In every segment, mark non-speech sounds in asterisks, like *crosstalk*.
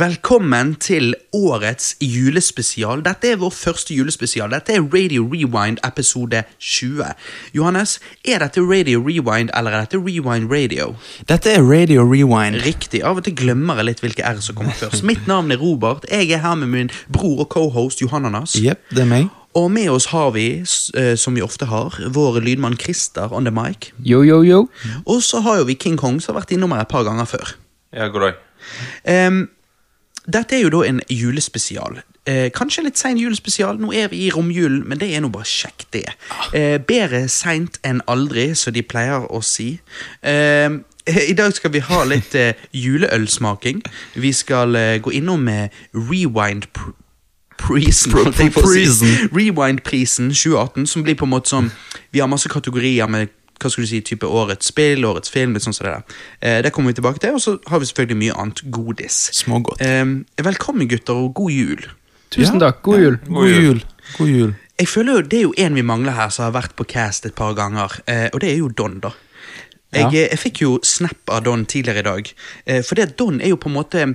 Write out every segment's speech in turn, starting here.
Velkommen til årets julespesial. Dette er vår første julespesial. Dette er Radio Rewind episode 20. Johannes, er dette Radio Rewind eller er dette Rewind Radio? Dette er Radio Rewind. Riktig. Av og til glemmer jeg litt hvilke R som kommer først. Mitt navn er Robert. Jeg er her med min bror og cohost Johananas. Jepp, det er meg. Og med oss har vi, s- eh, som vi ofte har, vår lydmann Christer on the mic. Yo, yo, yo. Og så har jo vi King Kong, som har vært innom her et par ganger før. Ja, god dag. Ehm, dette er jo da en julespesial. Eh, kanskje litt sein julespesial, nå er vi i romjulen, men det er nå bare kjekt, det. Eh, bedre seint enn aldri, som de pleier å si. Ehm, *laughs* I dag skal vi ha litt eh, juleølsmaking. Vi skal eh, gå innom eh, Rewind pr Prisen, Pro- holdt jeg på å prisen. si. Rewind-prisen 2018, som blir på en måte sånn Vi har masse kategorier med hva skulle du si, type årets spill, årets film, litt sånn som det der. Eh, det kommer vi tilbake til, og så har vi selvfølgelig mye annet godis. Smågodt. Eh, velkommen, gutter, og god jul. Tusen Ja. takk. God jul. God jul. God jul. Jeg føler jo Det er jo en vi mangler her, som har vært på cast et par ganger, eh, og det er jo Don, da. Jeg, eh, jeg fikk jo snap av Don tidligere i dag, eh, for det at Don er jo på en måte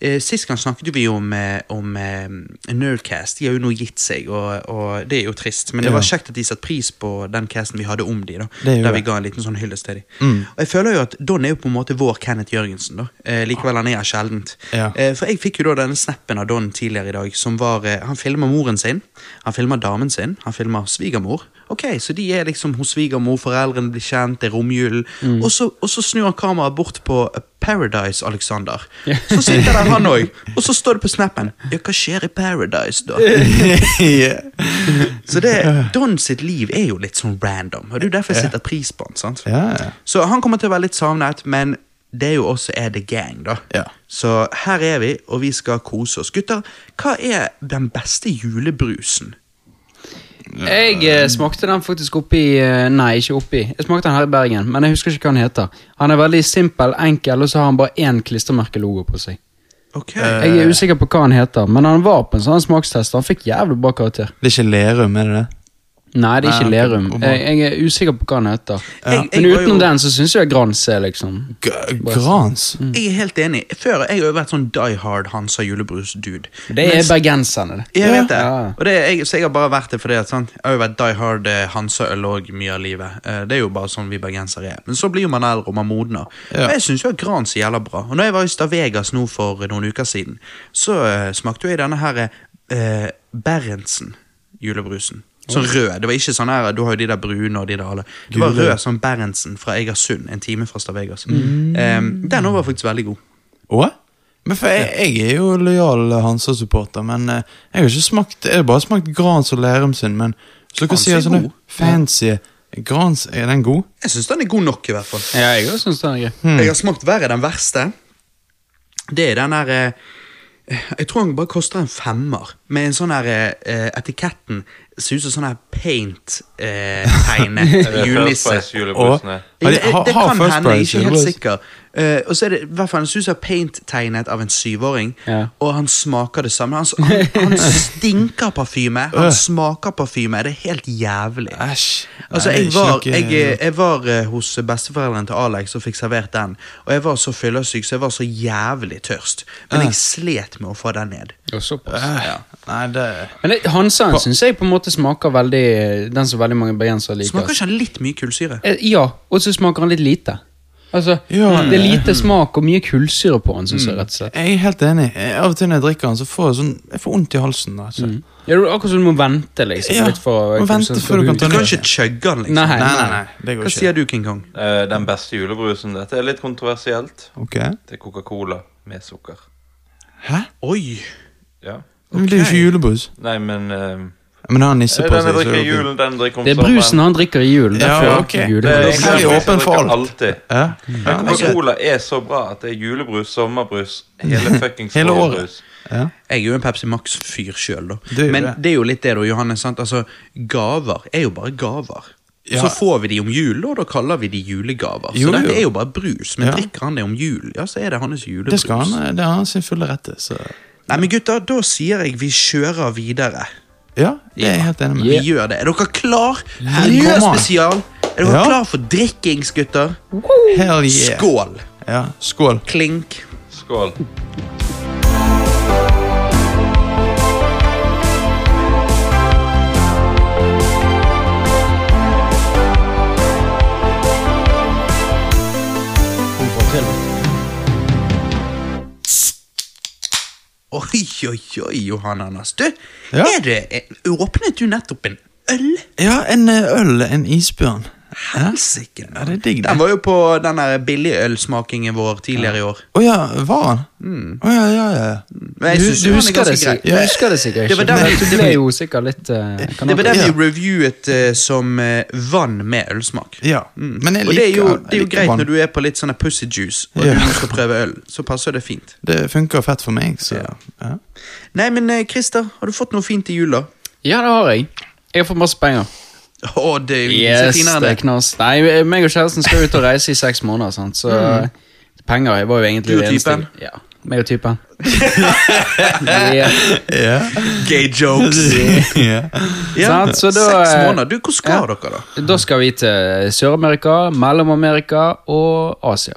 eh, Sist gang snakket vi jo om, eh, om eh, Nerdcast. De har jo nå gitt seg, og, og det er jo trist. Men det var Ja. kjekt at de satte pris på den casten vi hadde om de, da. Det er jo Der vi det. ga en liten sånn hyllest til de. Og jeg føler jo at Don er jo på en måte vår Kenneth Jørgensen, da. Eh, likevel han er her sjeldent. Ja. Eh, For jeg fikk jo da denne snappen av Don tidligere i dag, som var eh, Han filmer moren sin, han filmer damen sin, han filmer svigermor. Ok, Så de er liksom hos svigermor, foreldrene blir kjent, det er romjulen. Og, så, og så snur han kameraet bort på eh, Paradise Alexander. Så sitter der han òg, og så står det på snappen Ja, hva skjer i Paradise, da? Ja. Så det, Don sitt liv er jo litt sånn random, og det er jo derfor jeg setter pris på han. sant? Ja. Så han kommer til å være litt savnet, men det er jo også er the gang, da. Ja. Så her er vi, og vi skal kose oss. Gutter, hva er den beste julebrusen? Jeg eh, smakte den faktisk oppi eh, Nei, ikke oppi. Jeg smakte den her i Bergen, men jeg husker ikke hva den heter. Han er veldig simpel, enkel, og så har han bare én klistremerkelogo på seg. Ok. Eh, Jeg er usikker på hva han heter, men han var på en sånn smakstest. og Han fikk jævlig bra karakter. Det er ikke Lerum, er det det? Nei, det er ikke Nei, ok, Lerum. om han- Jeg, jeg er usikker på hva han heter. Jeg- jeg var Men jo- utenom den så syns jeg Grans er liksom G Grans. Jeg er helt enig. Før jeg har jo vært sånn die hard Hansa julebrus-dude. Det er bergenserne, det. Jeg vet det. Ja. Og det er, jeg, så jeg har bare vært det fordi at sånn, jeg har jo vært die hard eh, Hansa-øl òg mye av livet. Eh, Det er jo bare sånn vi bergensere er. Men så blir jo man eldre og man modner. Ja. Og jeg syns jo at Grans er jævla bra. Og når jeg var i Stavegas nå for noen uker siden, så eh, smakte jo jeg denne her eh, Berentsen julebrusen. Sånn rød. Det var ikke sånn her, Du har jo de der brune og de der alle. Det var Gule. rød som Berentsen fra Egersund, en time fra Stavegas. Mm. Eh, den òg var faktisk veldig god. Å? Men for jeg, jeg er jo lojal Hansa-supporter, men eh, jeg har ikke smakt Jeg har bare smakt Grans og Lerum sin, men så dere Grans sier er sånne god. fancy Grans, er den god? Jeg syns den er god nok, i hvert fall. Ja, jeg òg syns den er Mm. grei. Jeg har smakt verre den verste. Det er den der eh, Jeg tror den bare koster en femmer. Med en sånn her eh, Etiketten ser ut som sånn her eh, *laughs* paint-tegnet julenisse. Og julebrusene. har de, Jeg- jeg- har, det har kan First hende, jeg er Price ikke helt julebrus? sikker. Eh, og så er det i hvert fall en Susa Paint-tegnet av en syvåring, Ja. og han smaker det samme. Han, s- han, *laughs* han stinker parfyme, han Øh. smaker parfyme. Det er helt jævlig. Æsj. Altså, Nei, jeg ikke var, noe- jeg, jeg var eh, hos besteforeldrene til Alex og fikk servert den. Og jeg var så fyllesyk, så jeg var så jævlig tørst. Men jeg slet med å få den ned. Og såpass. Eh. Æh, Nei, det Men det- Hansaen syns jeg på en måte smaker veldig Den som veldig mange bergensere liker. Smaker ikke den litt mye kullsyre? Eh, Ja, og så smaker han litt lite. Altså, Ja, Det er lite smak og mye kullsyre på han, syns jeg. rett og slett Jeg er helt enig. Jeg- Av og til når jeg drikker den, så får jeg sånn Jeg får vondt i halsen. Altså. Ja, det er Akkurat som du må vente liksom Ja, litt for sånn må vente før du Du kan ta- kan ikke chugge den, liksom. Nei, Nei, nei, nei. Det går Hva ikke. sier du, King Kong? Eh, Den beste julebrusen. Dette er litt kontroversielt. Ok. Det er Coca-Cola med sukker. Hæ? Oi! Ja. Men Det er jo ikke julebrus. Nei, men eh, Men han har nisse på Den jeg seg. drikker i julen, den drikker om Det er brusen han drikker i julen. Ja, Derfor er ok. det jule- Da Det er er vi egentlig åpen for drikker alt. alltid. Ja. Men Coca-Cola er så bra at det er julebrus, sommerbrus, *laughs* hele fuckings Hele året. årbrus. Ja. Jeg er jo en Pepsi Max-fyr sjøl, da. Du er jo Men det. det er jo litt det, da, Johannes. sant? Altså, Gaver er jo bare gaver. Ja. Så får vi de om jul, og da kaller vi de julegaver. Jo, så dette jo. er jo bare brus. Men Ja. drikker han det om jul, ja, så er det hans julebrus. Det skal han Det har han sin fulle rett til, så Nei, men gutter, da sier jeg vi kjører videre. Ja, det er jeg helt enig med. Vi gjør det. Er dere klar for en Hell yeah. julespesial? Er dere Ja. klar for drikkings, gutter? Hell yeah. Skål! Ja, skål. Klink. Å, Skål. Oi, oi, oi, Johan Anders. Du, Ja. er det, eh, åpnet du nettopp en øl? Ja, en eh, øl, en isbjørn. Helsike. Ja, det er digg, det. Den var jo på den der billigølsmakingen vår tidligere i år. Å ja, var han? Å ja, ja, ja. Mm. Men jeg Du, synes du den er husker, ganske det, sik- grei. du husker det sikkert Det var ikke. den men vi- Du det ble var- jo sikkert litt eh, Det var den kanaker. vi reviewet eh, som eh, vann med ølsmak. ja. Men jeg Mm. Og det er liker jo, det er jo greit vann. når du er på litt sånn her pussy juice og Ja. du skal prøve øl. Så passer det fint. Det funker fett for meg, så ja. Nei, men eh, Christer, har du fått noe fint i jul, da? Ja, det har jeg. Jeg har fått masse penger. Å, det er jo ikke så Yes, finere det er enn det. knas. Nei, meg og kjæresten skal ut og reise i seks måneder, sant? så penger var jo egentlig Du og det eneste- typen? Ja, meg og typen. *laughs* yeah. *laughs* *laughs* Gay *laughs* jokes. ja. Ja. Sant, så da, Seks eh, måneder. Du, hvor skal dere, da? Da skal vi til Sør-Amerika, Mellom-Amerika og Asia.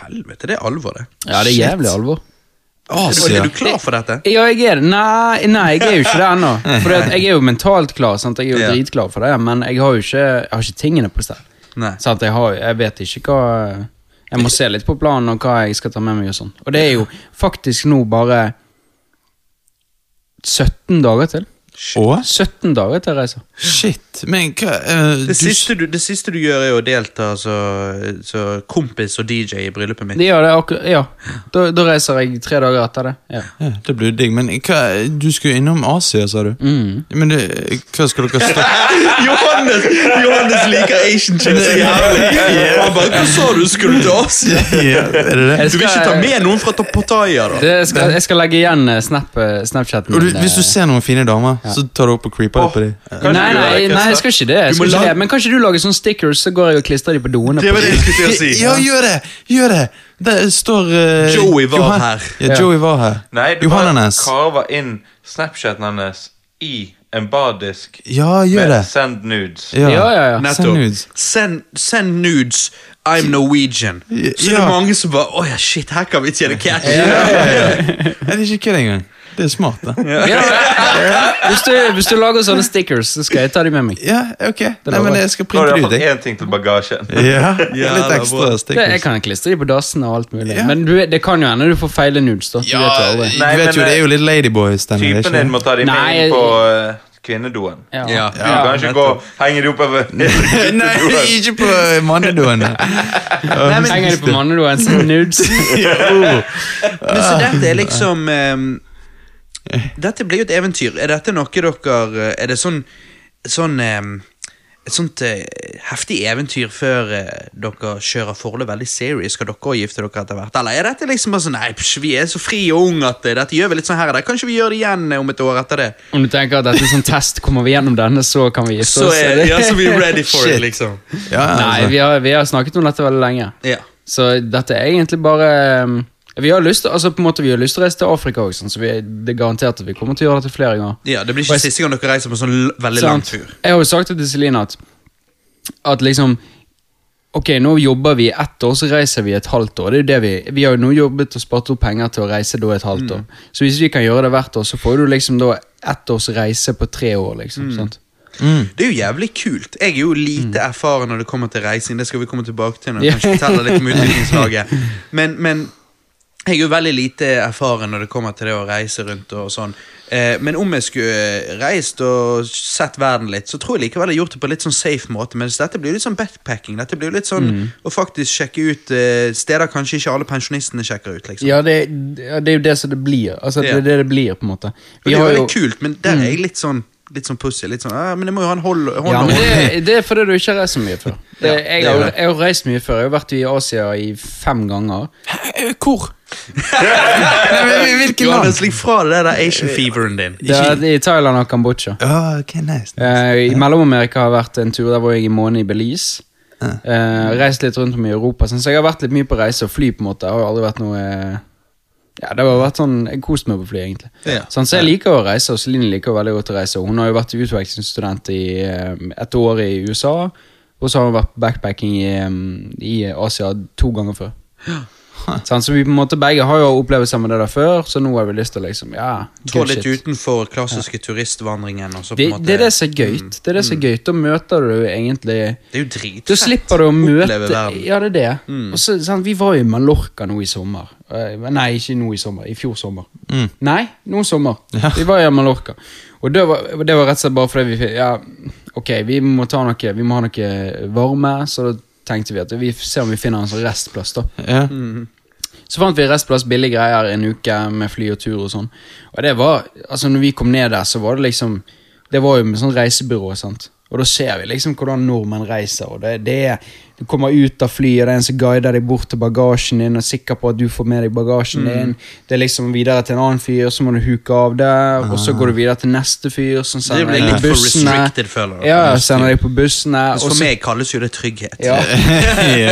Helvete, det er alvor, det. Ja, det er Shit. jævlig alvor. Er Asia. du klar for dette? Ja, jeg er det. Nei, nei, jeg er jo ikke det *laughs* ennå. For det at jeg er jo mentalt klar, sant? jeg er jo Ja. dritklar for det, men jeg har jo ikke, jeg har ikke tingene på stell. Nei. Sant? Jeg, har, jeg vet ikke hva Jeg må se litt på planen og hva jeg skal ta med meg. Og sånn Og det er jo faktisk nå bare 17 dager til. Å? 17 dager til jeg reiser. Shit. Men hva eh, Det du- siste, du, det siste du gjør, er jo å delta så- så kompis og DJ i bryllupet mitt. Ja, det er akkur ja. Da, da reiser jeg tre dager etter det. Ja. Ja, det blir digg, men hva, du skulle innom Asia, sa du? Mm. Men det, hva skal *laughs* dere snakke *laughs* Johannes, Johannes liker Asian chips så jævlig. Han bare, Hva sa du skulle til Asia? ja, Er det det? Jeg Du vil ikke ta med noen fra Pattaya, da? det skal, jeg skal legge igjen eh, snap, eh, Snapchaten. Og du, min, eh. hvis du ser noen fine damer, så tar du opp og creeper litt på dem. Kan du nei, gjøre nei, det, nei, jeg skal ikke det. Du Jeg må skal ikke lage- det. Men kan ikke du lage sånne stickers, så går jeg og klistrer de på doene? Det på- var det jeg skulle til å si. Ja, gjør det! Gjør det! Det står eh, Joey var her. Ja, Ja. Joey var her. Nei, du bare Johannes. carver inn Snapchaten hennes i en bardisk Ja, gjør det. med send nudes. Ja, Ja, ja, ja. Send nudes. Send, send nudes. I'm Norwegian. Så det Ja. er mange som bare Å ja, shit, her kan vi tjene cash. Er det ikke kødd engang? Det er smart, det. *laughs* Ja. Hvis, du, hvis du lager sånne stickers, så skal jeg ta de med meg. Ja, ok. Nei, lover men jeg. jeg skal Nå har printe du det ut, iallfall jeg. én ting til bagasjen. Ja, Ja, litt det er ekstra bra. Det, jeg stikkers. kan klistre de på dassen og alt mulig. Ja. Men du, det kan jo hende du får feile nudes. da. Du Ja, eh, vet jo aldri. du Nei, men, vet jo, det er jo litt Ladyboy-stemning. det er Typen din ikke må ta dem med Nei, inn på eh, kvinnedoen. Ja. Ja. Du *laughs* kan ikke gå og henge dem opp *laughs* over det? Nei, ikke på *laughs* mannedoen. Nei, men- Henger de på mannedoen, så sånn nudes. Men så dette er liksom ehm, Eh. Dette blir jo et eventyr. Er dette noe dere Er det sånn, sånn ehm, et sånt eh, heftig eventyr før eh, dere kjører forholdet veldig serious? Skal dere også gifte dere etter hvert? Eller er dette liksom bare sånn Nei, psj, vi er så fri og unge at eh, dette gjør vi litt sånn her og der. Kanskje vi gjør det igjen eh, om et år etter det? Om du tenker at dette er sånn test, kommer vi gjennom denne, så kan vi gifte Så oss. er, ja, så vi er ready for *laughs* Shit. it, liksom. Ja, Nei, altså. vi har, vi har snakket om dette veldig lenge. Ja. Så dette er egentlig bare um, Vi har lyst, altså på en måte vi har lyst til å reise til Afrika også, sånn, så vi, det er garantert at vi kommer til å gjøre dette flere ganger. ja, Det blir ikke siste gang dere reiser på en sånn l- veldig lang Sant? tur. Jeg har jo sagt til Celine at, at liksom Ok, nå jobber vi ett år, så reiser vi et halvt år. Det er jo det Vi Vi har jo nå jobbet og spart opp penger til å reise da et halvt år. Mm. Så hvis vi kan gjøre det hvert år, så får du liksom da ett års reise på tre år. liksom, Mm. sant? Det er jo jævlig kult. Jeg er jo lite erfaren når det kommer til reising. Det skal vi komme tilbake til når jeg Mm. Ja. kanskje forteller *laughs* litt om utviklingslaget. Men, men jeg er jo veldig lite erfaren når det kommer til det å reise rundt og sånn. Eh, men om jeg skulle eh, reist og sett verden litt, så tror jeg likevel jeg har gjort det på litt sånn safe måte. Mens dette blir jo litt sånn backpacking. Dette blir jo litt sånn Mm. å faktisk sjekke ut eh, steder kanskje ikke alle pensjonistene sjekker ut, liksom. Ja, det, ja, det er jo det som det blir. Altså, Ja. Det er det det blir, på en måte. Og det er jo veldig kult, men der er jeg litt sånn Litt sånn pussy. Litt sånn, «Ah, men jeg må jo ha en hold, hånd Mm. Ja, om men hånd. *laughs* det, det er fordi du ikke har reist så mye før. Det, jeg, det er har, jo det. jeg har reist mye før. Jeg har vært i Asia i fem ganger. Eh, Hvor? Nei, men hvil- Hvilket land? Johannes, ligg fra deg det der Asian Eh, feveren din. Det er, i Thailand og Kambodsja. Ja, ok, nice. Eh, I Mellom-Amerika har jeg vært en tur der var jeg i måned i Belize. Eh, reist litt rundt om i Europa, sånn, så jeg har vært litt mye på reise og fly. på en måte Jeg har jo aldri vært noe eh, Ja, det har vært sånn Jeg koste meg på fly, egentlig. Ja. Sånn, så jeg liker å reise, og Celine liker veldig godt å reise. Hun har jo vært utvekslingsstudent i eh, et år i USA, og så har hun vært backpacking i, eh, i Asia to ganger før. Sant? Så vi på en måte begge har jo opplevelser med det der før, så nå har vi lyst til å liksom Ja, Trå good litt shit. utenfor klassiske turistvandringen. Og så på Det, en måte, Mm. det er det som er gøyt. Det er det som er gøyt. Da møter du egentlig det er jo dritfett. Da slipper du å møte Oppleve verden. Mm. Ja, det er det. Og så, sant, vi var jo i Mallorca nå i sommer. Eh, Nei, ikke nå i sommer. I fjor sommer. Nei, nå i sommer. Vi var i Mallorca. Og det var, og det var rett og slett bare fordi vi fikk Ja, ok, vi må, ta noe, vi må ha noe varme, så da tenkte vi at vi ser om vi finner en sånn restplass, da. Ja. *laughs* Så fant vi restplass, billige greier, en uke med fly og tur og sånn. Og det var, altså når vi kom ned der, så var det liksom Det var jo med sånn reisebyrå, sant. Og da ser vi liksom hvordan nordmenn reiser. og det, det er, Du kommer ut av flyet, og det er en som guider deg bort til bagasjen din, og er sikker på at du får med deg bagasjen din. Mm. Det er liksom videre til en annen fyr, så må du huke av der, og så går du videre til neste fyr, som Ah. Det sender blir deg litt på for bussene. restricted, føler jeg. Ja, sender deg på bussene. Mens og For altså, så- meg kalles jo det trygghet. ja.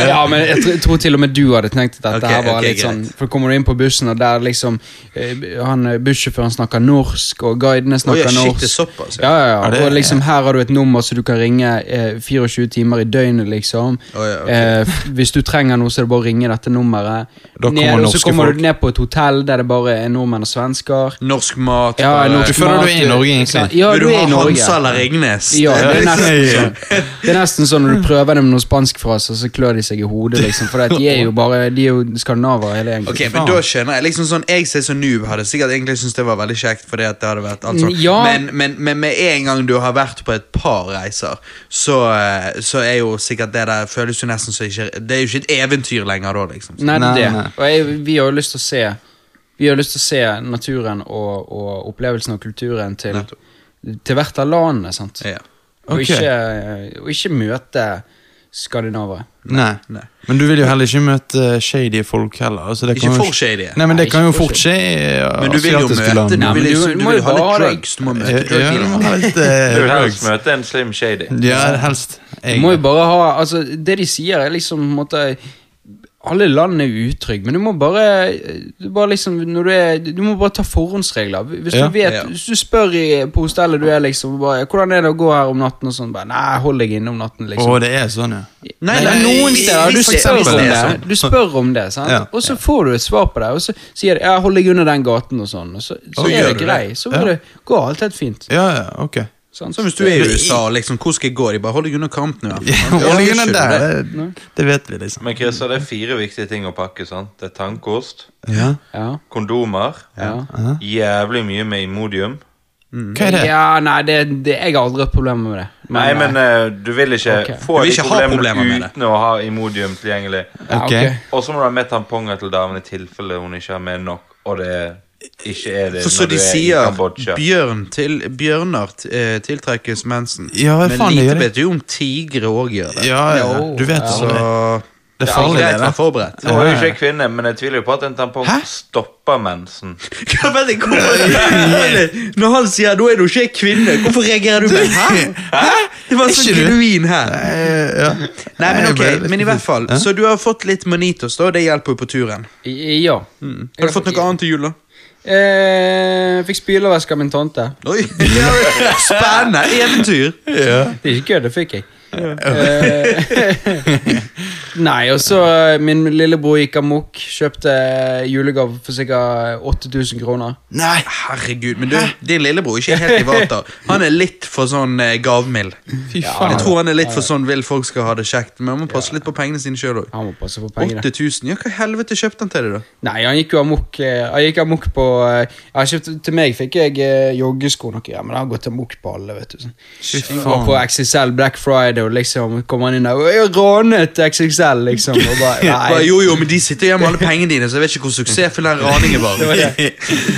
ja, men jeg tr- tror til og med du hadde tenkt at dette Ok, her var ok, litt sånn greit. For kommer du inn på bussen, og der liksom eh, han, eh, Bussjåføren snakker norsk, og guidene snakker Oi, shit, norsk. det er såpass, ja, ja. ja, ja. Ja, det- Og liksom her har du et nummer som du kan ringe eh, 24 timer i døgnet, liksom. Oi, ja, ok. eh, f- hvis du trenger noe, så er det bare å ringe dette nummeret. Da kommer ned, og så norske kommer folk. du ned på et hotell der det bare er nordmenn og svensker. Norsk mat. Ja, bare- norsk Du føler mat, du er i Norge, egentlig. Ja, Vil du du er ha i Norge. Hansa eller Ringnes? Ja, det er Ja, nesten ja. sånn. Det er nesten sånn når du prøver det med noen spanskfraser, så klør de seg i hodet, liksom. For at de er jo bare De er jo skandinaver, hele gjengen. Ok, men da skjønner Jeg liksom sånn, jeg ser som noob hadde sikkert egentlig syntes det var veldig kjekt. Fordi at det hadde vært alt sånn Ja. men, men, men med en gang du har vært på et par reiser, så, eh, så er jo sikkert det der føles jo nesten så ikke Det er jo ikke et eventyr lenger da, liksom. Nei, det Nei, er det. nei. Og jeg, vi har jo lyst til å se Vi har lyst til å se naturen og, og opplevelsen og kulturen til, Nettopp. til hvert av landene, sant. Ja. Og, Ok. ikke, og ikke møte skandinavere. Nei. nei. Men du vil jo heller ikke møte eh, shady folk heller. Altså, det Ikke kan jo for shady. Nei, men Nei, det kan jo ikke for fort skje i eh, Men du vil jo asiatiske møte land. Du Nei, men vil, du- liksom- du du må vil jo ha litt bare- drugs. Du må møte Ja, du må drugdealerne. ha *laughs* litt Du vil eh, helst drugs. møte en Slim Shady. Ja, helst. Du må jo bare ha Altså, det de sier, er liksom på en måte alle land er utrygge, men du må bare, du bare liksom, når du, er, du må bare ta forhåndsregler. Hvis du Ja. vet, Ja. hvis du spør i, på hostellet du er liksom bare, 'Hvordan er det å gå her om natten?' og sånn. bare, 'Nei, hold deg inne om natten', Å, liksom. det er sånn, ja. Nei, Men nei, noen i- steder, i- du i- spør, hvis om det er det, sånn. du spør om det, sant? Ja. og så får du et svar på det, og så sier de 'ja, hold deg under den gaten', og sånn. Og så, så Og er gjør det du grei, det? så Ja. går det går alt helt fint. Ja, ja, ok. *laughs* Sant? Så hvis du er i USA, liksom, hvor skal jeg gå? De bare holder deg unna kanten. i hvert fall. Ja, Oljene unnskyld, der, det- det, det vet vi, liksom. Men Chris, det er fire viktige ting å pakke. sant? Det er tannkost, Ja. Ja, kondomer, ja. jævlig mye med Imodium. Hva er det? Ja, nei, det, det, jeg har aldri hatt problemer med det. Nei, men eh, du vil ikke Ok. få Du vil de ikke ha problemer problemene med det. uten å ha Imodium tilgjengelig. eh, ja, ok. Ok. Og så må du ha med tamponger til damen i tilfelle hun ikke har med nok, og det ikke er det For så når de du er i sier Kambodsja. bjørn til, bjørner t- eh, tiltrekkes mensen. Ja, hva Men faen gjør lite det? vet du jo om tigre òg gjør det. Ja, ja, Jo. du vet det. Så sånn det. Det er greit farlig, å det der. være *laughs* forberedt. Nå er jo ikke jeg kvinne, men jeg tviler jo på at en tampong stopper mensen. Hva vet jeg, *laughs* hvorfor, når han sier 'da er du ikke kvinne', hvorfor reagerer du med 'hæ'? Hæ? Det var så Ikke du? genuin her. Eh, ja. Nei, men Jeg ble ok, litt men i hvert fall. Ja. Så du har fått litt manitos, da. Det hjelper jo på turen. I- Ja. Mm. Har du fått noe annet til jul, da? Eh, fikk spylevæske av min tante. *laughs* Oi, Spennende! Eventyr. Det er ikke kødd, det fikk jeg. Eh, *laughs* Nei, og så eh, min lillebror gikk amok. Kjøpte julegave for ca. 8000 kroner. Nei, Herregud, men du, din lillebror er ikke helt i vater. Han er litt for sånn eh, gavmild. fy Jeg faen. tror han er litt for sånn vil folk skal ha det kjekt, men man må passe litt på pengene sine sjøl òg. Han må passe på pengene. 8000? Ja, hva i helvete kjøpte han til deg, da? Nei, han gikk jo amok, eh, han gikk amok på eh, han kjøpte, Til meg fikk jeg eh, joggesko noe, ja, men han har gått amok på alle, vet du. Sånn. Han var på XXL Black Friday, og liksom kom han inn der og jeg ranet XXL, liksom. Og *laughs* bare, Bare, nei, jo, jo, men de sitter igjen med alle pengene dine, så jeg vet ikke hvor suksessfull den raningen var. *laughs* det var det. *laughs*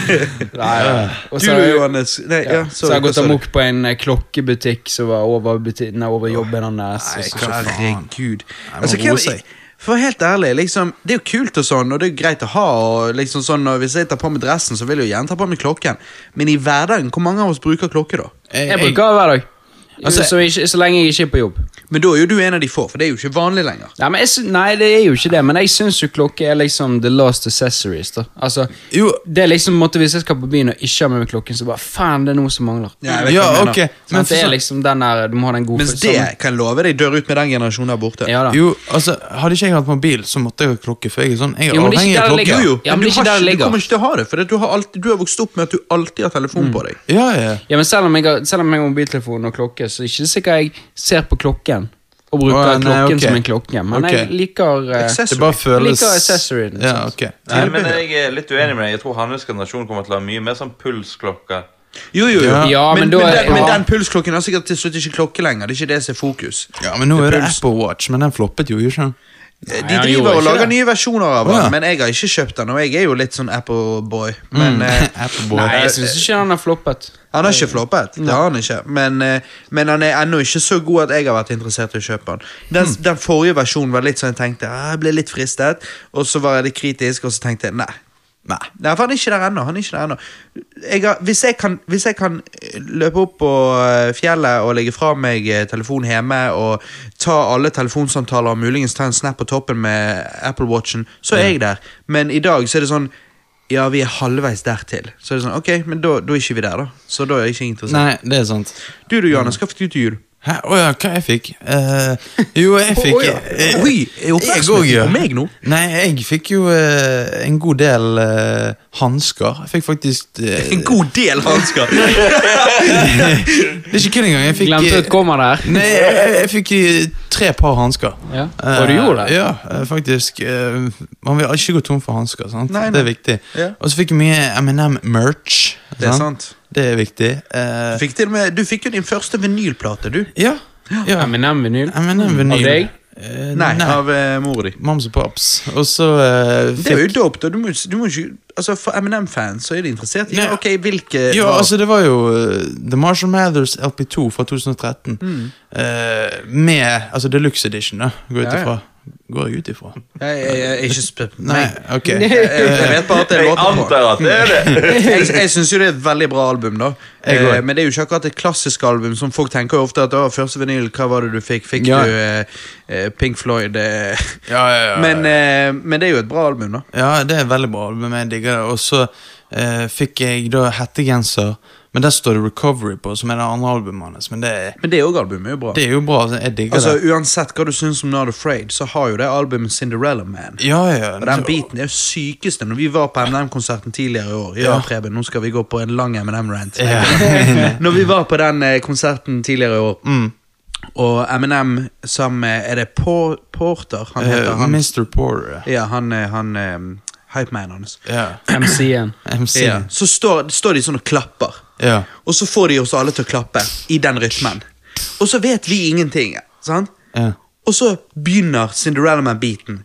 Nei, nei. Og Du så da, har jeg- Johannes. Nei, ja, ja, så har jeg hva gått sa du? amok på en eh, klokkebutikk som var over, buti- nei, over jobben hans. og Nei, så- hva- Herregud. må Altså, roe hvem, seg. for helt ærlig, liksom, det er jo kult og sånn, og det er jo greit å ha. Og liksom sånn, og hvis jeg tar på meg dressen, så vil jeg jo gjerne ta på meg klokken. Men i hverdagen, hvor mange av oss bruker klokke da? Jeg bruker det hver dag. Altså- så, ikke, så lenge jeg ikke er på jobb. Men da er jo du en av de få, for det er jo ikke vanlig lenger. Nei, men jeg, sy- nei, det er jo ikke det, men jeg syns jo klokke er liksom the last accessories. da Altså, Jo. Det er liksom på en måte Hvis jeg skal på byen og ikke har med meg klokken, så bare faen, det er noe som mangler. Ja, jeg vet hva Ja, jeg mener. ok. Men det er så- liksom den der, Du må ha den gode Mens følelsen. det kan jeg love deg dør ut med den generasjonen der borte. ja, da. jo, altså, Hadde ikke jeg hatt mobil, så måtte jeg ha klokke. For jeg er sånn, jeg er Jo, men det er avhengig ikke av der det klokke. ligger. Jo, jo, Ja, men men du, det er ikke har, ikke- der det du ligger. Mm. kommer ikke til å ha det, for det- du har, alltid, du har vokst opp med at du alltid har telefon på deg. Ja, ja. Ja, men Selv om jeg har, selv om jeg har mobiltelefon og klokke, så er det ikke sikkert jeg ser på klokken og bruker Å, ja, nei, klokken ok. som en klokke. Men Ok. jeg liker eh, Accessory. Det bare føles Liker accessory, liksom. Ja, ok. Nei, men eh, jeg er litt uenig med deg. Jeg tror hans generasjon kommer til å ha mye mer sånn pulsklokke. Jo, jo, jo. Ja. Ja, men da men, er- den, men ja. den pulsklokken har sikkert til slutt ikke klokke lenger. Det er ikke det som er fokus. Ja, men nå er det puls. Apple Watch, men den floppet jo ikke. De han driver gjorde og ikke lager det. nye versjoner av den, Å, ja. men jeg har ikke kjøpt den, og jeg er jo litt sånn Apple-boy. Men eh, Mm. *laughs* Apple Nei, jeg syns ikke den har floppet. Han har ikke floppet, det har han ikke. Men, eh, men han er ennå ikke så god at jeg har vært interessert i å kjøpe han. Den, den forrige versjonen var litt sånn jeg tenkte, ah, jeg ble litt fristet, og så var jeg litt kritisk, og så tenkte jeg nei. Nei, nei for han er ikke der ennå. Han er ikke der ennå. Jeg har, hvis, jeg kan, hvis jeg kan eh, løpe opp på eh, fjellet og legge fra meg eh, telefon hjemme og ta alle telefonsamtaler og muligens ta en snap på toppen med Apple Watchen, så er jeg der. Men i dag så er det sånn ja, vi er halvveis dertil. Så er det sånn, ok, men da, da er ikke vi der, da. Så da er jeg ikke interessert. Nei, det er sant. Du du, Johannes, hva fikk du til jul? Hæ? Å ja, hva jeg fikk? Eh, jo, jeg fikk Å, ja. eh, Oi, er oppmerksomheten jeg også, ja. på meg nå? Nei, jeg fikk jo eh, en god del eh, hansker. Jeg fikk faktisk eh, En god del *laughs* hansker! Det er ikke kødd engang. Jeg fikk Glemte et eh, komma der. Nei, jeg, jeg- jeg fikk eh, tre par hansker. Ja. Og du gjorde det? Ja, eh, faktisk. eh, Man vil ikke gå tom for hansker. sant? Nei, nei. Det er viktig. Ja. Og så fikk jeg mye M&M-merch. Det er sant. Det er viktig. Eh, Du fikk, til og med, du fikk jo din første vinylplate, du. ja. ja. M&M-vinyl. M&M-vinyl. Av deg? Eh, Nei, nei. av uh, mora di. Moms og paps. Og så eh, Det er fikk jo dope, da. Du må, du må ikke Altså, For M&M-fans så er de interessert i Nei. ok, hvilke ja, var- altså Det var jo eh, The Marshall Mathers LP2 fra 2013. Mm. eh, med altså Deluxe Edition, da, går jeg ut Ja, ja. ifra. Går jeg ut ifra? Jeg, jeg, jeg, jeg, ikke spør Nei, meg. *laughs* ok. Jeg, jeg vet bare at det er Jeg låter Mm. på. antar at det er det! Jeg, jeg syns jo det er et veldig bra album, da. Jeg Eh, går. men det er jo ikke akkurat et klassisk album, som folk tenker jo ofte at «Å, første vinyl, hva var det du fikk? Fikk Ja. du eh, eh, Pink Floyd? Eh. Ja, ja, ja. Men, eh, men det er jo et bra album, da. Ja, det er veldig bra album. Jeg digger det. Og så eh, fikk jeg da hettegenser, men der står det Recovery på, som er det andre albumet hans. Men det, er- Men det òg albumet er jo bra. det er jo bra. så Jeg digger altså det. Uansett hva du syns om Not Afraid, så har jo det albumet Cinderella Man. Ja, ja. Og Den beaten er jo sykeste. Når vi var på MNM-konserten tidligere i år Ja, Ja. Preben, nå skal vi gå på en lang MNM-rant. Ja. *laughs* Når vi var på den eh, konserten tidligere i år, Mm. og MNM sammen med Er det Por- Porter han heter? Eh, han, Mr. Porter. Ja, han, eh, han um, Hypeman hans. Ja. MC-en. MC. Ja. Så står, står de sånn og klapper. Ja. Og så får de oss alle til å klappe i den rytmen. Og så vet vi ingenting. Sant? Ja. Mhm. Og så begynner Cinderella Man-beaten.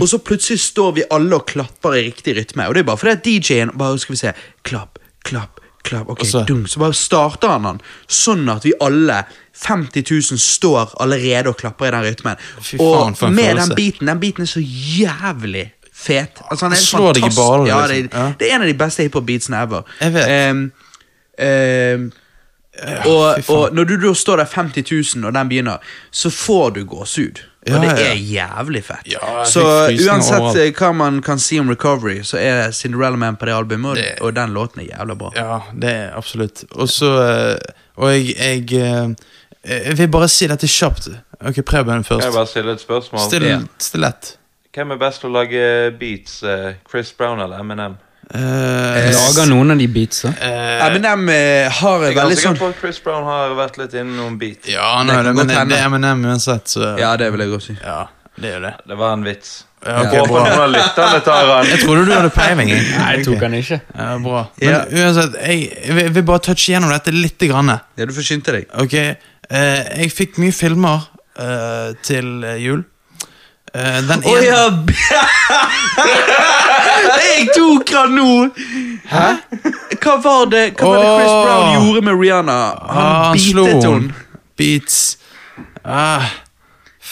Og så plutselig står vi alle og klapper i riktig rytme. Og det er bare fordi at DJ-en bare skal vi se Klapp, klapp, klapp. Ok, Og så- dunk. Så bare starter han den, sånn at vi alle 50 000 står allerede og klapper i den rytmen. Fy faen, og for en med følelse. den beaten Den beaten er så jævlig fet. Altså, han er Slår deg i fantastisk- ballen, Ja, liksom. det, Ja. det er en av de beste hiphop-beatsene ever. Jeg vet. Ehm, ehm, og, fy faen. og når du da står der 50 000 og den begynner, så får du gåsehud. Og Ja, det ja. er jævlig fett. Ja, jeg så fikk frysninger uansett overalt. eh, hva man kan si om Recovery, så er Cinderella Man på det albumet, og, Det- og den låten er jævla bra. Ja, det er absolutt. Og så eh, Og jeg, jeg eh, Jeg vil bare si dette kjapt. Ok, Preben Kan jeg først. bare stille et spørsmål? Still, Ja. Stilett. Hvem er best til å lage beats? eh, Chris Brown eller M&M? Eh, Lager noen av de beatsa? Eminem eh, har Jeg en er veldig sikker sånn på at Chris Brown har vært litt innom beat. ja, Det nå, kan det, men godt det hende. er M&M uansett, så Ja, det vil jeg også si. ja, det er jo det. Det var en vits. Ja, ok, Håper bra. noen av lytterne tar Jeg den. trodde du hadde peiling. jeg. Nei, jeg tok han ikke. Ja, bra. Men Ja. uansett, jeg, jeg vil bare touche gjennom dette litt. Grann, Ja, du får skynde deg. ok? Eh, jeg fikk mye filmer eh, til eh, jul. Eh, den Å ene ja! *laughs* jeg tok han nå! Hæ? Hva var det Hva var det Chris Åh. Brown gjorde med Rihanna? Han, Ah, han slo beatet henne. henne. Beats. Ah,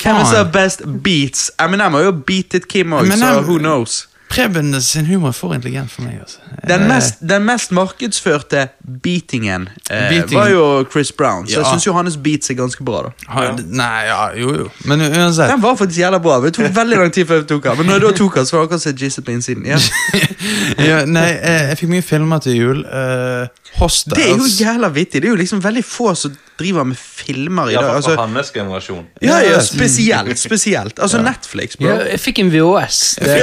Hvem er som faen. har best beats? Eminem har jo beatet Kim òg, så Eminem- who knows? Preben sin humor er for intelligent for meg. Altså. Den Eh, mest, den mest markedsførte beatingen eh, Beating. var jo Chris Brown, så jeg Ja. syns jo hans beats er ganske bra. da har- Nei, ja, jo, jo. Men uansett. Den var faktisk jævla bra. men Det tok veldig lang tid før jeg tok den. Men når jeg da tok den, så var det akkurat som jeg jizzet på innsiden. Ja. ja, nei, eh, jeg, jeg fikk mye filmer til jul. Uh, Hostels. Det er jo jævla vittig. Det er jo liksom veldig få som driver med filmer i dag. Iallfall Altså, for hans generasjon. ja, ja, spesielt. Spesielt. Altså Netflix, bro. Ja, *laughs* jeg fikk en VHS. Det,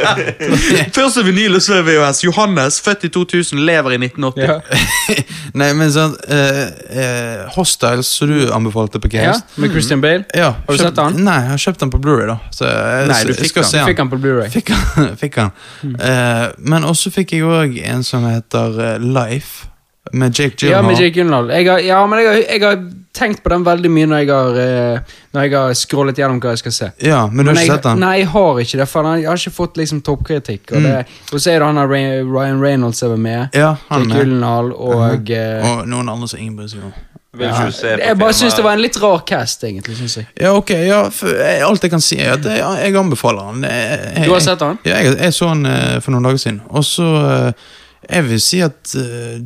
Først er vinyl, og så er VHS. Johannes, født i 2000, lever i 1980. ja. Nei, men sånn eh, eh, Hostiles, som du anbefalte på ja, Games. Med Christian Bale. Ja, Har du kjøpt- sett den? Nei, jeg har kjøpt den på Blu-ray da. Så jeg, Nei, du jeg fikk skal den. se Fikk han på Blu-ray Fikk han. *laughs* Fikk han. Eh, men også fikk jeg òg en som heter eh, Life, med Jake Ja, Gyllenhaal. med Jake Gyllenhaal. Jeg har, ja, men jeg har, jeg har tenkt på den veldig mye når jeg har, eh, når jeg har scrollet gjennom hva jeg skal se. Ja, men du har Men ikke jeg, sett den? Mm. Nei, jeg har ikke det. For han- jeg har ikke fått liksom toppkritikk. Og, det, og så er det han der Ray- Ryan Reynolds som er med. Ja, han Jake er. Gyllenhaal og eh, Og noen andre som ingen bryr seg om. Vil ikke du se på Jeg bare syns det var filmer? en litt rar cast, egentlig. Synes jeg. Ja, ok, ja, for, jeg, alt jeg kan si er at jeg, jeg anbefaler den. Jeg, jeg, Du har sett den? Ja, jeg, jeg så den eh, for noen dager siden. Og så eh, Jeg vil si at eh,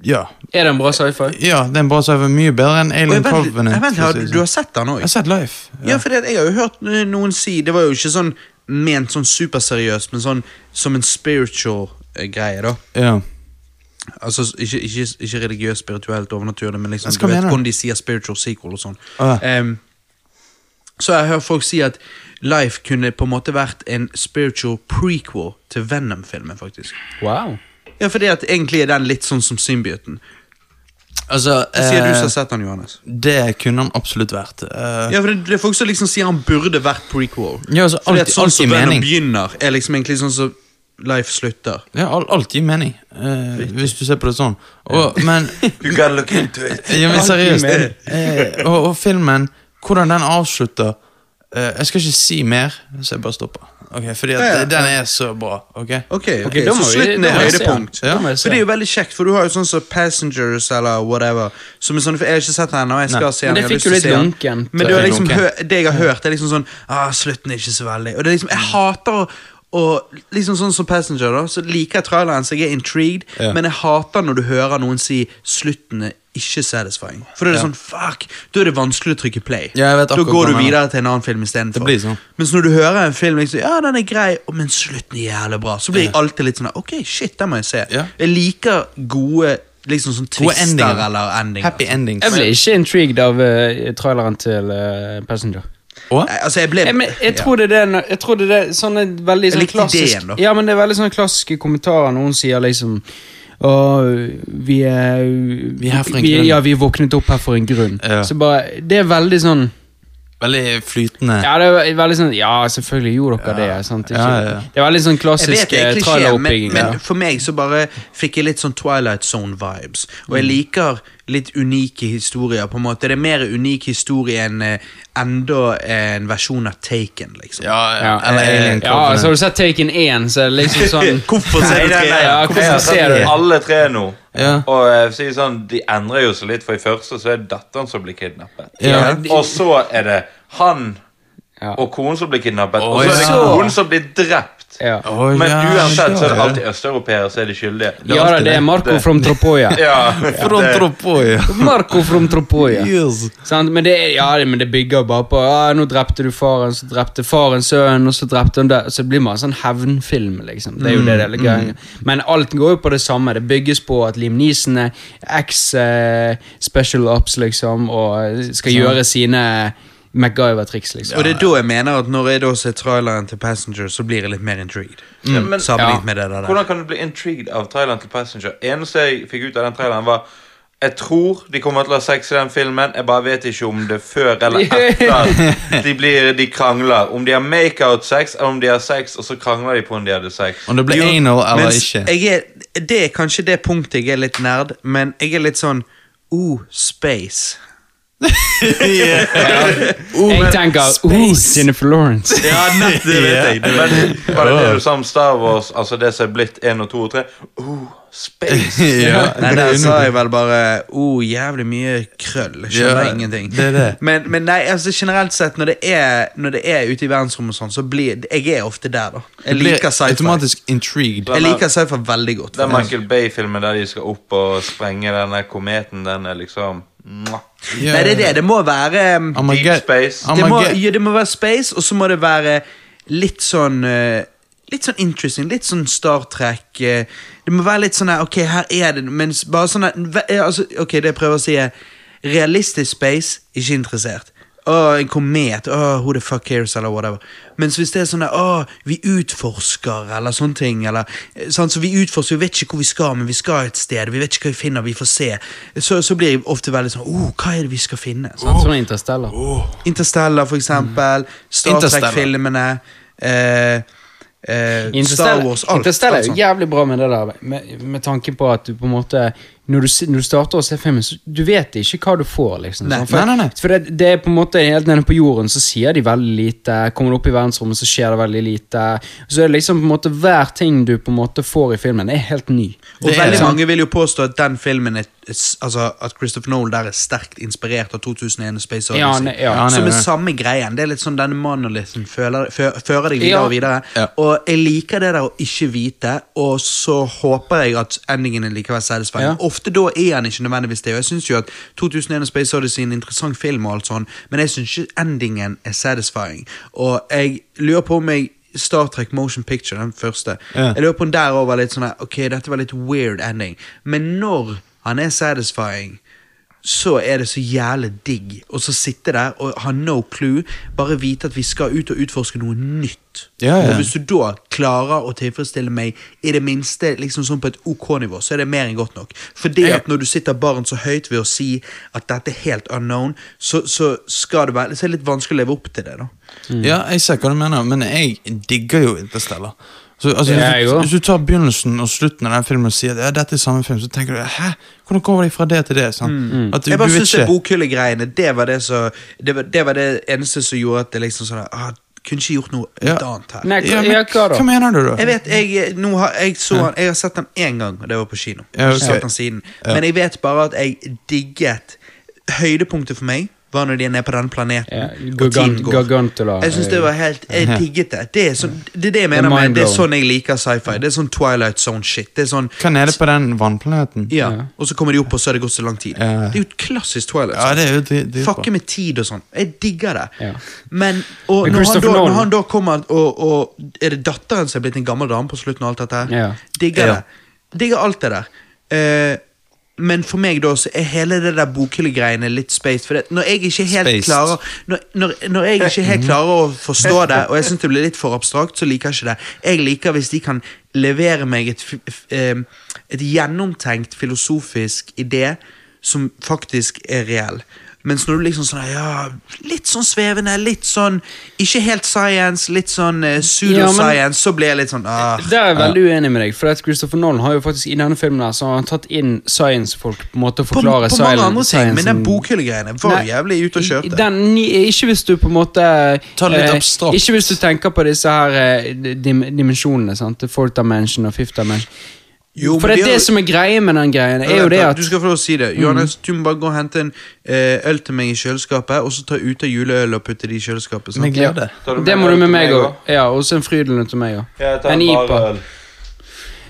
ja, Er det en bra sci-fi? ja, det er en bra server. Mye bedre enn Og jeg Alien vent, jeg Covenant. vent, for å har, si det du sånn. har sett den òg? Jeg har sett Life. Ja, for det, jeg har jo hørt eh, noen si Det var jo ikke sånn ment sånn superseriøst, men sånn som en spiritual eh, greie, da. Ja. Altså s- ikke, ikke, ikke religiøst, spirituelt, overnaturlig, men liksom Altså, du hva vet mener du? hvordan de sier spiritual sequel og sånn. Ah, ja. Em, så jeg hører folk si at Life kunne på en måte vært en spiritual prequel til Venom-filmen, faktisk. Wow. Ja, fordi at egentlig er den litt sånn som Symbioten. Altså, Det sier du eh, som har sett den, Johannes. det kunne han absolutt vært. Eh, Ja, for det, det er folk som liksom sier han burde vært prequel. Ja, altså, Fordi alt- at sånn alt som gir Venom mening. begynner, er liksom egentlig sånn som Life slutter. ja, al- alt gir mening, eh, hvis du ser på det sånn. Og, men, *laughs* You gotta look into it. ja, men Alt gir seriøst, mening. eh, og, og filmen, hvordan den avslutter eh, Jeg skal ikke si mer, så jeg bare stopper. Ok, fordi at Ja, ja. den er så bra. ok? Ok, ok, da Så må vi- slutten da er må jeg se høydepunkt. den. Da må jeg se For det er jo veldig kjekt, for du har jo sånn som Passengers eller whatever. Som er sånn, for Jeg har ikke sett den ennå, jeg skal Nei. se den. Men det jeg har lyst fikk jo til å litt se den. lunkent, Men det, er eh, liksom, lunkent. hø- det jeg har hørt, er liksom sånn ah, Slutten er ikke så veldig. Og det er liksom, Jeg hater å og liksom sånn som Passenger da Så liker jeg traileren, så jeg er intrigued, Ja. men jeg hater når du hører noen si slutten er ikke satisfying. For da er det sånn, fuck, da er det vanskelig å trykke play. Ja, jeg vet da akkurat går hva du du mener. videre til en annen film istedenfor. Det blir sånn. Mens når du hører en film liksom, Ja, den er grei, å, men slutten er jævlig bra Så blir jeg alltid litt sånn Ok, shit, den må jeg se Ja. Jeg liker gode liksom sånn Gode twister endinger. eller endinger Happy endings. Jeg ble ikke intrigued av eh, traileren til eh, Passenger. Og? Nei, Altså, jeg ble Jeg, men, jeg tror det er det- jeg tror det er det- sånn en veldig sånn likte klassisk ideen, da. Ja, men det er veldig sånne klassiske kommentarer noen sier liksom Å, vi er Vi er her for en grunn. Ja, vi våknet opp her for en grunn. Ja. Så bare Det er veldig sånn Veldig flytende. Ja, det er veldig sånn Ja, selvfølgelig gjorde dere det. Sant? Ikke, Ja, ja, ja. Det er veldig sånn jeg vet det er klassisk eh, klisjé, men, traileroppbygging. men ja. for meg så bare fikk jeg litt sånn Twilight Zone-vibes. Og jeg liker litt unike historier. på en måte Det er mer unik historie enn eh, enda en versjon av Taken. liksom Ja, Ja, eller eh, Alien ja, så Covenant. har du sett Taken 1, så er det liksom sånn Hvorfor Nei, ser du nei, nei, tre? Ja, Jeg har hvorfor sett ser du det? alle tre nå. Ja. Og eh, for å si det sånn, de endrer jo seg litt, for i første så er det datteren som blir kidnappet. Ja. Og så er det han Ja. og konen som blir kidnappet, Å, og så er det ja. konen som blir drept. Ja, Å, ja, Men uansett så er det ja. alltid østeuropeere som er de skyldige. ja da, det er Marco Det- from Tropoya. *laughs* Ja, Fra det- Tropoya. Marco from Tropoya. Yes. Sant? Men, det, er- ja, men det bygger bare på ah, 'Nå drepte du faren, så drepte faren sønnen, og så drepte hun der.' Så det blir bare en sånn hevnfilm, liksom. Det er jo det det er litt gøy. Men alt går jo på det samme. Det bygges på at Liam Neeson er eks eh, special ops, liksom, og skal gjøre sine MacGyver-triks, liksom. Og det er da jeg mener at når jeg da ser traileren til Passenger, så blir jeg litt mer intrigued. Mm. Ja, men- Sammenlignet Ja. med det der. Hvordan kan du bli intrigued av traileren til Passenger? Eneste jeg fikk ut av den traileren, var jeg tror de kommer til å ha sex i den filmen. Jeg bare vet ikke om det er *laughs* før eller etter de, blir, de krangler. Om de har makeout-sex, eller om de har sex, og så krangler de på om de hadde sex. Om det ble Jo, anal eller mens ikke. Jeg er, det er kanskje det punktet jeg er litt nerd, men jeg er litt sånn Oh, space. Jeg tenker oh, Jennifer Lawrence. Ja, nett, det vet *laughs* jeg. Det vet jeg. Var det det du sa om Star Wars, altså det som er blitt 1 og 2 og 3? Oh, space! *laughs* *laughs* ja. Nei, altså der sa jeg vel bare oh, jævlig mye krøll. Skjønner Ja, ingenting. det er det. *laughs* Men, men nei, altså generelt sett, når det er, når det er ute i verdensrommet og sånn, så blir Jeg er ofte der, da. Jeg Blir liker sci-fi. automatisk intrigued. Jeg liker sci-fi veldig godt. Den faktisk. Michael Bay-filmen der de skal opp og sprenge denne kometen, den er liksom mwah. Ja. Nei, det er det. Det må være um, Deep Armageddon- space. det, må, Armageddon- ja, det må være space, og så må det være litt sånn eh, Litt sånn interesting, litt sånn Star Trek. eh, det må være litt sånn her, ok, her er det Mens bare sånn her, ve- eh, altså, Ok, det jeg prøver å si, er realistisk space, ikke interessert. Åh, en komet. Åh, who the fuck cares? Eller whatever. Mens hvis det er sånn der, åh, vi utforsker, eller sånne ting. Eller, eh, sant? Så vi utforsker, vi vet ikke hvor vi skal, men vi skal et sted. Vi vet ikke hva vi finner, vi får se. Så, så blir jeg ofte veldig sånn åh, hva er det vi skal finne? Sant? Sånn som Interstellar. Interstellar, for eksempel. Mhm. Star Interstellar. Trek-filmene. eh, eh, Star Interstellar, Wars. Alt. Interstellar alt er jo sånt. jævlig bra med det der, med, med tanken på at du på en måte Når du, si- når du starter å se filmen, så du vet ikke hva du får, liksom. Nei. sånn. for, Nei, nei, nei. for det, det er på en måte helt nede på jorden, så sier de veldig lite. Kommer du opp i verdensrommet, så skjer det veldig lite. Så er det liksom på en måte hver ting du på en måte får i filmen, er helt ny. Og Det er veldig sant. mange vil jo påstå at den filmen er, altså, at Christopher Nolan der er sterkt inspirert av 2001 Space Ja, Odyssey. han er- ja, han er Som er det. samme greien. Det er litt sånn denne monolithen føler, fø, fører deg videre Ja. og videre. Ja. Og jeg liker det der å ikke vite, og så håper jeg at endingen er likevel satisfying. Ja. Ofte da er han ikke nødvendigvis det. Og jeg syns jo at 2001 Space Odyssey er en interessant film, og alt sånn, men jeg syns ikke endingen er satisfying. Og jeg lurer på om jeg Star Trek Motion Picture, den første. Ja. Jeg lurer på om der også var litt sånn her, Ok, dette var litt weird ending. Men når han er satisfying, så er det så jævlig digg å så sitte der og ha no clue, bare vite at vi skal ut og utforske noe nytt. Ja, ja. Og hvis du da klarer å tilfredsstille meg i det minste liksom sånn på et OK-nivå, så er det mer enn godt nok. Fordi Ja. at når du sitter barn så høyt ved å si at dette er helt unknown, så, så, skal det være, så er det litt vanskelig å leve opp til det. da. Mm. Ja, jeg ser hva du mener, men jeg digger jo Interstellar. Så, altså, Det er jeg hvis, også. du- hvis du tar begynnelsen og slutten av den filmen og sier at ja, dette er samme film, så tenker du hæ? Hvordan kommer de fra det til det? Sant? Mm. At du, Jeg bare du vet synes det ikke- bokhyllegreiene, det var det som det, var- det var det eneste som gjorde at det liksom sånn ah, Kunne ikke gjort noe Ja. litt annet her. Nei, ja, hva- men, ja, hva da? Hva mener du, da? Jeg vet, jeg, nå har, jeg, så, han- jeg har sett den én gang, og det var på kino. Ja, ok. Jeg har ikke sett den siden. Men jeg vet bare at jeg digget Høydepunktet for meg var når de er nede på denne planeten. Ja, og tiden Gargan- går. Gargantula. Jeg synes det var helt Jeg digget det. Det er, sånn, det, er det jeg mener Det er med Det er mindblowing. sånn jeg liker sci-fi. Det er sånn Twilight Zone-shit. Det er sånn Hva er det på den vannplaneten? ja. Og så kommer de opp, og så har det gått så lang tid. Ja. Det er jo et klassisk Twilight Zone. Ja, det er jo det, det er jo bra. Fucke med tid og sånn. Jeg digger det. Ja. Men, og når, Men han da, Christopher Nolan- når han da kommer og, og Er det datteren som er blitt en gammel dame på slutten? og alt dette her? Ja. Digger Ja. det. Digger alt det der. Eh, men for meg da så er hele det der bokhyllegreiene litt space. For det, når jeg ikke helt Spaced. klarer når, når, når jeg ikke helt klarer å forstå det, og jeg syns det blir litt for abstrakt, så liker jeg ikke det. Jeg liker hvis de kan levere meg et, f- f- em, et gjennomtenkt filosofisk idé som faktisk er reell. Mens når du liksom sånn ja, Litt sånn svevende, litt sånn Ikke helt science, litt sånn eh, pseudoscience, så blir jeg litt sånn ah. Der er jeg veldig uenig med deg, for at Christopher Nolan har jo faktisk i denne filmen her, så har han tatt inn science-folk på en måte å På, på forklare mange andre ting, men den sciencen- bokhyllegreiene var jo Nei, jævlig ute å i- kjøre. Den, ni- ikke hvis du på en måte Ta det litt eh, abstrakt. Ikke hvis du tenker på disse her eh, dim, dimensjonene. sant? The Fourth dimension og fifth dimension. Jo, men For det de er har- det som er greia med den greien. Eh, er jo Vent det da, at Mm. Du skal få lov å si det. Johannes, du må bare gå og hente en eh, øl til meg i kjøleskapet, og så ta ut av juleøl og putte det i kjøleskapet. Med Sant? glede. Tar du med Det må øl du med til meg meg òg. også? Ja, også en Frydenlund til meg òg. Jeg tar En bare IPA. øl.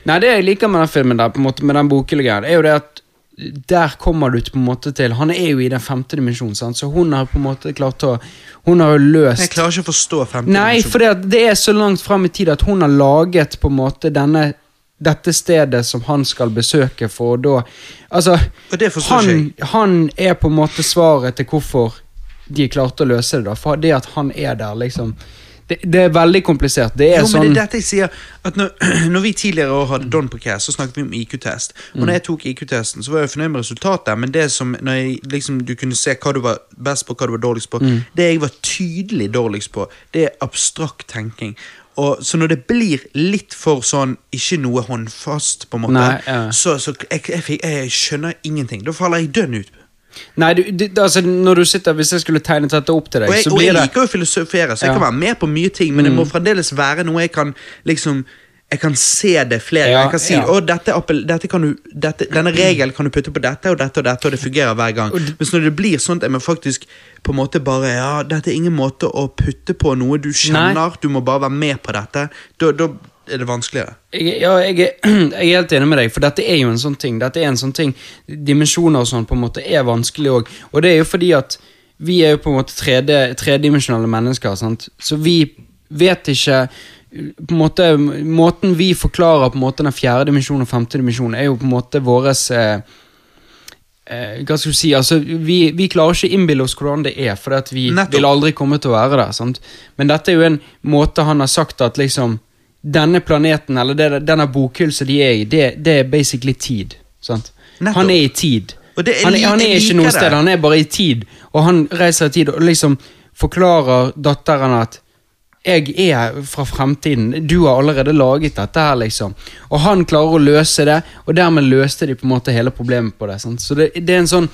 Nei, det jeg liker med den filmen der, på en måte, med den boklige greien, er jo det at der kommer du på en måte til Han er jo i den femte dimensjonen, sant? så hun har på en måte klart å Hun har jo løst Jeg klarer ikke å forstå femte Nei, dimensjon. for det, at det er så langt frem i tid at hun har laget på en måte denne, dette stedet som han skal besøke for å da Altså, Og det forstår ikke han, han er på en måte svaret til hvorfor de klarte å løse det, da. For det at han er der, liksom Det, det er veldig komplisert. Det er Jo, sånn men det er dette jeg sier at når, *clears throat* når vi tidligere år hadde Don på Cast, så snakket vi om IQ-test. Mm. Og når jeg tok IQ-testen, så var jeg fornøyd med resultatet, men det som når jeg, liksom, du kunne se hva du var best på, hva du var dårligst på Mm. Det jeg var tydelig dårligst på, det er abstrakt tenking. Og, så når det blir litt for sånn ikke noe håndfast, på en måte, Nei, ja. så, så jeg, jeg, fikk- jeg skjønner ingenting. Da faller jeg dønn ut. Nei, du, det- altså, når du sitter, hvis jeg skulle tegnet dette opp til deg, Og jeg, så og jeg blir det liker jo å filosofere, så jeg Ja. Mm. kan være med på mye ting, men det må fremdeles være noe jeg kan liksom jeg kan se det flere. Ja, jeg kan si, ja. å, dette, appell- dette kan du, dette, Denne regelen kan du putte på dette og dette, og dette, og det fungerer hver gang. Mens når det blir sånn at jeg må faktisk på en måte bare ja, Dette er ingen måte å putte på noe du kjenner, du må bare være med på dette, da da er det vanskeligere. Jeg, ja, jeg, er- *clears throat* jeg er helt enig med deg, for dette er jo en sånn ting. Dette er en sånn ting Dimensjoner og sånn på en måte er vanskelig òg. Og det er jo fordi at vi er jo på en måte tredje- tredimensjonale mennesker, sant? så vi vet ikke på en måte, Måten vi forklarer på en måte den fjerde dimensjonen og femte dimensjonen, er jo på en måte våres eh, eh, hva skal du si, altså Vi, vi klarer ikke å innbille oss hvordan det er, for at vi Nettopp. vil aldri komme til å være der. sant? Men dette er jo en måte han har sagt at liksom Denne planeten, eller det, denne bokhylsen de er i, det, det er basically tid. sant? Nettopp. Han er i tid. Og det er han, li- han er jeg ikke liker noe det. sted, han er bare i tid. Og han reiser i tid og liksom forklarer datteren at jeg er fra fremtiden, du har allerede laget dette her, liksom. Og han klarer å løse det, og dermed løste de på en måte hele problemet på det. Sant? Så det, det er en sånn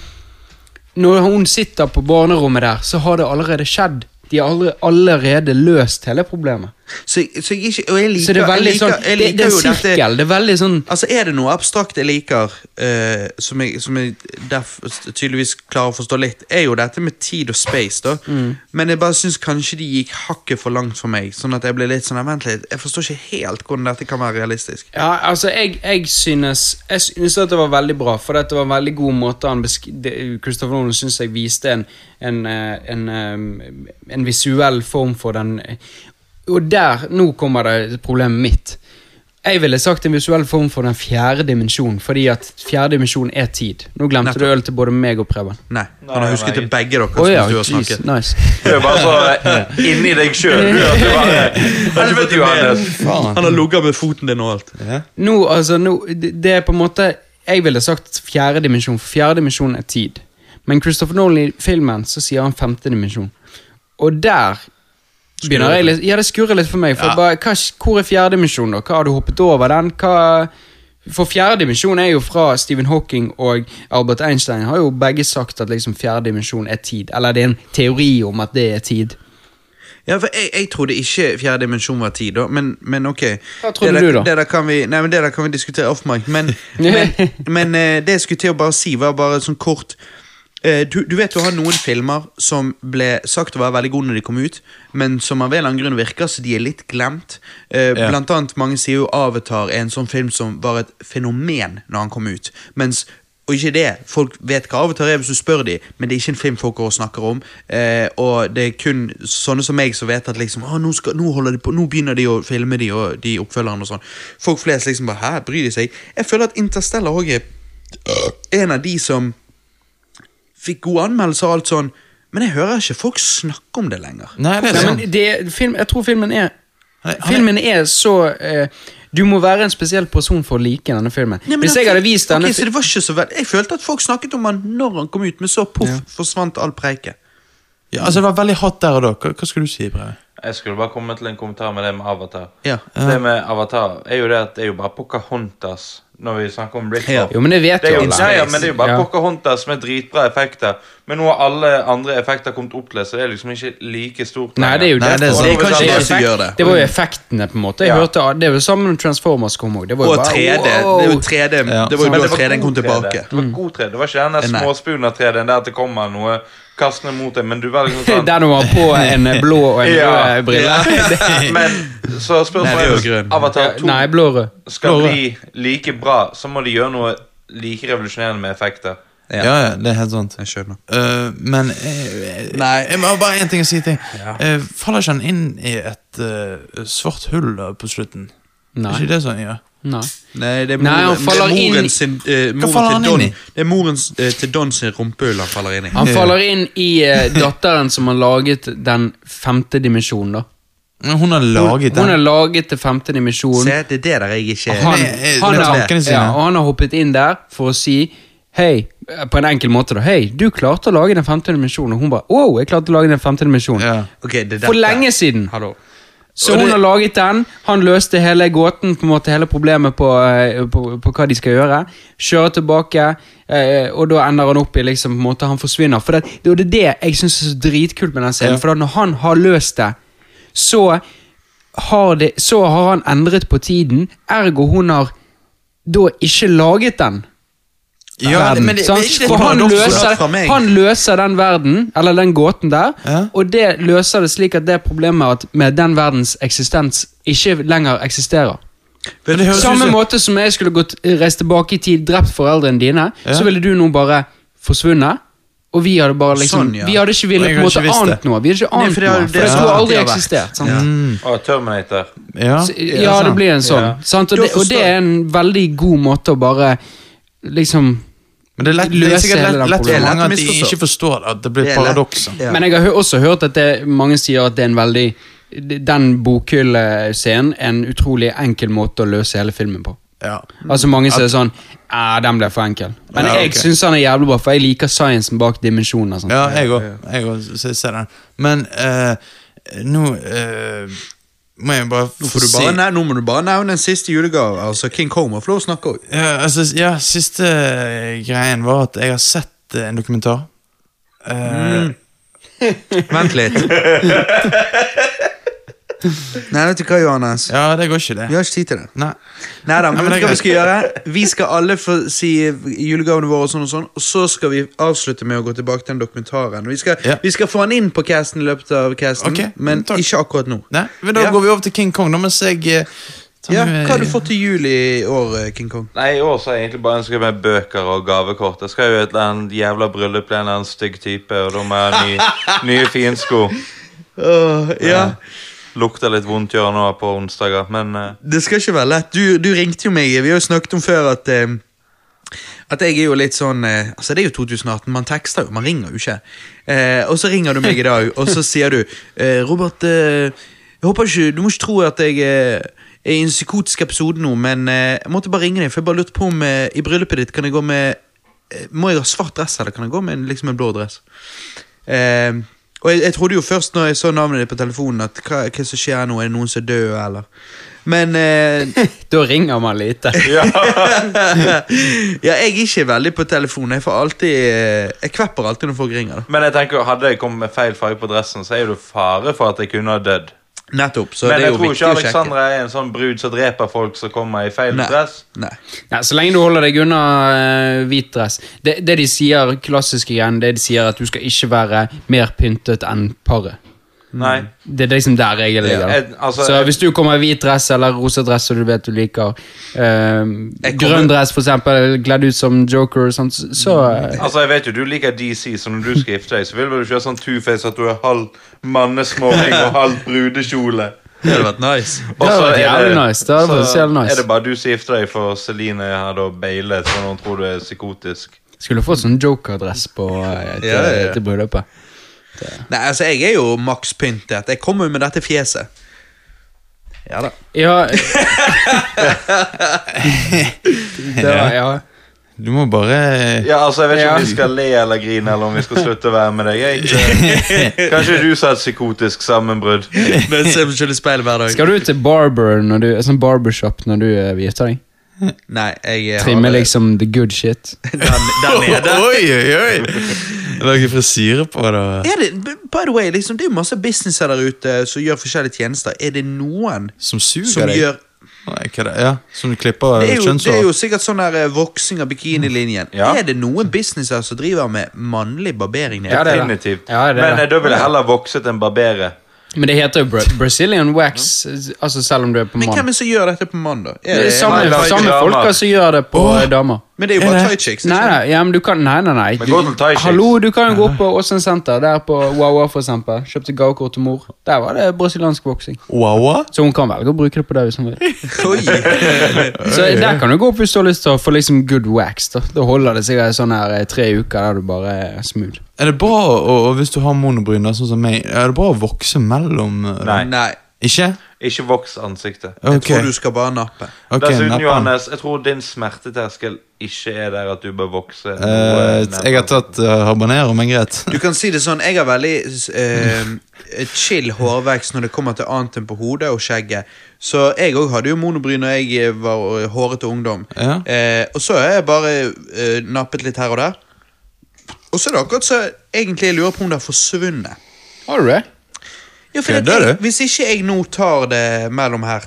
Når hun sitter på barnerommet der, så har det allerede skjedd. De har allerede, allerede løst hele problemet. Så, jeg- så jeg, ikke- og jeg liker, Så det er veldig jeg liker, sånn jeg Det, liker det er jo en dette- sirkel. Det er veldig sånn Altså Er det noe abstrakt jeg liker, eh, som jeg, som jeg derf tydeligvis klarer å forstå litt, er jo dette med tid og space. da Men jeg bare syns kanskje de gikk hakket for langt for meg. Sånn at jeg ble litt sånn "Nei, Vent litt, jeg forstår ikke helt hvordan dette kan være realistisk. Ja, altså, jeg, jeg, synes, jeg synes at det var veldig bra, for dette var en veldig god måte han besk- det- Christopher Nolan synes jeg viste en, en, eh, en, eh, en visuell form for den eh, Og der, nå kommer det problemet mitt. Jeg ville sagt en visuell form for den fjerde dimensjonen, fordi at fjerde dimensjon er tid. Nå glemte du øl til både meg og Preben. Nei, Nei, Han har husket nei. til begge dere. Å som ja, du har jeez, snakket. nice. Du er bare så eh, inni deg sjøl. *laughs* Helvete, Johannes. Faen. Han har ligget med foten din og alt. Ja. Nå, altså, nå, det det er på en måte Jeg ville sagt fjerde dimensjon, for fjerde dimensjon er tid. Men Christopher Nolan i filmen så sier han femte dimensjon. Og der begynner jeg litt Ja, det skurrer litt for meg. For bare, hva, hvor er fjerde dimensjon, da? Hva har du hoppet over den? Hva for fjerde dimensjon er jo fra Stephen Hawking og Albert Einstein har jo begge sagt at liksom fjerde dimensjon er tid. Eller det er en teori om at det er tid. Ja, for jeg, jeg trodde ikke fjerde dimensjon var tid, da, men, men ok. Hva trodde det du der, da? Det der kan vi, nei, men det der kan vi diskutere off-mic, *laughs* men, men, men eh, det jeg skulle til å bare si, var bare sånn kort eh, du, du vet du har noen filmer som ble sagt å være veldig gode når de kom ut, men som av en eller annen grunn virker så de er litt glemt. Eh, Ja. Blant annet mange sier jo Avatar er en sånn film som var et fenomen når han kom ut. Mens, og ikke det, folk vet hva Avatar er hvis du spør dem, men det er ikke en film folk går og snakker om. Eh, og det er kun sånne som meg som vet at liksom, «Å, nå, skal, nå, holder de på, nå begynner de å filme de og de oppfølgerne og sånn. Folk flest liksom bare hæ, bryr de seg? Jeg føler at Interstellar også er en av de som fikk gode anmeldelser og alt sånn, men jeg hører ikke folk snakke om det lenger. Nei, det er Nei, sant. men det, film, jeg tror filmen er Han er- han er- Eh, Filmen er så eh, Du må være en spesiell person for å like denne filmen. Nei, men Hvis at- jeg hadde vist denne Ok, så fi- det var ikke så vel. Jeg følte at folk snakket om han når han kom ut, men så poff, forsvant all preike. Ja, altså, det var veldig hot der og da. Hva, hva skulle du si, Breve? Jeg skulle bare komme til en kommentar med det med Avatar. Ja. Det med Avatar er jo det at det er jo bare Pocahontas når vi snakker om Rick Ja. Off. Jo, men det vet Det er, jo jo, alle. nei, ja, men det er jo bare Ja. Pocahontas med dritbra effekter. Men nå har alle andre effekter kommet opp til, så det er liksom ikke like stort. Nei, det er jo Nei, det er derfor. sånn- Det sant. er kanskje jo det som effekt- gjør det. var jo effektene, på en måte. Jeg Ja. hørte, det er jo sammen med Transformers kom òg. Det var jo Og bare 3D. wow. Det, var jo 3D. det var jo Men da det var 3D-en kom god 3D. tilbake. Mm. Det var god 3D. Det var ikke den der Nei. småspooner-3D-en der at det kommer noe kastende mot deg, men du var *laughs* liksom sånn Der du var på en eh, blå og en Ja. rød brille. *laughs* *laughs* Men Nei, det er så jo spørsmålet grønn. er Avatar 2 Nei, blå og rød. skal Blå og rød. bli like bra, så må de gjøre noe like revolusjonerende med effekter. Ja. Ja. ja, det er helt sant. Jeg skjønner. Eh, men eh, Nei. Jeg må ha bare én ting å si til. Eh, faller ikke han inn i et eh, svart hull da, på slutten? Nei. Er ikke det sånn, ja? Nei. Nei, det er, Nei, han moren- det er faller inn i- moren sin eh, moren faller han til Don. inn i? Det er moren eh, til Don sin rumpehull han faller inn i. Han faller inn i eh, datteren som har laget den femte dimensjonen, da. Men Hun har laget Hun har den. laget den femte dimensjonen. Se, det er det der jeg ikke han, Med- eh, han, med har, tankene sine. ja, og han har hoppet inn der for å si Hei, eh, på en enkel måte da Hei, du klarte å lage den femte dimensjonen Og hun bare, wow, jeg klarte å lage den femte dimensjonen Ja. Ok, det er For dette. lenge siden Hallo. Så Og hun det- har laget den. Han løste hele gåten, på en måte hele problemet på, eh, på, på hva de skal gjøre. Kjører tilbake, eh, og da ender han opp i liksom, på en måte han forsvinner. For det, det, og det er det jeg syns er så dritkult med den scenen. Ja. For at når han har løst det, så har, det, så har han endret på tiden. Ergo hun har da ikke laget den. Ja, verden, men det- sant? det er ikke det For han paradokset fra meg. løser, han løser den verden, eller den gåten der, Ja. og det løser det slik at det problemet at med den verdens eksistens ikke lenger eksisterer. Men det høres ut Samme som- måte som jeg skulle gått reist tilbake i tid, drept foreldrene dine, Ja. så ville du nå bare forsvunnet. Og vi hadde bare liksom Sånn, ja. Vi hadde ikke Og villet jeg på en måte hadde ikke visst ant det. noe. Vi hadde ikke Nei, ant for det er jo noe, det for det som skulle alltid aldri har vært. eksistert. sant? Ja. Mm, Å, Terminator. Ja, Så- Ja, det blir en sånn. Ja. Sant? Og, Da det, og det forstår er en veldig god måte å bare liksom Men det er, lett, det er Løse sikkert hele lett, den lett for problemet. mange at de Misforstå. ikke forstår at det Det blir er lett. paradokser. Ja. Men jeg har hø- også hørt at det, mange sier at det er en veldig Den bokhyllescenen er en utrolig enkel måte å løse hele filmen på. Ja. Altså Mange sier sånn Æh, den ble for enkel. Men Ja, jeg ok. syns den er jævlig bra, for jeg liker sciencen bak sånn. dimensjonen. og sånt. Ja, jeg òg. Jeg òg s- ser den. Men eh, nå eh, må jeg bare Nå, få får du si bare, nei, nå må du bare nevne en siste julegave. Altså King Kong må få lov å snakke òg. ja, altså, ja, siste eh, greien var at jeg har sett eh, en dokumentar. Eh, Mm. Vent litt. *laughs* Nei, vet du hva, Johannes? Ja, det går ikke, det. Vi har ikke tid til det. Nei. Nei da, men men vet det du er hva vi skal gjøre? Vi skal alle få si julegavene våre og sånn og sånn, og så skal vi avslutte med å gå tilbake til den dokumentaren. Vi skal, Ja. vi skal få han inn på casten i løpet av casten, Ok, men takk. ikke akkurat nå. Nei, men Da Ja. går vi over til King Kong, da, mens jeg eh, tar Ja, med- hva har du fått til jul i år, eh, King Kong? Nei, i år så har jeg egentlig bare ønsket meg bøker og gavekort. Jeg skal jo i et eller annet jævla bryllup til en eller annen stygg type, og da må jeg ha ny, *laughs* nye finsko. Eh, ja. Lukter litt vondt gjør nå på onsdager, men eh, Det skal ikke være lett. Du, du ringte jo meg. Vi har jo snakket om før at eh, At jeg er jo litt sånn eh, Altså, det er jo 2018. Man tekster jo, man ringer jo ikke. Eh, og så ringer du meg i dag, og så sier du eh, Robert, eh, jeg håper ikke Du må ikke tro at jeg eh, er i en psykotisk episode nå, men eh, jeg måtte bare ringe deg, for jeg bare lurte på om eh, i bryllupet ditt kan jeg gå med eh, Må jeg ha svart dress, eller kan jeg gå med en, liksom en blå dress? Eh, og jeg, jeg trodde jo først når jeg så navnet ditt på telefonen, at hva, hva som skjer nå? Er det noen som er død, eller? Men eh, Da ringer man *laughs* lite. *laughs* Ja, jeg er ikke veldig på telefonen. Jeg får alltid eh, Jeg kvepper alltid når folk ringer. da Men jeg tenker, hadde jeg kommet med feil farge på dressen, så er jo det fare for at jeg kunne ha dødd. Nettopp, så Men det er jeg jo tror viktig ikke å sjekke. Alexandra er en sånn brud som dreper folk som kommer i feil Nei. dress. Nei. Nei, så lenge du holder deg unna eh, hvit dress. Det, det de sier klassisk igjen, det de sier at du skal ikke være mer pyntet enn paret. Mm. Nei. Det er liksom der jeg ligger. da. Ja, jeg- altså, så jeg- hvis du kommer i hvit dress eller rosa dress som du vet du liker, ehm, Jeg kommer- grønn dress for eksempel, gledd ut som joker, og sånt, så, så eh, Altså, jeg vet jo, Du liker DC, så når du skal gifte deg, så vil vel du ikke ha sånn two-face at du er halv mannesmoking og halv brudekjole. Det hadde vært nice. Og så vært er jævlig nice, det hadde vært så jævlig nice. er det bare du som gifter deg, for Celine har da beilet, så hun tror du er psykotisk. skulle du fått sånn joker-dress på eh, til, Ja, ja, ja. til bryllupet. Nei, altså, jeg er jo maks pyntet. Jeg kommer jo med dette fjeset. Ja da. Ja, det var, ja. Du må bare Ja, altså, Jeg vet ikke Ja. om vi skal le eller grine, eller om vi skal slutte å være med deg. Jeg, ikke- Kanskje du sa et psykotisk sammenbrudd. *laughs* Men se meg selv i speilet hver dag. Skal du til barber når du, sånn barbershop når du eh, gifter deg? Nei, jeg har Trimme liksom the good shit? der, der *laughs* nede. Oi, oi, oi! Lage frisyre på det. og- Er det, by the way, liksom, det er jo masse businesser der ute som gjør forskjellige tjenester. Er det noen Som suger som deg. gjør Nei, hva det, ja, som du klipper Det er jo, det er kjønnshår. jo sikkert sånn der eh, voksing av bikinilinjen. Ja. Er det noen businesser som driver med mannlig barbering? nede? Ja, det er det. Definitivt. Ja, det er det. Men eh, da ville jeg heller vokset enn barbere. Men det heter jo Bra- Brazilian wax, eh, altså selv om du er på Men hvem mann. er det som gjør dette på mann, da? Er Det er det- samme, Nei, det er samme ikke folka damer. som gjør det på eh, damer. Men det er jo Er bare det? tight chicks. Nei, ikke sant? nei, ja, men du kan, nei, nei, nei. Men gå til Thai Chicks. Hallo, du kan jo gå på Åsen senter, der på Wawa for eksempel. Kjøpte gavekort til mor. Der var det brasiliansk boksing. Wawa? Så hun kan velge å bruke det på deg hvis hun vil. Oi. Så der kan du gå opp hvis du har lyst til å få liksom good wax. Da Da holder det sikkert sånn her eh, tre uker der du bare er smooth. Er det bra å, og hvis du har monobryn, da, sånn som meg, er det bra å vokse mellom eh, Nei. Nei. Ikke? Ikke voks ansiktet. Jeg Ok, tror du skal bare nappe. ok, Dessuten, nappen. Johannes, jeg tror din smerteterskel ikke er der at du bør vokse. noe Eh, nærmere. jeg har tatt uh, habanero, men greit. Du kan si det sånn, jeg har veldig eh, chill hårvekst når det kommer til annet enn på hodet og skjegget. Så jeg òg hadde jo monobry når jeg eh, var hårete ungdom. Ja. Eh, og så har jeg bare eh, nappet litt her og der. Og så er det akkurat så egentlig jeg lurer på om det har forsvunnet. Har du det? Ja, for at Kødder jeg, du? hvis ikke jeg nå tar det mellom her,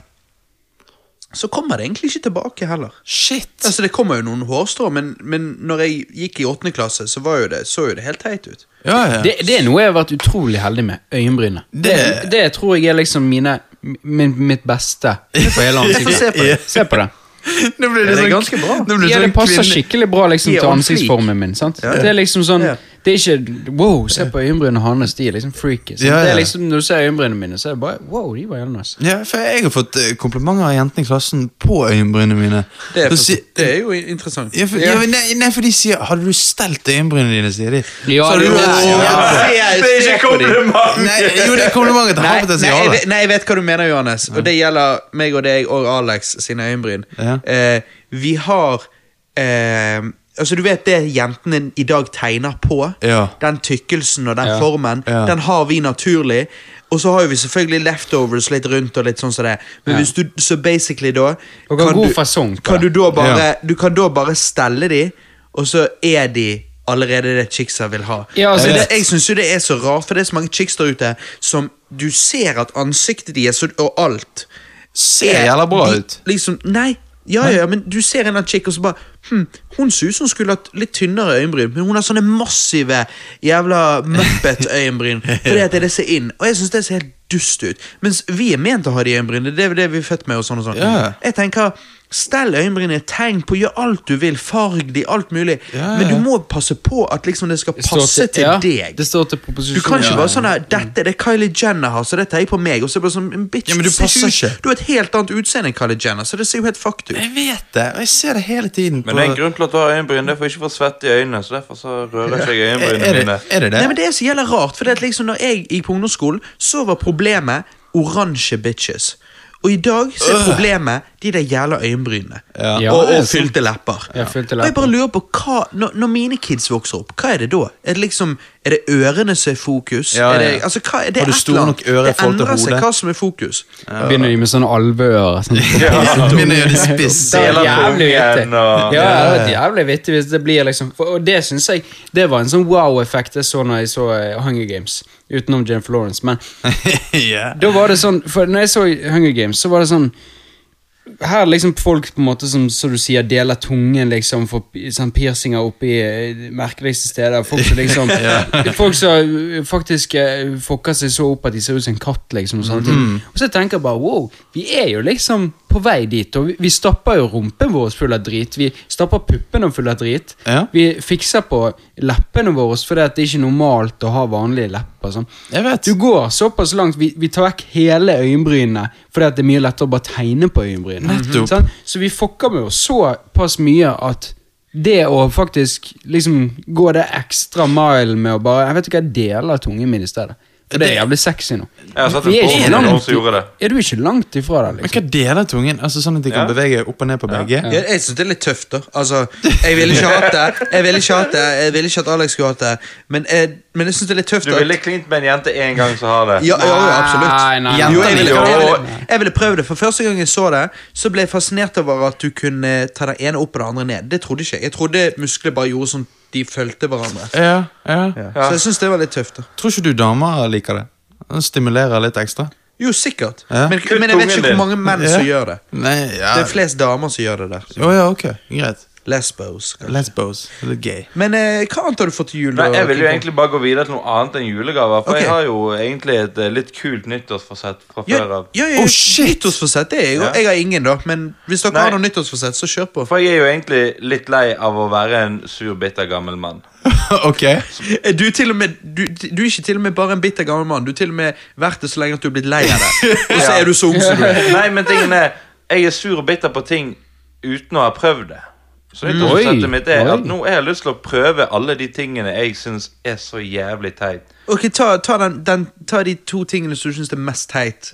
så kommer det egentlig ikke tilbake heller. Shit! Altså, Det kommer jo noen hårstrå, men, men når jeg gikk i åttende klasse, så var jo det, så jo det helt teit ut. Ja, ja. det? Det er noe jeg har vært utrolig heldig med. Øyenbrynene. Det, Det- det tror jeg er liksom mine min, Mitt beste på hele Få se ansiktet. på det. Se på det. *laughs* Nå blir Det er sånn- ganske bra. nå blir Ja, sånn det passer kvinne- skikkelig bra liksom, De er til on fleek. ansiktsformen min. sant? Ja. Det er liksom sånn Ja. Det er ikke Wow, se på øyenbrynene hans, de er liksom freaky. sant? Ja, ja. Det er liksom, Når du ser øyenbrynene mine, så er det bare Wow, de var jævla nice. Ja, for jeg har fått eh, komplimenter av jentene i klassen på øyenbrynene mine. Det er, Så for, si- det er jo interessant. ja, for, ja. men nei, nei, for de sier 'Hadde du stelt øyenbrynene dine', sier de. Ja, så har det du er vært så jo- jævla- Ja. Det er ikke kompliment! Nei, jo, det er komplimenter Nei, til har nei, jeg, potensial. vet- nei, jeg vet hva du mener, Johannes. Og det gjelder meg og deg og Alex sine øyenbryn. Ja. Eh, vi har eh, Altså, du vet det jentene i dag tegner på? Ja. Den tykkelsen og den Ja. formen, Ja. den har vi naturlig. Og så har jo vi selvfølgelig leftovers litt rundt og litt sånn som det. Men Ja. hvis du, så basically da Og har god fasong på kan du det. da bare Du kan da bare stelle de, og så er de allerede det chicksa vil ha. Ja, altså, Men det- det, Eh, jeg syns jo det er så rart, for det er så mange chicks der ute som du ser at ansiktet deres og- og alt Ser jævla bra de- ut. Liksom, nei, ja, ja, ja, men du ser en eller annen chick, og så bare hm, Hun ser ut som hun skulle hatt litt tynnere øyenbryn, men hun har sånne massive jævla *laughs* muppet-øyenbryn. Fordi at det er det ser inn. Og jeg syns det ser helt dust ut. Mens vi er ment å ha de øyenbrynene. Det er det vi er født med. og sånn og sånn Ja. Jeg tenker Stell øyenbrynene, tegn på, gjør alt du vil, farg de, alt mulig. ja, Men du ja. må passe på at liksom det skal Det står passe til ja, deg. Det står til Du proposisjonen. kan ikke Ja. bare sånn her Dette er det Kylie Jenner har, så dette er jeg på meg. Og så er det bare sånn, "Men bitch, Ja, men du ser passer ut- ikke. Du har et helt annet utseende enn Kylie Jenner, så det ser jo helt fucked ut. Jeg vet det, og jeg ser det hele tiden. Men det er en grunn til at du har øyenbryn. Det er for ikke å få svette i øynene. Så derfor så rører ikke jeg er, øyenbrynene er, det, mine. er det det? Nei, men Det er så jævla rart, for det at liksom når jeg gikk på ungdomsskolen, så var problemet oransje bitches. Og i dag så Øh. er problemet de der jævla øyenbrynene. Ja, og det er og *laughs* sant. sånn- fylte lepper. Ja, fylte Og jeg lepper. bare lurer på, hva, når, når mine kids vokser opp, hva er det da? Er det liksom, er det ørene som er fokus? Ja, Er det, ja. altså, hva, det er Har du et store eller annet. nok ører i forhold til Det endrer seg hodet? hva som er fokus. Begynner de med sånne alveører. Sånn. Mine er jo de spiss. Det er Deler jævlig pungen vittig. og- Ja, det er jævlig vittig hvis det blir liksom for, Og det synes jeg Det var en sånn wow-effekt jeg så når jeg så eh, Hunger Games. Utenom Jennifer Lawrence, men *laughs* ja. da var det sånn For når jeg så Hunger Games, så var det sånn her liksom folk på en måte som som du sier deler tungen liksom for sånn piercinger oppi eh, merkeligste steder. Folk som liksom Folk som eh, faktisk eh, fucker seg så opp at de ser ut som en katt. liksom Og sånne ting Og så tenker jeg bare wow, vi er jo liksom på vei dit. Og vi, vi stapper jo rumpen vår full av drit. Vi stapper puppene full av drit. Ja. Vi fikser på leppene våre fordi at det er ikke normalt å ha vanlige lepper. Sånn. Jeg vet. Du går såpass langt, vi, vi tar vekk hele øyenbrynene, fordi at det er mye lettere å bare tegne på øyenbrynene. Mm-hmm. Nettopp. Sant? Så vi fucker med oss såpass mye at det å faktisk liksom gå det ekstra mile med å bare Jeg vet ikke hva jeg deler tungen min i stedet. For det er jævlig sexy nå. Jeg har sett en Vi er porno ikke med noen langt som gjorde det. i- Er du ikke langt ifra det, Men liksom? hva deler tungen? Altså Sånn at de kan Ja. bevege opp og ned på begge? Ja, jeg synes det er litt tøft, da. Altså, jeg ville ikke hatt det. Jeg ville ikke hatt det Jeg ville ikke at Alex skulle hatt det, men, jeg- men jeg synes det er litt tøft. Du at- ville klint med en jente én gang som har det. ja, ja, ja, absolutt. Nei, nei, nei. Jo, jeg, ville, Jo. jeg, ville, jeg ville prøve det. For første gang jeg så det, så ble jeg fascinert over at du kunne ta det ene opp og det andre ned. Det trodde ikke jeg. Jeg trodde muskler bare gjorde sånn de fulgte hverandre. Ja, ja. Så jeg synes det var litt tøft. da Tror ikke du damer liker det? Den Stimulerer litt ekstra? Jo, sikkert. Ja. Men, Kutt men jeg vet tungen ikke hvor din. mange menn som Ja. gjør det. Nei, ja Det er flest damer som gjør det der. Å ja, ok. Greit. Lesbos. kanskje. Lesbos. Litt gay. Men eh, hva annet har du fått til jul? Nei, da, Jeg vil jo Kim? egentlig bare gå videre til noe annet enn julegaver. For Ok. jeg har jo egentlig et eh, litt kult nyttårsforsett fra Ja, før av. ja, ja, Oh, shit! nyttårsforsett det er jo Ja. Jeg har ingen, da. Men hvis dere Nei. har noe nyttårsforsett, så kjør på. For jeg er jo egentlig litt lei av å være en sur, bitter gammel mann. *laughs* ok. Eh, Du er, til og med, du, du er ikke til og med bare en bitter gammel mann. Du er til og med vært det så lenge at du er blitt lei av det. *laughs* Og så Ja. er du så ung som du er. *laughs* Nei, men tingen er Jeg er sur og bitter på ting uten å ha prøvd det. Mm. Så Oi, nyttårsforsettet mitt er oi. at nå har jeg lyst til å prøve alle de tingene jeg syns er så jævlig teit. Ok, Ta, ta, den, den, ta de to tingene som du syns er mest teit.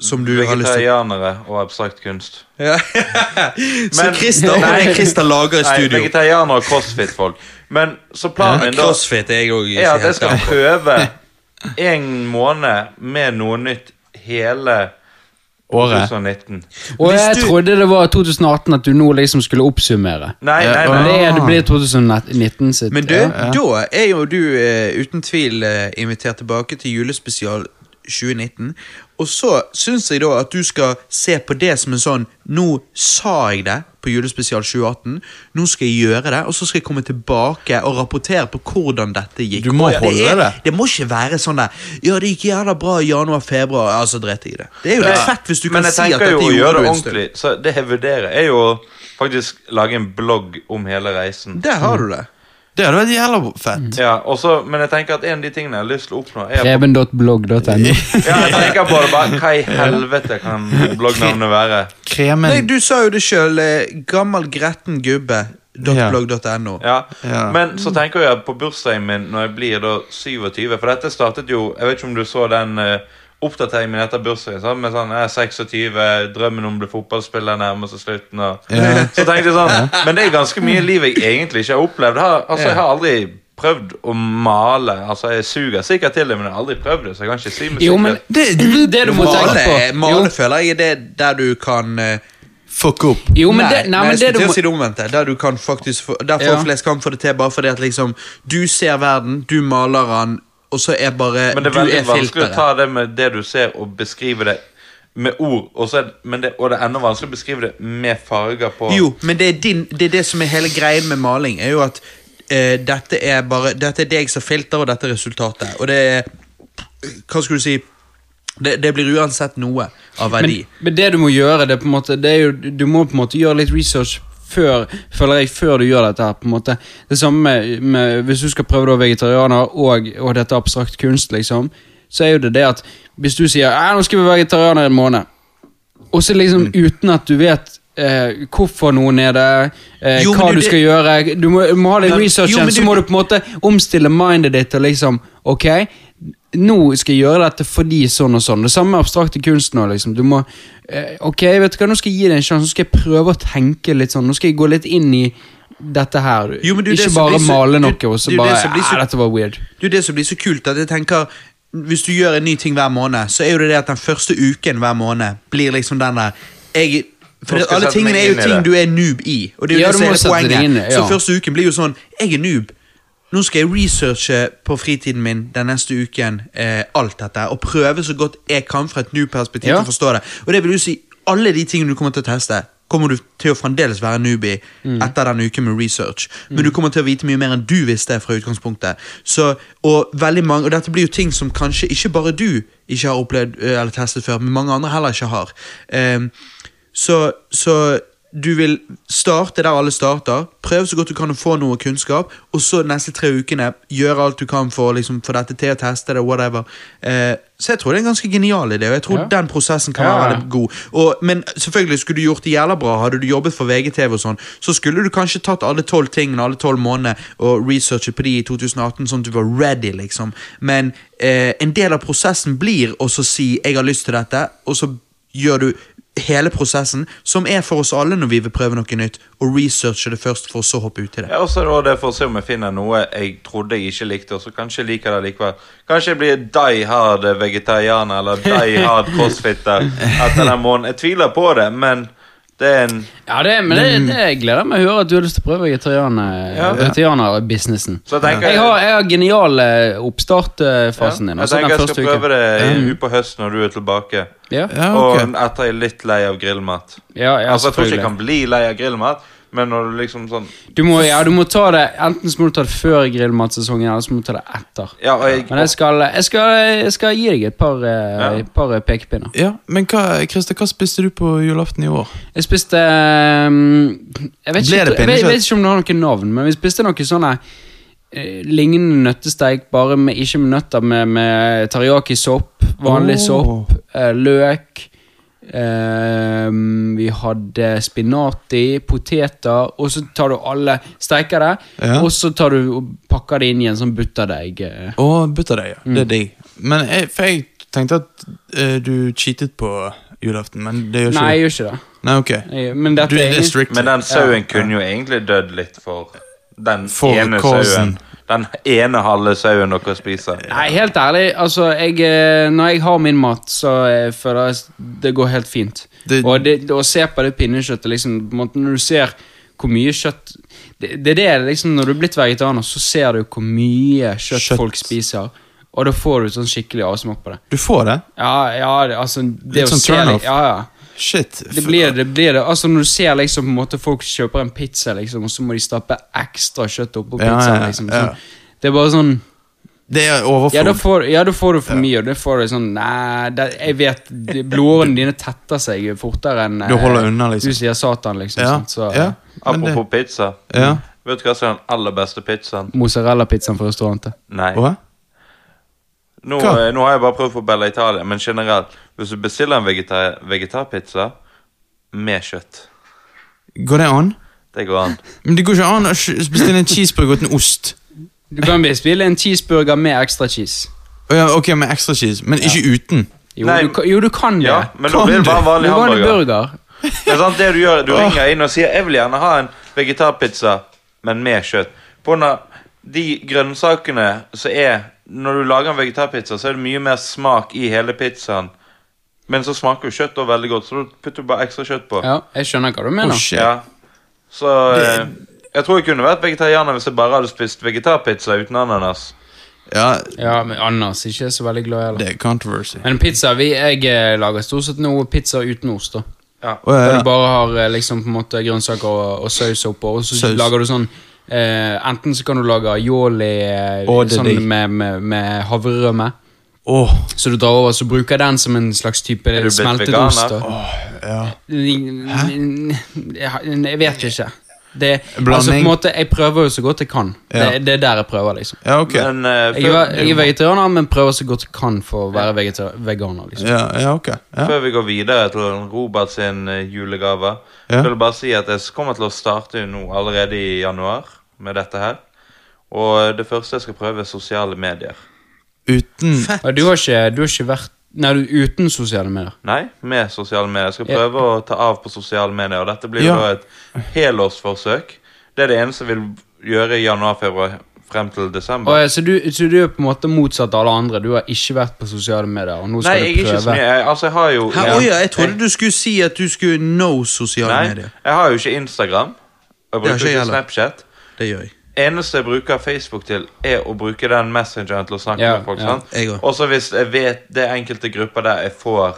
som du har lyst til. Vegetarianere og abstrakt kunst. *laughs* Ja. så Men- Christer, nei, Nei. Christer lager et Nei, studio. vegetarianere og crossfit-folk. Men så planen min da Crossfit er jeg òg er at jeg skal prøve en måned med noe nytt hele Året. 2019. Og Hvis jeg du- trodde det var 2018 at du nå liksom skulle oppsummere. Nei, Ja, nei, og- Men nei. det, er, det blir Ah. 2019 sitt. Men du, ja. da er jo du eh, uten tvil eh, invitert tilbake til julespesial 2019. Og så syns jeg da at du skal se på det som en sånn Nå sa jeg det på julespesial 2018. Nå skal jeg gjøre det, og så skal jeg komme tilbake og rapportere på hvordan dette gikk. Du må Og det, holde er, det. det må ikke være sånn der Ja, det gikk jævla bra i januar-februar, ja, så dreit jeg i det. Det er jo litt fett hvis du kan Men jeg si at tenker dette jo å gjøre gjorde det du en stund. ordentlig. Så det jeg vurderer, er jo å faktisk lage en blogg om hele reisen. Der har Mm. du det. Det hadde vært jævla Mm. fett. Ja, og så- men jeg tenker at en av de tingene jeg har lyst til å oppnå, er Preben.blogg.no. *laughs* ja, jeg tenker på det bare Hva i helvete kan bloggnavnet være? Nei, Kremen du sa jo det sjøl. Gammel gretten gubbe. .blogg.no. Ja. Ja. Men Mm. så tenker jeg på bursdagen min når jeg blir da 27 For dette startet jo Jeg vet ikke om du så den eh, oppdateringen min etter bursdagen. Sant? Med sånn jeg er 26, drømmen om å bli fotballspiller nærmer seg slutten. Og... Ja. *laughs* Så tenkte jeg sånn Men det er ganske mye liv jeg egentlig ikke har opplevd. Jeg har- altså, jeg har aldri prøvd å male. Altså, Jeg suger sikkert til det, men jeg har aldri prøvd det. Så jeg kan ikke si med Jo, men sikkerhet. det, det du må tenke på Male, Jo, male føler jeg er det der du kan eh, Fuck opp. jo men det, nei, jeg men det skulle du til må å si det omvendte. Der du kan faktisk få, der folk Ja. flest kan få det til bare fordi at liksom Du ser verden, du maler den, og så er bare Men det er Du veldig er vanskelig å filteret. ta det med det du ser, og beskrive det med ord. Og, så er, det- men det, og det er enda vanskeligere å beskrive det med farger på. Jo, men det er, din, det er det som er hele greien med maling, er jo at eh, dette er bare Dette er deg som filter, og dette er resultatet. Og det er Hva skulle du si Det, det blir uansett noe av verdi. men, men det du må gjøre, det er på en måte det er jo, Du må på en måte gjøre litt research før, føler jeg, før du gjør dette her. på en måte Det samme med, med hvis du skal prøve da vegetarianer og, og dette abstrakt kunst, liksom, så er jo det det at hvis du sier «Æ, 'nå skal vi være vegetarianer i en måned', og så liksom Mm. uten at du vet Eh, hvorfor noen er det, eh, Jo, men hva du, du det- skal gjøre Du må, må ha litt Ja, research, jo, igjen, men så du- må du på en måte omstille mindet ditt og liksom Ok, nå skal jeg gjøre dette fordi sånn og sånn. Det samme med abstrakte kunst nå, liksom. Du må eh, Ok, vet du hva, nå skal jeg gi deg en sjanse, nå skal jeg prøve å tenke litt sånn. Nå skal jeg gå litt inn i dette her. Jo, men det er det Ikke som bare blir så- male det- noe, og det så er det bare som blir så- «Ah, dette var weird. Det er jo det som blir så kult, at jeg tenker Hvis du gjør en ny ting hver måned, så er jo det det at den første uken hver måned blir liksom den der jeg, For Nå det, skal jeg alle sette meg tingene er jo inn i ting det. du er noob i, og det er jo Ja, det du som må er sette poenget. deg inn i, Så ja. første uken blir jo sånn Jeg er noob. Nå skal jeg researche på fritiden min den neste uken eh, alt dette, og prøve så godt jeg kan fra et noob-perspektiv Ja. til å forstå det. Og det vil jo si, alle de tingene du kommer til å teste, kommer du til å fremdeles være newbie etter den uken med research. Men du kommer til å vite mye mer enn du visste fra utgangspunktet. Så, og veldig mange, og dette blir jo ting som kanskje ikke bare du ikke har opplevd eh, eller testet før, men mange andre heller ikke har. Ehm, så, så du vil starte der alle starter, prøv så godt du kan å få noe kunnskap, og så neste tre ukene gjøre alt du kan for å liksom, få dette til å teste det, whatever. Eh, så jeg tror det er en ganske genial idé, og jeg tror Ja. den prosessen kan Ja, være ja. veldig god. Og, men selvfølgelig skulle du gjort det jævla bra, hadde du jobbet for VGTV og sånn, så skulle du kanskje tatt alle tolv tingene, alle tolv månedene, og researchet på de i 2018, sånn at du var ready, liksom. Men eh, en del av prosessen blir også å si 'jeg har lyst til dette', og så gjør du hele prosessen, som er for oss alle når vi vil prøve noe nytt, og researche det først, for så å hoppe ut i det. Ja, og så er det også det for å se om jeg finner noe jeg trodde jeg ikke likte, og så kanskje jeg liker det likevel. Kanskje jeg blir die hard vegetarianer eller die hard crossfitter etter den måneden. Jeg tviler på det, men det er en Ja, det, men det, det, jeg gleder meg å høre at du har lyst til å prøve eh, Ja. vegetarianerbusinessen. Så jeg tenker Jeg har, jeg har genial eh, oppstartfasen din. jeg Altså tenker den jeg skal første prøve uken. det utpå høsten når du er tilbake. Ja, Ja, ok. Og etter jeg er litt lei av grillmat. ja, ja altså, jeg tror ikke jeg selvfølgelig. kan bli lei av grillmat, men når du liksom sånn Du må, ja, du må ta det Enten så må du ta det før grillmatsesongen, eller så må du ta det etter. Ja, og jeg, Men jeg skal, jeg skal, jeg skal gi deg et par, eh, Ja. et par eh, pekepinner. Ja, men hva, Christer, hva spiste du på julaften i år? Jeg spiste eh, Jeg Ble det vet ikke, jeg vet, jeg vet pinnekjøtt? ikke om det har noe navn, men vi spiste noe sånne eh, lignende nøttesteik, bare med, ikke med nøtter, med, med teriyaki-sopp, vanlig Åh. sopp, eh, løk eh, Vi hadde spinat i, poteter, og så tar du alle Steiker det, Ja. og så tar du og pakker det inn i en sånn butterdeig. eh. Å, butterdeig. ja. Det er digg. Men jeg, for jeg tenkte at eh, du cheatet på julaften, men det gjør ikke Nei, jeg du. gjør ikke det. Nei, ok. Jeg, men dette Du er er egentlig- district. Men den sauen kunne jo egentlig dødd litt for den For ene sauen. causen. Den ene halve sauen dere spiser. Nei, helt ærlig, altså, jeg, eh, når jeg har min mat, så eh, føler jeg s- det går helt fint. Det- og det, det å se på det pinnekjøttet, liksom, på en måte, når du ser hvor mye kjøtt det, det er det, liksom, Når du er blitt vegetarianer, så ser du hvor mye kjøtt, Kjøtt. folk spiser, og da får du sånn skikkelig avsmak på det. Du får det? Ja, ja, det- altså det Litt å sånn se turn-off. Ja, ja. Shit. Det blir det, blir det. Altså Når du ser liksom på en måte folk kjøper en pizza, liksom og så må de stappe ekstra kjøtt oppå Ja, pizzaen. ja, liksom ja. sånn. Det er bare sånn Det er overflod. ja da, får, ja, da får du for mye, og da får du sånn Nei, det, jeg vet de- Blodårene dine tetter seg fortere enn eh, Du holder unna, liksom. Du sier Satan, liksom. ja. sant, så, ja. Men det- Apropos pizza. Ja. Vet du hva som er den aller beste pizzaen? Mozzarella-pizzaen fra restauranten. Nei. Hva? Nå, Hva? eh, nå har jeg bare prøvd på Bella Italia, men generelt, hvis du bestiller en vegetar vegetarpizza med kjøtt Går det an? Det går *laughs* an. Men det går ikke an å sk- bestille en cheeseburger uten ost. Du kan bestille en cheeseburger med ekstra cheese. Å Ja, ok, med ekstra cheese, men ikke uten. Jo, Nei, du, kan- jo du kan det. Ja, men da Kan blir det bare en du? du vanlig kan en hamburger. burger. Det er sant, det Du gjør, du ringer inn og sier 'Jeg vil gjerne ha en vegetarpizza, men med kjøtt'. På grunn av de grønnsakene som er Når du lager en vegetarpizza, så er det mye mer smak i hele pizzaen. Men så smaker jo kjøtt da veldig godt, så da putter du bare ekstra kjøtt på. Ja, jeg skjønner hva du mener. Å, Oh, shit. Ja. Så eh, jeg tror jeg kunne vært vegetarianer hvis jeg bare hadde spist vegetarpizza uten ananas. Ja, ja, men Anders ikke så veldig glad i heller. det er controversy. Men pizza, vi, jeg eh, lager stort sett noe pizza uten ost. da Ja. Å, ja, Der ja. du bare har eh, liksom på en måte grønnsaker og, og saus oppå, og så Saus. lager du sånn eh, Enten så kan du lage aioli eh, Å, det er sånn digg. med, med, med havrerømme, Åh, så du drar over så bruker jeg den som en slags type du blitt smeltet veganer? ost. da. ja. Jeg, jeg vet ikke. Det, Blanding? altså, på en måte, jeg prøver jo så godt jeg kan. Ja. Det, det er der jeg prøver, liksom. ja, ok. Men eh, Jeg er, før, ve- jeg er vegetarianer, men prøver så godt jeg kan for å være vegetar veganer. liksom Ja, ja, ok. Ja. før vi går videre til Robert sin eh, julegave, Ja. vil jeg bare si at jeg s- kommer til å starte nå allerede i januar med dette her. Og eh, det første jeg skal prøve, er sosiale medier. Uten Og du har ikke, du har ikke vært Nei, du er uten sosiale medier. Nei, med sosiale medier. Jeg skal Ja. prøve å ta av på sosiale medier, og dette blir jo Ja. da et helårsforsøk. Det er det eneste jeg vil gjøre i januar-februar frem til desember. Å, ja, så, du, så du er på en måte motsatt av alle andre? Du har ikke vært på sosiale medier? og nå Nei, skal jeg er du ikke så prøve. mye. Jeg, altså, jeg har jo Hæ, åja, jeg trodde du skulle si at du skulle no sosiale Nei, medier. jeg har jo ikke Instagram. Og Det jeg har bruker ikke ikke jeg heller. Snapchat. Det gjør jeg. Eneste jeg bruker Facebook til, er å bruke den messengeren til å snakke Ja, med folk. ja. sant? Jeg også. Og så hvis jeg vet det er enkelte grupper der jeg får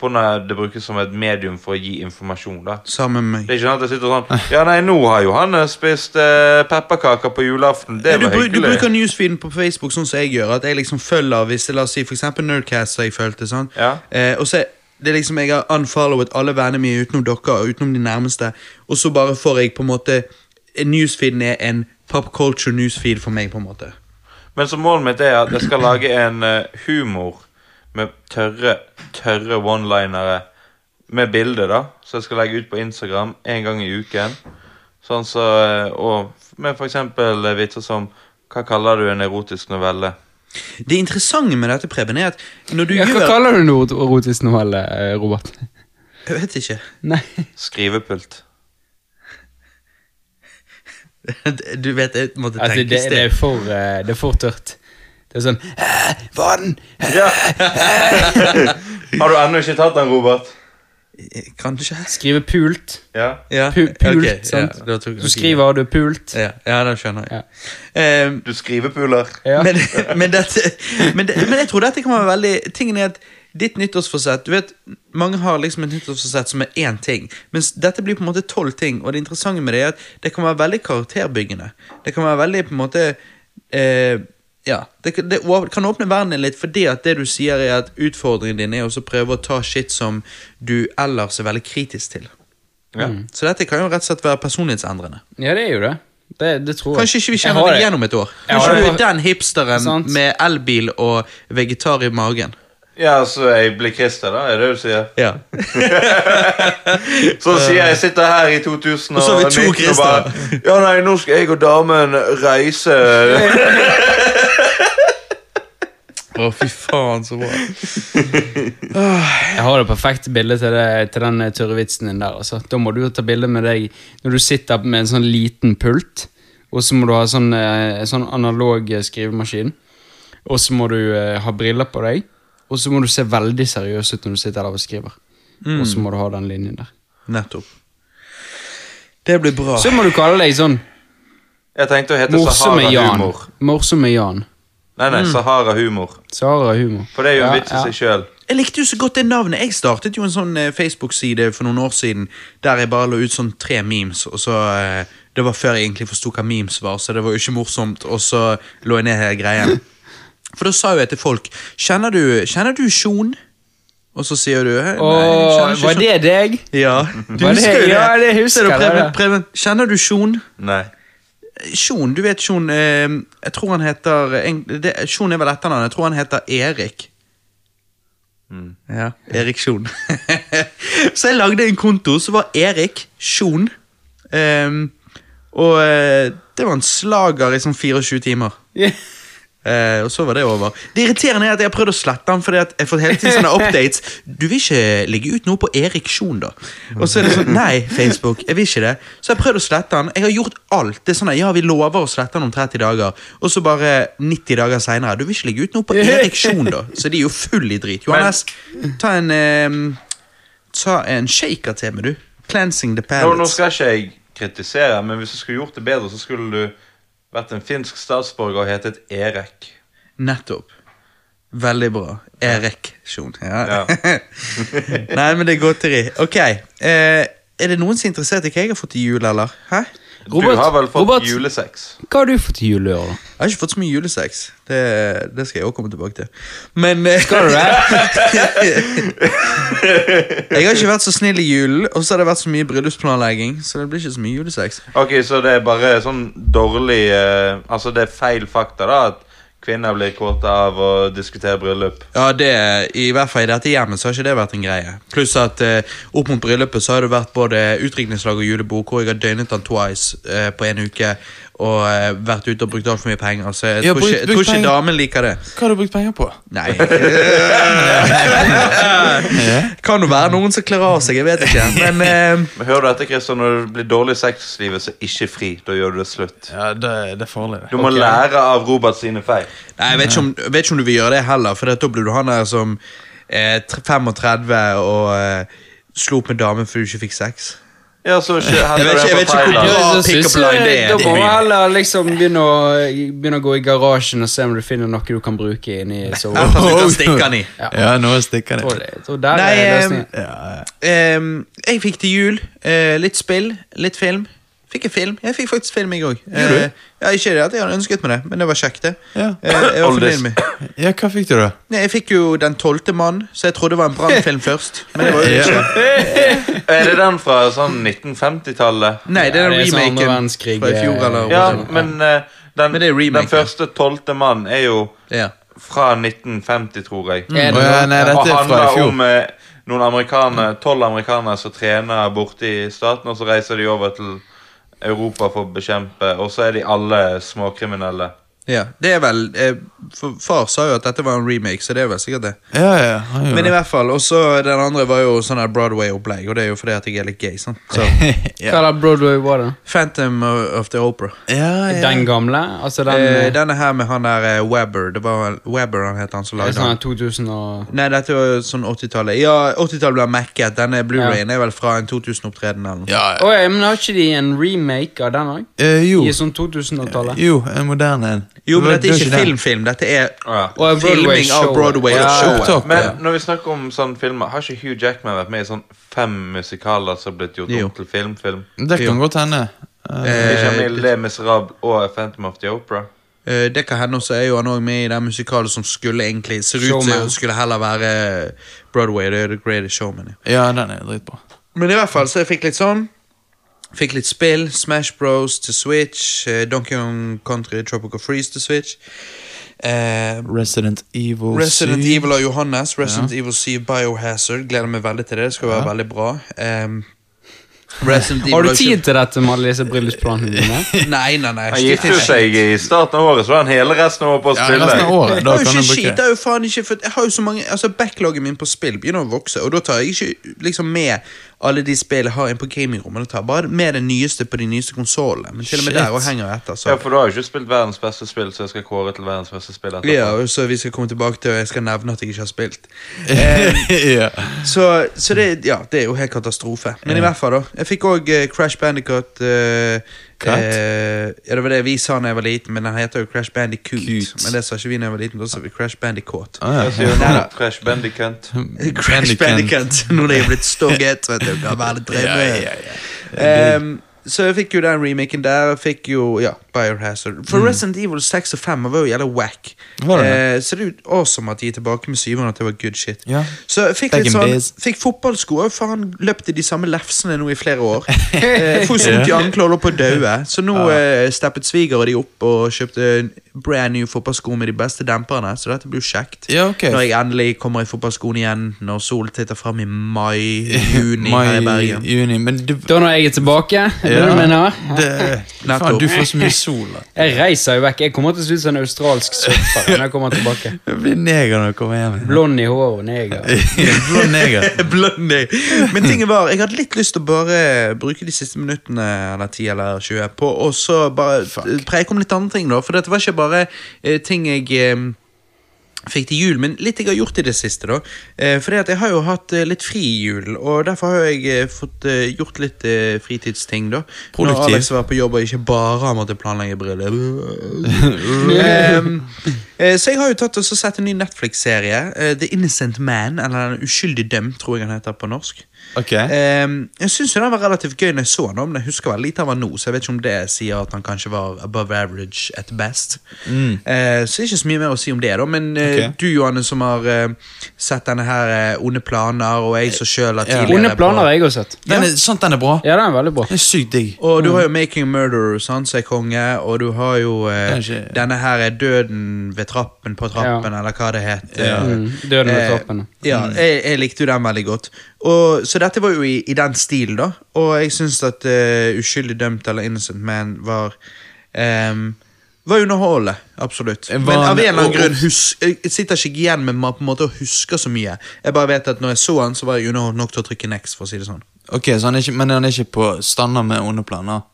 på når det brukes som et medium for å gi informasjon. da. Sammen med Det meg. er ikke sånn at jeg sitter sånn Ja, nei, nå har Johannes spist eh, pepperkaker på julaften. Det Ja, Du, var bru- du hyggelig. bruker newsfeeden på Facebook sånn som jeg gjør. At jeg liksom følger hvis det, la oss si for eksempel Nerdcast, som jeg følte. sånn Ja. eh, Og så det er liksom Jeg har unfollowet alle vennene mine utenom dere og utenom de nærmeste. Og så bare får jeg på en måte eh, Newsfeeden er en pop culture newsfeed for meg. på en måte Men så målet mitt er at jeg skal lage en eh, humor med tørre, tørre one-linere med bilde, da. Så jeg skal legge ut på Instagram en gang i uken. Sånn så, eh, og f- med for eksempel eh, vitser som Hva kaller du en erotisk novelle? Det interessante med dette, Preben, er at når du Ja, hva gjør kaller du en erotisk novelle, eh, Robert? Jeg vet ikke. *laughs* Nei, Skrivepult. Du vet, jeg måtte *laughs* altså, tenke det, det, er for, eh, det er for tørt. Det er sånn «Hæ? Vann! *laughs* Har du ennå ikke tatt den, Robert? Kanskje. Skrive pult. Ja. Ja. Pu- pult, ok, sant? Ja, da tok- Du skriver, og du er pult. Ja, ja det skjønner jeg. Ehm, Du skrivepuler. Ja. men, men, dette, men, det- men jeg tror dette kan være veldig Tingen er at ditt nyttårsforsett Du vet, Mange har liksom et nyttårsforsett som er én ting, mens dette blir på en måte tolv ting. Og det interessante med det er at det kan være veldig karakterbyggende. Det kan være veldig på en måte eh, ja, det, kan- det å- kan åpne verden din litt, fordi at det du sier er at utfordringen din er også å prøve å ta shit som du ellers er veldig kritisk til. Ja. Så dette kan jo rett og slett være personlighetsendrende. Ja, det er jo det. Det, det tror jeg. Kanskje ikke vi Jeg kjenner har det igjen om et år. Jeg har Kanskje du det. er den hipsteren Sant. med elbil og vegetar i magen. ja, så jeg blir Christer, da? Er det det du sier? Ja. Så sier jeg jeg sitter her i 2019 Og Eh, så har vi to og bare Ja, nei, nå skal jeg og damen reise Å, fy faen, så bra. Jeg har det perfekte bildet til, det, til den tørre vitsen din der. Altså. Da må du jo ta bilde med deg når du sitter med en sånn liten pult, og så må du ha sånn, eh, sånn analog eh, skrivemaskin, og så må du eh, ha briller på deg, og så må du se veldig seriøs ut når du sitter der og skriver. Mm. Og så må du ha den linjen der. Nettopp. Det blir bra. Så må du kalle deg sånn Jeg tenkte å hete Morsomme Jan. Sahara-humor. Morsomme Jan. Nei, Mm. nei, Sahara-humor. Sahara-humor. For det er jo en Ja, vits i ja. seg sjøl. Jeg likte jo så godt det navnet. Jeg startet jo en sånn eh, Facebook-side for noen år siden der jeg bare la ut sånn tre memes, og så eh, Det var før jeg egentlig forsto hva memes var, så det var jo ikke morsomt, og så lå jeg ned hele greien. For da sa jo jeg til folk Kjenner du, kjenner du Sjon? Og så sier du «Hei, Nei, jeg Åh, kjenner ikke var Sjon». det deg? Ja, du Var det- husker jo det. ja, det husker Ser du, jeg, Preben, det. Preben, kjenner du Sjon? Nei. Sjon, du vet Sjon eh, Jeg tror han heter en- det- Sjon er vel etternavnet. Jeg tror han heter Erik. Ja, Erik Sjon. *laughs* så jeg lagde en konto som var Erik Sjon. Ehm, og eh, det var en slager i sånn 24 timer. Eh, og så var det over. Det irriterende er at jeg har prøvd å slette den, fordi at jeg får hele tiden sånne *laughs* updates. Du vil ikke legge ut noe på Erik Sjon, da? Og så er det sånn Nei, Facebook, jeg vil ikke det. Så jeg har prøvd å slette den. Jeg har gjort alt. Det er sånn at, Ja, vi lover å slette den om 30 dager, og så bare 90 dager seinere. Du vil ikke legge ut noe på Erik Sjon, da? Så de er jo full i drit. Johannes, ta en ehm, Ta en shaker til meg, du. Cleansing the Nå, nå palates. skal ikke jeg kritisere, men hvis du skulle gjort det bedre, så skulle du vært en finsk statsborger og hetet Erek. Nettopp. Veldig bra. Erik Sjon. Ja. *laughs* Nei, men det er godteri. Ok, eh, er det noen som er interessert i hva jeg har fått i jul, eller? Hæ? Robert, du har vel fått Robert. julesex? Hva har du fått til jul i år, da? Jeg har ikke fått så mye julesex. Det, det skal jeg også komme tilbake til. Men eh, Skal du det? *laughs* jeg har ikke vært så snill i julen, og så har det vært så mye bryllupsplanlegging, så det blir ikke så mye julesex. Ok, så det er bare sånn dårlig eh, Altså, det er feil fakta, da, at kvinner blir kåte av å diskutere bryllup. Ja, det, I hvert fall i dette hjemmet så har ikke det vært en greie. Pluss at eh, opp mot bryllupet så har det vært både utdrikningslag og julebord, hvor jeg har døgnet den twice eh, på en uke og eh, vært ute og brukt altfor mye penger, så jeg Ja, tror brukt- ikke, jeg brukt tror ikke penger. damen liker det. Hva har du brukt penger på? Nei *laughs* Kan jo være noen som kler av seg, jeg vet ikke. *laughs* Men eh, Men hører du dette, Christian, når det blir dårlig sexlivet, så ikke fri. Da gjør du det slutt. Ja, det, det er farlig, det. Du må lære av Robert sine feil. nei, jeg vet ikke, om, jeg vet ikke om du vil gjøre det heller, for da blir du han der som eh, tre- 35 og eh, slo opp med damen fordi du ikke fikk sex. Ja, så ikke, Jeg vet ikke- jeg vet ikke hvor bra- Ja, pick-up synes line, jeg- det er Da må mye. man heller liksom begynne å, begynne å gå i garasjen og se om du finner noe du kan bruke inni soverommet. Enten uten stikkeren i. Ja, nå stikker Jeg tror det. det- jeg tror der Nei, er eh, løsningen. Ehm, jeg fikk til jul eh, litt spill, litt film. Fikk jeg film? Jeg fikk faktisk film, jeg òg. du? ja, ikke det at jeg hadde ønsket meg det, men det var kjekt, det. Ja. Eh, jeg, *clears throat* var Oldest. fornøyd med. ja, hva fikk du, da? Nei, jeg fikk jo Den tolvte mann, så jeg trodde det var en *laughs* brannfilm først. Men det var jo ikke. Er det den fra sånn 1950-tallet? Nei, det er den Ja, det er sånn remaken andre verdenskrig, fra i fjor. eh, Eller, Ja, noe sånt. men eh, den, Men det er remake, den første tolvte mann er jo ja. fra 1950, tror jeg. Mm. Er det Å, ja, noe- nei, dette og er fra i handler fjor. om eh, noen amerikanere, tolv amerikanere som trener borte i staten, og så reiser de over til Europa for å bekjempe, og så er de alle småkriminelle. ja. Det er vel eh, for, Far sa jo at dette var en remake, så det er vel sikkert det. Ja, ja, han Men i gjorde det. hvert fall, og så den andre var jo sånn her Broadway-opplegg, og det er jo fordi at jeg er litt gay. sant? Så, *laughs* Hva er det Broadway var det? Phantom of the Opera. Ja, ja. Den gamle? Altså den Eh, eh, denne her med han der eh, Webber. Det var vel Webber han het, han som er lagde sånn den. 2000 og Nei, dette var sånn 80-tallet. Ja, 80-tallet ble Mac-et. Denne Blu-rayen er vel fra en 2000-opptreden eller noe. ja. Å ja, men har ikke de en remake av den òg? Eh, jo. I sånn 2000-tallet? jo, en moderne en. Jo, men dette er ikke den. filmfilm. Dette er Ja. Og en filming Broadway-show. av Broadway. Ja, showet. opptak. Men Ja. når vi snakker om sånne filmer, har ikke Hugh Jackman vært med i sånn fem musikaler som har blitt gjort Jo. om til filmfilm? Det kan godt hende. Eh, Ikke han Eh, i Le Miserable og A Phantom of the Opera? eh, det kan hende også er jo han også med i den musikalen som skulle egentlig ser ut Showman. til å skulle heller være Broadway. Det er The Greatest Showman. Ja. ja, den er dritbra. Men i hvert fall, så jeg fikk litt sånn. Fikk litt spill. Smash Bros til Switch. eh, Donkey Kong Country Tropical Freeze til Switch. Eh, Resident Evil Resident 7. Evil av Johannes. Resident Evil 7 Biohazard. Gleder meg veldig til det. Det skal være veldig bra. Ehm, Resident Evil *laughs* Har du ikke- tid til dette med alle disse bryllupsplanene dine? Nei, nei, nei. Han giftet seg i starten av året, så var han hele resten av året på å Ja, spille. resten av året. Jeg Da har jo kan ikke du skit, jeg bruke har jo faen ikke fått Jeg har jo så mange Altså, backloggen min på spill begynner å vokse, og da tar jeg ikke liksom med alle de spillene jeg har inn på gamingrommet. Da tar jeg bare med det nyeste på de nyeste konsollene. Men til og med Shit. der også henger jeg etter. Ja, Så. for du har jo ikke spilt verdens beste spill, så jeg skal kåre til verdens beste spill etterpå. Ja, og så vi skal komme tilbake til, og jeg skal nevne at jeg ikke har *laughs* spilt. Eh, ja. Så, så det, ja, det er jo helt katastrofe. Men i hvert fall, da. Jeg fikk òg Crash Bandicut. eh, Cut? eh, ja, det var det vi sa da jeg var liten, men den heter jo Crash Bandicoot. Coot. Men det sa ikke vi da jeg var liten, da sa vi Crash Bandicoot. Ah, ja. Jeg sier nå Crash Bandicunt. Crash Eh, Bandicoot. Bandicut, *laughs* når de er blitt *laughs* stogget, vet du. Kan være litt Ja, drevne. ja, ja. Ehm, så jeg fikk jo den remaken der. Jeg fikk jo ja, Biohazard. For Resident Evil 6 og 5 var jo jævla whack. Mm. Var det Eh, så det er jo awesome at de er tilbake med syveren, at det var good shit. Ja. Så jeg fikk Back litt in sånn days. Fikk fotballsko og faen løpt i de samme lefsene nå i flere *laughs* år. eh, Får så vondt i ankelen og holder på å daue. Så nå eh, steppet sviger og de opp og kjøpte brand new fotballsko med de beste demperne, så dette blir jo kjekt. Ja, ok. Når jeg endelig kommer i fotballskoen igjen, når solen titter fram i mai-juni her i Mai, Bergen. juni, men du Da når jeg er tilbake, er det Ja. det du mener? det, Faen, Nettopp. du får så mye sol. da. Jeg reiser jo vekk. Jeg kommer til å se ut som en australsk surfer når jeg kommer tilbake. *laughs* Jeg blir neger når jeg kommer hjem. Blond i håret og neger. Blå neger. Blondie. Men tingen var, jeg hadde litt lyst til å bare bruke de siste minuttene eller 10 eller 20 på å så bare preke om litt andre ting, da. For dette var ikke bare eh, ting jeg eh, fikk til jul, men litt jeg har gjort i det siste, da. Eh, fordi at jeg har jo hatt eh, litt fri i julen, og derfor har jeg eh, fått eh, gjort litt eh, fritidsting, da. Produktiv. Når Alex var på jobb og ikke bare har måttet planlegge bryllup. Ehm, eh, så jeg har jo tatt og så sett en ny Netflix-serie. eh, The Innocent Man, eller Den uskyldig dømt, tror jeg han heter på norsk. Ok. Ehm, jeg syns jo den var relativt gøy når jeg så den, men jeg husker veldig lite av den nå, så jeg vet ikke om det sier at han kanskje var above average at best. Eh, så det er ikke så mye mer å si om det, da, men eh, Mm. Ok. du, Johanne, som har eh, sett denne her eh, Onde planer, og jeg som sjøl har Ja. tidligere Onde planer på- har jeg også sett. Den er, sant, den er bra. Ja, den er veldig bra. Den er sykt digg. Og du har jo Making a Murderer, sant, som er konge, og du har jo eh, Kanskje- denne her er Døden ved trappen på trappen, eller hva det het. Ja. Eh, Mm, døden Eh, ved trappen. Ja, jeg, jeg likte jo den veldig godt. Og, så dette var jo i, i den stilen, da. Og jeg syns at eh, Uskyldig dømt eller Innocent Man var um, Var underholdende, absolutt. Var Men av en den- eller annen og- grunn hus, jeg sitter ikke igjen med ma- på en måte og husker så mye. Jeg bare vet at når jeg så den, så var jeg underholdt nok til å trykke next. for å si det sånn. Ok, så han er ikke, Men han er ikke på standard med onde planer?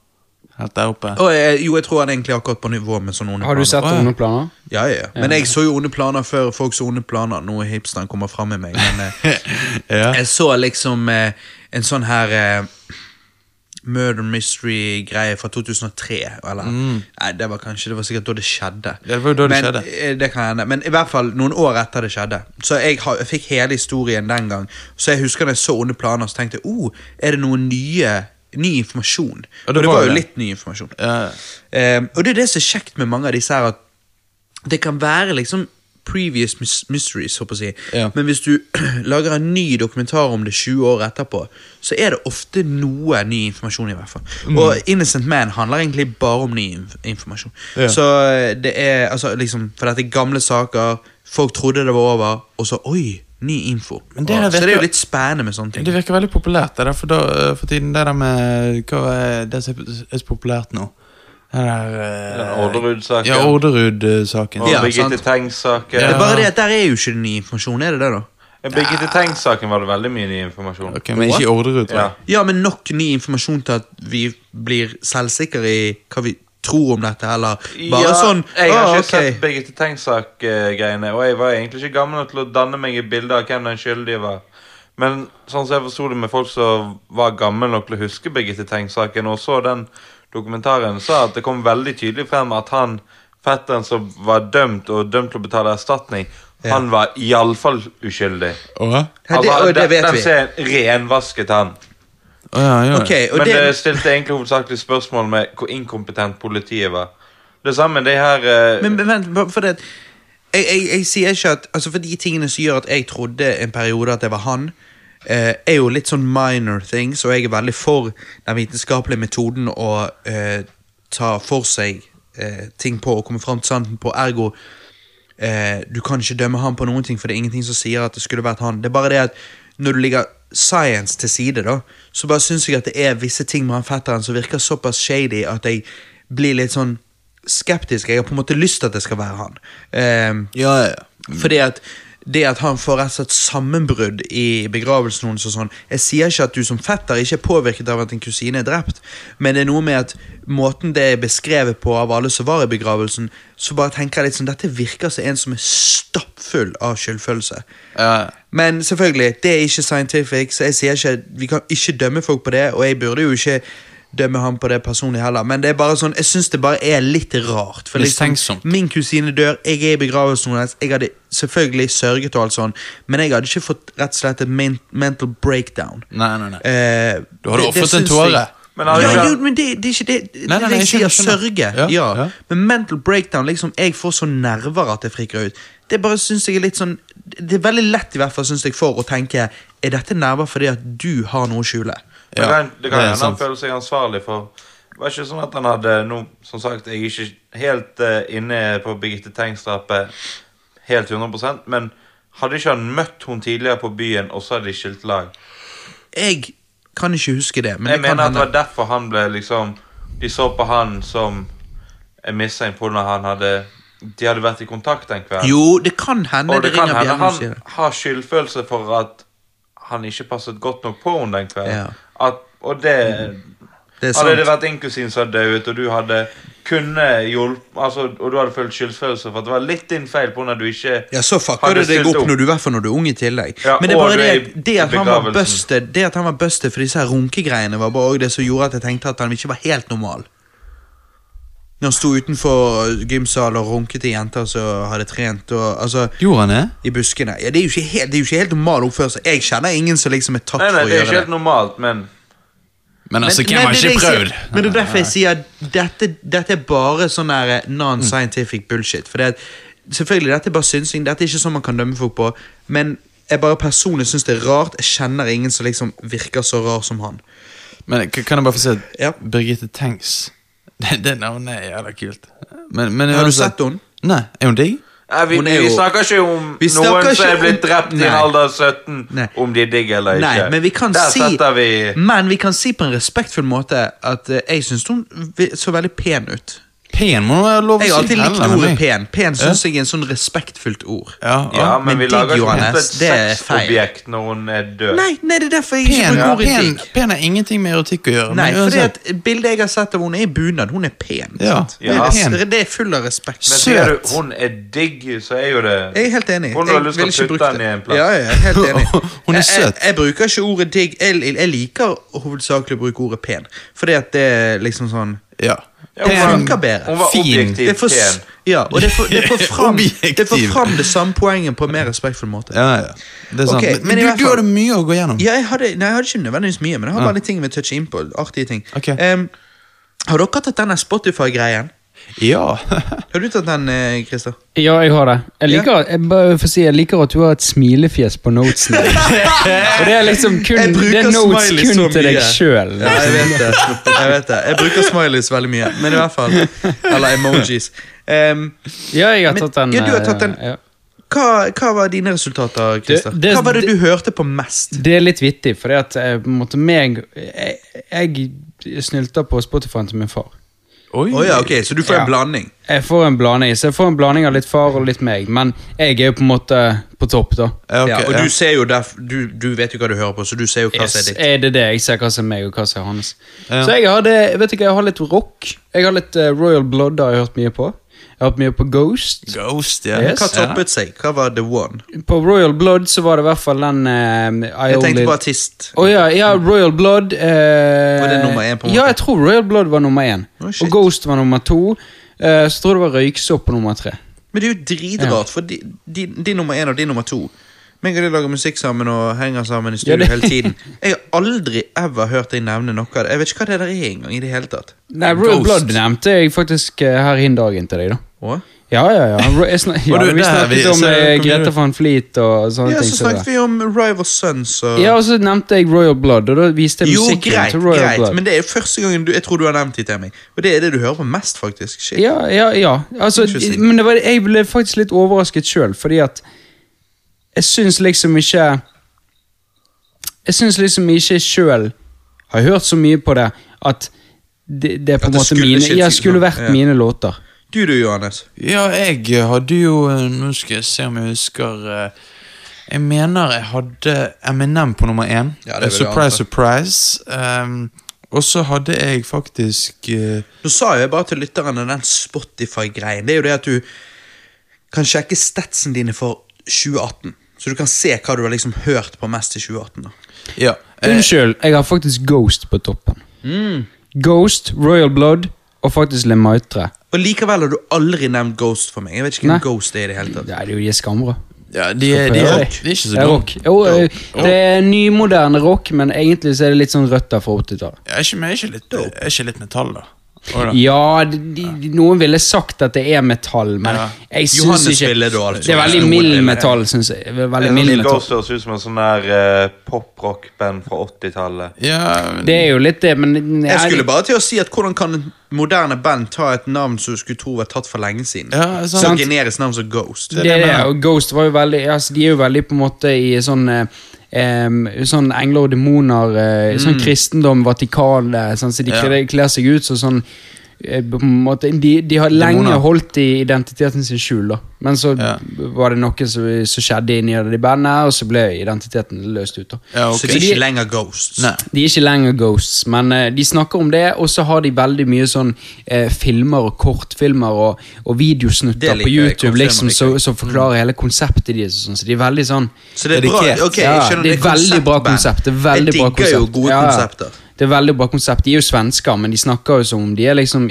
Helt der oppe? Og, eh, jo, jeg tror han egentlig er akkurat på nivå med sånne onde Har du planer. sett Å, ja. Onde planer? Ja, ja, ja. Men jeg så jo onde planer før folk så onde planer. Nå er hipsteren kommer fram med meg. men... eh, *laughs* *laughs* Ja. Jeg så liksom eh, en sånn her eh, Murder mystery-greie fra 2003. Eller, nei, det var kanskje, det var sikkert da det skjedde. Mm. Ja, det var jo da det men, skjedde. eh, Det kan hende, men i hvert fall noen år etter det skjedde. Så jeg, har, jeg fikk hele historien den gang. Så jeg husker da jeg så Onde planer, så tenkte jeg oh, er det noen nye, ny informasjon. Ja, Og det det, var var jo jo det. litt ny informasjon. Ja. Eh, og det er det som er kjekt med mange av disse her, at det kan være liksom previous mys- mysteries, håper jeg å si. Ja. Men hvis du *clears throat* lager en ny dokumentar om det 20 år etterpå, så er det ofte noe ny informasjon, i hvert fall. Mm. Og Innocent Man handler egentlig bare om ny inf informasjon. Ja. Så det er altså liksom For dette er gamle saker, folk trodde det var over, og så oi, ny info. Men det er- og, vet så det er du- jo litt spennende med sånne ting. Det virker veldig populært det der for, da, eh, for tiden. Det der med Hva er det som er så populært nå? Det der Den eh, Orderud-saken. Ja, Orderud-saken. Og Ja, Birgitte sant. Tengs-saken. Det Ja. er bare det at der er jo ikke ny informasjon, er det det, da? Birgitte Tengs-saken var det veldig mye ny informasjon. Ok, Men ikke i Orderud, tror Ja. jeg. Ja, men nok ny informasjon til at vi blir selvsikre i hva vi tror om dette, eller bare Ja, sånn Jeg har «Å, ikke ok». sett Birgitte Tengs-sak-greiene, og jeg var egentlig ikke gammel nok til å danne meg et bilde av hvem den skyldige var. Men sånn som jeg forsto det med folk som var gamle nok til å huske Birgitte Tengs-saken, og så den dokumentaren, sa at det kom veldig tydelig frem at han fetteren som var dømt, og dømt til å betale erstatning, han var iallfall uskyldig. Altså, Åh? Ja, det, og det den- vet den vi. ser renvasket han. Å, ja, ja. Ok, og Men det, det stilte egentlig hovedsakelig spørsmål med hvor inkompetent politiet var. Det samme det her eh, men, men vent, bare for det at- jeg, jeg, jeg sier ikke at altså For de tingene som gjør at jeg trodde en periode at det var han, eh, er jo litt sånn minor things, og jeg er veldig for den vitenskapelige metoden å eh, ta for seg eh, ting på og komme fram til sannheten på. Ergo eh, du kan ikke dømme han på noen ting, for det er ingenting som sier at det skulle vært han. Det er bare det at når du ligger science til side, da, så bare syns jeg at det er visse ting med han fetteren som virker såpass shady at jeg blir litt sånn skeptisk. Jeg har på en måte lyst til at det skal være han. Ehm, Ja, ja, ja. fordi at det at han får rett og slett sammenbrudd i begravelsen hennes og sånn Jeg sier ikke at du som fetter ikke er påvirket av at en kusine er drept, men det er noe med at måten det er beskrevet på av alle som var i begravelsen, så bare tenker jeg litt sånn Dette virker som en som er stappfull av skyldfølelse. Ja, Men selvfølgelig, det er ikke scientific, så jeg sier ikke Vi kan ikke dømme folk på det, og jeg burde jo ikke dømme ham på det personlig heller, men det er bare sånn, jeg syns det bare er litt rart. For liksom, Mistenksomt. min kusine dør, jeg er i begravelsen hennes, jeg hadde selvfølgelig sørget og alt sånn, men jeg hadde ikke fått rett og slett et men mental breakdown. Nei, nei, nei. Eh, Du hadde det- det ofret en syns tåre. jeg- Men ja, har du jo, ikke- men det, det er ikke det. det Nei, nei, nei, jeg jeg sier skjønner, sørge. skjønner. Ja, Ja, ja. Men mental breakdown, liksom, jeg får så nerver at jeg friker ut. Det bare synes jeg er litt sånn Det er veldig lett i hvert fall synes jeg for å tenke Er dette nerver fordi at du har noe å skjule. Men Ja, kan, det kan det er hende han sant. føler seg ansvarlig for Det var ikke sånn at han hadde nå, Som sagt, jeg er ikke helt eh, inne på Birgitte Tengs-drapet helt 100 men hadde ikke han møtt hun tidligere på byen, og så hadde de skilt lag? Jeg kan ikke huske det, men Jeg det kan mener at det var hende. derfor han ble liksom De så på han som en missing på når han hadde De hadde vært i kontakt den kvelden. Jo, det kan hende og det, det kan ringer hende bjellen og han sier det. har skyldfølelse for at han ikke passet godt nok på henne den kvelden. At, og det Det er Hadde det sant. vært inkusin som hadde dødd, og du hadde kunne hjulpet altså, Og du hadde følt skyldfølelse for at det var litt din feil på når du ikke Ja, så fucker hadde du deg stilt opp når du, i hvert fall når du er ung i tillegg. Ja, Men det er og bare du det, er i at- det at han var begravelsen. busted Det at han var busted for disse her runkegreiene, var bare også det som gjorde at jeg tenkte at han ikke var helt normal. Når han sto utenfor gymsal og runket til jenter som hadde trent og altså Gjorde han det? i buskene. Ja, Det er jo ikke helt, det er jo ikke helt normal oppførsel. Jeg kjenner ingen som liksom er tatt Nei, nei, for å det er ikke gjøre helt normalt, men Men altså, hvem nei, har det er det ikke jeg sier- prøvd? Men det er derfor jeg sier at dette, dette er bare sånn der eh, non-scientific bullshit. For det, er- selvfølgelig, dette er bare synsing. Dette er ikke sånn man kan dømme folk på. Men jeg bare personlig syns det er rart. Jeg kjenner ingen som liksom virker så rar som han. Men k- kan jeg bare få si at Ja. Birgitte Tengs *laughs* Det, det navnet er jævla kult. Men, men Har du uansett- sett henne? Nei. Er hun digg? nei, vi, Hun er jo- vi snakker ikke om Vi snakker noen som ikke er blitt om- drept i en Nei. alder av 17, Nei. om de er digg eller ikke. Nei, men vi kan Der si Mm, setter vi Men vi kan si på en respektfull måte at eh, jeg syns hun vi- så veldig pen ut. Pen må være lov å si. Jeg har alltid likt Heller enn ordet meg. pen. Pen syns jeg er en sånn respektfullt ord. Ja, ja. Ja, men, men vi digg, lager ikke Johannes, et det er feil. sexobjekt når hun er død. Nei, nei, det er derfor jeg ikke Pen, bruker ordet pen, digg. pen har ingenting med erotikk å gjøre. Nei, men for uansett- at bildet jeg har sett av henne, er i bunad. Hun er pen. Ja, sant? hun er Det, er, pen. det er full av respekt. Men sier du Søt. hun er digg, så er jo det Jeg er helt enig. Hun Jeg har lyst til ville å ikke putte brukt den i det. en plass. Ja, ja, jeg er helt enig. *laughs* Hun er Jeg- Jeg, søt. jeg bruker ikke ordet digg. Jeg, jeg liker hovedsakelig å bruke ordet pen. Fordi at det er liksom sånn Ja. Ja, hun Det var- funker bedre. Hun var Fin. det objektivt får, s- pen. ja, og det får, det, *laughs* får fram, det får Objektiv. fram det samme poenget på en mer respektfull måte. Ja, ja. Det er Ok, sant. Men- men i men hvert du, du fall- hadde mye å gå gjennom. Ja, jeg hadde, nei, jeg hadde ikke nødvendigvis mye, men jeg har bare litt ting vi toucher inn på. Artige ting. Ok. Em, har dere tatt denne Spotify-greien? Ja. *laughs* Har du tatt den, eh, Christer? Ja, jeg har det. Jeg liker, jeg, bare for å si, jeg liker at du har et smilefjes på *laughs* notesene. Og det er liksom kun, Jeg bruker det er notes smiley så kun til deg liksom. mye. sjøl. Ja, jeg vet det. Jeg vet det. Jeg bruker smileys veldig mye, men i hvert fall. Eller emojis. Em, Ja, jeg har Men- tatt den. ja, du har tatt den. eh, ja. hva, hva var dine resultater, Christer? Det- det- Hva var det du hørte på mest? Det er litt vittig, for at eh, på en måte, meg Jeg, jeg snylter på Spotify til min far. Oi. Å ja, ok, Så du får Ja. en blanding? Jeg får en blanding så jeg får en blanding av litt far og litt meg, men jeg er jo på en måte på topp, da. Ja, ok, ja, og ja. du ser jo derf, du, du vet jo hva du hører på, så du ser jo hva Yes, som er ditt. er det det jeg ser hva som er meg, og hva som er hans? Ja. Så jeg hadde, vet du hva, jeg har litt rock. Jeg har litt eh, Royal Blood har jeg hørt mye på. Jeg har hørt mye på Ghost. Ghost, ja. Yes. Hva Ja. toppet seg? Hva var the one? På Royal Blood så var det i hvert fall den eh, I Jeg tenkte Only- på artist. Å ja, ja, Royal Blood eh, Var det nummer én på en måte? Ja, jeg tror Royal Blood var nummer én. Å, shit. og Ghost var nummer to. Eh, så tror jeg det var Røyksopp på nummer tre. Men det er jo dritrart, for de, de, de nummer én og de nummer to Meg og de lager musikk sammen og henger sammen i studio det- hele tiden. Jeg har aldri ever hørt deg nevne noe av det. Jeg vet ikke hva det der er engang. i det hele tatt. Nei, Royal Ghost. Blood nevnte jeg faktisk eh, her hin dagen til deg, da. Å? Ja, ja, ja. Ro- Jeg *laughs* snak, ja Og du, vi der er snakket vi, om så eh, kom Grete du- van Fleet og sånne Ja, ting. så som snakket det. vi om Rival Sons og Ja, og så nevnte jeg Royal Blood, og da viste jeg Jo, musikken greit, til Royal greit, Blood. men det er jo første gangen du, jeg tror du har nevnt det til meg. Og det er det du hører på mest, faktisk. Shit. Ja, ja, ja. Altså, Interesting. men det var, jeg ble faktisk litt overrasket sjøl, fordi at jeg syns liksom ikke Jeg syns liksom ikke jeg sjøl har hørt så mye på det at det, det er At på en det måte skulle mine ikke- Ja, skulle vært Ja. mine låter. Du du, Johannes. Ja, jeg hadde jo eh, Nå skal jeg se om jeg husker eh, Jeg mener jeg hadde Eminem på nummer én. Ja, det vil Eh, jeg surprise, anta. surprise. Um, og så hadde jeg faktisk eh, Nå sa jo jeg bare til lytterne den Spotify-greien. Det er jo det at du kan sjekke statsene dine for 2018. Så du kan se hva du har liksom hørt på mest i 2018. da. Ja. eh, Unnskyld, jeg har faktisk Ghost på toppen. Mm. Ghost, Royal Blood og faktisk Le Maitre. Og likevel har du aldri nevnt Ghost for meg. Jeg vet ikke Nei. hvem Ghost er i det hele tatt. Det er jo de er skambra. ja, de, er- de, Det er- er de er ikke så Det er dumme. rock. Jo, eh, det er nymoderne rock, men egentlig så er det litt sånn røtter fra 80-tallet. Jeg er ikke, men jeg er ikke, litt, jeg er ikke litt metall, da. Å, da. Ja, de, de, noen ville sagt at det er metall, men Ja. jeg syns Johannes ikke ville da altså. Det er veldig mild metall, syns jeg. Det er Veldig mild Little metall. Ghost høres ut som en sånn der uh, poprock-band fra 80-tallet. Ja, Det er jo litt det, men Jeg skulle bare til å si at hvordan kan en moderne band ta et navn som du skulle tro var tatt for lenge siden? ja, Så sant. generisk navn som Ghost. det, er det, og Ghost var jo veldig altså, De er jo veldig på en måte i sånn eh, em, sånn engler og demoner, eh, sånn kristendom, Vatikanet sånn, Så de Mm. Ja. kler, kler seg ut som sånn eh, på en måte, de, de har lenge Demoner. holdt i identiteten sin skjul, da. Men så Ja. var det noe som, som skjedde inni det i bandet, og så ble identiteten løst ut. da Ja, ok. Så de er ikke lenger Ghosts. Nei. De er ikke lenger ghosts, men eh, de snakker om det, og så har de veldig mye sånn eh, filmer og kortfilmer og, og Det videosnutter liker på jeg, YouTube liksom, kortfilmer liker som som forklarer hele konseptet deres. og Sånn, så de er veldig sånn Så det er bra. Dedikert. Ok, Ja, jeg skjønner det er veldig bra konsept. Det er veldig bra Jeg digger jo konsept. gode Ja, ja. konsepter. Det er veldig bra konsept. De er jo svensker, men de snakker jo som om de er liksom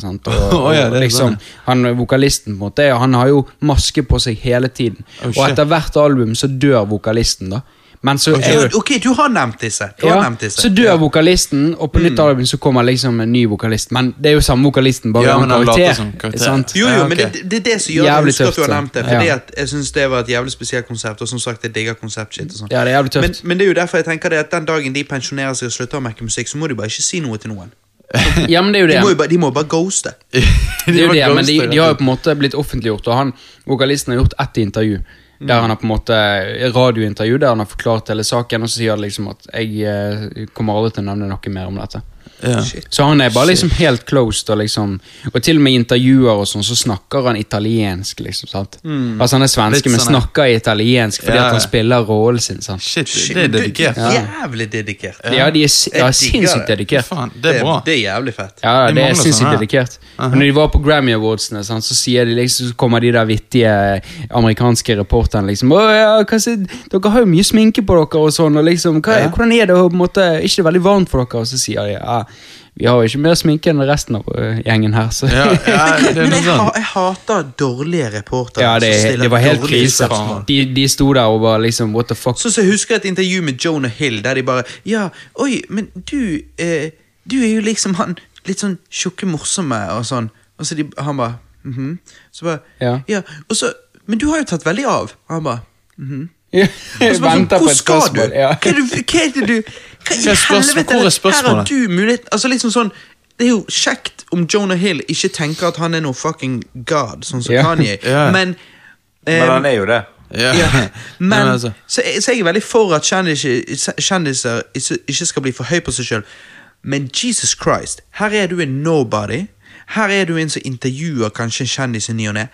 *laughs* Sant? Og, Å, ja, det er og liksom, sånn, han vokalisten på en måte, han har jo maske på seg hele tiden. Oh, og shit. etter hvert album så dør vokalisten, da. Men så er jo Ja, ok, du har nevnt disse. Du har ja, nevnt disse. så dør vokalisten, og på nytt album så kommer liksom en ny vokalist. Men det er jo samme vokalisten, bare Ja, en men han karakter. later som karakter. Sant? Jo, jo, Ja, ok. men det, det er det som gjør at jeg Jævlig husker at du har tøft, så. nevnt det. Fordi Ja. at jeg synes det var et jævlig spesielt konsept, og som sagt, jeg digger konseptshit. og sånn. Ja, det er jævlig tøft. Men, men det er jo derfor jeg tenker det at den dagen de pensjonerer seg og slutter å merke musikk, så må de bare ikke si noe til noen. Ja, men det er jo De *laughs* det. må jo bare, de må bare ghoste. *laughs* det, er jo var det men de, gangster, de har jo på en måte blitt offentliggjort, og han, vokalisten har gjort ett intervju. Der han har på en måte eh, radiointervju der han har forklart hele saken, og så sier han liksom at jeg eh, kommer aldri til å nevne noe mer om dette. Ja. Så han er bare liksom helt closed, og liksom Og til og med i intervjuer og sånn, så snakker han italiensk, liksom. sant? Altså han er svenske, Litt men sånn, ja. snakker italiensk fordi Ja, ja. at han spiller rollen sin. sant? Shit, Shit, det er du- dedikert. du er Jævlig dedikert. Ja, de er, si- ja, Jeg digger sinnssykt det. dedikert. Faen, det er bra. Det er jævlig fett. Ja, Det det er mangler sånn, sinnssykt sånne her. dedikert. Og Når de var på Grammy Awardsene, sant, så, sier de liksom, så kommer de der vittige eh, amerikanske reporterne liksom Å, ja, hva sier, Dere har jo mye sminke på dere, og sånn, og liksom hva, Hvordan er det å på en måte Ikke det veldig varmt for dere? Og så sier de ja, vi har jo ikke mer sminke enn resten av ø, gjengen her, så Ja, ja, det er Men noe sånn. jeg, ha, sånt. jeg hater dårlige reportere. Ja, det, som stiller det var helt dårlige krise. spørsmål. De, de sto der og var liksom What the fuck? Sånn som jeg husker et intervju med Jonah Hill, der de bare Ja, oi, men du eh, Du er jo liksom han litt sånn tjukke, morsomme og sånn. Og så de, han bare mhm. Så bare Ja. Og så Men du har jo tatt veldig av. Og han bare mhm. Og så bare sånn, Venter Hvor på et skal du? spørsmål. Ja. Hva er det du- hva er det *laughs* du Hva i Hva er spørsmål- helvete? hvor Her er har spørsmålet? du mulighet Altså liksom sånn det er jo kjekt om Jonah Hill ikke tenker at han er noe fucking god, sånn som *laughs* Ja. Kanye, Ja. men Men ehm, han er jo det. Ja. ja. *laughs* Nei, Men, altså. så, jeg- så jeg er veldig for at kjendiser, kjendiser ikke- ikke skal bli for høy på seg sjøl. Men Jesus Christ, her er du en nobody. Her er du en som intervjuer kanskje en kjendis i ny og ne.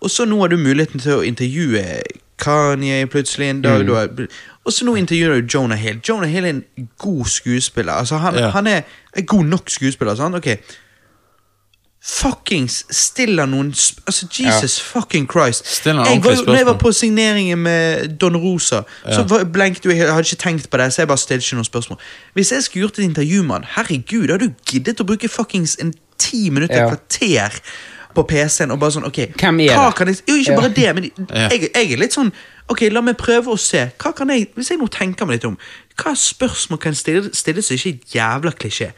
Og så nå har du muligheten til å intervjue Kanye plutselig en Mm. dag. du har- Og så nå intervjuer du Jonah Hill. Jonah Hill er en god skuespiller. Altså, han, Ja. han er en god nok skuespiller. Sant? Ok Fuckings stiller noen sp Altså, Jesus fucking Christ. Stiller noen jeg var, jo- ordentlige når jeg var spørsmål. på signeringen med Don Rosa, så var- blenket jo jeg, jeg hadde ikke tenkt på det, så jeg bare stilte ikke noen spørsmål. Hvis jeg skulle gjort et intervju med han, herregud, hadde du giddet å bruke fuckings en ti minutter, et Ja. kvarter på PC-en og bare sånn, ok, Hvem er hva det? kan jeg Jo, ikke *laughs* Ja. bare det, men Ja. jeg, jeg er litt sånn Ok, la meg prøve å se. Hva kan jeg, Hvis jeg nå tenker meg litt om, hva spørsmål kan stille- stilles som ikke er jævla klisjé?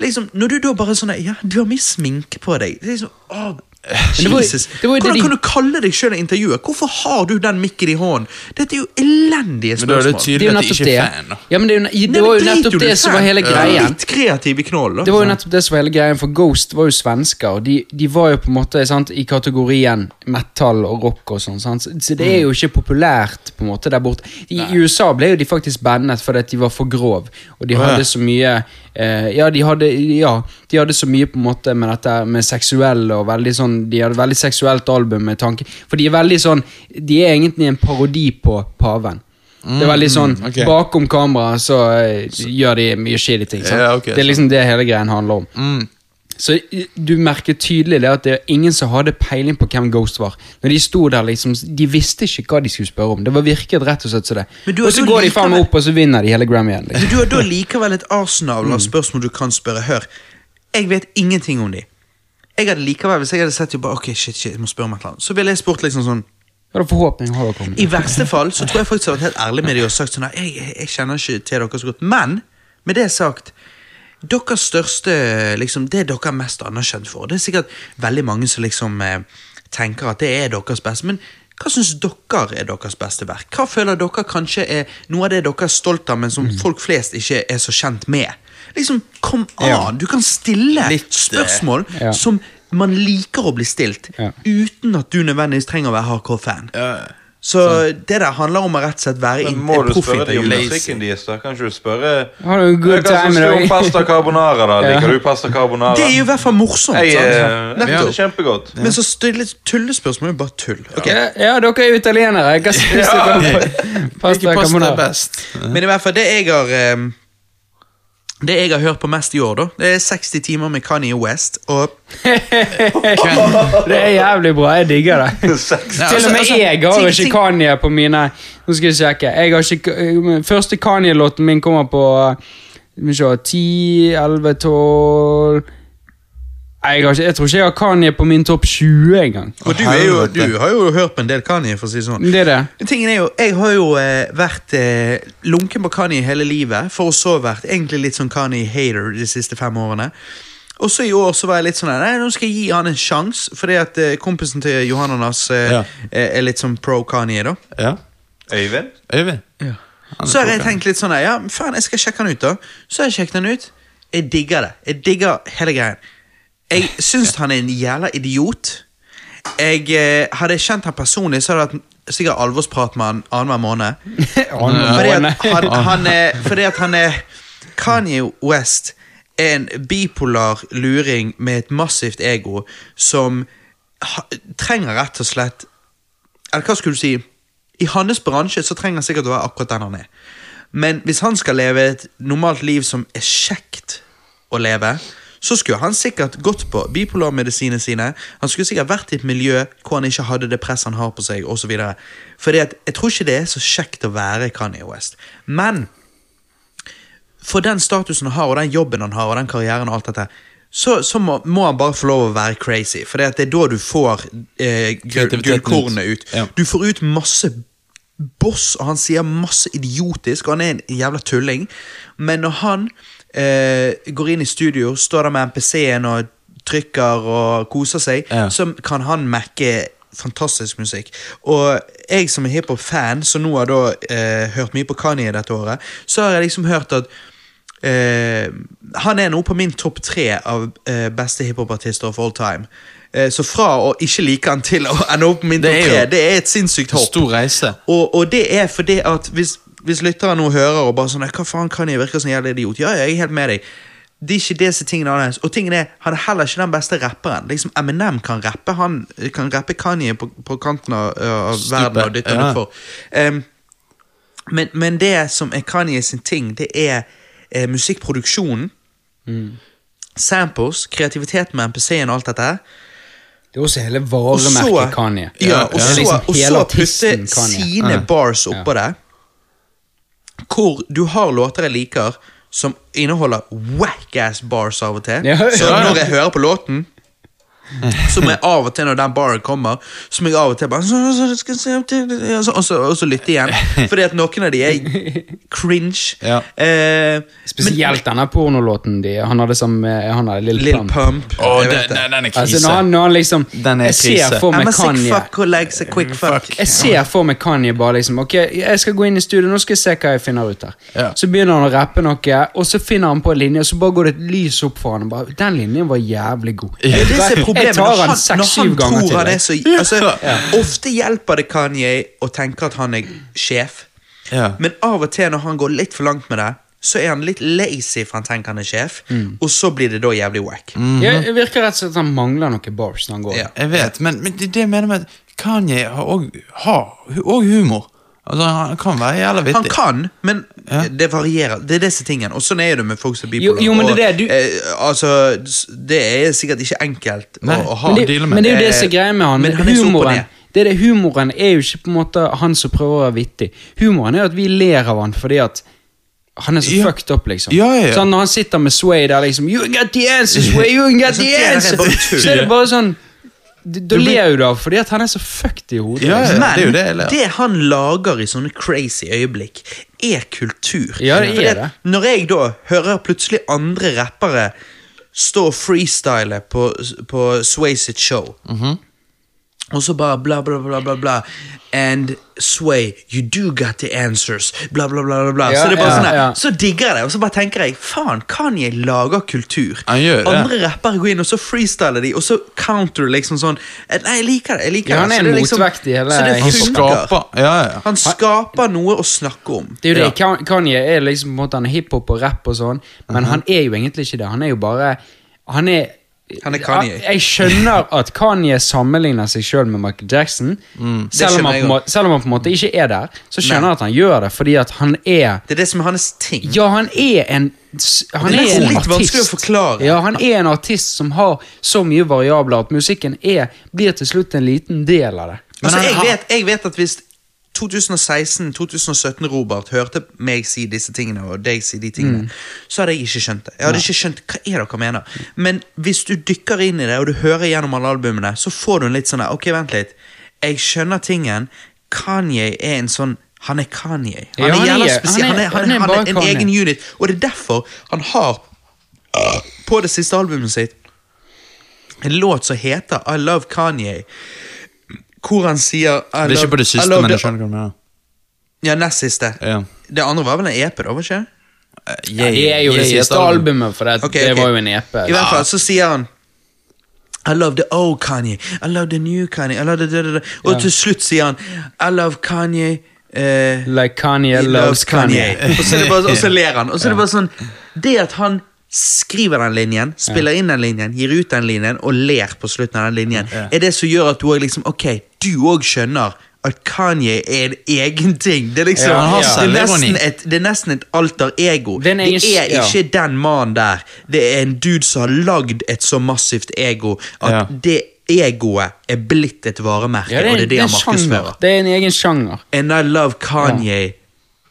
Liksom, Når du da bare sånn Ja, du har mye sminke på deg. Det er liksom, åh, Men det var- Jesus. det var jo det Hvordan de- kan du kalle deg sjøl en intervjuer? Hvorfor har du den mikken i hånden? Dette er jo elendige Men da er spørsmål. det tydelig- Det er jo at de nettopp ikke det. er fan, da. Ja, men det, er jo, ne- Nei, det var jo men drit nettopp du det i som var hele fan. greien. Litt kreativ i knollen. Det var jo nettopp det som var hele greien, for Ghost var jo svensker, og de, de var jo på en måte sant, i kategorien metal og rock og sånn, sant? så det Mm. er jo ikke populært på en måte der borte. I, i USA ble jo de faktisk bandet fordi at de var for grov, og de Å, ja. hadde så mye eh, ja, de hadde, ja, de hadde så mye på en måte med dette med seksuell og veldig sånn De hadde veldig seksuelt album med tanke For de er veldig sånn De er egentlig en parodi på paven. Det er veldig sånn Mm, ok. Bakom kamera så, eh, gjør de mye shitty ting. sant? Ja, ok, det er sant. liksom det hele greien handler om. Så i- du merker tydelig det at det er ingen som hadde peiling på hvem Ghost var. Når De sto der liksom, de visste ikke hva de skulle spørre om. Det var virket rett og slett så det. Men du- Og så du går de liker faen meg vel- opp, og så vinner de hele Grammyen. Liksom. Men du har da likevel et arsenal Mm. av spørsmål du kan spørre. Hør, jeg vet ingenting om de. Jeg hadde likevel, Hvis jeg hadde sett jo bare, ok, shit, shit, jeg må spørre om et eller annet, så ville jeg spurt liksom sånn Hva er det forhåpning har dere om I det? verste fall så tror jeg faktisk jeg har vært helt ærlig med de og sagt sånn «Nei, jeg, jeg, jeg kjenner ikke til dere så godt. Men med det sagt deres største, liksom, Det dere er mest anerkjent for, det er sikkert veldig mange som liksom eh, tenker at det er deres beste, men hva syns dere er deres beste verk? Hva føler dere kanskje er noe av det dere er stolt av, men som Mm. folk flest ikke er så kjent med? Liksom, Kom an! Ja. Du kan stille Litt, eh, spørsmål ja. som man liker å bli stilt, Ja. uten at du nødvendigvis trenger å være hardcore-fan. Ja. Så det der handler om å rett og slett være Men in- må en du spørre de om proffintervjuer. musikken deres, da? Kan ikke du spørre Har du en good Jeg kan time i spørre om dag? pasta carbonara, da. *laughs* Ja. Liker du pasta carbonara? Det er jo i hvert fall morsomt. Jeg, eh, sant? ja, Nettopp. kjempegodt. *laughs* Men så stille tullespørsmål er jo bare tull. Ok, Ja, ja, dere er jo italienere. Hva synes dere om pasta Hvilken pasta er carbonara? best? Men i hvert fall, det jeg har ehm, Det jeg har hørt på mest i år, da, det er 60 timer med Kanye West. Og Det er jævlig bra. Jeg digger det. Sex. Til og med jeg altså, ting- har ikke ting- Kanye på mine Nå skal jeg sjekke. Jeg har ikke, første Kanye-låten min kommer på Skal vi se 10, 11, 12 Nei, jeg, har ikke, jeg tror ikke jeg har Kanye på min topp 20 engang. og du, er jo, du har jo hørt på en del Kanye, for å si det sånn. Det er det. Tingen er jo, Jeg har jo eh, vært eh, lunken på Kanye hele livet, for å så vært egentlig litt sånn Kanye-hater de siste fem årene. Og så i år så var jeg litt sånn Nei, nå skal jeg gi han en sjanse, fordi at eh, kompisen til Johananas eh, Ja. eh, er litt sånn pro Kanye, da. Ja. Øyvind? Øyvind? Han er Så har jeg klok, han. tenkt litt sånn Ja, faen, jeg skal sjekke han ut, da. Så har jeg sjekket han ut. Jeg digger det. Jeg digger hele greien. Jeg syns han er en jævla idiot. Jeg eh, Hadde jeg kjent han personlig, så hadde jeg hatt sikkert alvorsprat med han annenhver *laughs* måned. Fordi at han, han er, fordi at han er Kanye West er en bipolar luring med et massivt ego som ha, trenger rett og slett Eller hva skulle du si? I hans bransje så trenger han sikkert å være akkurat den han er. Men hvis han skal leve et normalt liv som er kjekt å leve, så skulle han sikkert gått på bipolarmedisinene sine. Han skulle sikkert vært i et miljø hvor han ikke hadde det presset han har på seg, osv. Fordi at jeg tror ikke det er så kjekt å være Kanye West. Men for den statusen han har, og den jobben han har, og den karrieren og alt dette, så, så må, må han bare få lov å være crazy. For det at det er da du får eh, gull- Kreativiteten ut. gullkornet ut. Ja. Du får ut masse boss, og han sier masse idiotisk, og han er en jævla tulling. Men når han eh, går inn i studio, står der med MPC-en og trykker og koser seg, Ja. så kan han mekke fantastisk musikk. Og jeg som er hiphop-fan, som nå har da eh, hørt mye på Kanye dette året, så har jeg liksom hørt at eh, han er nå på min topp tre av eh, beste hiphopartister of all time. Eh, så fra å ikke like han til å ende opp på min Det topp er jo- tre, det er et sinnssykt hopp. Stor reise. Og, og det er fordi at hvis, hvis lyttere nå hører og bare sånn Hva faen kan jeg virke som en jævla idiot? Ja, ja, jeg er helt med deg. Det er ikke disse tingene hans. Og tingen er, han er heller ikke den beste rapperen. Liksom Eminem kan rappe han eh, kan rappe Kanye på, på kanten av, eh, av verden og dytte ja. han utfor. Em, men, men det som er Kanye sin ting, det er eh, musikkproduksjonen. Samples, kreativitet med MPC-en og alt dette. her. Det er også hele Og så- varemerket Kanye. Ja, og Det er så, liksom og hele så artisten putte Kanye. sine bars oppå det. Hvor du har låter jeg liker, som inneholder whack-ass bars av og til. Ja, Så ja. når jeg hører på låten Så må jeg av og til når den baren kommer, så må jeg av og til bare så, så, skal jeg se opp til, og, så, og, så, og så lytte *laughs* igjen. Fordi at noen av de er cringe. Ja. Eh, Spesielt denne pornolåten de han hadde sammen med han der Lil Lill Pump. Pump. Å, jeg den, vet det. den, den er Altså, krise. når, han, når han liksom Den er Jeg ser krise. for I'm meg a sick Kanye. fuck who likes a quick fuck. Jeg ser for meg Kanye bare liksom Ok, jeg skal gå inn i studio, nå skal jeg se hva jeg finner ut her. Ja. Så begynner han å rappe noe, og så finner han på en linje, og så bare går det et lys opp for han og bare, Den linjen var jævlig god. Det er det som er Jeg problemet. tar Når han han, når han seks-syv ganger tror til. han er jeg. så altså, Ofte hjelper det Kanye å tenke at han er sjef, Ja. men av og til når han går litt for langt med det, så er han litt lazy for han tenker han er sjef, Mm. og så blir det da jævlig wack. Jeg, jeg virker rett og slett at han mangler noen bars når han går. Ja. Jeg vet, men, men det det jeg mener med at Kanye har og, har hu- og humor. Altså, han kan være jævla vittig. Han kan, men det varierer. Det er disse tingene. Og sånn er det med folk som er Jo- bipolar. jo, men det er og, det du- eh, altså, s- det er sikkert ikke enkelt å, Nei. å ha. Men, dealer det, med. men det er jo det Eh, som er greia med han. men han er så opp og humoren, ned. det er det, humoren er jo ikke på en måte han som prøver å være vittig. Humoren er jo at vi ler av han fordi at han er så Ja. fucked up, liksom. Ja, ja, ja. Sånn Når han sitter med Sway der liksom You ain't got the answer, Sway, you ain't got Altså, the det er answer! bare tull. Så er det bare sånn d- Da ler du av fordi at han er så fucked i hodet. Ja, ja, liksom. det er jo Men det jeg ler av. han lager i sånne crazy øyeblikk, er kultur. Ja, det er Fordi at det. Når jeg da hører plutselig andre rappere stå og freestyle på, på Sway sitt show, Mhm. og så bare bla, bla, bla, bla, bla And Sway, you do got the answers. Bla, bla, bla. bla, bla. Ja, så det er bare ja, sånn her, ja. så digger jeg det, og så bare tenker jeg faen, Kanye lager kultur. Han gjør det. Andre rappere går inn, og så freestyler de, og så counter liksom sånn Nei, jeg liker det. jeg liker Ja, det. han er Så en det liksom- motvekt i hele så det Han funker. skaper Ja, ja. Han skaper noe å snakke om. Det er jo det. Ja. Kan- Kanye er liksom på en måte Han er hiphop og rap og sånn, men Mhm. han er jo egentlig ikke det. Han er jo bare Han er Han er Kanye. Jeg, jeg skjønner at Kanye sammenligner seg sjøl med Michael Jackson, selv, om Mm, skjønner han jeg på en måte, selv om han på en måte ikke er der. Så skjønner Nei. jeg at han gjør det, fordi at han er Det er det som er hans ting. ja, han er en s- han Det er er nesten en litt artist. vanskelig å forklare. Ja, han er en artist som har så mye variabler at musikken er, blir til slutt en liten del av det. altså, han- jeg, han- vet, jeg vet at hvis 2016-2017 Robert hørte meg si disse tingene, og deg si de tingene, så hadde jeg ikke skjønt det. Jeg hadde ikke skjønt hva er det dere mener. Men hvis du dykker inn i det, og du hører gjennom alle albumene, så får du en litt sånn der, ok, vent litt, jeg skjønner tingen, Kanye er en sånn han er Kanye. Han Ja, er han jævla er- spesiell. Han er, han er, han bare er en Kanye. egen unit. Og det er derfor han har på det siste albumet sitt en låt som heter I Love Kanye. Hvor han sier I Det er ikke på det I siste, love men the- jeg skjønner hva du mener. Ja, nest siste. Ja. Det andre var vel en EP, da? var ikke det? Ja, det er jo det Jeg- siste albumet, for det, Ok, det ok. var jo en EP. I hvert fall så sier han I love the old Kanye. I love the new Kanye. I love the da, da, da. Og til slutt sier han I love Kanye. eh, Like Kanye He loves Kanye. og, så er det bare, og så ler han. Og så er det bare sånn Det at han skriver den linjen, spiller inn den linjen, gir ut den linjen og ler på slutten av den linjen, er det som gjør at du òg liksom Ok, du òg skjønner at Kanye er en egen ting. Det er liksom Ja, han har sånn det, er selvironi. nesten et, det er nesten et alter ego. Det er en egen- det er ja. ikke den mannen der. Det er en dude som har lagd et så massivt ego at Ja. det egoet er blitt et varemerke, Ja, det er, og det er det en han markedsfører. sjanger. Det er en egen sjanger. And I love Kanye.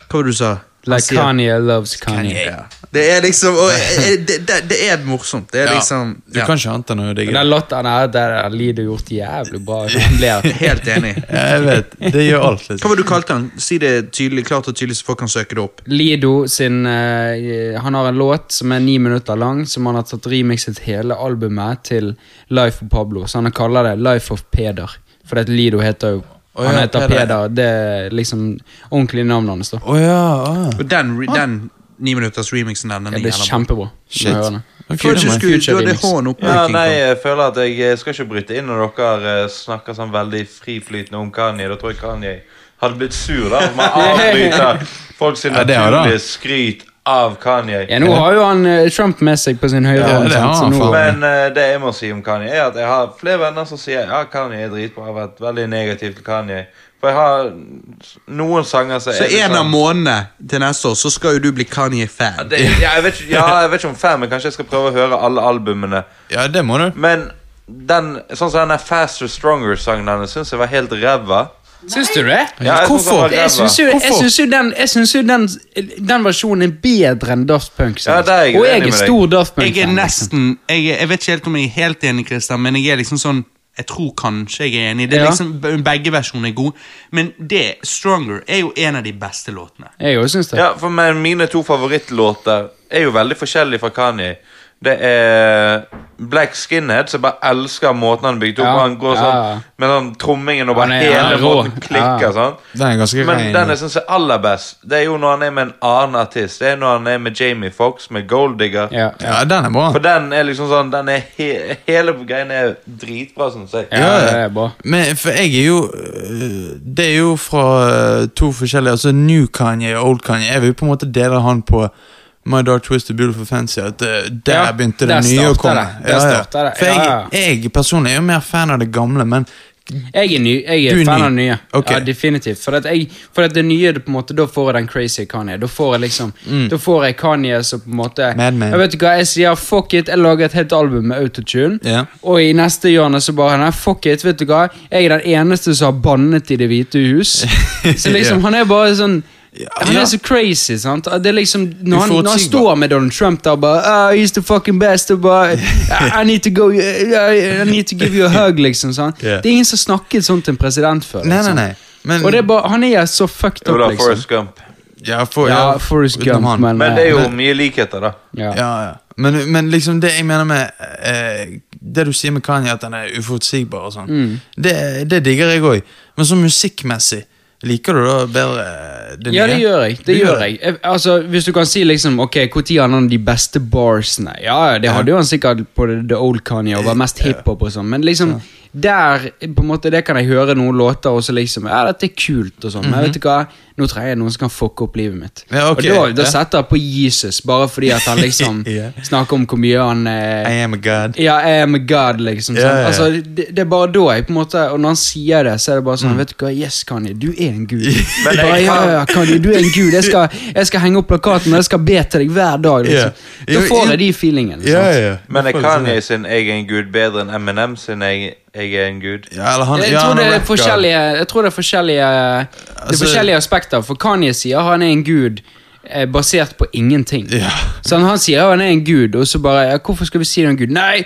Hva var det du sa? Han Like sier, Kanye loves Kanye. Ja. Det er liksom og, eh, det, det, det er morsomt. Det er liksom Du ja. kan ikke annet enn å digge Den det. låten her, der har Lido gjort jævlig bra. Han ler. *laughs* Helt enig. Ja, jeg vet. Det gjør alt, Hva liksom. var det du kalte han? Si det tydelig, klart og tydelig, så folk kan søke det opp. Lido sin eh, Han har en låt som er ni minutter lang, som han har tatt remixet hele albumet til Life of Pablo. Så han kaller det Life of Peder. Fordi at Lido heter jo Å Han ja, heter Peder. Peder. Det er liksom ordentlig navnet hans. da Å ja. ah. å ja. Og den, re- den ni minutters remixen der, den Det er Ah. blir jævla bra. kjempebra. Shit. Må høre det. Ok, Kanskje det må jeg- skulle- Du hadde remix. hånden oppe. Ja, King nei, Kong. jeg føler at jeg eh, skal ikke bryte inn når dere eh, snakker sånn veldig friflytende om Kanye. Da tror jeg Kanye hadde blitt sur, da. *laughs* Om man avbryter folk sin Ja, det har han. naturlige skryt av Kanye. Ja, nå har jo han eh, Trump med seg på sin høyre Ja, hånd. det har han, sant? Så faen. nå- Men eh, det jeg må si om Kanye, er at jeg har flere venner som sier ja, Kanye er dritbra. Jeg har vært veldig negativ til Kanye. For jeg har noen sanger som Så er litt en av sånn- månedene til neste år så skal jo du bli Ja, Kanye-fan. det, ja, jeg vet, ikke- ja, jeg vet ikke om fan, men kanskje jeg skal prøve å høre alle albumene. Ja, det må du. Men den, sånn som den der Faster Stronger-sangen hennes syns jeg var helt ræva. Syns du det? Ja, jeg synes Hvorfor? det var Jeg syns jo, jeg Hvorfor? syns jo, den, jeg syns jo den, den versjonen er bedre enn Daft Punk. sin. Ja, der er jeg Og enig jeg med er deg. stor Daft liksom. Punk. Jeg er nesten jeg, er- jeg vet ikke helt om jeg er helt enig, Christian, men jeg er liksom sånn Jeg tror kanskje jeg er enig. Det er Ja. liksom, be- Begge versjonene er gode, men det, 'Stronger', er jo en av de beste låtene. Jeg òg syns det. Ja, for men mine to favorittlåter er jo veldig forskjellige fra Kanye. Det er Black Skinhead, som bare elsker måten han er bygd opp Ja, på. Han går ja, sånn ja. med den trommingen og Han bare er- han er hele rå. måten klikker. Ja. sånn Den er ganske Men rein. den jeg syns er aller best, det er jo når han er med en annen artist. Det er når han er med Jamie Fox, med Gold Digger. Ja. Ja, den er bra. For den er liksom sånn den er he Hele greien er dritbra, syns jeg. Ja. det er bra. Men for jeg er jo øh, Det er jo fra øh, to forskjellige Altså New Kanye og Old Kanye. Jeg vil på en måte dele han på My Dark Twisted Beautiful Fancy. At øh, der Ja, begynte det der nye å starter komme. det. Der starter det. For Ja, ja. jeg, jeg personlig er jo mer fan av det gamle, men Jeg er, ny, jeg Du er, er fan ny. av nye. Ok. Ja, definitivt. For, at jeg, for at det nye, det på en måte, da får jeg den crazy Kanye. Da får jeg liksom Da får jeg Kanye som på en måte Mm. Mad Man. Jeg vet du hva, jeg sier fuck it, jeg lager et helt album med autotune. Ja. Og i neste hjørne så bare Nei, fuck it, vet du hva, jeg er den eneste som har bannet i Det hvite *laughs* hus. Så liksom, Ja. han er bare sånn han ja. er så crazy, sant. Det er liksom, når han, når han Uforutsigbar. står med Donald Trump der bare oh, He's the fucking best. Og bare, I, I need to go I, I need to give you a hug, liksom. Sant? Ja. Det er ingen som snakket sånn til en president før. Nei, nei, liksom. nei. Men, Og det er bare, han er så fucked Jo up, da, liksom. Forrest Gump. ja, for, Ja, Forrest utenom Gump, han. men, Men det er jo mye likheter, da. ja. Ja, ja. Men, men liksom det jeg mener med eh, Det du sier med Kanye, at han er uforutsigbar og sånn, Mm. det, det digger jeg òg. Men sånn musikkmessig, liker du da bedre eh, det nye? Ja, det gjør jeg. Du Det gjør jeg. Jeg- Altså, Hvis du kan si liksom, ok, når hadde han de beste barsene? Ja, ja, det hadde jo han sikkert på The- The Old Kanye og var mest hiphop og sånn, men liksom der på en måte, Det kan jeg høre noen låter og så liksom Ja, dette er kult og sånn, men vet du hva? Nå trenger jeg noen som kan fucke opp livet mitt. Mhm. Ja, ok, og da, da ja. setter jeg på Jesus, bare fordi at *laughs* han liksom Ja. snakker om hvor mye han eh, I am a god. Ja, I am a god, liksom. Ja, sant? ja, ja. Altså, det, det er bare da jeg på en måte Og når han sier det, så er det bare Mm. sånn Vet du hva, yes, Kanye, du er *laughs* en gud. Men jeg bare, ja, kan- ja, Kanye, du er en gud. Jeg skal, jeg skal henge opp plakaten og jeg skal be til deg hver dag. Ja. Liksom. Da Jo, får jo- jeg de feelingene. sant? Men er Jeg får det Kanye sånn. sin egen gud bedre enn Eminem sin egen egen gud? ja, eller han, Jeg ja, tror, han det er rapper. forskjellige, jeg tror det er forskjellige Det er Altså- forskjellige aspekter. For Kanye sier han er en gud eh, basert på ingenting. Ja. Så han, han sier han er en gud, og så bare ja, Hvorfor skal vi si du er en gud? Nei!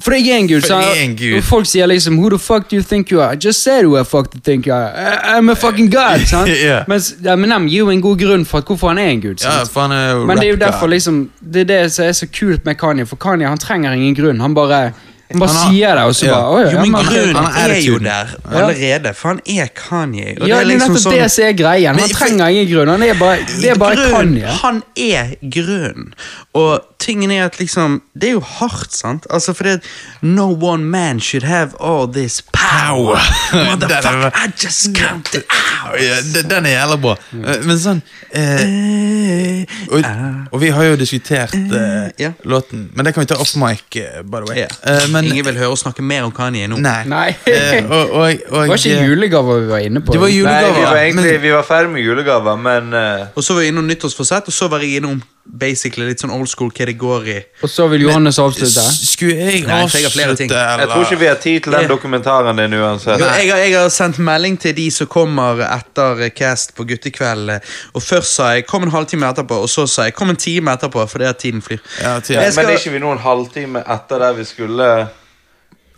For jeg er en gud. For sa jeg er han. en gud. Og folk sier liksom Who the fuck do you think you are? I just said who I fuck to think you are. I- I'm a *laughs* fucking god. Sant? Ja. Mens Eminem gir jo en god grunn for at hvorfor han er en gud. Ja, Sant? for han er jo Men det er jo rap-god. derfor liksom Det er det som er så kult med Kanye, for Kanye han trenger ingen grunn. Han bare, han bare Han har- sier det, og så Ja. bare «Å ja, Jo, men men- grunnen han har er jo attituden. der allerede, for han er Kanye. Og ja, det er liksom sånn- nettopp det som er greien. Han Men- trenger ingen grunn. Han er bare, det er bare Grunnen- Kanye. Han er grunnen. Og tingen er at liksom Det er jo hardt, sant? Altså fordi at No one man should have all this power. *laughs* Den Motherfucker, er- I just count it out. Ja, de- den er jævla bra. Mm. Men sånn eh, og, eh. og vi har jo diskutert eh, Ja. låten, men det kan vi ta off mic, eh, by the way. Ja. Eh, men, Ingen vil høre oss snakke mer om Kanye nå. Nei. Nei. Eh, og, og, og, eh, Det var ikke julegaver vi var inne på. Det var Nei, julegaver. vi var egentlig men- vi var ferdig med julegaver, men eh, Og så var jeg innom nyttårsforsett, og så var jeg innom basically litt sånn old school hva det går i. Og så vil Johannes avslutte. S- Skulle jeg Nei, for jeg har flere ting. avslutte, eller? jeg tror ikke vi har tid til den dokumentaren din uansett. Jo, jeg, har, jeg har sendt melding til de som kommer etter cast på guttekveld. eh, Og først sa jeg 'kom en halvtime etterpå', og så sa jeg 'kom en time etterpå', fordi at tiden flyr. Ja, til- Jeg skal- Men er ikke vi nå en halvtime etter der vi skulle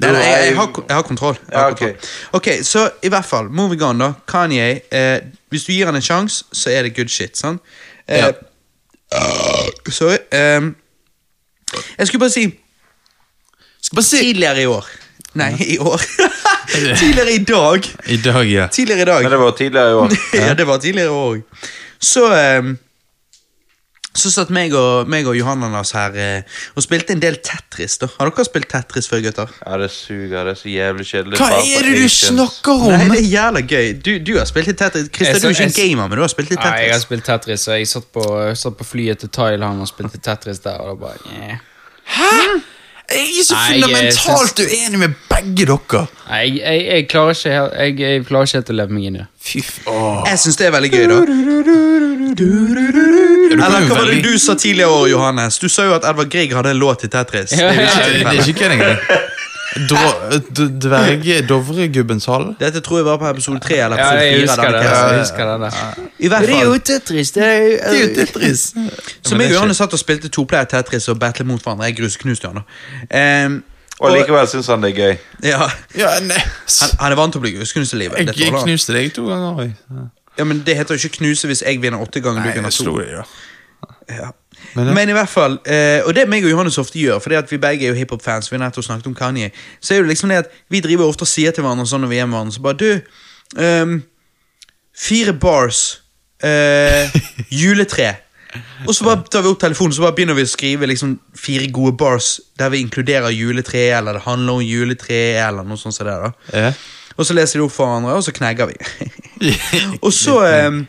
Nei, nei, jeg, jeg, har, ko- jeg har kontroll. Jeg har Ja, ok. kontroll. ok, Så i hvert fall, moving on, da. Kanye. Eh, hvis du gir han en sjanse, så er det good shit. sant? Eh, Ja. Sorry. ehm, jeg skulle bare si Skal bare si Tidligere i år Nei, i år. *laughs* tidligere i dag. I dag, ja. Tidligere i dag. Men det var jo tidligere *laughs* i år. *laughs* ja, det var tidligere òg. Så ehm, så satt meg og, meg og Johannanas her eh, og spilte en del Tetris. da. Har dere spilt Tetris før, gutter? Ja, det suger. Det er så jævlig kjedelig. Hva Bare for er det du Asians. snakker Nei, om? det er jævla gøy. Du, du har spilt litt Tetris. Christer, Jeg du er ikke så- en gamer, men du har spilt litt Nei, jeg har Tetris. spilt Tetris, og jeg satt på, satt på flyet til Thailand og spilte Tetris der, og da bare yeah. Jeg er så Nei, jeg fundamentalt uenig med begge dere. Nei, jeg, jeg, jeg klarer ikke helt jeg, jeg klarer ikke helt å leve meg inn i det. Fy Eh, faen. Jeg syns det er veldig gøy, da. Eller hva var det du sa tidligere i år, Johannes? Du sa jo at Edvard Grieg hadde en låt til Tetris. Det er jo Det ikke er ikke kødd engang. *laughs* Dro- d- Dverg Dovregubbens hall. Dette tror jeg var på episode tre eller Ja, episode jeg fire. husker da, det. Niklas. Jeg husker det der. I hvert fall. Tetris. Det er jo Det er jo Tetris. Så meg og Johanne satt og spilte toplayer Tetris og battlet mot hverandre. Jeg grusknuste han. Um, Og likevel syns han det er gøy. ja, Ja, nei. han, han er vant til å bli grusknust i livet. Jeg Det tåler jeg han. knuste deg to ganger. oi. Ja, men Det heter jo ikke knuse hvis jeg vinner åtte ganger. Nei, du vinner jeg to. slo deg, da. Ja. Men, ja. Men i hvert fall, eh, og det meg og Johannes ofte gjør, for det at vi begge er jo hiphop-fans, vi har nettopp snakket om Kanye, så er det liksom det at vi driver ofte og sier til hverandre sånn når vi er med hverandre, så bare du, ehm, fire bars, eh, juletre. Og så bare tar vi opp telefonen så bare begynner vi å skrive liksom fire gode bars der vi inkluderer juletre, eller det handler om juletre, eller noe sånt. som det da. Ja. Og så leser de opp for hverandre, og så knegger vi. *laughs* Og så, ehm,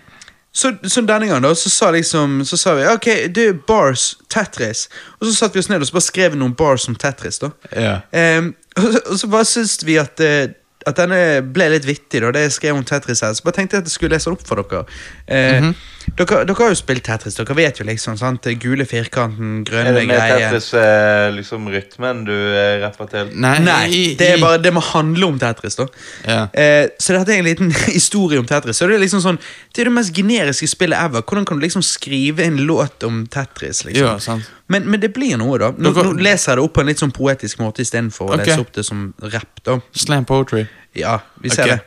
så, så denne gangen da, så sa, liksom, så sa vi ok, det er bars, Tetris. Og så satt vi oss ned og så bare skrev vi noen bars om Tetris. da. Ja. Ehm, og, så, og så bare syntes vi at, eh, at denne ble litt vittig, da, det jeg skrev om Tetris her. Så bare tenkte jeg at jeg skulle lese det opp for dere. Eh, Mhm. dere. Dere har jo spilt Tetris, dere vet jo liksom, sant? det Gule firkanten, Er det grønne med greier. Tetris eh, liksom rytmen du eh, rapper til? Nei, i- Nei, det, er i- bare, det må handle om Tetris, da. Ja. Eh, så dette er en liten *laughs* historie om Tetris. Så Det er liksom sånn Det er det mest generiske spillet ever. Hvordan kan du liksom skrive en låt om Tetris? liksom Ja, sant. men, men det blir noe, da. Nå, Dere- nå leser jeg det opp på en litt sånn poetisk måte istedenfor å Ok. lese opp det som rapp. da Slam poetry. Ja, vi ser Ok. det.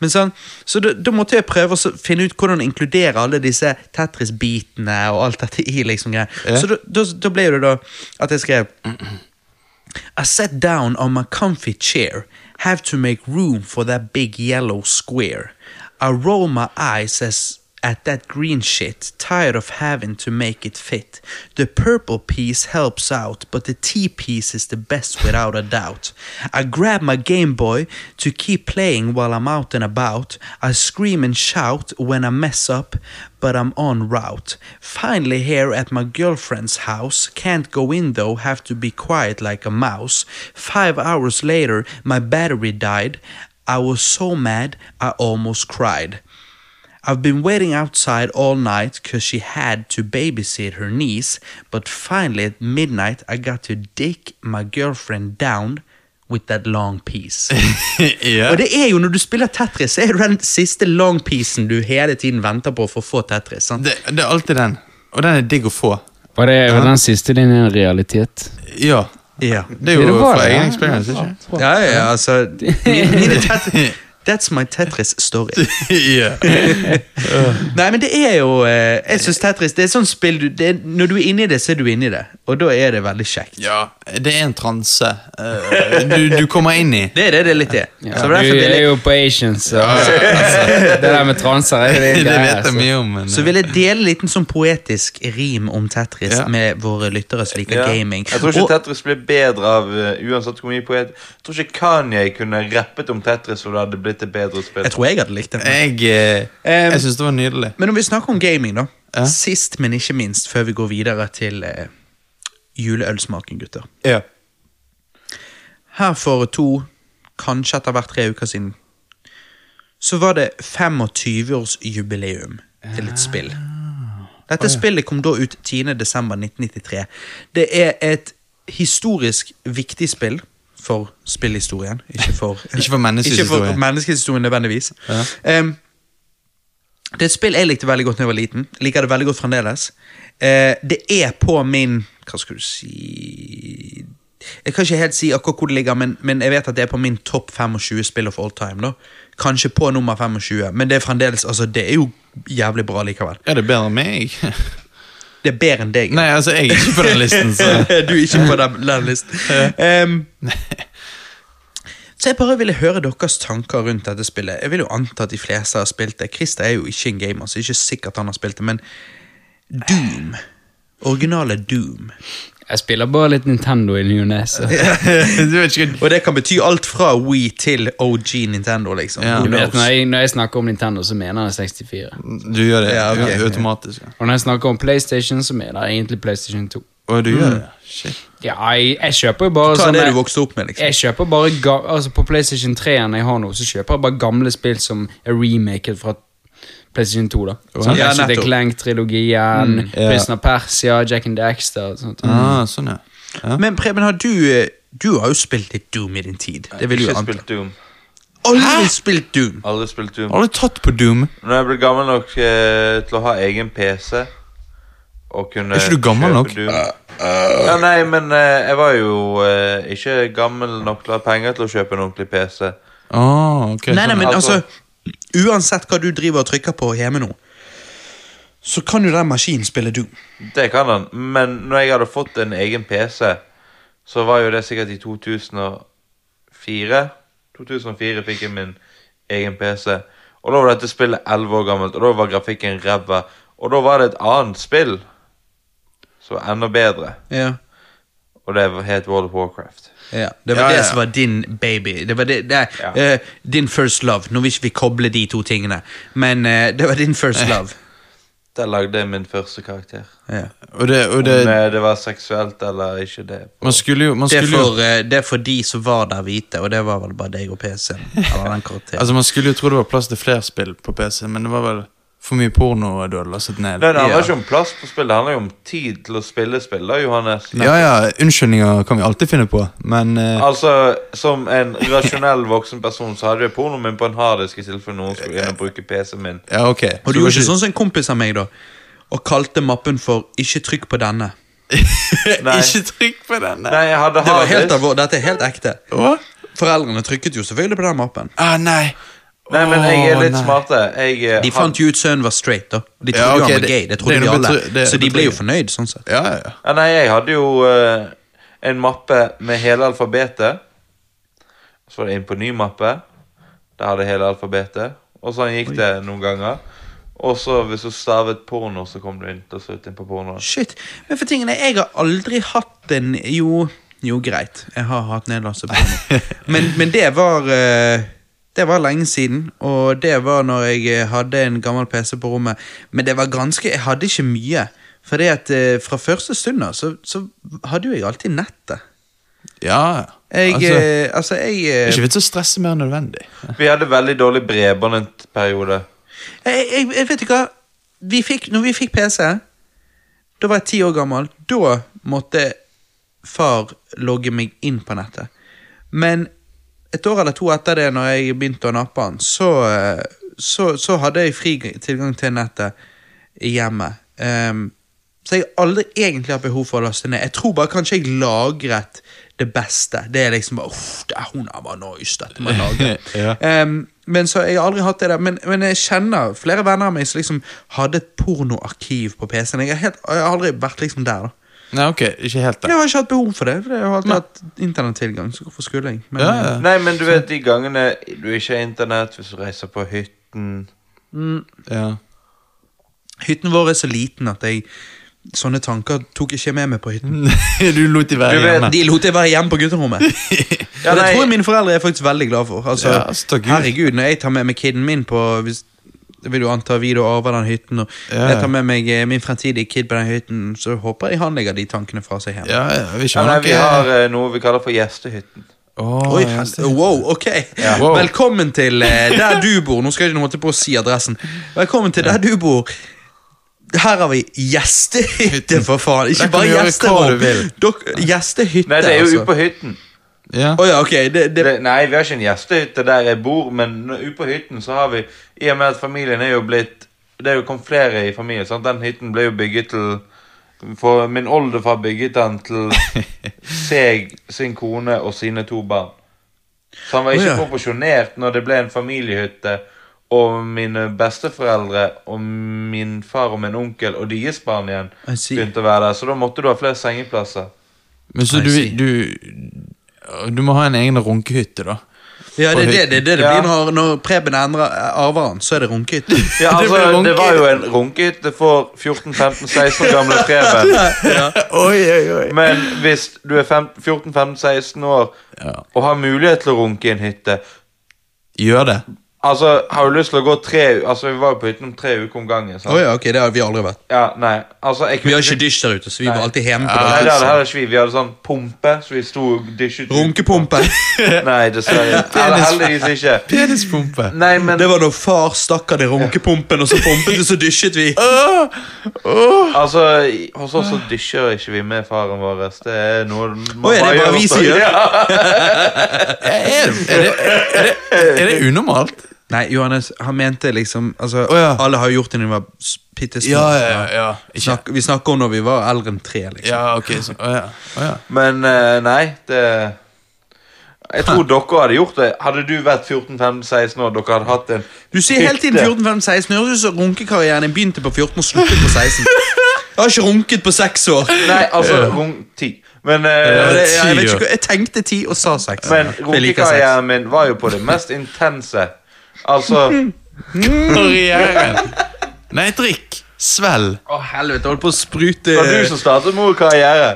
Men sånn, så da, da måtte jeg prøve å så finne ut hvordan inkludere alle disse Tetris-bitene og alt dette i. liksom greier. Ja. Så da, da, da ble det da at jeg skrev I sat down on my comfy chair, have to make room for that big yellow square. I roll my eyes as at that green shit, tired of having to make it fit. The purple piece helps out, but the tea piece is the best without a doubt. I grab my Game Boy to keep playing while I'm out and about. I scream and shout when I mess up, but I'm on route. Finally, here at my girlfriend's house. Can't go in though, have to be quiet like a mouse. Five hours later, my battery died. I was so mad, I almost cried. I've been waiting outside all night 'cause she had to babysit her niece, but finally at midnight, I got to dick my girlfriend down with that long piece. ja. Og det er jo når du spiller Tetris, så er det den siste long piecen du hele tiden venter på for å få Tetris. sant? Det, det er alltid den. Og den er digg å få. Var det var den siste din en realitet? Ja. Ja. Det er jo Det var fra det, ja. egen experience, ikke Ja, ja, ja, altså mi- mine Tetris- That's my Tetris-story. *laughs* ja. Nei, men det er jo eh, Jeg synes Tetris det er sånn spill du, det er, Når du er inni det, så er du inni det. Og da er det veldig kjekt. ja. Det er en transe eh, du, du kommer inn i. Det er det det er litt er. Ja, Så du det er derfor vil er jeg, jo på Asians. så- Altså, det der med transer *laughs* er det Det greier, vet jeg mye om. Men, så vil jeg dele en liten sånn poetisk rim om Tetris Ja. med våre lyttere som liker Ja. gaming. Jeg tror ikke Og- Tetris blir bedre av eh, uansett hvor mye poet Jeg tror ikke Kanye kunne rappet om Tetris om det hadde blitt et bedre spill. jeg tror jeg hadde likt det. jeg eh, Em, jeg syns det var nydelig. Men når vi snakker om gaming, da. Ja. Sist, men ikke minst, før vi går videre til eh, juleølsmaken, gutter. Ja. Her for to, kanskje etter hvert tre uker siden, så var det 25-årsjubileum til et spill. Ah. Dette spillet kom da ut 10.12.1993. Det er et historisk viktig spill for spillhistorien. Ikke for, *laughs* Ikke for menneskehistorien. Ikke for menneskehistorien nødvendigvis. Ehm, det er et spill jeg likte veldig godt da jeg var liten. Liker det veldig godt fremdeles. Eh, det er på min Hva skal du si Jeg kan ikke helt si akkurat hvor det ligger, men, men jeg vet at det er på min topp 25 spill of all time. da Kanskje på nummer 25, men det er fremdeles Altså, det er jo jævlig bra likevel. Ja, det er bedre enn meg. Det er bedre enn deg. *laughs* Nei, altså, jeg er ikke på den listen, så *laughs* du er ikke på den, den listen. Ehm, så jeg bare ville høre deres tanker rundt dette spillet. Jeg vil jo anta at de fleste har spilt det. Christer er jo ikke en gamer, så det er ikke sikkert han har spilt det, men Doom. Originale Doom. Jeg spiller bare litt Nintendo i ny og ne. så- *laughs* Du vet ikke Og det kan bety alt fra Wii til OG Nintendo, liksom. Ja. Who Du vet, knows? Når jeg, når jeg snakker om Nintendo, så mener jeg 64. Du gjør det Ja, ok. au- automatisk. Ja. Og når jeg snakker om PlayStation, så mener jeg egentlig PlayStation 2. Og du gjør det. Shit. Ja, jeg, jeg kjøper jo bare Hva er det sånne- du vokste opp med, liksom? altså, Jeg kjøper bare ga altså På PlayStation 3 enn jeg har nå, så kjøper jeg bare gamle spill som er remaket fra PlayStation 2. da Sånn Ja, Ratchet nettopp. Mm, Clank-trilogien, ja. Prinsen av Persia, Jack and Daxter og sånt. Ah, sånn, ja. ja. Men Preben, har du eh, Du har jo spilt litt Doom i din tid. Det vil du Ikke anta. spilt Doom. Aldri spilt Doom! Aldri spilt Doom. Alle tatt på Doom. Når jeg ble gammel nok eh, til å ha egen PC og kunne Er ikke du gammel kjøpe nok? Doom. Ja, nei, men eh, jeg var jo eh, ikke gammel nok til å ha penger til å kjøpe en ordentlig PC. Ah, ok. Nei, nei, sånn. men altså altså- Uansett hva du driver og trykker på hjemme nå, så kan jo den maskinen spille Doom. Det kan han, men når jeg hadde fått en egen PC, så var jo det sikkert i 2004. 2004 fikk jeg min egen PC, og da var dette spillet 11 år gammelt, og da var grafikken ræva, og da var det et annet spill som var enda bedre, Ja. og det het World of Warcraft. Ja, det var Ja, ja. det som var din baby. Det var det, det, Ja. eh, din first love. Nå vil ikke vi koble de to tingene, men eh, det var din first love. Der lagde jeg min første karakter. *laughs* Ja. Og det, og Om det, eh, det var seksuelt eller ikke det. man skulle jo, man Det, er skulle jo for, eh, det er for de som var der hvite, og det var vel bare deg og PC-en. Eller den karakteren. Altså, man skulle jo tro det var plass til flere spill på PC, men det var vel for mye porno du hadde lastet ned. Nei, det handler Ja. ikke om plass på spill, det handler jo om tid til å spille spill, da, Johannes. Ja, ja, unnskyldninger kan vi alltid finne på, men eh, Altså, som en rasjonell voksen person så hadde jeg pornoen min på en harddisk i tilfelle noen skulle inn og bruke PC-en min. Ja, ok. Og du gjorde ikke sånn som en kompis av meg, da, og kalte mappen for 'Ikke trykk på denne'. *laughs* Nei. Ikke trykk på den! Nei, jeg hadde Det var helt harddisk. alvor, Dette er helt ekte. Hva? Foreldrene trykket jo selvfølgelig på den mappen. Ah, nei. Nei, men jeg er litt Å, nei. smarte. Jeg eh, De had- fant jo ut sønnen var straight, da. Og de Ja, trodde jo ok, han var det- gay. Det trodde det er vi noe alle. betry- det er Så de ble jo betryggende. fornøyd, sånn sett. Ja, ja, ja. Ja, nei, jeg hadde jo eh, en mappe med hele alfabetet. Så var det inn på ny mappe. Der hadde jeg hele alfabetet. Og sånn gikk det noen ganger. Og så hvis du stavet porno, så kom du inn til slutt inn på porno. Shit. Men for tingene, jeg har aldri hatt en Jo, jo greit. Jeg har hatt nederlandsk porno. *laughs* Men, men det var eh, Det var lenge siden, og det var når jeg eh, hadde en gammel PC på rommet. Men det var ganske Jeg hadde ikke mye. Fordi at eh, fra første stund av så, så hadde jo jeg alltid nettet. ja. Jeg altså, det eh, Altså, jeg eh, er ikke vits å stresse mer enn nødvendig. Vi hadde veldig dårlig bredbånd en periode. Jeg, jeg, jeg vet ikke hva vi fikk, Når vi fikk PC Da var jeg ti år gammel Da måtte far logge meg inn på nettet Men et år eller to etter det Når jeg begynte å nappe han Så, eh, så, så hadde jeg fri tilgang til nettet i Hjemmet Ehm, Så jeg har aldri egentlig hatt behov for å laste ned Jeg tror bare kanskje jeg lagret det beste Det er liksom bare Uff, det er hun her var nice Dette må jeg lagre Ja. Ehm, men så, Jeg har aldri hatt det der, men, men jeg kjenner flere venner av meg som liksom hadde et pornoarkiv på PC-en. Jeg, har helt- jeg har aldri vært liksom der. da Nei, ok, ikke helt Jeg det. har ikke hatt behov for det, for jeg har alltid hatt internettilgang. Så hvorfor skulle jeg? Men, Ja, ja. Nei, men du vet de gangene du ikke har internett, hvis du reiser på hytten Ja. *laughs* eh, Hytten vår er så liten at jeg sånne tanker tok ikke med meg på hytten. du lot de være Du vet- hjemme. De lot jeg være hjemme på gutterommet. *laughs* Ja, og det nei. tror jeg mine foreldre er faktisk veldig glad for. Altså, Ja, altså, takk Gud. herregud, når jeg tar med meg kiden min på hvis, jeg vil jo anta vi da arver den hytten, og Ja. jeg tar med meg eh, min fremtidige kid på den hytten, så håper jeg han legger de tankene fra seg hjemme. Ja, ja, vi ja, skjønner nei, ikke Vi har eh, noe vi kaller for gjestehytten. Åh, Oi, ja, hel- stemmer. wow, ok. Wow. Velkommen til eh, der du bor. Nå skal jeg ikke holde på å si adressen. Velkommen til der du bor. Her har vi gjestehytte, *laughs* for faen. Der Ikke kan bare du gjøre hva du gjesterom. vil. Dok- Gjestehytte, Nei, det er jo altså. ute på hytten. Ja. Å ja, ok. Det, det, Det, nei, vi har ikke en gjestehytte der jeg bor, men nå- ute på hytten så har vi I og med at familien er jo blitt Det er jo kommet flere i familien. Sant? Den hytten ble jo bygget til For min oldefar bygget den til *laughs* seg, sin kone og sine to barn. Så han var ikke Å, ja. proporsjonert når det ble en familiehytte. Og mine besteforeldre og min far og min onkel og deres barn igjen I see. begynte å være der. Så da måtte du ha flere sengeplasser. Men så I du, see. du Du må ha en egen runkehytte, da. ja, det, er det, det, er det, det Ja. blir når, når Preben endrer eh, arver han, så er det runkehytte. Ja, Det altså, ble det, runke. var jo en runkehytte for 14-15-16 år gamle *laughs* Preben. Oi, oi, oi. Men hvis du er fem- 14-15-16 år Ja. og har mulighet til å runke i en hytte Gjør det. Altså, har du lyst til å gå tre u- Altså, vi var jo på hytten om tre uker om gangen. Sant? *laughs* Å ja, ok, det har vi aldri vært. Ja, nei, altså jeg Vi kunne- har ikke altså. dysj der ute, så vi var alltid hjemme på Nei, det hadde det. heller ikke vi. Vi hadde sånn pumpe, så vi sto og dysjet ut. Runkepumpe. *laughs* Nei, dessverre. Eller heldigvis ikke. Penispumpe. Nei, men Det var da far stakk av det runkepumpen, og så pumpet vi, så dysjet vi. altså, i- hos oss så dysjer ikke vi med faren vår. Det er noe man Å, er det bare vi som gjør? *laughs* Ja. Er det, er, det, er, det, er det unormalt? *laughs* Nei, Johannes, han mente liksom altså, Å, ja. Alle har gjort det når de var s- bitte små. Ja, ja, ja. ja. Ikke. Snakk, vi snakker om når vi var eldre enn tre. liksom Ja, ok. Sånn. Å ja. Å *laughs* ja. Men eh, nei, det Jeg *laughs* tror dere hadde gjort det. Hadde du vært 14-15-16 år, dere hadde hatt en Du sier hele tiden hytte. 14, 15, 16. Høres ut som runkekarrieren din begynte på 14 og sluttet på 16. *laughs* Jeg har ikke runket på seks år. Nei, altså rung ti. Men, eh, Ja, det- ja, jeg, vet ti år. ikke, hva- jeg tenkte ti og sa seks. men Jeg liker seks. runkekarrieren min var jo på det mest intense. Altså Karrieren. Nei, drikk. Svelg. Å, helvete. Holdt på å sprute Det var du som startet med karriere.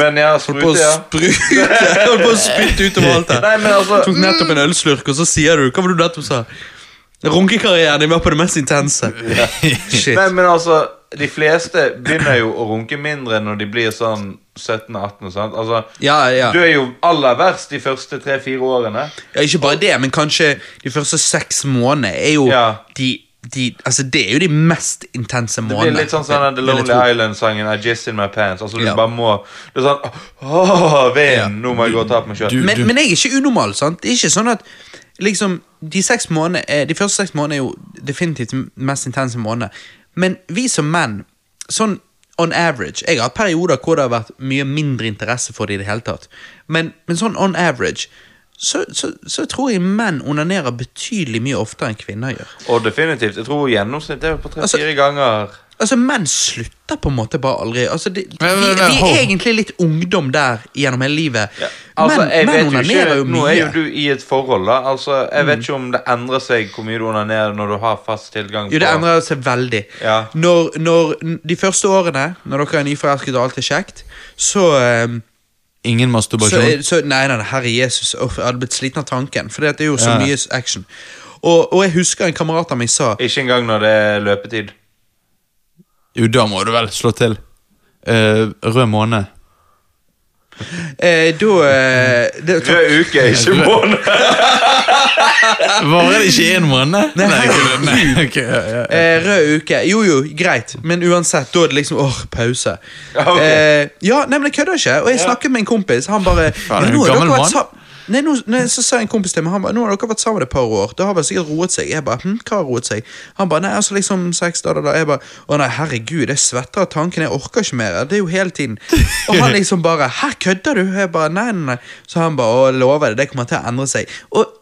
Men ja, Holdt på sprute, å ja. sprute *laughs* Holdt på å spytte utover alt her. Nei, men altså Tok nettopp en ølslurk, og så sier du Hva var det du nettopp sa? Runkekarrieren din var på det mest intense. Shit. Nei, men altså, de fleste begynner jo å runke mindre når de blir sånn 17-18. sant? Altså, Ja, ja. Du er jo aller verst de første 3-4 årene. Ja, ikke bare det, men kanskje de første seks månedene er jo Ja. de, de Altså, det er jo de mest intense Det blir månedene. litt sånn sånn den The vil jeg Lonely tro. Island-sangen I Jizz In My Pants. Altså, du Ja. bare må Det er sånn Åh, vind! Nå må jeg gå og ta på meg sjøl. Du- Men, men jeg er ikke unormal, sant? Det er ikke sånn at liksom, de, seks månedene er, de første seks månedene er jo definitivt den mest intense måneden. Men vi som menn, sånn on average Jeg har hatt perioder hvor det har vært mye mindre interesse for det i det hele tatt. Men, men sånn on average så, så, så tror jeg menn onanerer betydelig mye oftere enn kvinner gjør. Og definitivt. Jeg tror gjennomsnittet er jo på 3-4 Altså- ganger. Altså, menn slutter på en måte bare aldri. Altså, de, Men, men, vi, men, vi hold. er egentlig litt ungdom der gjennom hele livet. Altså, men jeg menn vet jo onanerer ikke, jo Nå mye. Mm. er jo du i et forhold, da. Altså, Jeg vet ikke om det endrer seg hvor mye du onanerer når du har fast tilgang. Jo, det på- endrer seg veldig. Ja. Når, når n- De første årene, når dere er nyforelsket og alt er kjekt, så, ehm, så, Ingen sånn? masturbasjon. er- så Nei, nei, nei, herre Jesus, uff, jeg hadde blitt sliten av tanken. For det er jo så Ja. mye action. Og, og jeg husker en kamerat av meg sa Ikke engang når det er løpetid. Jo, da må du vel slå til. Eh, rød måne. eh, Da eh, det- Rød uke, ikke måned. Varer det ikke én måned? *laughs* Nei, ok, nei, *laughs* ok, ja, ja. Eh, rød uke. Jo, jo, greit. Men uansett, da er det liksom åh, pause. Ja, ok. eh, ja nei, men jeg kødder ikke. Og jeg snakket med en kompis. Han bare er "Ja, du nå har gammel dere vært mann?" sam- Nei, nå, nei, så sa en kompis til meg Han bare, nå har dere vært sammen et par år. Det har vel sikkert roet seg. Jeg bare, hm, hva har roet seg? Han bare, nei, altså liksom seks da, da, da. Jeg bare, å nei, herregud, jeg svetter av tanken. Jeg orker ikke mer. Det er jo hele tiden. Og han liksom bare, her kødder du? Jeg bare, nei, nei, nei. Så han bare, å, lover det, det kommer til å endre seg. Og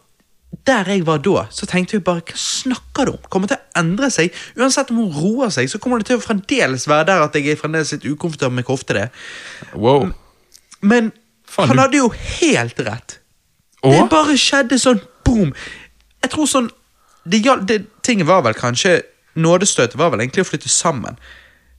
der jeg var da, så tenkte vi bare Hva snakker du om? Kommer til å endre seg? Uansett om hun roer seg, så kommer det til å fremdeles være der at jeg er fremdeles litt ukomfortabel med hvor ofte det. er. Wow. Men Faen, han du- hadde jo helt rett. Det Og? bare skjedde sånn boom. Jeg tror sånn det, gjal- det, Tingen var vel kanskje Nådestøtet var vel egentlig å flytte sammen.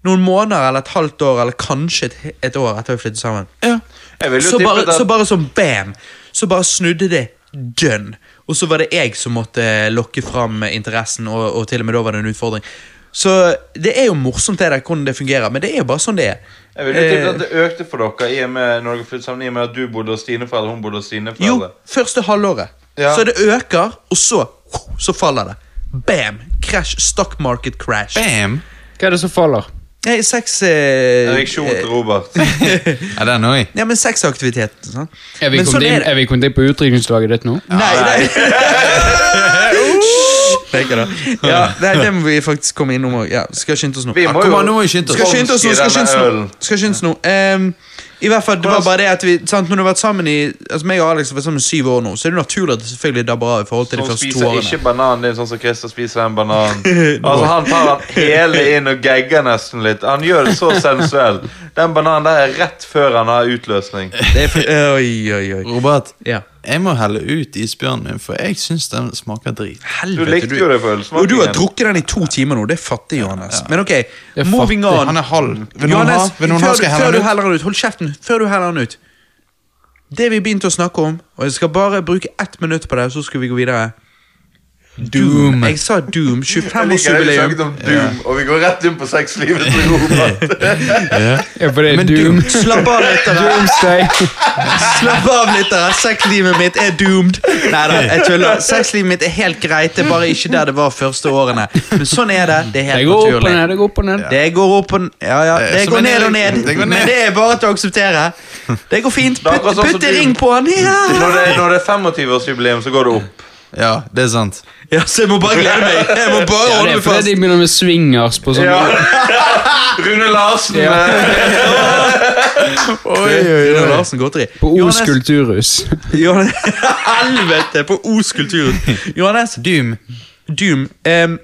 Noen måneder eller et halvt år eller kanskje et, he- et år etter vi flyttet sammen. Ja. Jeg vil jo Så tippe bare, at- så bare som bam, så bare snudde det dønn. Og så var det jeg som måtte lokke fram interessen, og, og til og med da var det en utfordring. Så det er jo morsomt det der, hvordan det fungerer, men det er jo bare sånn det er. Jeg vil jo tippe Eh, at det økte for dere i og med når dere flyttet sammen, i og med at du bodde hos dine foreldre, hun bodde hos sine jo, foreldre. første halvåret. Ja. Så det øker, og så så faller det. Bam! Crash. Stock market crash. Bam! Hva er det som faller? Nei, sex eh, Ereksjon til *laughs* Robert. Ja, den òg. Ja, men sexaktivitet. Sånn. Er vi Men kommet sånn inn, er det. er vi kommet inn på utdrikningslaget ditt nå? Nei, nei. *laughs* Tenker da. Ja, nei, det må vi faktisk komme innom òg. Ja, skal skynde oss nå. Vi må kom jo an, nå må vi skynde oss. Skal skynde oss nå, skal Skynde skynde oss nå. ølen. Skal skynde oss nå. Ehm, I hvert fall, det var bare det at vi sant, Når du har vært sammen i Altså, meg og Alex har vært sammen i syv år nå, så er det naturlig at det selvfølgelig dabber av i forhold til de Hun første to spiser ikke årene. bananen din sånn som Christer spiser den *laughs* bananen. Altså Han tar den hele inn og gegger nesten litt. Han gjør det så sensuelt. Den bananen der er rett før han har utløsning. Det er for, oi, oi, oi. Robert, Ja. jeg må helle ut isbjørnen min, for jeg syns den smaker drit. Helvete, Du likte jo det for ølsmakingen. Og du har drukket den i to timer nå. Det er fattig, Johannes. Men ok, er moving fattig. on. Han er halv. Vil noen ha? Johannes, Vil noen ha? før, Skal jeg du- før du helle den ut? heller den ut, hold kjeften før du heller den ut. Det vi begynte å snakke om, og jeg skal bare bruke ett minutt på det, så skal vi gå videre, Doom. Jeg sa Doom. Jeg liker det vi snakket 25-årsjubileum. om Doom, og vi går rett inn på sexlivet til Robert. Ja, for det er Men doom. Doom- Slapp av, lyttere. *laughs* Doomsday. Slapp av, lyttere. Sexlivet mitt er doomed. Nei da, jeg tuller. Sexlivet mitt er helt greit. Det er bare ikke der det var første årene. Men sånn er det. Det er Det helt går opp og naturlig. ned, det går opp og ned. Det går opp og Ja, ja. Det er Eh, Det som går en ned og elg. ned. Det går ned. Men det er bare til å akseptere. Det går fint. er Putt, akkurat sånn som putt en Doom. ring på han. Ja. Når det, når det er 25-årsjubileum, så går det opp. Ja, det er sant. ja, så jeg må bare glede meg. Jeg må bare Ja, det holde er meg fordi fast. de begynner med swingers på sånn. *laughs* Rune Larsen. Ja. eh, Oi, oi, oi. Larsen Godteri. På Os Johannes- *laughs* kulturhus. Johannes- Helvete, på Os kulturhus. Johannes, Doom. Doom. ehm,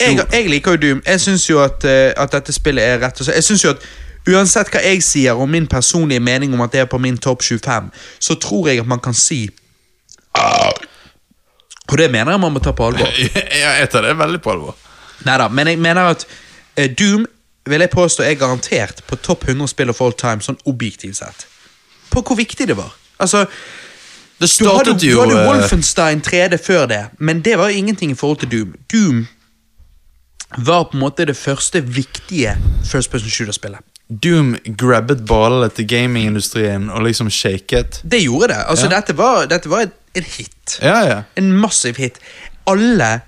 altså. jeg, jeg liker jo Doom. Jeg syns jo at, eh, at dette spillet er rett og slett Jeg synes jo at Uansett hva jeg sier om min personlige mening om at det er på min topp 25, så tror jeg at man kan si "Ah." Og det mener jeg man må ta på alvor. Ja, jeg tar det veldig på alvor. Neida, men jeg mener at eh, Doom vil jeg påstå er garantert på topp 100 spill of all time, sånn objektivt sett. På hvor viktig det var. Altså, Det du hadde, startet du jo hadde eh, Wolfenstein 3D før det, men det var jo ingenting i forhold til Doom. Doom var på en måte det første viktige First Person Shooter-spillet. Doom grabbet ballene til gamingindustrien og liksom shaket. Det gjorde det. Altså, Ja. Dette var, dette var et, en hit. Ja, ja. En massiv hit. Alle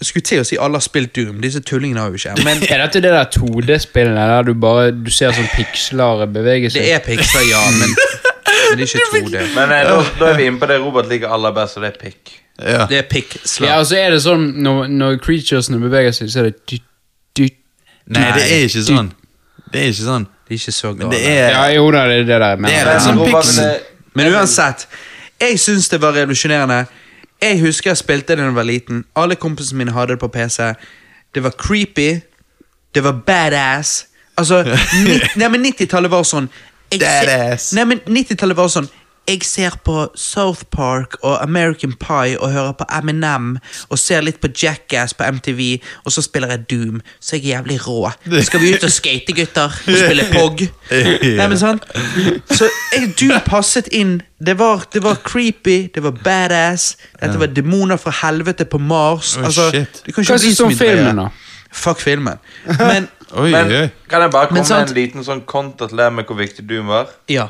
jeg skulle til å si alle har spilt Doom. Disse tullingene har jo ikke. *laughs* Men Er dette det der 2D-spillene der du bare du ser sånn piksler bevege det seg? er Pixar, ja. Men, men *laughs* det er ikke 2D. Men eh, da, da er vi inne på det Robert liker aller best, og det er pikk. ja. Det er Pixar. Ja, og så er det sånn når, når creaturesene beveger seg, så er det dytt, dytt. Nei, det er ikke du- sånn. Det er ikke sånn. Det er ikke så Men det galt. er Ja, jo da, det er det der. Men, Det er Men det som Robert, pixel. eh, liksom Men uansett, jeg syns det var revolusjonerende. Jeg husker jeg spilte det da jeg var liten. Alle kompisene mine hadde det på PC. Det var creepy. Det var badass. *laughs* Altså, nitt- nei, men 90-tallet var sånn jeg ser- Badass. Nei, men 90-tallet var sånn jeg ser på South Park og American Pie og hører på Eminem og ser litt på Jackass på MTV, og så spiller jeg Doom, så jeg er jævlig *laughs* rå. Skal vi ut og skate, gutter? Og spille POG? Nei, men sant? Så jeg, du passet inn. Det var, det var creepy, det var badass. Dette var demoner fra helvete på Mars. Oh, Altså, shit. det kan ikke Hva bli syns så du om mye bedre. filmen, da? Fuck filmen. Men Oi, Men oi. kan jeg bare komme sant- med en liten sånn kontra til det med hvor viktig Doom var? ja.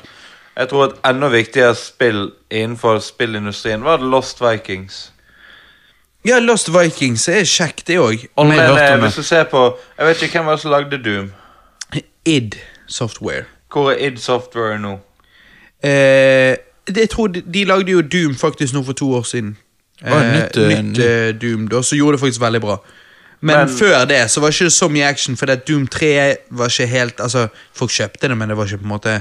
Jeg tror et enda viktigere spill innenfor spillindustrien var Lost Vikings. ja, Lost Vikings er kjekt, det òg. Men hørt om eh, det. hvis du ser på Jeg vet ikke hvem var det som lagde Doom. Id Software. Hvor er id Software nå? Eh, det, jeg tror de, de lagde jo Doom faktisk nå for to år siden. Var det nytt, eh, nytt eh, Doom da, så gjorde det faktisk veldig bra. Men, Men- før det så var ikke det så mye action, fordi at Doom 3 var ikke helt Altså, folk kjøpte det, men det var ikke på en måte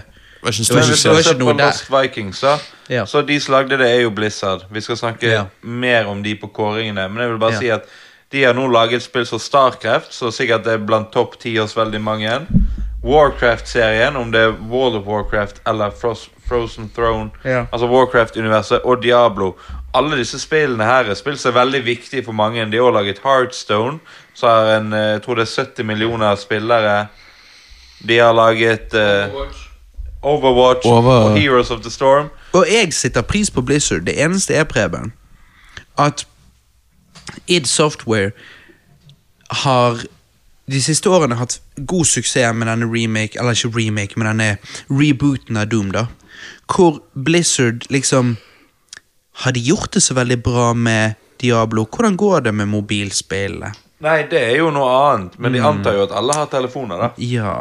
Var ikke en Det stor var Men hvis ikke- det du var suksess. ikke ser på noe der. Lost Vikings, da, Ja. så de som lagde det, er jo Blizzard. Vi skal snakke Ja. mer om de på kåringene, men jeg vil bare Ja. si at de har nå laget spill som Starcraft, så sikkert det er blant topp ti hos veldig mange. Warcraft-serien, om det er World of Warcraft eller Frost, Frozen Throne, Ja. altså Warcraft-universet, og Diablo. Alle disse spillene her er spill som er veldig viktige for mange. De har også laget Heartstone, som har en, eh, jeg tror det er 70 millioner spillere. De har laget eh, Overwatch Over- og Heroes of the Storm. Og jeg setter pris på Blizzard. Det eneste er, Preben, at id Software har de siste årene hatt god suksess med denne remake, eller ikke remake, men denne rebooten av Doom, da. Hvor Blizzard liksom Har de gjort det så veldig bra med Diablo? Hvordan går det med mobilspillene? Nei, det er jo noe annet, men de Hmm. antar jo at alle har telefoner, da. Ja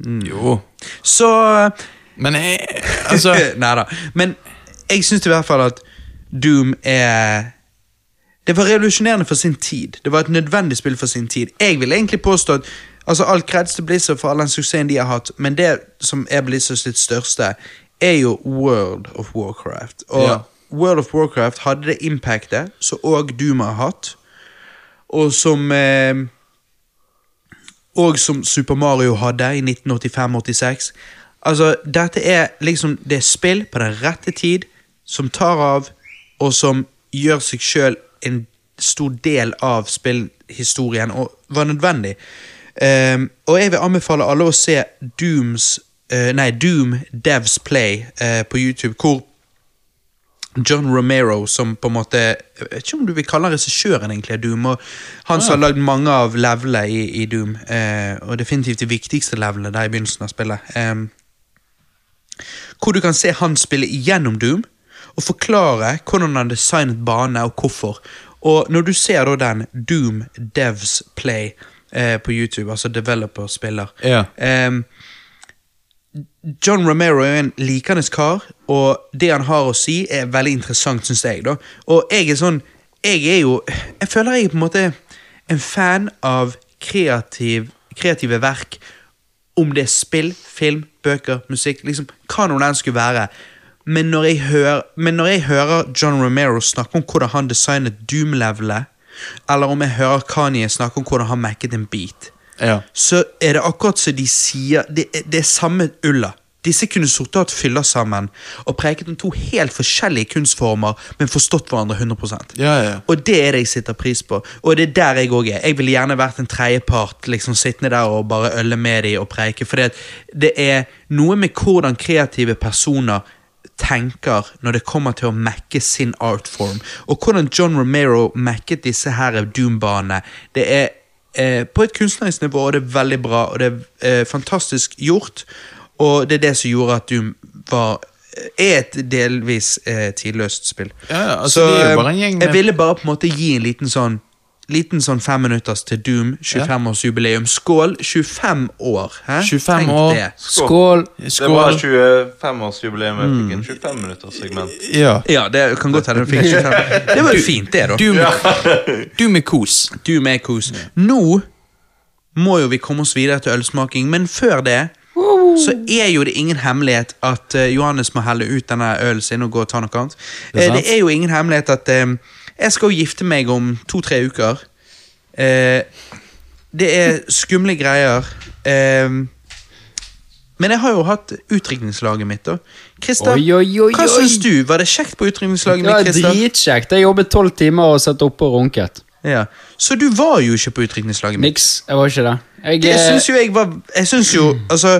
Mm. Jo. Så Men jeg, *laughs* altså Nei da. Men jeg syns i hvert fall at Doom er Det var revolusjonerende for sin tid. Det var et nødvendig spill for sin tid. Jeg vil egentlig påstå at altså, alt kreds til Blizzard for all den suksessen de har hatt, men det som er Blizzards sitt største, er jo World of Warcraft. Og Ja. World of Warcraft hadde det impactet som òg Doom har hatt, og som eh, og som Super Mario hadde i 1985-86. Altså, dette er liksom Det er spill på den rette tid, som tar av, og som gjør seg sjøl en stor del av spillhistorien, og var nødvendig. Ehm, og jeg vil anbefale alle å se Dooms eh, Nei, Doom Devs Play eh, på YouTube, hvor John Romero, som på en måte Jeg vet ikke om du vil kalle han regissøren egentlig av Doom. Og han som har lagd mange av levelene i, i Doom, eh, og definitivt de viktigste levelene der i begynnelsen av spillet. Em, hvor du kan se han spille igjennom Doom, og forklare hvordan han designet bane og hvorfor. Og når du ser da den Doom Devs Play eh, på YouTube, altså developer spiller Ja. em, John Romero er en likende kar, og det han har å si, er veldig interessant, syns jeg. da. Og jeg er sånn Jeg er jo Jeg føler jeg er på en måte en fan av kreativ, kreative verk. Om det er spill, film, bøker, musikk, liksom hva nå den skulle være. Men når, jeg hører, men når jeg hører John Romero snakke om hvordan han designet Doom-levelet, eller om jeg hører Kanye snakke om hvordan han macket en beat, Ja. så er det akkurat som de sier Det, er- det er samme ulla. Disse kunne sortet hatt fyller sammen og preket om to helt forskjellige kunstformer, men forstått hverandre 100 Ja, ja, ja. Og det er det jeg setter pris på. Og det er der jeg òg er. Jeg ville gjerne vært en tredjepart, liksom sittende der og bare ølle med dem og preike. For det er noe med hvordan kreative personer tenker når det kommer til å mekke sin artform. Og hvordan John Romero mekket disse her Doom-banene. Det er eh, på et kunstnerisk nivå, og det er veldig bra, og det er eh, fantastisk gjort. Og det er det som gjorde at Doom var eh, er et delvis eh, tidløst spill. Ja, ja, altså, vi er jo bare en gjeng eh, med- jeg ville bare på en måte gi en liten sånn Liten sånn fem minutters til Doom. 25-årsjubileum. Skål! 25 år! Hæ? 25 Tenk år. Det. Skål! Det var Skål. Hmm. 25-årsjubileum. Jeg fikk en 25-minutterssegment. Ja. Ja, det kan godt hende du fikk 25. *laughs* Det var jo fint, det, da. Du med, du med kos. Du med kos. Nå må jo vi komme oss videre til ølsmaking, men før det så er jo det ingen hemmelighet at eh, Johannes må helle ut denne ølen sin og gå og ta noe annet. Det er Eh, sant. det er jo ingen hemmelighet at eh, jeg skal jo gifte meg om to-tre uker. Eh, det er skumle greier. Eh, men jeg har jo hatt utdrikningslaget mitt, da. Christer, Oi, oi, oi, hva oi. syns du? Var det kjekt på utdrikningslaget Det mitt? var Christer? dritkjekt. Jeg jobbet tolv timer og satt oppe og runket. Ja. Så du var jo ikke på utdrikningslaget mitt. Niks. Jeg var ikke det. Jeg, Mm. Det eh, syns jo jeg var Jeg synes jo, altså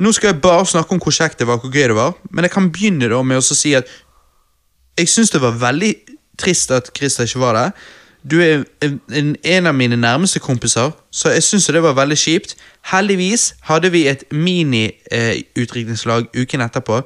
Nå skal jeg bare snakke om hvor kjekt det var, hvor gøy det var, men jeg kan begynne da med å så si at jeg syns det var veldig trist at Christer ikke var der. Du er en, en- en av mine nærmeste kompiser, så jeg syns jo det var veldig kjipt. Heldigvis hadde vi et mini-utdrikningslag uken etterpå.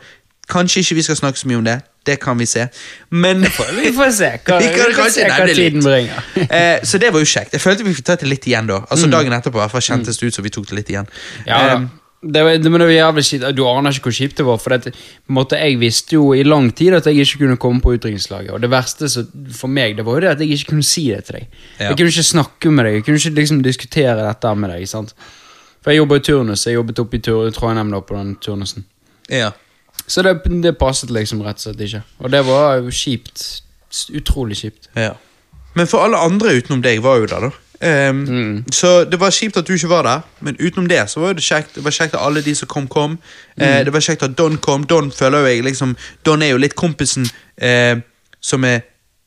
Kanskje ikke vi skal snakke så mye om det. Det kan vi se. Men vi får se hva, Vi vi kan får kanskje se hva nevne litt. tiden bringer. *laughs* Mm. eh, så det var jo kjekt. Jeg følte vi fikk tatt det litt igjen da. Altså Dagen etterpå i hvert fall kjentes det ut som vi tok det litt igjen. Ja, Eh, da. Ehm, det var, det, men det var jævlig kjipt. Du aner ikke hvor kjipt det var. For at, på en måte, jeg visste jo i lang tid at jeg ikke kunne komme på utdrikningslaget. Og det verste så, for meg det var jo det at jeg ikke kunne si det til deg. Ja. Jeg kunne ikke snakke med deg, jeg kunne ikke liksom diskutere dette med deg. sant? For jeg jobber i turnus, jeg jobbet oppe i tur- Trondheim da på den turnusen. ja. Så det, det passet liksom rett og slett ikke. Og det var jo kjipt. S- Utrolig kjipt. Ja. Men for alle andre utenom deg var jo der, da. Ehm, Mm. Så det var kjipt at du ikke var der, men utenom det så var jo det kjekt. Det var kjekt at alle de som kom, kom. Mm. Eh, det var kjekt at Don kom. Don føler jo jeg liksom Don er jo litt kompisen eh, som er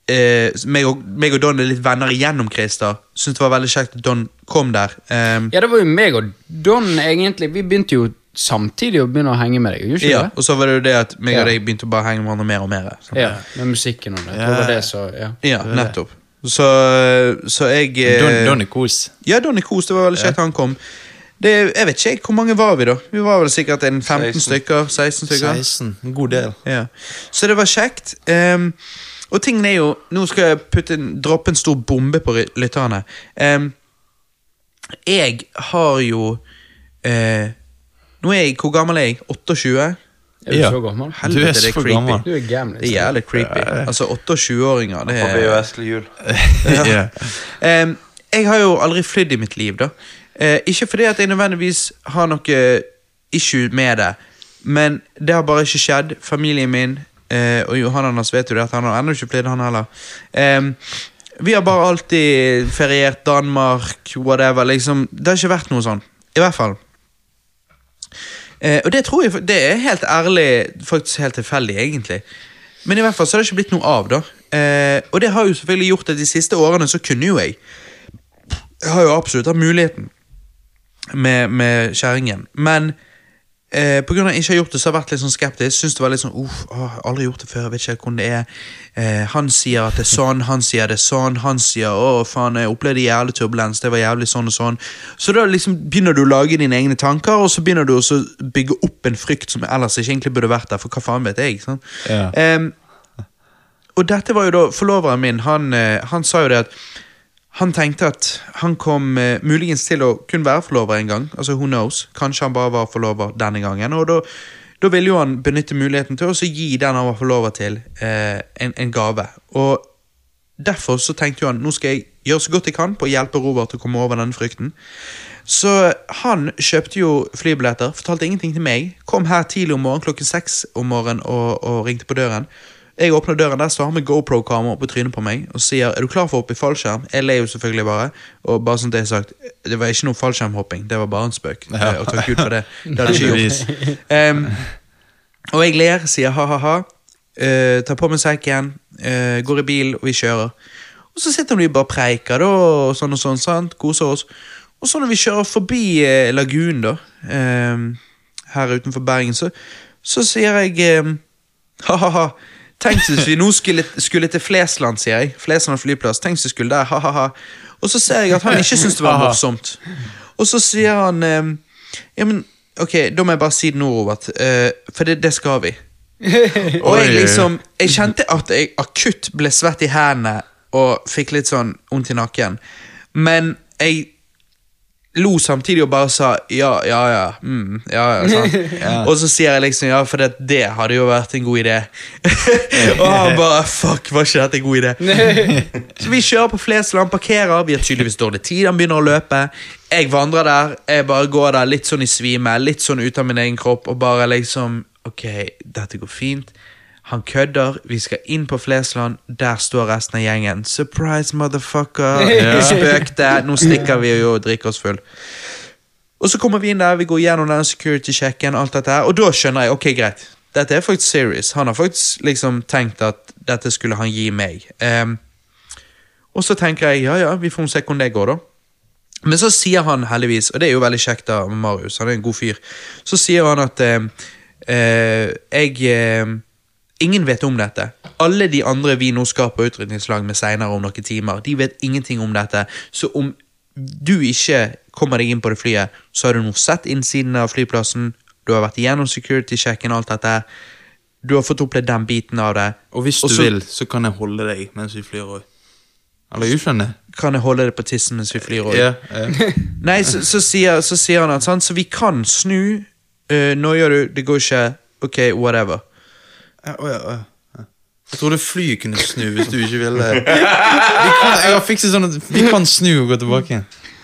eh, meg, og, meg og Don er litt venner igjennom Christer. Syns det var veldig kjekt at Don kom der. Ehm, Ja, det var jo meg og Don, egentlig. Vi begynte jo samtidig å begynne å henge med deg. gjorde ikke ja, det? og så var det jo det at meg og Ja. deg begynte å bare henge med hverandre mer og mer. Så. Ja, med musikken og det. Det var det, så, ja. Ja, nettopp. Så, så jeg eh, Don, don er kos. Ja, Donny Kos, det var veldig kjekt han kom. Det, jeg vet ikke, Hvor mange var vi, da? Vi var vel sikkert en 15 16. stykker? 16 stykker? 16. En god del. Ja. Så det var kjekt. ehm, og tingen er jo Nå skal jeg putte en, droppe en stor bombe på ry- lytterne. Ehm, jeg har jo eh, Nå er jeg Hvor gammel er jeg? 28? Er du Ja. så gammel? Helvete, Du er det er så creepy. gammel. Du er gammel. Det er jævlig creepy. Altså, 28-åringer, det På er VHS til jul. Eh. *laughs* Ja. Ehm, jeg har jo aldri flydd i mitt liv, da. Eh, ikke fordi at jeg nødvendigvis har noe issue med det, men det har bare ikke skjedd. Familien min eh, og Johan Anders vet jo det at han har ennå ikke flydd, han heller. Ehm, vi har bare alltid feriert Danmark, whatever. liksom Det har ikke vært noe sånn. I hvert fall. Eh, og det tror jeg, det er helt ærlig, faktisk helt tilfeldig, egentlig. Men i hvert fall så har det ikke blitt noe av, da. Eh, og det har jo selvfølgelig gjort at de siste årene så kunne jo jeg. Jeg har jo absolutt hatt muligheten med, med kjerringen, men eh, på grunn av at jeg ikke har gjort det, så har jeg vært litt sånn skeptisk. Synes det var litt sånn, uff, åh, aldri gjort det før, jeg vet ikke helt hvordan det er. Eh, han sier at det er sånn, han sier det er sånn, han sier, å faen, jeg opplevde jævlig turbulens, det var jævlig sånn og sånn. Så da liksom begynner du å lage dine egne tanker, og så begynner du også å bygge opp en frykt som ellers ikke egentlig burde vært der, for hva faen vet jeg, ikke sant? Ja. Em, og dette var jo da Forloveren min, han, eh, han sa jo det at han tenkte at han kom eh, muligens til å kun være forlover en gang. Altså, who knows? Kanskje han bare var forlover denne gangen. Og da, da ville jo han benytte muligheten til å også gi den han var forlover til, eh, en, en gave. Og derfor så tenkte jo han nå skal jeg gjøre så godt jeg kan på å hjelpe Robert å komme over denne frykten. Så han kjøpte jo flybilletter, fortalte ingenting til meg. Kom her tidlig om morgenen klokken seks om morgenen og, og ringte på døren. Jeg åpner døren, der står han med GoPro-kamera på trynet på meg og sier 'Er du klar for å hoppe i fallskjerm?' Jeg ler jo selvfølgelig bare. Og bare sånn det er sagt, det var ikke noe fallskjermhopping, det var bare en spøk. eh, Og takk Gud for det. Det hadde jeg ikke Heldigvis. gjort. Em, og jeg ler, sier ha-ha-ha, eh, tar på meg sekken, eh, går i bil, og vi kjører. Og så sitter vi bare og preiker, da, og sånn og sånn, sant? koser oss. Og så når vi kjører forbi eh, lagunen, da, em, her utenfor Bergen, så, så sier jeg eh, em, ha-ha-ha. Tenk hvis vi nå skulle, skulle til Flesland, sier jeg. Flesland flyplass. Tenk hvis vi skulle der, ha-ha-ha. Og så ser jeg at han ikke syns det var morsomt. Og så sier han ehm, Ja, men ok, da må jeg bare si det nå, Robert. eh, for det, det skal vi. Og jeg Oi. liksom Jeg kjente at jeg akutt ble svett i hendene og fikk litt sånn vondt i nakken. Men jeg lo samtidig og bare sa ja, ja, ja. Mm, ja, ja, sant. Og så sier jeg liksom ja, for det, det hadde jo vært en god idé. og han bare fuck, var ikke dette en god idé? så vi kjører på Flesland, parkerer, vi har tydeligvis dårlig tid, han begynner å løpe. Jeg vandrer der, jeg bare går der litt sånn i svime, litt sånn ut av min egen kropp, og bare liksom ok, dette går fint. Han kødder, vi skal inn på Flesland, der står resten av gjengen. Surprise, motherfucker! Ja. Spøkte, nå stikker vi og drikker oss full. Og så kommer vi inn der, vi går gjennom den security-sjekken, alt dette her, og da skjønner jeg, ok, greit. Dette er faktisk serious. Han har faktisk liksom tenkt at dette skulle han gi meg. Ehm, og så tenker jeg, ja, ja, vi får se hvordan det går da. Men så sier han heldigvis, og det er jo veldig kjekt av Marius, han er en god fyr, så sier han at eh, eh, jeg eh, Ingen vet om dette. Alle de andre vi nå skal på utrydningslag med seinere om noen timer, de vet ingenting om dette. Så om du ikke kommer deg inn på det flyet, så har du nå sett innsiden av flyplassen, du har vært igjennom security-sjekken og alt dette, du har fått opplevd den biten av det. Og hvis Og du så- vil, så kan jeg holde deg mens vi flyr òg. Eller du skjønner? Kan jeg holde det på tissen mens vi flyr? også? Ja, ja. Nei, så, så, sier, så sier han at sant, Så vi kan snu. Uh, nå gjør du Det går ikke. Ok, whatever. *laughs* Ja, å, ja, å, ja. Jeg trodde fly kunne snu hvis du ikke ville. Vi kan, jeg har fikset sånn at vi kan snu og gå tilbake igjen.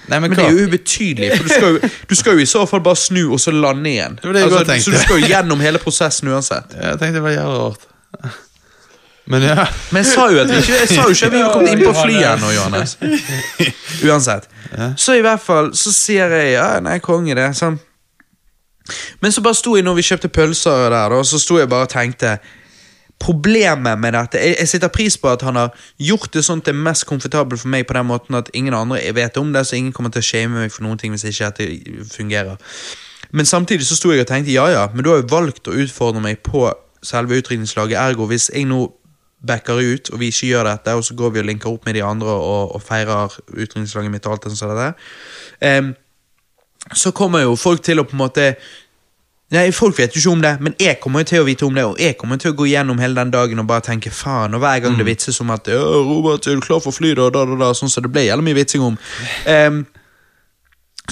Nei, men Men det hva? er jo ubetydelig, for du skal jo, du skal jo i så fall bare snu og så lande igjen. Altså, Det var det jeg godt tenkte. så du skal jo gjennom hele prosessen uansett. Jeg tenkte det var jævlig rart. Men ja. Men jeg sa jo at vi ikke, jeg sa jo ikke at vi var kommet inn på flyet ennå, *laughs* Johannes. Uansett. Så i hvert fall så sier jeg ja, nei, konge, det. Sånn. Men så bare sto jeg når vi kjøpte pølser der, da, og så sto jeg bare og tenkte Problemet med dette jeg, jeg sitter pris på at han har gjort det sånn at det er mest komfortabelt for meg på den måten at ingen andre vet om det, så ingen kommer til å shame meg for noen ting hvis ikke dette fungerer. Men samtidig så sto jeg og tenkte ja ja, men du har jo valgt å utfordre meg på selve utrydningslaget, ergo hvis jeg nå backer ut og vi ikke gjør dette, og så går vi og linker opp med de andre og, og feirer utrydningslaget mitt og alt det sånn der, em, så kommer jo folk til å på en måte Nei, Folk vet jo ikke om det, men jeg kommer jo til å vite om det. Og jeg kommer til å gå gjennom hele den dagen og bare tenke faen. Og hver gang det vitses om at «Ja, 'Robert, er du klar for fly', da, da, da, da sånn som det ble jævlig mye vitsing om. Ehm, Em,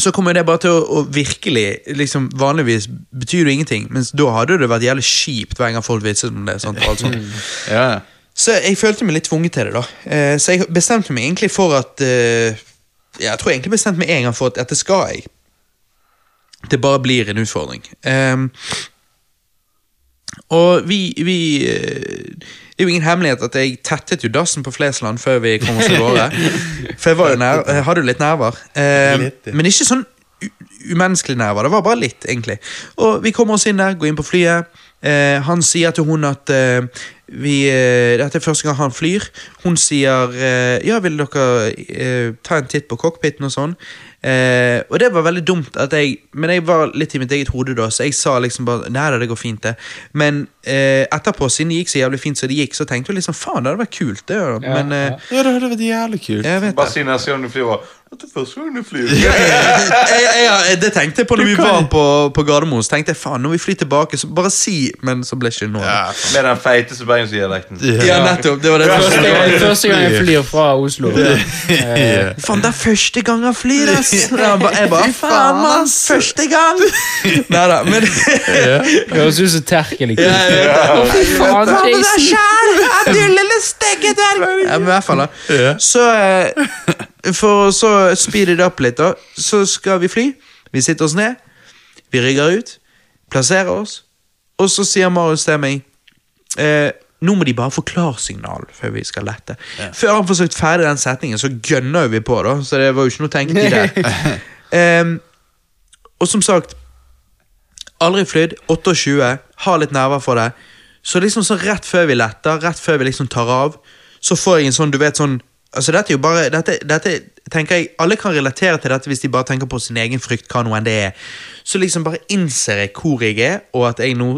så kommer det bare til å, å virkelig liksom Vanligvis betyr det ingenting, mens da hadde det vært jævlig kjipt hver gang folk vitset om det. Sant, og alt sånt. ja. Så jeg følte meg litt tvunget til det, da. Eh, Så jeg bestemte meg egentlig for at eh, Jeg tror jeg egentlig bestemte meg en gang for at dette skal jeg. Det bare blir en utfordring. Ehm, og vi, vi eh, Det er jo ingen hemmelighet at jeg tettet jo dassen på Flesland før vi kom oss av gårde. For jeg var jo nær, jeg hadde jo litt nerver. Ehm, Litt, ja. men ikke sånn u- umenneskelige nerver. Det var bare litt, egentlig. Og vi kommer oss inn der, går inn på flyet. Eh, han sier til hun at eh, vi, eh, dette er første gang han flyr. Hun sier eh, ja, vil dere eh, ta en titt på cockpiten og sånn. Eh, og det var veldig dumt, at jeg, men jeg var litt i mitt eget hode da, så jeg sa liksom bare nei da, det går fint, det. Men eh, etterpå, siden det gikk så jævlig fint som det gikk, så tenkte jeg liksom faen, det hadde vært kult, det. da." Ja, men eh, ja. Ja, det hadde vært jævlig kult. jeg vet Bare det. si neste gang du flyr over. Dette er første gang du flyr. *laughs* Jeg, jeg, jeg, det tenkte jeg på når Du vi kan- var på, på Gardermoen. Så tenkte jeg faen, når vi flyr tilbake, så bare si Men så ble ikke noe. Ja. Med den feiteste bergensdialekten. Ja. Ja, nettopp. Det var det første Det gang. er første gang jeg flyr fra Oslo. Ja. Faen, det er første gang han flyr, ass! Jeg bare, jeg bare faen, mann! Første gang! *laughs* Nei da, men Høres ut som Terkel. ikke sant? Å, fy faen, Hva med deg Jason! sjæl? Du lille stekkedverg! Ja, men i hvert fall, da. Ja. Så eh, For å så speede det opp litt, da. Så skal vi fly. Vi sitter oss ned. Vi rygger ut. Plasserer oss. Og så sier Marius til meg eh, Nå må de bare få klarsignal før vi skal lette. Før han får sagt ferdig den setningen, så gønner vi på, da. Så det var jo ikke noe tenkt i det. Em, og som sagt, Aldri flydd, 28, har litt nerver for det. Så liksom så rett før vi letter, rett før vi liksom tar av, så får jeg en sånn, du vet sånn Altså dette er jo bare, dette, dette tenker jeg, Alle kan relatere til dette hvis de bare tenker på sin egen frykt, hva nå enn det er. Så liksom bare innser jeg hvor jeg er, og at jeg nå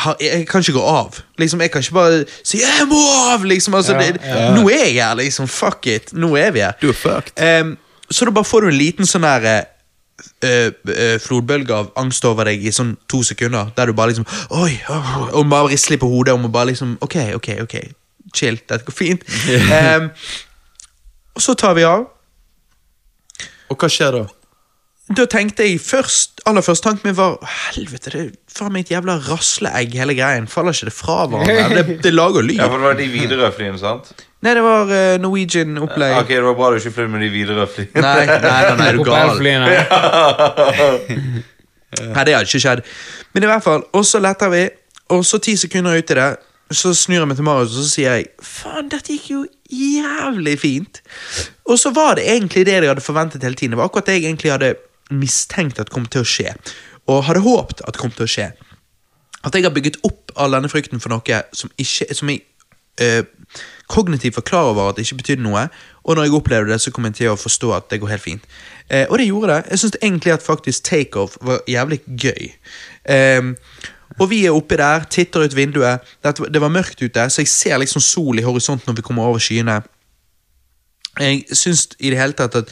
har, jeg, jeg kan ikke gå av. Liksom, Jeg kan ikke bare si 'jeg må av'! liksom, altså, Ja, det, ja. Nå er jeg her, liksom. Fuck it. Nå er vi her. Du er fucked. Ehm, så da bare får du en liten sånn her eh, eh, flodbølge av angst over deg i sånn to sekunder, der du bare liksom Oi! åh», og bare risler på hodet og må bare liksom Ok, ok, ok. Chill, dette går *laughs* fint. Ehm, og så tar vi av. Og hva skjer da? Da tenkte jeg først Aller første tanken min var Helvete, det er faen meg et jævla rasleegg, hele greien. Faller ikke det fra hverandre? Det, det lager lyd. Ja, for det var de Widerøe-flyene, sant? Nei, det var eh, Norwegian-opplegg. Ok, det var bra du ikke fløy med de Widerøe-flyene. Nei, *laughs* nei, nei, nei, er du gal. Propellflyene. Eh, Nei, det hadde ikke skjedd. Men i hvert fall, og så letter vi, og så ti sekunder ut i det, så snur jeg meg til Marius og så sier jeg, faen, dette gikk jo jævlig fint. Og så var det egentlig det jeg hadde forventet hele tiden. Det var akkurat det jeg egentlig hadde mistenkt at kom til å skje, og hadde håpet at kom til å skje. At jeg har bygget opp all denne frykten for noe som, ikke, som jeg eh, kognitivt var klar over at ikke betydde noe, og når jeg opplevde det, så kom jeg til å forstå at det går helt fint. Eh, og det gjorde det. Jeg syns egentlig at faktisk takeoff var jævlig gøy. Ehm, og vi er oppe der, titter ut vinduet. Dette var- Det var mørkt ute, så jeg ser liksom sol i horisonten når vi kommer over skyene. Jeg syns i det hele tatt at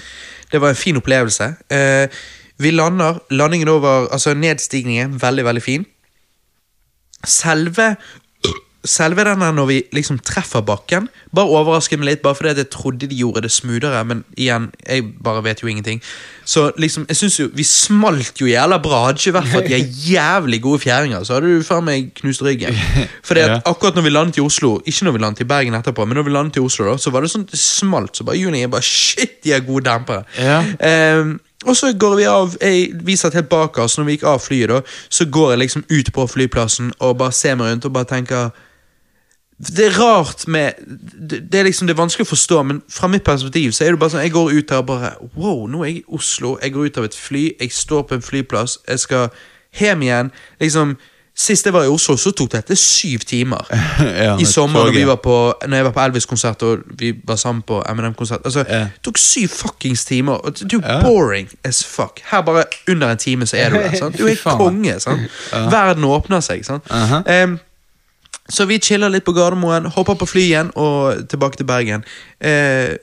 det var en fin opplevelse. Eh, vi lander. Landingen over Altså nedstigningen, veldig, veldig fin. Selve Selve den her når vi liksom treffer bakken, bare overrasker meg litt, bare fordi at jeg trodde de gjorde det smoothere, men igjen, jeg bare vet jo ingenting. Så liksom, jeg synes jo, vi smalt jo jævla bra, hadde ikke vært for at de er jævlig gode fjæringer, så hadde du faen meg knust ryggen. Fordi at Ja. akkurat når vi landet i Oslo, ikke når vi landet i Bergen etterpå, men når vi landet i Oslo da, så var det sånn, det smalt, så bare Juni, jeg bare, shit, de er gode dempere. Ja. Ehm, og så går vi av Jeg viser helt bak oss når vi gikk av flyet. da Så går jeg liksom ut på flyplassen og bare ser meg rundt og bare tenker Det er rart med Det, det er liksom det er vanskelig å forstå, men fra mitt perspektiv så er det bare sånn Jeg går ut der og bare Wow, nå er jeg i Oslo. Jeg går ut av et fly. Jeg står på en flyplass. Jeg skal hjem igjen. Liksom Sist jeg var i Oslo, så tok dette syv timer. *laughs* Ja, I med sommer, når, toget. vi var på, når jeg var på Elvis-konsert og vi var sammen på Eminem-konsert Altså, Ja. Det tok syv fuckings timer. og Det er jo Ja. boring as fuck. Her bare under en time, så er *laughs* du der. Sant? Du er Fy faen. konge. Sant? Verden åpner seg. Sant? Aha. Em, så vi chiller litt på Gardermoen, hopper på fly igjen og tilbake til Bergen. Eh,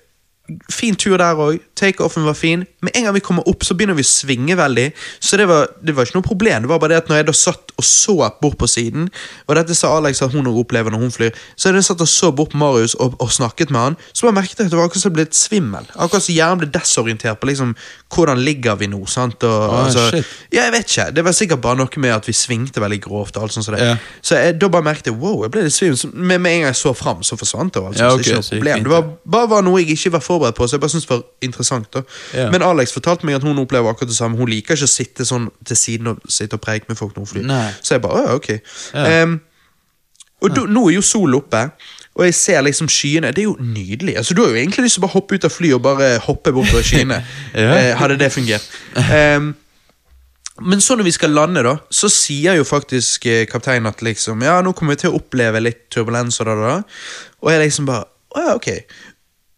fin tur der òg. Takeoffen var fin. Med en gang vi kommer opp, så begynner vi å svinge veldig. Så det var, det var ikke noe problem. Det var bare det at når jeg da satt og så bort på siden, og dette sa Alex at hun også opplever når hun flyr, så jeg satt og så bort på Marius og, og snakket med han, så bare merket jeg at det var akkurat som jeg ble litt svimmel. Akkurat som hjernen ble desorientert på liksom hvordan ligger vi nå, sant. Og, Ah, altså, shit. ja, jeg vet ikke. Det var sikkert bare noe med at vi svingte veldig grovt. og alt sånt som det. Ja. Så jeg, da bare merket jeg wow, jeg ble litt svimmel. Så- Men med en gang jeg så fram, så forsvant det. og alt Ja, sånt, ok, så så ikke noe gikk problem. fint, Det var bare var noe jeg ikke var forberedt på, så jeg bare syntes det var interessant. da. Ja. Men Alex fortalte meg at hun opplever akkurat det samme. Hun liker ikke å sitte sånn til siden og sitte og preike med folk når hun flyr. Nei. Så jeg bare, «Å, ja, ok. Ja. Ehm, og da- nå er jo solen oppe, og jeg ser liksom skyene. Det er jo nydelig. Altså, Du har jo egentlig lyst til å bare *laughs* Eh, hoppe ut av flyet og bare hoppe bortover skyene. Ja. eh, hadde det fungert. Ehm, Men så når vi skal lande, da, så sier jo faktisk eh, kapteinen at liksom Ja, nå kommer vi til å oppleve litt turbulens og da, da. da." Og jeg liksom bare Å ja, ok.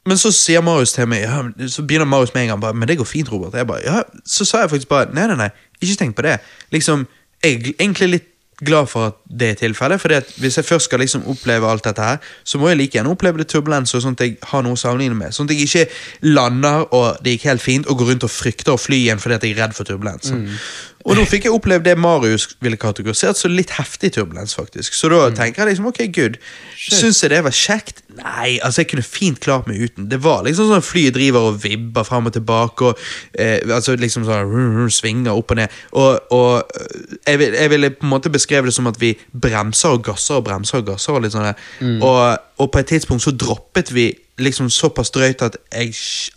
Men så sier Marius til meg ja, men- Så begynner Marius med en gang bare, Men det går fint, Robert. Jeg bare, ja, så sa jeg faktisk bare Nei, nei, nei, ikke tenk på det. Liksom, Jeg er egentlig litt glad for at det er tilfellet. Fordi at hvis jeg først skal liksom oppleve alt dette her, så må jeg like gjerne oppleve det turbulens, og sånn at jeg har noe å sammenligne med. Sånn at jeg ikke lander og det gikk helt fint, og går rundt og frykter å fly igjen fordi at jeg er redd for turbulens. Og nå fikk jeg opplevd det Marius ville kategorisert som litt heftig turbulens, faktisk. Så da tenker jeg liksom, ok, good. Syns jeg det var kjekt? Nei, altså jeg kunne fint klart meg uten. Det var liksom sånn at flyet driver og vibber fram og tilbake, og eh, altså liksom sånn rrr, rrr, svinger opp og ned. Og, og eh, jeg, vil, jeg ville på en måte beskreve det som at vi bremser og gasser og bremser og gasser. Og litt sånn der. Og, og på et tidspunkt så droppet vi liksom såpass drøyt at jeg,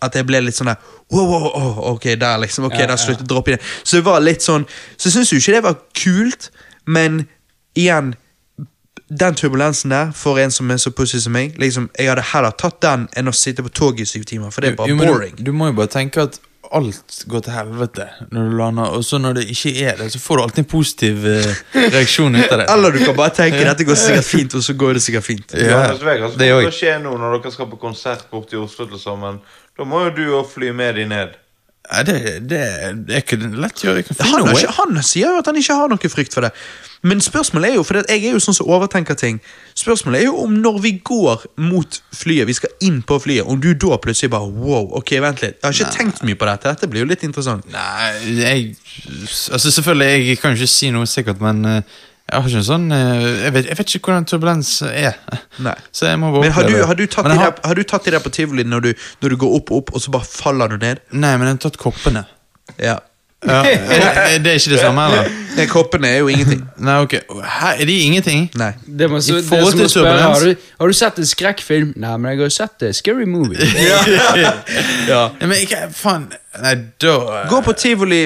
at jeg ble litt sånn der wow, wow, wow, ok, der liksom, ok, der sluttet droppet det. Så det var litt sånn, så jeg synes jo ikke det var kult, men igjen, den turbulensen der, for en som er så pussy som meg, liksom, jeg hadde heller tatt den enn å sitte på toget i syv timer, for det er bare Jo, men boring. Du, du må jo bare tenke at alt går til helvete når du lander, og så når det ikke er det, så får du alltid en positiv eh, reaksjon ut av det. Eller du kan bare tenke, dette går sikkert fint, og så går det sikkert fint. Ja, Johannes Vegard, så det kommer er altså. jo- det å skje noe når dere skal på konsert borte i Oslo til sommeren. Da må jo du òg fly med de ned. Nei, det, det, det er ikke lett å gjøre. Jeg kan finne Han, noe, har jeg. ikke, han sier jo at han ikke har noe frykt for det. Men spørsmålet er jo, for jeg er jo sånn som overtenker ting Spørsmålet er jo om når vi går mot flyet, vi skal inn på flyet, om du da plutselig bare wow, ok, vent litt. Jeg har ikke tenkt mye på dette. Dette blir jo litt interessant. Nei, jeg Altså, selvfølgelig, jeg kan jo ikke si noe sikkert, men eh, jeg har ikke en sånn eh, Jeg vet, jeg vet ikke hvordan turbulens er. Nei. *laughs* Så jeg må bare Men har du, oppleve det. har du tatt Men i jeg det, har- har du tatt i det på tivoli når du, når du går opp og opp, og så bare faller du ned? Nei, men jeg har tatt *laughs* koppene. Ja. Ja, er det er ikke det samme, *laughs* eller? Nei, Koppene er jo ingenting. Nei, ok. Her er de ingenting? Nei. Det må, I så, det forhold som å til spørre, turbulens. har, du, har du sett en skrekkfilm? Nei, men jeg har jo sett det. Scary movie. Nei, men ikke Faen. Nei, da eh, Gå på tivoli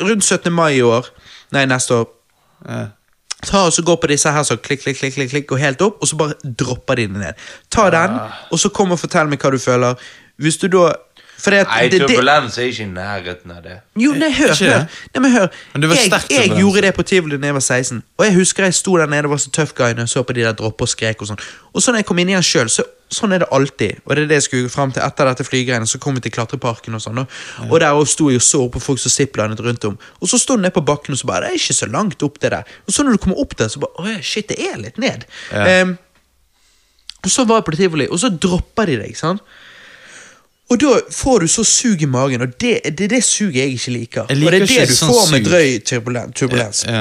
rundt 17. mai i år. Nei, neste år. Ja. Ta og så Gå på disse her som klikk, klikk, klikk, klikk, klikk, går helt opp, og så bare dropper de den ned. Ta den, og så kom og fortell meg hva du føler. Hvis du da for det, at- Nei, det, det, turbulens er ikke i nærheten av det. jo, nei, hør, Ikke hør. det? Nei, men hør. Men det var Jeg, sterkt jeg turbulens. gjorde det på tivoli da jeg var 16, og jeg husker jeg sto der nede og var så tøff guy når jeg så på de der droppe og skrek og sånn. Og så når jeg kom inn igjen sjøl, så sånn er det alltid. Og det er det jeg skulle fram til etter dette flygreiene. Så kom vi til klatreparken og sånn, og, og der også sto jeg og så på folk som ziplinet rundt om. Og så sto jeg nede på bakken og så bare Det er ikke så langt opp, det der. Og så når du kommer opp der, så bare Å ja, shit, det er litt ned. Ehm, og så var jeg på tivoli, og så dropper de deg, sant. Og da får du så sug i magen, og det, det er det suget jeg ikke liker. Jeg liker og det er det ikke du sånn får med sug. drøy turbulen- turbulens. Ja.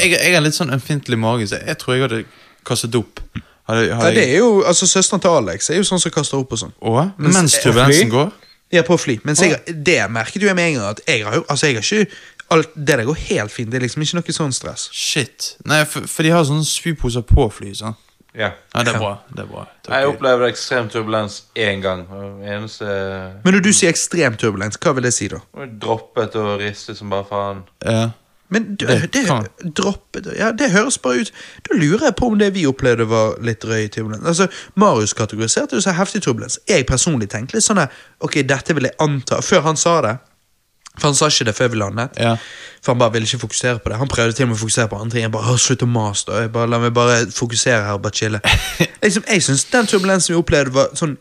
Jeg, jeg har litt sånn ømfintlig mage, så jeg tror jeg hadde kastet opp. Hadde, Ja, hadde det er jo, altså Søsteren til Alex er jo sånn som kaster opp og sånn. Å? Mens, turbulensen går? Ja, på fly. Men det merket jo jeg med en gang. At jeg har jo, altså jeg har ikke alt, Det der går helt fint. Det er liksom ikke noe sånn stress. Shit. Nei, for, for de har sånne spyposer på flyet, sånn. Ja. Ja, det er bra. det er bra. Takk. Jeg opplevde ekstrem turbulens én gang. og det Eneste Men når du sier ekstrem turbulens, hva vil det si da? jeg droppet og ristet som bare faen. Ja. Men du, det, Det kan- droppet Ja, det høres bare ut Da lurer jeg på om det vi opplevde, var litt drøy turbulens. Altså, Marius kategoriserte jo så heftig turbulens. Jeg personlig tenkte litt sånn her, Ok, dette vil jeg anta Før han sa det. For han sa ikke det før vi landet. Ja. For han bare ville ikke fokusere på det. Han prøvde til og med å fokusere på andre ting. Jeg bare, «Åh, slutt å mase, da. Jeg bare, la meg bare fokusere her og bare *laughs* chille. liksom, jeg synes den turbulensen vi opplevde, var sånn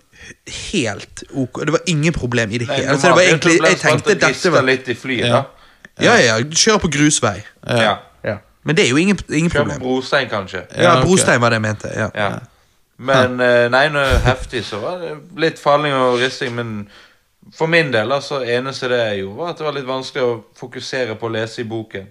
helt ok. Det var ingen problem i det hele altså, det var egentlig, Jeg tenkte dette var litt i flyet, Ja. da. Ja, ja, kjør på grusvei. Ja. Men det er jo ingen, ingen Kjør problem. på brostein, kanskje. Ja, Ja, ok. brostein var det jeg mente. Ja. Ja. Men eh, nei, når det er heftig, så var det litt falling og risting. Men for min del, altså, eneste det jeg gjorde, var at det var litt vanskelig å fokusere på å lese i *laughs* boken.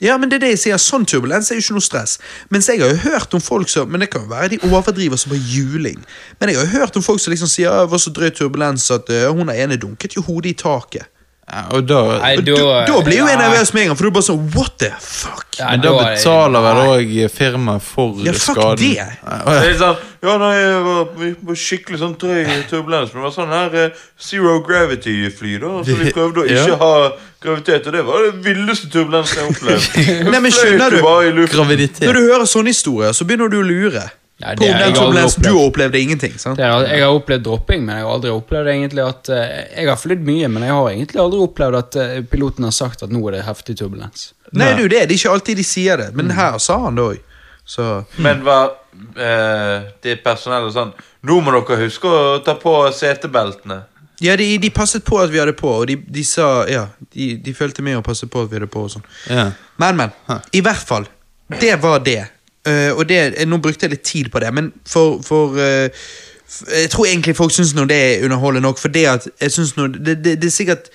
ja, men det er det jeg sier. Sånn turbulens er jo ikke noe stress. Mens jeg har jo hørt om folk som Men det kan jo være de overdriver som på juling. Men jeg har jo hørt om folk som liksom sier «Å, det var så drøy turbulens at ø, hun der ene dunket jo hodet i taket. ja. Og da Nei, Og Da, Da- da blir jo jeg Nei. nervøs med en gang, for du er bare sånn What the fuck? Nei, men da da er- betaler vel òg firmaet for Ja, fuck skaden. det. Ja, å, Det ja. er litt sånn, ja, nei, jeg var, vi var skikkelig sånn drøy turbulens, men det var sånn her eh, zero gravity-fly, da. Så vi prøvde å ikke Ja. ha gravitet, og det var det villeste turbulensen jeg har *laughs* opplevd. Nei, men Jeg fløyt skjønner jo du? Bare i luften. Når Graviditet. du hører sånne historier, så begynner du å lure. Nei, det På har jeg den som aldri leste opplevd. du og opplevde ingenting. sant? Det er, jeg har opplevd dropping, men jeg har aldri opplevd egentlig at eh, Jeg har flydd mye, men jeg har egentlig aldri opplevd at eh, piloten har sagt at nå er det heftig turbulens. Nei, du, det er det ikke alltid de sier det, men her sa han det òg. Så Men var eh, det personellet sånn Nå må dere huske å ta på setebeltene. Ja, de, de passet på at vi hadde på, og de, de sa Ja, de, de følte med og passet på at vi hadde på og sånn. Ja. Men, men. I hvert fall. Det var det. Eh, og det, eh, nå brukte jeg litt tid på det, men for, for eh, f- Jeg tror egentlig folk syns nå det er underholdende nok, for det at jeg synes nå, det, det, det er sikkert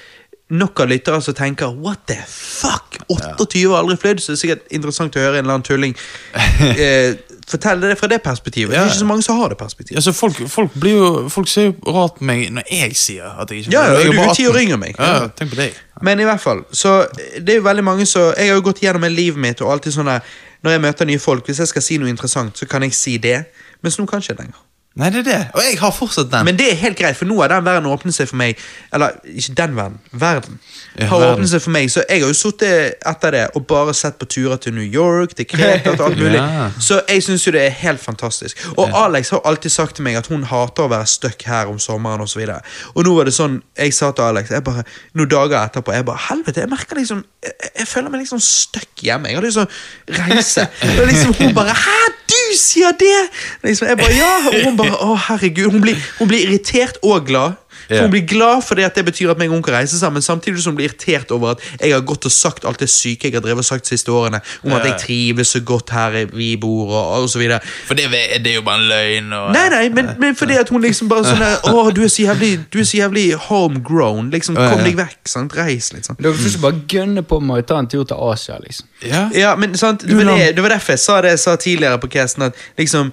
nok av lyttere som tenker 'what the fuck'? 28 har aldri flydd, så det er sikkert interessant å høre en eller annen *laughs* tulling eh, fortelle det fra det perspektivet. Det Ja. er ikke så mange som har det perspektivet. Ja, så folk, folk, blir jo, folk ser jo rart på meg når jeg sier at jeg ikke Ja, ja, jeg du bare er ti år 18. yngre enn meg. Ja, ja, tenk på deg. Men i hvert fall, så det er jo veldig mange som Jeg har jo gått gjennom hele livet mitt, og alltid sånn der Når jeg møter nye folk, hvis jeg skal si noe interessant, så kan jeg si det. Mens nå kan jeg ikke lenger. Nei, det er det. Og jeg har fortsatt den. Men det er helt greit, for nå har den verden åpnet seg for meg. Eller ikke den verden, verden. Ja, Har verden. åpnet seg for meg, Så jeg har jo sittet etter det og bare sett på turer til New York, til Kreta til alt mulig. *laughs* Ja. Så jeg syns jo det er helt fantastisk. Og Alex har alltid sagt til meg at hun hater å være stuck her om sommeren osv. Og, så videre. og nå var det sånn, jeg sa til Alex jeg bare, noen dager etterpå jeg bare, Helvete, jeg merker liksom Jeg, jeg føler meg liksom stuck hjemme. Jeg har lyst til å reise. Og liksom hun bare Hæ, du sier det?! Liksom, jeg bare, ja, Og hun bare Å, herregud. Hun blir, hun blir irritert og glad. For Ja. Hun blir glad fordi at det betyr at meg og hun kan reise sammen, samtidig som hun blir irritert over at jeg har gått og sagt alt det syke jeg har drevet og sagt de siste årene, om at jeg trives så godt her vi bor, og, og så videre. For det, det er jo bare en løgn. Og... Nei, nei, men, men fordi at hun liksom bare sånn *laughs* der, Å, du er så jævlig, du er så jævlig homegrown. Liksom, Ja, ja. kom deg vekk, sant. Reis litt, sant. Dere skal ikke bare gønne på med å ta en tur til Asia, liksom. Ja. Ja, men sant, det var, det, det var derfor jeg sa det jeg sa tidligere på casten, at liksom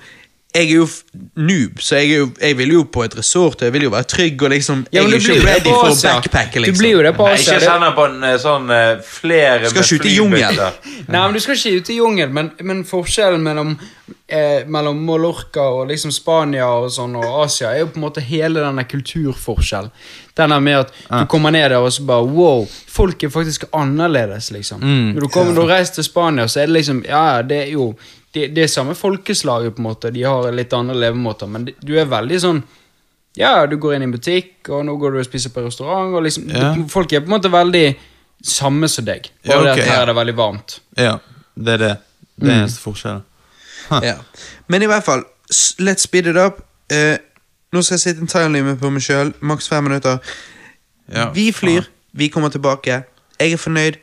jeg er jo f- noob, så jeg, er jo, jeg vil jo på et resort og jeg vil jo være trygg. og liksom, Jeg er jo ikke ready for å backpacke, liksom. Du blir jo det på Nei, Asia. ikke Det- send den på en eh, sånn eh, flere Skal med skyte i jungel. flybytter. Nei, men Du skal ikke ut i jungel, men, men forskjellen mellom, eh, mellom Mallorca og liksom Spania og sånn og Asia er jo på en måte hele denne kulturforskjellen. Den der med at du kommer ned der og så bare Wow, folk er faktisk annerledes, liksom. Mm. Når du kommer når du reiser til Spania, så er det liksom Ja, ja, det er jo det, det er samme folkeslaget, på en måte. De har litt andre levemåter, men du er veldig sånn ja, du går inn i en butikk, og nå går du og spiser på restaurant. Og liksom, Ja. du- Folk er på en måte veldig samme som deg. Bare Ja, det ok, at her ja. er det veldig varmt. ja, det er det. Det er eneste forskjellen. Ja. Men i hvert fall, s- let's speed it up. Eh, nå skal jeg sitte en timelime på meg sjøl, maks fem minutter. Ja, vi flyr, vi kommer tilbake. Jeg er fornøyd.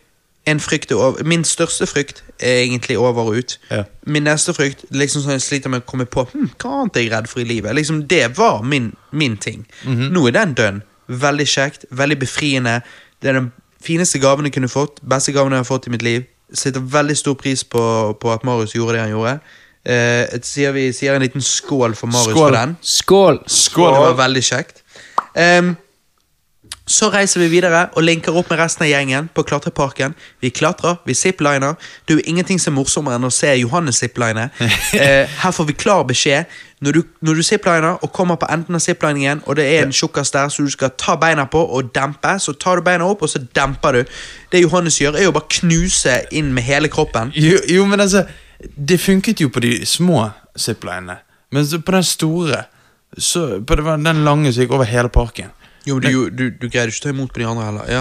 En frykt er over. Min største frykt er egentlig over og ut. Ja. Min neste frykt liksom sånn jeg sliter med å komme på hm, hva annet er jeg redd for i livet. Liksom, det var min, min ting. Mhm. Nå er den done. Veldig kjekt, veldig befriende. Det er den fineste gaven jeg kunne fått. Beste gaven jeg har fått i mitt liv. Setter veldig stor pris på, på at Marius gjorde det han gjorde. Eh, sier vi sier en liten skål for Marius Skål. for den? Skål! Skål, det var veldig kjekt. Ehm, så reiser vi videre og linker opp med resten av gjengen på Klatreparken. Vi klatrer, vi zipliner. Det er jo ingenting som er morsommere enn å se Johannes *laughs* zipline. Eh, her får vi klar beskjed. Når du, når du zipliner og kommer på enden av zipliningen, og det er en tjukkas der så du skal ta beina på og dempe, så tar du beina opp, og så demper du. Det Johannes gjør, er jo bare knuse inn med hele kroppen. Jo, jo, men altså Det funket jo på de små ziplinene. Men så på den store så, på det var Den lange som gikk over hele parken. Jo, men du, du, du greide ikke å ta imot på de andre heller. Ja.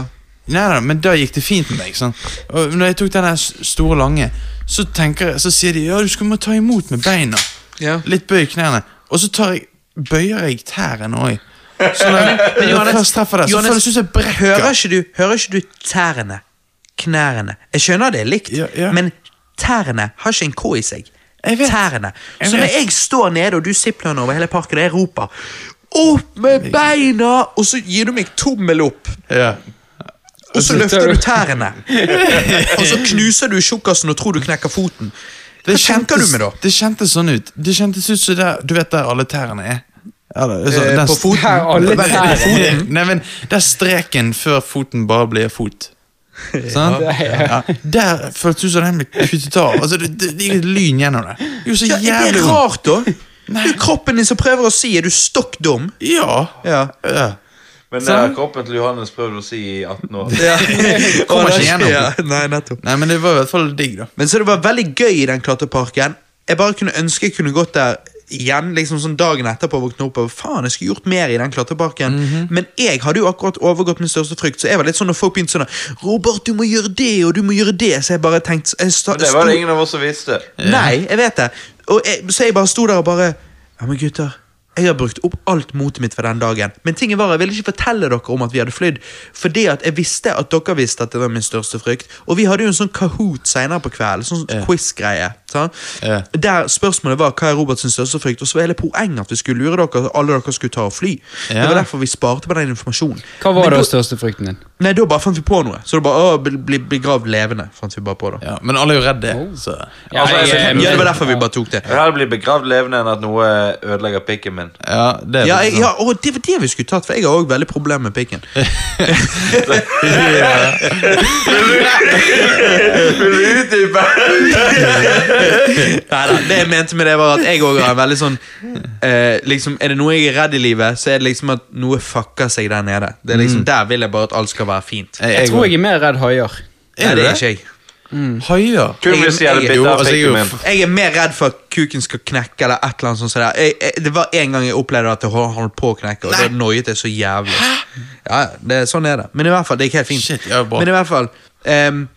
Nei, nei, men da gikk det fint med meg. sant? Og når jeg tok den der s- store lange, så tenker jeg, så sier de ja, du skal må ta imot med beina. Ja. Litt bøy i knærne. Og så tar jeg, bøyer jeg tærne òg. Så når *laughs* jeg, når jeg Johannes- først treffer det, så Johannes, føles det som jeg brekker. Hører ikke du, hører ikke du tærne, knærne? Jeg skjønner det er likt, Ja, ja. men tærne har ikke en K i seg. Jeg vet. Tærne. Jeg Så når vet. jeg står nede, og du siplene over hele parken, og jeg roper 'opp med beina', og så gir du meg tommel opp, Ja. og så løfter du tærne. *laughs* Og så knuser du tjukkasen og tror du knekker foten. Hva tenker du med da? Det kjentes sånn ut. Det kjentes ut som der, Du vet der alle tærne er? Eller, så, Eh, den på st- foten? Her, alle Vent, tærne. foten- Nei, men der streken før foten bare blir fot. Sant? Ja. Der føltes det ut som den ble kuttet av. Altså, det, det, det gikk lyn gjennom det. Det gjorde så Ja, er jævlig det vondt. rart, *laughs* da? Det er jo kroppen din som prøver å si er du stokk dum. Ja. Ja. ja. Men det Sånn. har kroppen til Johannes prøvd å si i 18 år. Kommer ikke gjennom. Nei, nettopp. Nei, men det var i hvert fall digg, da. Men så det var veldig gøy i den klatreparken. Jeg bare kunne ønske jeg kunne gått der igjen liksom sånn dagen etterpå våkne opp og faen, jeg skulle gjort mer i den klatreparken. Mhm. Men jeg hadde jo akkurat overgått min største frykt, så jeg var litt sånn når folk begynte sånn 'Robert, du må gjøre det, og du må gjøre det', så jeg bare tenkte jeg sta, Og det var sto- det ingen av oss som visste. Eh. Nei, jeg vet det. Og jeg, så jeg bare sto der og bare Ja, men gutter. Jeg har brukt opp alt motet mitt for den dagen. Men tingen var, jeg ville ikke fortelle dere om at vi hadde flydd. Fordi at jeg visste at dere visste at det var min største frykt. Og vi hadde jo en sånn Kahoot senere på kvelden. Sånn quiz-greie. sant? Ja. Der spørsmålet var hva er Roberts største frykt, og så var hele poenget at vi skulle lure dere. at Alle dere skulle ta og fly. Det Ja. var derfor vi sparte på den informasjonen. Hva Men var da da- største frykten din? Nei, da bare fant vi på noe. Så det bare, å, bli- bli begravd levende, fant vi bare på da. Ja, men alle er jo redd det. Så. Ja, Altså, jeg- jeg- Ja, det eh, var derfor vi bare tok det. Jeg vil heller bli begravd levende enn at noe eh, ødelegger pikken min. Ja, det er Ja, jeg, litt ja, og det var det vi skulle tatt, for jeg har òg veldig problemer med pikken. Vil du utdype? Neida, det jeg mente med det, var at jeg òg har en veldig sånn eh, liksom, Er det noe jeg er redd i livet, så er det liksom at noe fucker seg der nede. Det er liksom Der vil jeg bare at alt skal være fint. sånn. Jeg tror jeg er mer redd haier. Nei, Er du det det? er ikke jeg. Haier? Kun hvis de hadde Jeg- Jo, bitt av altså, jeg er pikken jo min. Jeg er mer redd for at kuken skal knekke eller et eller annet sånt. som det er. Jeg, jeg, det var en gang jeg opplevde at det hol- holdt på å knekke, og da noiet jeg så jævlig. Ja, ja, det, sånn er det. Men i hvert fall, det gikk helt fint. Shit, ja, bra. men i hvert fall ehm,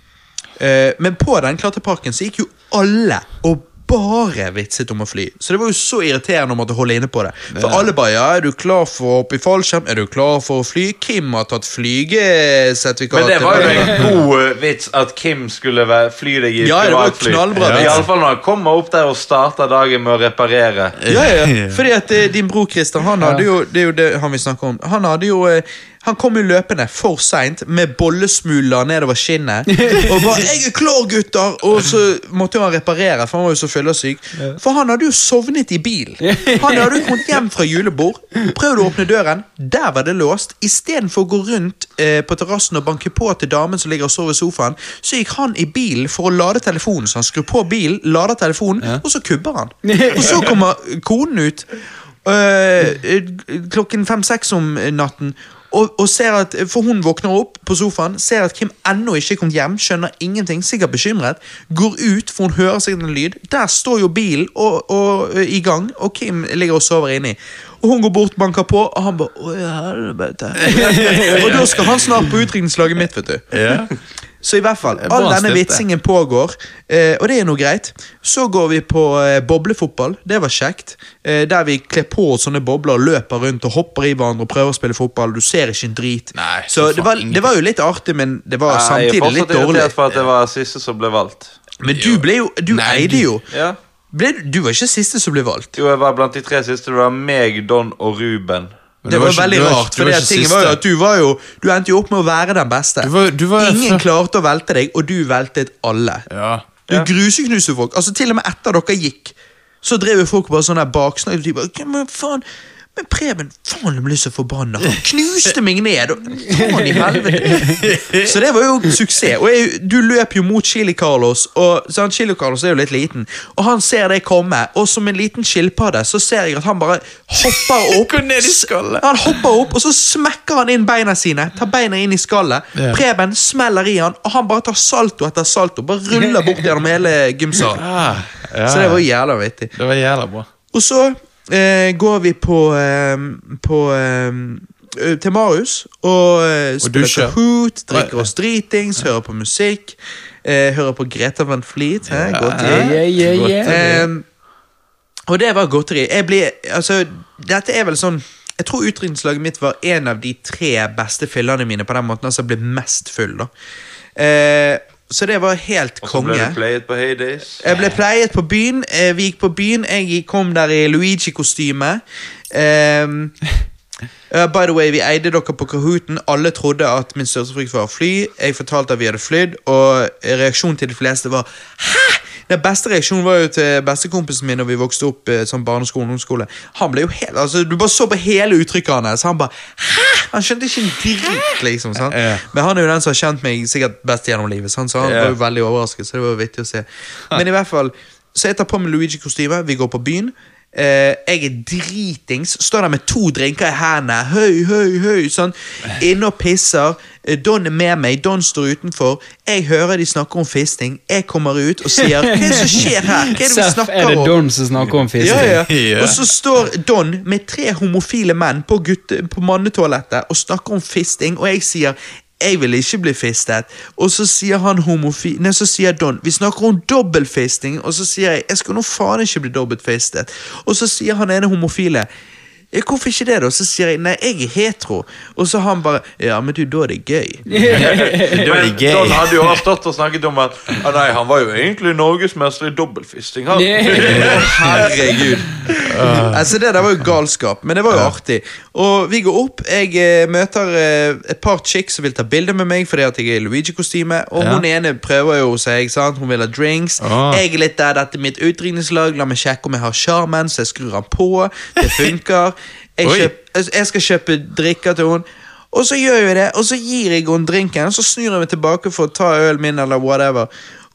eh, Men på den klatreparken så gikk jo alle og bare vitset om å fly. Så det var jo så irriterende om å måtte holde inne på det. For alle bare ja, 'Er du klar for å hoppe i fallskjerm? Er du klar for å fly?' Kim har tatt flygesertifikat. Men det var jo en god eh, vits at Kim skulle være- fly deg i Ja, det var jo privatfly. knallbra vits. Iallfall når han kommer opp der og starter dagen med å reparere. Eh, Ja, ja, *laughs* ja. Fordi at eh, din bror Christian, han hadde jo, det er jo det han vil snakke om. Han hadde jo eh, han kom jo løpende for seint med bollesmuler nedover skinnet. Og bare 'Jeg er klar, gutter!' Og så måtte jo han reparere, for han var jo så fyllesyk. For han hadde jo sovnet i bil. Han hadde jo kommet hjem fra julebord, prøvd å åpne døren, der var det låst. Istedenfor å gå rundt eh, på terrassen og banke på til damen som ligger og sover i sofaen, så gikk han i bilen for å lade telefonen. Så han skrur på bilen, lader telefonen, og så kubber han. Og så kommer konen ut øh, klokken fem-seks om natten. Og, og ser at, for Hun våkner opp på sofaen, ser at Kim ennå ikke er kommet hjem. Skjønner ingenting, sikkert bekymret. Går ut, for hun hører sikkert en lyd. Der står jo bilen og, og, øh, i gang, og Kim ligger og sover inni. Og Hun går bort, banker på, og han bare «Å, helvete». Og da skal han snart på utrykningslaget mitt, vet du. Ja. Så i hvert fall, bra all denne snitt, det. vitsingen pågår, eh, og det er noe greit. Så går vi på eh, boblefotball, det var kjekt. Eh, der vi kler på oss sånne bobler, løper rundt og hopper i hverandre og prøver å spille fotball. Du ser ikke en drit. Nei, så for det var, faen. det var jo litt artig, men det var jeg er samtidig litt fortsatt dårlig. irritert for at det var siste som ble valgt. Men du ble jo Du Nei, eide jo. Ja. Ble, du- du var ikke siste som ble valgt. Jo, jeg var blant de tre siste. Det var meg, Don og Ruben. Men Det du var, ikke- veldig du rart, du for ikke tingen siste. var jo at du var jo Du endte jo opp med å være den beste. Du var- du var- Ingen klarte å velte deg, og du veltet alle. Ja. Du gruseknuser folk. Altså Til og med etter dere gikk, så drev jo folk bare sånn der baksnakk. De bare, «Hva, men faen men Preben, faen jeg ble så forbanna. Han knuste meg ned! Og, faen i helvete *laughs* Så det var jo suksess. Og jeg, du løp jo mot Chili Carlos, og sant, Chili Carlos er jo litt liten. Og han ser deg komme, og som en liten skilpadde så ser jeg at han bare hopper opp. Går ned i skallet. Han hopper opp, og så smekker han inn beina sine. Tar beina inn i skallet. Ja. Preben smeller i han, og han bare tar salto etter salto. Bare ruller bort gjennom hele gymsalen. Ah, ja. Så det var jævla vittig. Det var jævla bra. Og så eh, går vi på, eh, på eh, ø, til Marius og, eh, spiller dusjer. Kahoot, drikker oss dritings, hører på musikk. Eh, hører på Greta Van Fleet. Hæ? Godteri. Yeah, yeah, yeah. Ehm, og det var godteri. Jeg ble, altså, dette er vel sånn Jeg tror utrykningslaget mitt var en av de tre beste fyllerne mine på den måten. Altså jeg ble mest full, da. Eh, så det var helt Og så ble konge. det playet på Heydays. Jeg ble pleiet på byen. eh, Vi gikk på byen. Jeg gikk- kom der i Luigi-kostyme. Ehm, uh, by the way, Vi eide dere på Kahooten. Alle trodde at min største frykt var å fly. Jeg fortalte at vi hadde flydd, og reaksjonen til de fleste var Hæ?! Den beste reaksjonen var jo til bestekompisen min Når vi vokste opp eh, som barneskole og ungdomsskole. Han ble jo helt, altså Du bare så på hele uttrykket hans. Han bare Hæ?! Han skjønte ikke en drit, liksom. sant? Ja. Men han er jo den som har kjent meg sikkert best gjennom livet, sant? så han Ja. var jo veldig overrasket. Så det var jo vittig å se Men i hvert fall, så jeg tar på meg Luigi-kostyme, vi går på byen. Eh, jeg er dritings, står der med to drinker i hendene, høy, høy, høy, sånn. Inne og pisser. Eh, Don er med meg, Don står utenfor. Jeg hører de snakker om fisting. Jeg kommer ut og sier 'Hva er det som skjer her?' Hva er det vi Seff, snakker er det om? Don som snakker om fisting? Ja, *laughs* ja. Ja. Og så står Don med tre homofile menn på, gutte, på mannetoalettet og snakker om fisting, og jeg sier jeg vil ikke bli fistet. Og så sier han homofi... Nei, så sier Don Vi snakker om dobbeltfisting, og så sier jeg jeg skal nå faen ikke bli dobbeltfistet. Og så sier han ene homofile «Ja, Hvorfor ikke det, da? Så sier jeg nei, jeg er hetero. Og så han bare Ja, men du, da er det gøy. Det var Men litt gøy. Don hadde jo også stått og snakket om at ah, nei, han var jo egentlig norgesmester i dobbeltfisting. Han. *laughs* Herregud. Altså Det der var jo galskap, men det var jo artig. Og vi går opp. Jeg eh, møter eh, et par chicks som vil ta bilde med meg fordi at jeg er i Luigi-kostyme. Og Ja. hun ene prøver jo seg. sant? Hun vil ha drinks. Ah. Jeg er litt der, dette er mitt utdrikningslag. La meg sjekke om jeg har sjarmen, så jeg skrur han på. Det *laughs* funker. Jeg, Oi. kjøp, altså, jeg skal kjøpe drikker til hun. Og så gjør jeg det, og så gir jeg henne drinken, og så snur jeg meg tilbake for å ta ølen min. eller whatever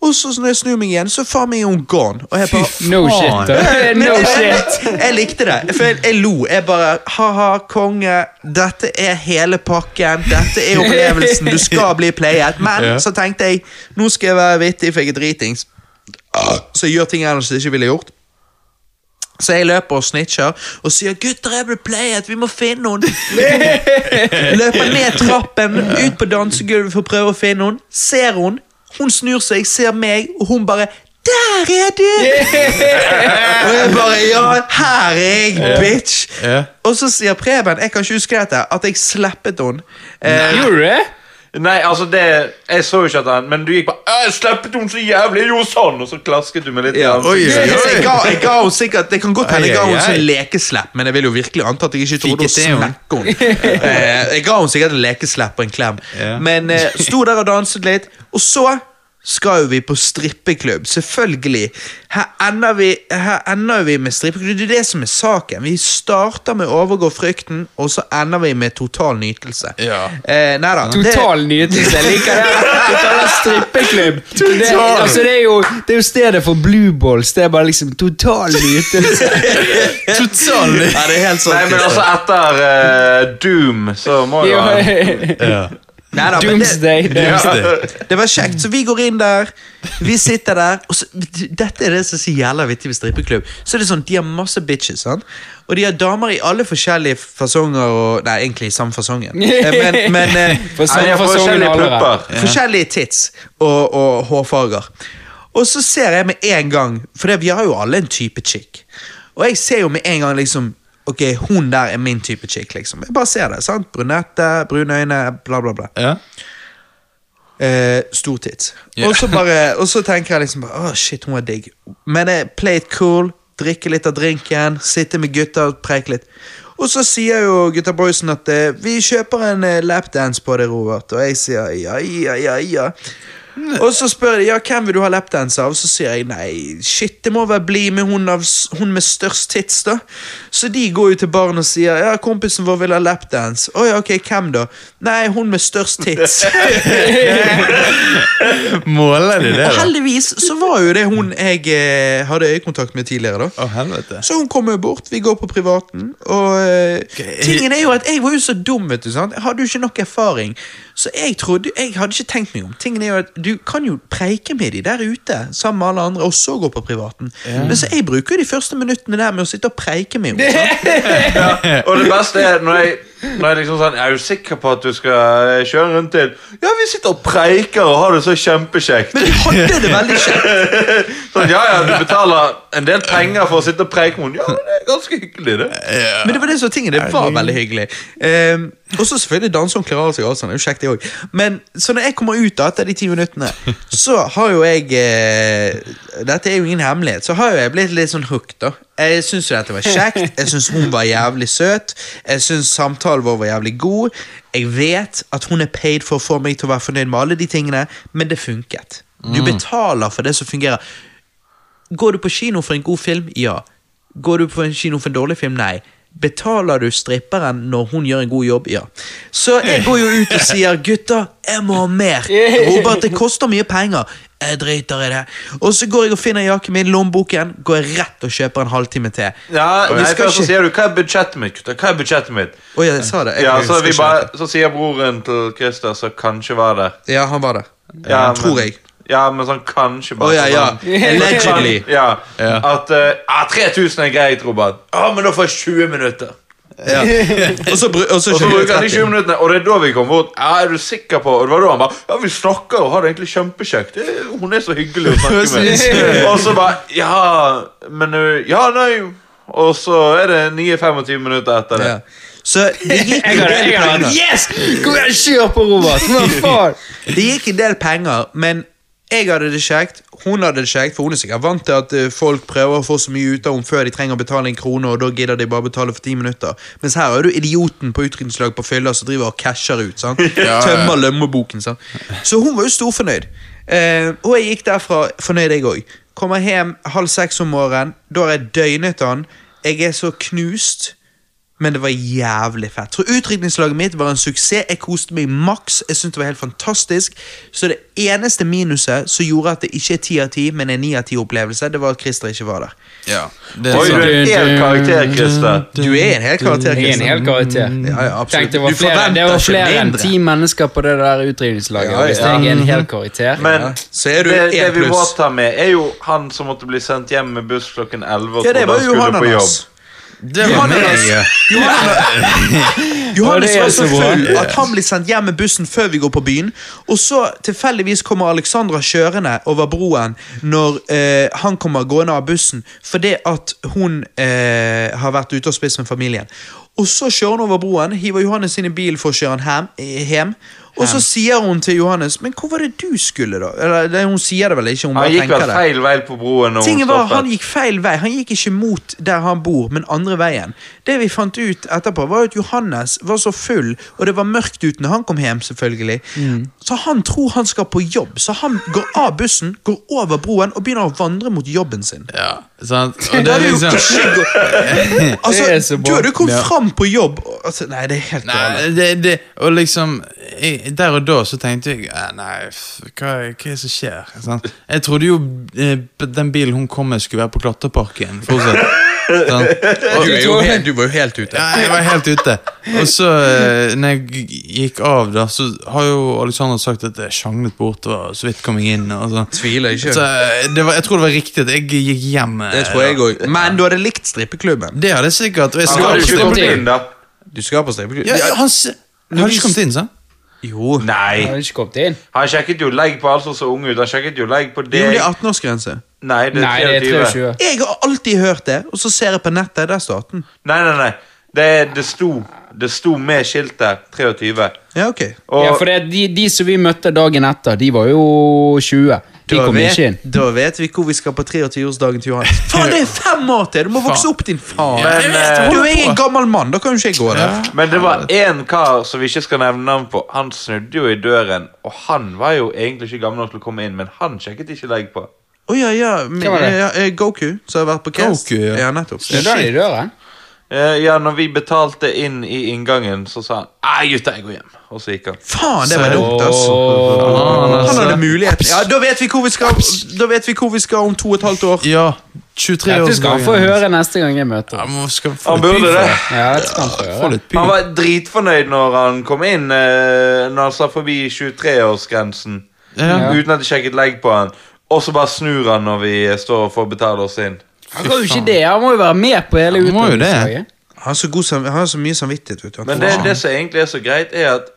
Og så når jeg snur meg igjen, så faen meg er hun gone. Og jeg bare, No shit, Faen. da. *laughs* men No jeg- shit. Jeg, jeg likte det. For jeg, jeg lo. Jeg bare Ha-ha, konge. Dette er hele pakken. Dette er opplevelsen. Du skal bli playet. Men Ja. så tenkte jeg nå skal jeg være vittig, for jeg er dritings. Så jeg gjør ting jeg ellers ikke ville gjort. Så jeg løper og snitcher og sier 'gutter, jeg ble playet, vi må finne noen'. Løper ned trappen, ut på dansegulvet for å prøve å finne henne. Ser hun, hun snur seg, ser meg, og hun bare 'Der er du!' Og jeg bare 'Ja, her er jeg, bitch'. Ja. Og så sier Preben, jeg kan ikke huske dette, at jeg slappet henne. Eh, Gjorde du det? Nei, altså det Jeg så jo ikke at han Men du gikk bare «Æ, 'Jeg slappet henne så jævlig, jeg gjorde sånn!' Og så klasket du meg litt. i ja, ansiktet. så oi, jeg, oi. jeg, ga, jeg ga henne sikkert Det kan godt hende jeg ga Ai, ai, henne ai. sånn lekeslapp, men jeg vil jo virkelig anta at jeg ikke trodde å Fikk jeg til henne? smekke henne. Eh, jeg ga henne sikkert en lekeslapp og en klem, Ja. men eh, sto der og danset litt. Og så skal jo vi på strippeklubb, selvfølgelig. Her ender vi, her ender vi med strippeklubb. Det er det som er saken. Vi starter med å overgå frykten, og så ender vi med total nytelse. Ja. Eh, nei da. det- Total nytelse. Jeg liker det. Total strippeklubb. Det, Total. altså, det, er jo, det er jo stedet for blue balls. Det er bare liksom total nytelse. *laughs* Totalt! *laughs* Ja, det er helt sånn- sant. Nei, men Kristian. altså etter eh, Doom, så må jo han Ja. Nei da, men det- Doomsday. Det var kjekt, så vi går inn der. Vi sitter der. Og så, dette er det som er så jævla vittig ved strippeklubb. Så er det sånn, De har masse bitches, sant? og de har damer i alle forskjellige fasonger. Og, nei, egentlig i samme fasongen. Eh, Men, men eh, For Nei, samme jeg fasongen får forskjellige allerede. pupper. forskjellige tits og, og hårfarger. Og så ser jeg med en gang, for det, vi har jo alle en type chick. Og jeg ser jo med en gang liksom Ok, hun der er min type chick, liksom. Jeg bare ser det. sant? Brunette, brune øyne, bla, bla, bla. Ja. Eh, stor tits. Ja. Og så bare, og så tenker jeg liksom bare, Åh, shit, hun var digg. Men jeg play it cool, drikke litt av drinken, sitte med gutta og preike litt. Og så sier jo gutta boysen at eh, vi kjøper en eh, lapdance på det, Robert. Og jeg sier ja, ja, ja, ja. Og så spør de ja, hvem vil du ha lapdance av, så sier jeg nei, shit, det må vel bli med hun, av, s- hun med størst tits, da. Så de går jo til baren og sier ja, kompisen vår vil ha lapdance. Å ja, ok, hvem da? Nei, hun med størst tits. Måler de det, Og da? heldigvis så var jo det hun jeg eh, hadde øyekontakt med tidligere. da Å, helvete. Så hun kom jo bort, vi går på privaten, og eh, Ok. tingen er jo at jeg var jo så dum, vet du. sant? Jeg hadde jo ikke nok erfaring. Så jeg trodde, jeg hadde ikke tenkt meg om. Tingen er jo at Du kan jo preike med de der ute sammen med alle andre, og så gå på privaten. Men så jeg bruker jo de første minuttene der med å sitte og preike med henne. sant? Og det beste er når jeg, når jeg liksom sånn Er du sikker på at du skal eh, kjøre rundt til? Ja, vi sitter og preiker og har det så kjempekjekt. Men vi hadde det veldig kjekt. Sånn, ja, ja, du betaler en del penger for å sitte og preike med henne. Ja, men det er ganske hyggelig, det. Ja. Men det var det som var tingen, det var veldig hyggelig. Um, og så selvfølgelig danser hun klarer seg også, det er jo kjekt det også. Men så når jeg kommer ut da, etter de ti minuttene, så har jo jeg eh, Dette er jo ingen hemmelighet, så har jo jeg blitt litt sånn hooked, da. Jeg syns jo dette var kjekt, jeg syns hun var jævlig søt, jeg syns samtalen vår var jævlig god. Jeg vet at hun er paid for å få meg til å være fornøyd med alle de tingene, men det funket. Du betaler for det som fungerer. Går du på kino for en god film? Ja. Går du på en kino for en dårlig film? Nei. Betaler du stripperen når hun gjør en god jobb? Ja. Så jeg går jo ut og sier 'gutta, jeg må ha mer'. Robert, det koster mye penger. Jeg driter i det. Og så går jeg og finner jakken min i lommeboken, går jeg rett og kjøper en halvtime til. Ja, Og vi nei, skal først så ikke- sier du 'hva er budsjettet mitt', gutter? Hva er budsjettet mitt? Å, ja, jeg sa det. Jeg Ja, så, husker vi ikke bare, dette. så sier broren til Christer, som kanskje var der Ja, han var der. ja, men- tror jeg. Ja, men sånn kanskje bare Å ja, *laughs* ja. sånn- Allegedly. Ja, Ja. At eh, ah, 3000 er greit, Robert. Ja, men da får jeg 20 minutter. *laughs* Ja. Og så, bru- og så Og så kjøper jeg bruker han 30. de 20 minuttene, og det er da vi kommer bort. Ja, er du sikker på Og det var da han bare Ja, vi snakker og har det egentlig kjempekjekt. Det- Hun er så hyggelig å *laughs* snakke med. Og så bare Ja, men eh, Ja, nei. Og så er det 9-25 minutter etter det. Ja. Så det gikk en del penger. Yes! Kom igjen, kjør på, Robert! *laughs* Hva faen? Det gikk en del penger, men jeg hadde det kjekt, hun hadde det kjekt, for hun er sikkert vant til at eh, folk prøver å få så mye ut av henne før de trenger å betale en krone, og da gidder de bare betale for ti minutter. Mens her er du idioten på utdrikningslag på fylla som driver og casher ut. Sant? Tømmer lommeboken. Sant? Så hun var jo storfornøyd. Eh, og jeg gikk derfra fornøyd, jeg òg. Kommer hjem halv seks om morgenen, da har jeg døgnet han. Jeg er så knust. Men det var jævlig fett. Så utrykningslaget mitt var en suksess. Jeg koste meg maks. Jeg syntes det var helt fantastisk. Så det eneste minuset som gjorde at det ikke er ti av ti, men en ni av ti opplevelse, det var at Christer ikke var der. Ja, det er Oi, du sant. er en hel karakter, Christer. Du er en hel karakter, Jeg er en Christer. hel karakter. Ja, ja, absolutt. Tenkte det var Du flere, det forventer var ikke flere enn mindre. ti mennesker på det der utdrivningslaget. Ja, ja. Hvis jeg er en hel karakter Men Så er du det, det en vi må pluss. ta med, er jo han som måtte bli sendt hjem med buss klokken 11. Og Ja, det trodde var han skulle Johan på jobb. hans. Det var meg. ja. Johannes Ja, det er var så så bra. full at han blir sendt hjem med bussen før vi går på byen. Og så tilfeldigvis kommer Alexandra kjørende over broen når eh, han kommer gående av bussen fordi at hun eh, har vært ute og spist med familien. Og så kjører hun over broen, hiver Johannes inn i bilen for å kjøre han hem. eh, hjem. Og så sier hun til Johannes Men hvor var det du skulle, da? Eller det- hun sier det vel ikke, hun Han bare gikk tenker vel det. feil vei på broen. Når Tingen hun var, stoppet. Han gikk feil vei. Han gikk ikke mot der han bor, men andre veien. Det vi fant ut etterpå, var at Johannes var så full, og det var mørkt ute når han kom hjem, selvfølgelig. Så han tror han skal på jobb, så han går av bussen, går over broen og begynner å vandre mot jobben sin. Ja, sant. *laughs* Og det er liksom Altså, Det er så bra. Du hadde jo kommet Ja. fram på jobb og- altså, Nei, det er helt galt. Nei, det, det, og liksom jeg, Der og da så tenkte jeg eh, Nei, f- hva, hva er det som skjer? Sant? Jeg trodde jo eh, den bilen hun kom med, skulle være på Klatreparken. Fortsatt. *laughs* Sant? Og, du var jo helt ute. ja, jeg var helt ute. Og så, eh, når jeg g- gikk av, da, så har jo Alexander sagt at jeg sjanglet bort og så vidt kom jeg inn. Og sånn. Tviler ikke. Så eh, det var, jeg tror det var riktig at jeg gikk hjem. eh, Det tror jeg da. òg. Men du hadde likt strippeklubben. Det hadde jeg sikkert. Og jeg Han skal det hadde absolutt ikke kommet ikke. inn, da. Du skal på strippeklubben? ja, ja, han s- har ikke kommet inn, sant? Jo. Nei. Jeg Nei. har ikke kommet inn. Han sjekket jo legg på alt som så ung ut. Han sjekket jo legg på Jo, deg. det er 18-årsgrense. Nei, det Nei, det er er 23. 23. Jeg har alltid hørt det, og så ser jeg på nettet, der står 18. Nei, nei, nei. Det, det, sto, det sto med skiltet 23. Ja, ok. Og Ja, for det, de, de som vi møtte dagen etter, de var jo 20. De Da kom vet, ikke inn. da vet vi hvor vi skal på 23-årsdagen til Johan. Faen, det er fem år til! Du må vokse opp, din faen! Men, eh, du er en gammel mann, da kan jo ikke jeg gå der. Men det var én kar som vi ikke skal nevne navn på. Han snudde jo i døren, og han var jo egentlig ikke gammel nok til å komme inn, men han sjekket ikke legg på. Å ja, ja. men- Hvem var det? ja, eh, Goku, som har vært på cast. Goku, ja. nettopp. Det er der i døren. Eh, ja, når vi betalte inn i inngangen, så sa han Nei, gutta, jeg går hjem. Og så gikk han. Faen, det var dumt, altså. Åh. Han altså- hadde mulighet. Ja, da vet vi hvor vi skal, da vet vi hvor vi skal om to og et halvt år. Ja, 23 år Dette skal han få høre neste gang jeg møter ham. Han burde det. Ja, dette skal han få Få høre. litt py. Han var dritfornøyd når han kom inn, eh, når han sa forbi 23-årsgrensen. Ja. Uten at de sjekket legg på han. Og så bare snur han når vi eh, står og får betale oss inn. Han kan jo ikke det, han må jo være med på hele Han må jo det. utdrikningslaget. Han har så, god, sam- han har så mye samvittighet, vet du. Men det, det som egentlig er så greit, er at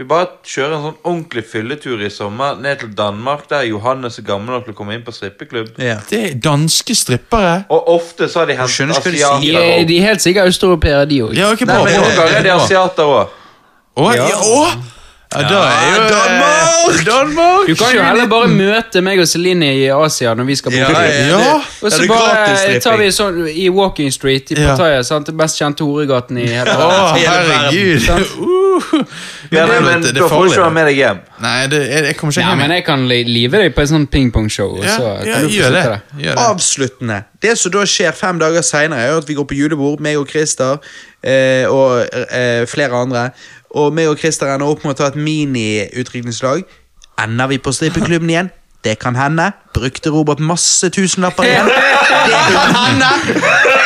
vi bare kjører en sånn ordentlig fylletur i sommer ned til Danmark, der Johannes er gammel nok til å komme inn på strippeklubb. ja. Det er danske strippere. Og ofte så har de hentet skjønner ikke hva de sier. De, asiater er- òg. de er helt sikkert østeuropeere, de òg. Ja, ok, Nei, bra. men noen ganger er de asiater òg. Å, ja. å. Ja, da er jo Danmark! Danmark! Du kan jo heller bare møte meg og Celine i Asia når vi skal på Ja, tur. ja, Ja. det- Og det så er bare gratis tar vi stripping. sånn i Walking Street i Ja. Pattaya. sant? Den best kjente horegaten i hele Å, *laughs* verden. herregud. Uh. Ja, det nei, er litt- men det er da får du farlig, ikke det. være med deg hjem. Nei, det, jeg, jeg kommer ikke Ja, hjem. men jeg kan li- live deg på et sånt pingpongshow, og Ja, så ja, kan du få gjør det. sitte der. Gjør det. Avsluttende. Det som da skjer fem dager seinere, er jo at vi går på julebord, meg og Christer eh, og eh, flere andre. Og meg og Christer ender opp med å ta et mini-utrykningslag. Ender vi på strippeklubben igjen? Det kan hende. Brukte Robert masse tusenlapper *laughs* igjen? Det kan hende!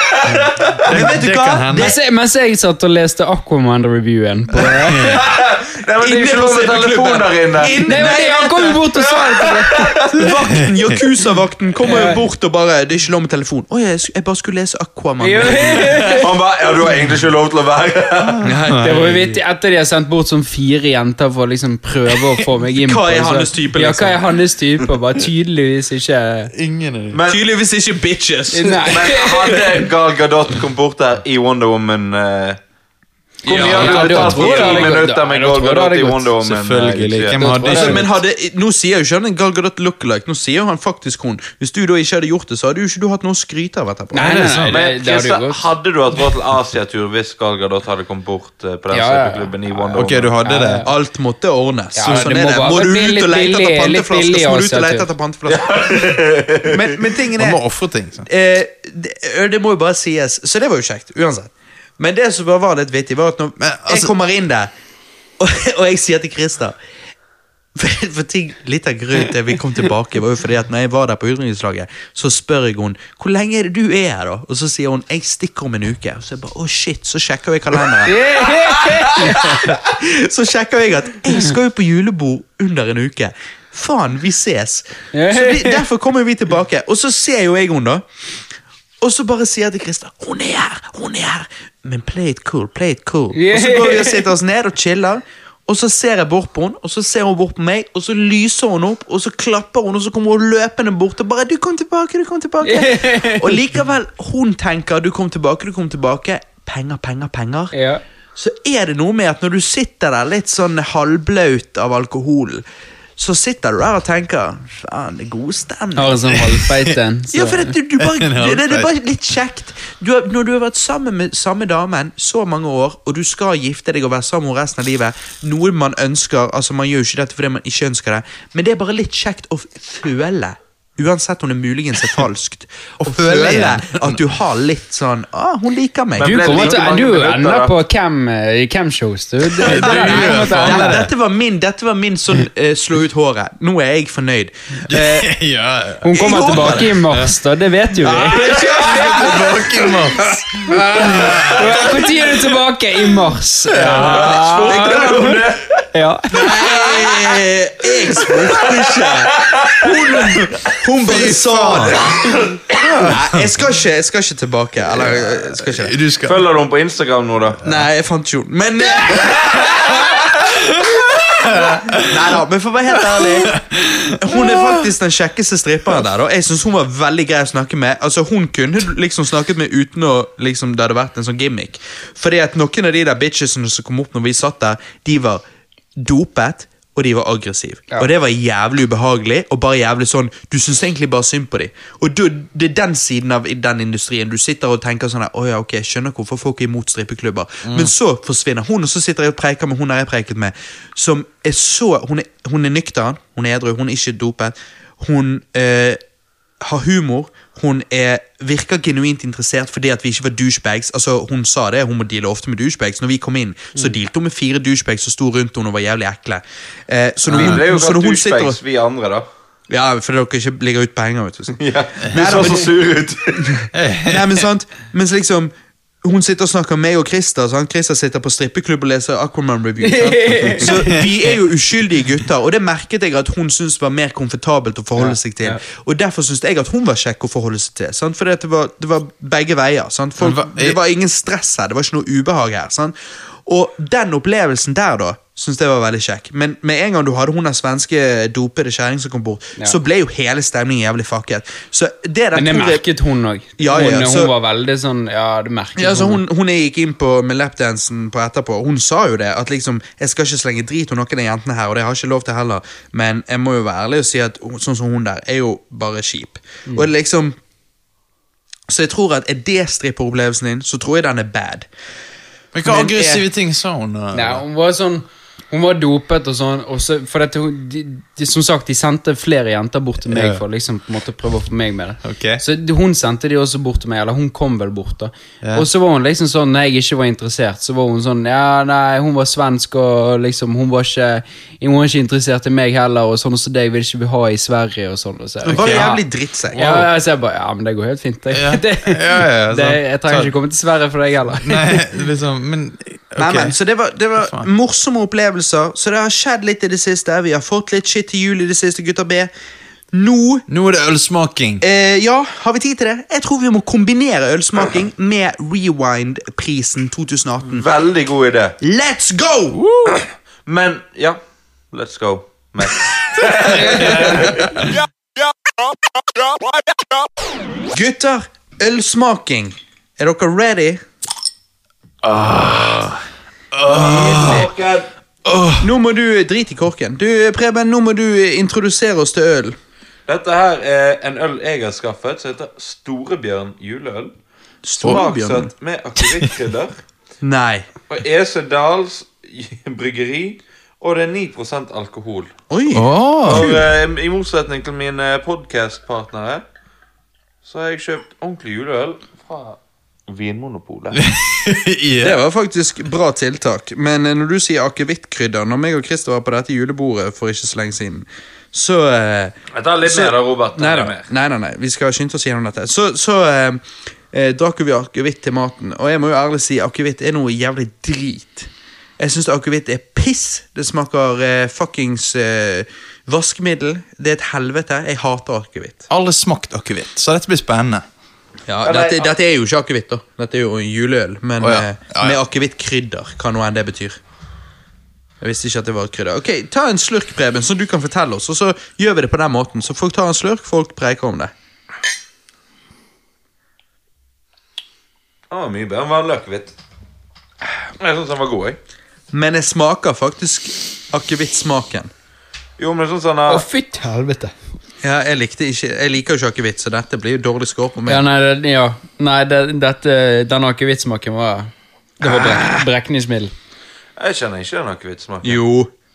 Men vet du det kan hva? hende. Ah, Det Mens jeg, mens jeg satt og leste Aquamander-reviewen på Nei, men det er ikke lov med telefoner inne. Inne- Nei, men Han kom jo bort og sa det til meg! *laughs* Vakten, Yakuza-vakten kommer jo bort og bare Det er ikke lov med telefon. Å, jeg, sk- jeg bare skulle lese Aquaman. Han bare Ja, du har egentlig ikke lov til å være her. Det var jo vittig etter de har sendt bort som fire jenter for å liksom prøve å få meg inn på Hva er det, så- hans type, Ja, liksom? hva er hans type? Bare tydeligvis ikke Ingen av dem. Men, Tydeligvis ikke bitches. Nei. men hadde Gal Gadot kommet bort der i Wonder Woman eh, Hvor mye Ja, hadde da du tatt tror for jeg det ti hadde gått. minutter med Nei, da Gal tror jeg det Gadot hadde i gått. Wonder Woman? eh, Selvfølgelig. Nei, Hvem det hadde tror Altså, ikke jeg. men hadde, nå sier jo ikke han en Gal Gadot lookalike, nå sier han faktisk hun. Hvis du da ikke hadde gjort det, så hadde jo ikke du hatt noe å skryte av etterpå. Nei, nei, nei, det, Men det hadde jo Christer, gått. hadde du hatt råd til Asiatur hvis Gal Gadot hadde kommet bort eh, på den Ja, ja, ja. søpeklubben i Wonder Ok, du Woman? hadde det? Alt måtte ordnes. Ja, sånn det er må det. bare- Må du Men ut litt og lete billig- etter litt panteflasker, billig så må du ut også, og tror jeg. lete etter panteflasker. Men, men tingen Han er må ofre ting. sant? eh, det, ø, det må jo bare sies, så det var jo kjekt, uansett. Men det som bare var litt vittig, var at når Men, altså- jeg kommer inn der, *laughs* og, og jeg sier til Christer *laughs* for, for ting, Litt av grunnen til at vi kom tilbake, var jo fordi at når jeg var der på utenrikslaget, så spør jeg henne hvor lenge er det du er her, da? Og så sier hun jeg stikker om en uke. Og så jeg bare å shit, så sjekker jeg *laughs* kalenderen. Så sjekker jeg at jeg skal jo på julebord under en uke. Faen, vi ses. Så *laughs* vi, derfor kommer vi tilbake. Og så ser jo jeg henne, da. Og så bare sier jeg til Christer Hun er her! Hun er her! Men play it cool, play it cool. Og så går vi og sitter oss ned og chiller. Og så ser jeg bort på henne, og så ser hun bort på meg, og så lyser hun opp, og så klapper hun, og så kommer hun løpende bort og bare 'Du kom tilbake, du kom tilbake'. Og likevel, hun tenker 'Du kom tilbake, du kom tilbake'. Penger, penger, penger Ja. så er det noe med at når du sitter der litt sånn halvblaut av alkoholen, så sitter du der og tenker Faen, det er god stemning. Har en sånn halvfeit en. så- *laughs* Ja, for det, du, du bare, En det, halvfeit. det er bare litt kjekt. Du har, når du har vært sammen med samme damen så mange år, og du skal gifte deg og være sammen med henne resten av livet, noe man ønsker altså Man gjør jo ikke dette fordi man ikke ønsker det, men det er bare litt kjekt å føle. Uansett om det muligens er falskt. Å føle igjen. at du har litt sånn Å, ah, hun liker meg. Men Du ble det kommer like til mange du minutter, ender da? på cam, eh, cam-shows, du. Det- det- det- Nei, nei, det- nei, det- nei, Dette var min, dette var min sånn eh, slå ut håret. Nå er jeg fornøyd. Eh, *laughs* ja, Hun kommer Jeg håper tilbake i mars, da. Det vet jo vi. Tilbake, Mats. Når er du tilbake? I mars. Ja. ja. eh, jeg spurte ikke. Hun, hun bare sa det. Nei, jeg skal ikke, jeg skal ikke tilbake. Eller, jeg skal ikke det. Du skal Følger du henne på Instagram nå, da? Nei, jeg fant ikke henne. Men eh, *laughs* Nei da, men for å være helt ærlig Hun er faktisk den kjekkeste stripperen der. Da. Jeg synes Hun var veldig grei å snakke med. Altså Hun kunne du liksom snakket med uten å liksom det hadde vært en sånn gimmick. Fordi at noen av de der bitchesene som kom opp når vi satt der, de var dopet. Og de var aggressive. Og det var jævlig ubehagelig. Og bare jævlig sånn Du syns egentlig bare synd på dem. Og du, det er den siden av den industrien du sitter og tenker sånn her, Å ja, ok, jeg skjønner hvorfor folk er imot strippeklubber. Mm. Men så forsvinner hun, og så sitter jeg og preiker med hun jeg preiket med, som er så Hun er, hun er nøktern, hun er edru, hun er ikke dopet. Hun eh, har humor. Hun er, virker genuint interessert fordi at vi ikke var douchebags. Altså, hun sa det, hun må deale ofte med douchebags. Når vi kom inn, Mm. så dealte hun med fire douchebags som sto rundt henne og var jævlig ekle. Eh, så når Vi ble hun, jo så når kalt hun sitter og douchebags, vi andre, *laughs* da. Ja, fordi dere ikke ligger ute penger, vet du. Ja. Du Nei, så men- så sur ut. *laughs* Nei, men sant Mens liksom hun sitter og snakker om meg og Christer. Sant? Christer sitter på strippeklubb og leser Aquaman Review. Sant? Så vi er jo uskyldige gutter, og det merket jeg at hun syntes var mer komfortabelt å forholde seg til. Og derfor syntes jeg at hun var kjekk å forholde seg til. Sant? Fordi at det var, det var begge veier. Sant? Folk, Men hva- det var ingen stress her, det var ikke noe ubehag her. Sant? Og den opplevelsen der, da, syns jeg var veldig kjekk. Men med en gang du hadde hun der svenske dopede kjerring som kom bort, så ble jo hele stemningen jævlig fucket. Så det der Men det tror jeg- merket hun òg. Ja, ja, hun, så- hun var veldig sånn Ja, det merket Ja, altså hun, hun jeg gikk inn på med lapdansen på etterpå, hun sa jo det. At liksom, jeg skal ikke slenge drit om noen av jentene her, og det har jeg ikke lov til heller. Men jeg må jo være ærlig og si at hun- sånn som hun der, er jo bare kjip. Og det liksom Så jeg tror at er det stripperopplevelsen din, så tror jeg den er bad. Men hva Men, aggressive ting sa hun? da? Nei, hun var sånn Hun var dopet og sånn. Og så, for dette, hun- de, de, som sagt, de sendte flere jenter bort til meg Ja. for liksom på en måte prøve å få meg med det. Ok. Så de- hun sendte de også bort til meg, eller hun kom vel bort. da Ja. Og så var hun liksom sånn, når jeg ikke var interessert, så var hun sånn Ja, nei, hun var svensk, og liksom hun var ikke Hun var ikke interessert i meg heller, og sånn og så deg vil ikke vi ha i Sverige, og sånn. Og så, Det var Ja. jævlig drittsekk. Ja, ja, så jeg bare Ja, men det går helt fint. Det, Ja. det, Ja, ja, ja, sant. *laughs* det, jeg trenger Sant. ikke komme til Sverige for deg heller. Nei, liksom, men ok. Nei, men, så det var, det var Faen. morsomme opplevelser. Så det har skjedd litt i det siste. Vi har fått litt shit til jul i det siste, gutter B. Nå Nå er det ølsmaking. eh, Ja, har vi tid til det? Jeg tror vi må kombinere ølsmaking med Rewind-prisen 2018. Veldig god idé. Let's go! Men ja, let's go. Men. Gutter, ølsmaking. Er dere ready? Nå må du drite i korken. Du, Preben, nå må du introdusere oss til øl. Dette her er en øl jeg har skaffet, som heter Storebjørn juleøl. Storbjørn. Smaksatt med akevittkrydder. Nei. Og Esedals bryggeri. Og det er 9 alkohol. Oi. Åh, *laughs* Og eh, i motsetning til mine podkastpartnere, så har jeg kjøpt ordentlig juleøl fra Vinmonopolet. *laughs* ja. Det var faktisk bra tiltak, men eh, når du sier akevittkrydder Når meg og Christer var på dette julebordet for ikke så lenge siden, så eh, *laughs* Jeg tar litt Så- mer da, Robert. Nei Litt da, mer. nei, nei, nei, vi skal skynde oss gjennom dette. Så, så eh, eh, drakk vi akevitt til maten, og jeg må jo ærlig si akevitt er noe jævlig drit. Jeg syns akevitt er piss. Det smaker eh, fuckings eh, vaskemiddel. Det er et helvete. Jeg hater akevitt. Alle smakt akevitt, så dette blir spennende. Ja, Ja, nei, dette, ak- dette er jo ikke akevitt, da. Dette er jo juleøl, men Å, ja. eh, Ja, ja. med akevittkrydder, hva nå enn det betyr. Jeg visste ikke at det var krydder. Ok, Ta en slurk, Preben, så du kan fortelle oss. Og så gjør vi det på den måten. Så folk tar en slurk, folk preiker om det. Den var mye bedre enn vanlig akevitt. Jeg syns den var god, jeg. Men jeg smaker faktisk akevittsmaken. Jo, men sånn sånn Å, her fytti helvete. Ja, jeg, likte ikke, jeg liker jo ikke akevitt, så dette blir jo dårlig score på Ja, meg. nei, det, ja. nei det, dette, denne akevittsmaken var Det var brek, brekningsmiddel. Jeg kjenner ikke den akevittsmaken. Jo,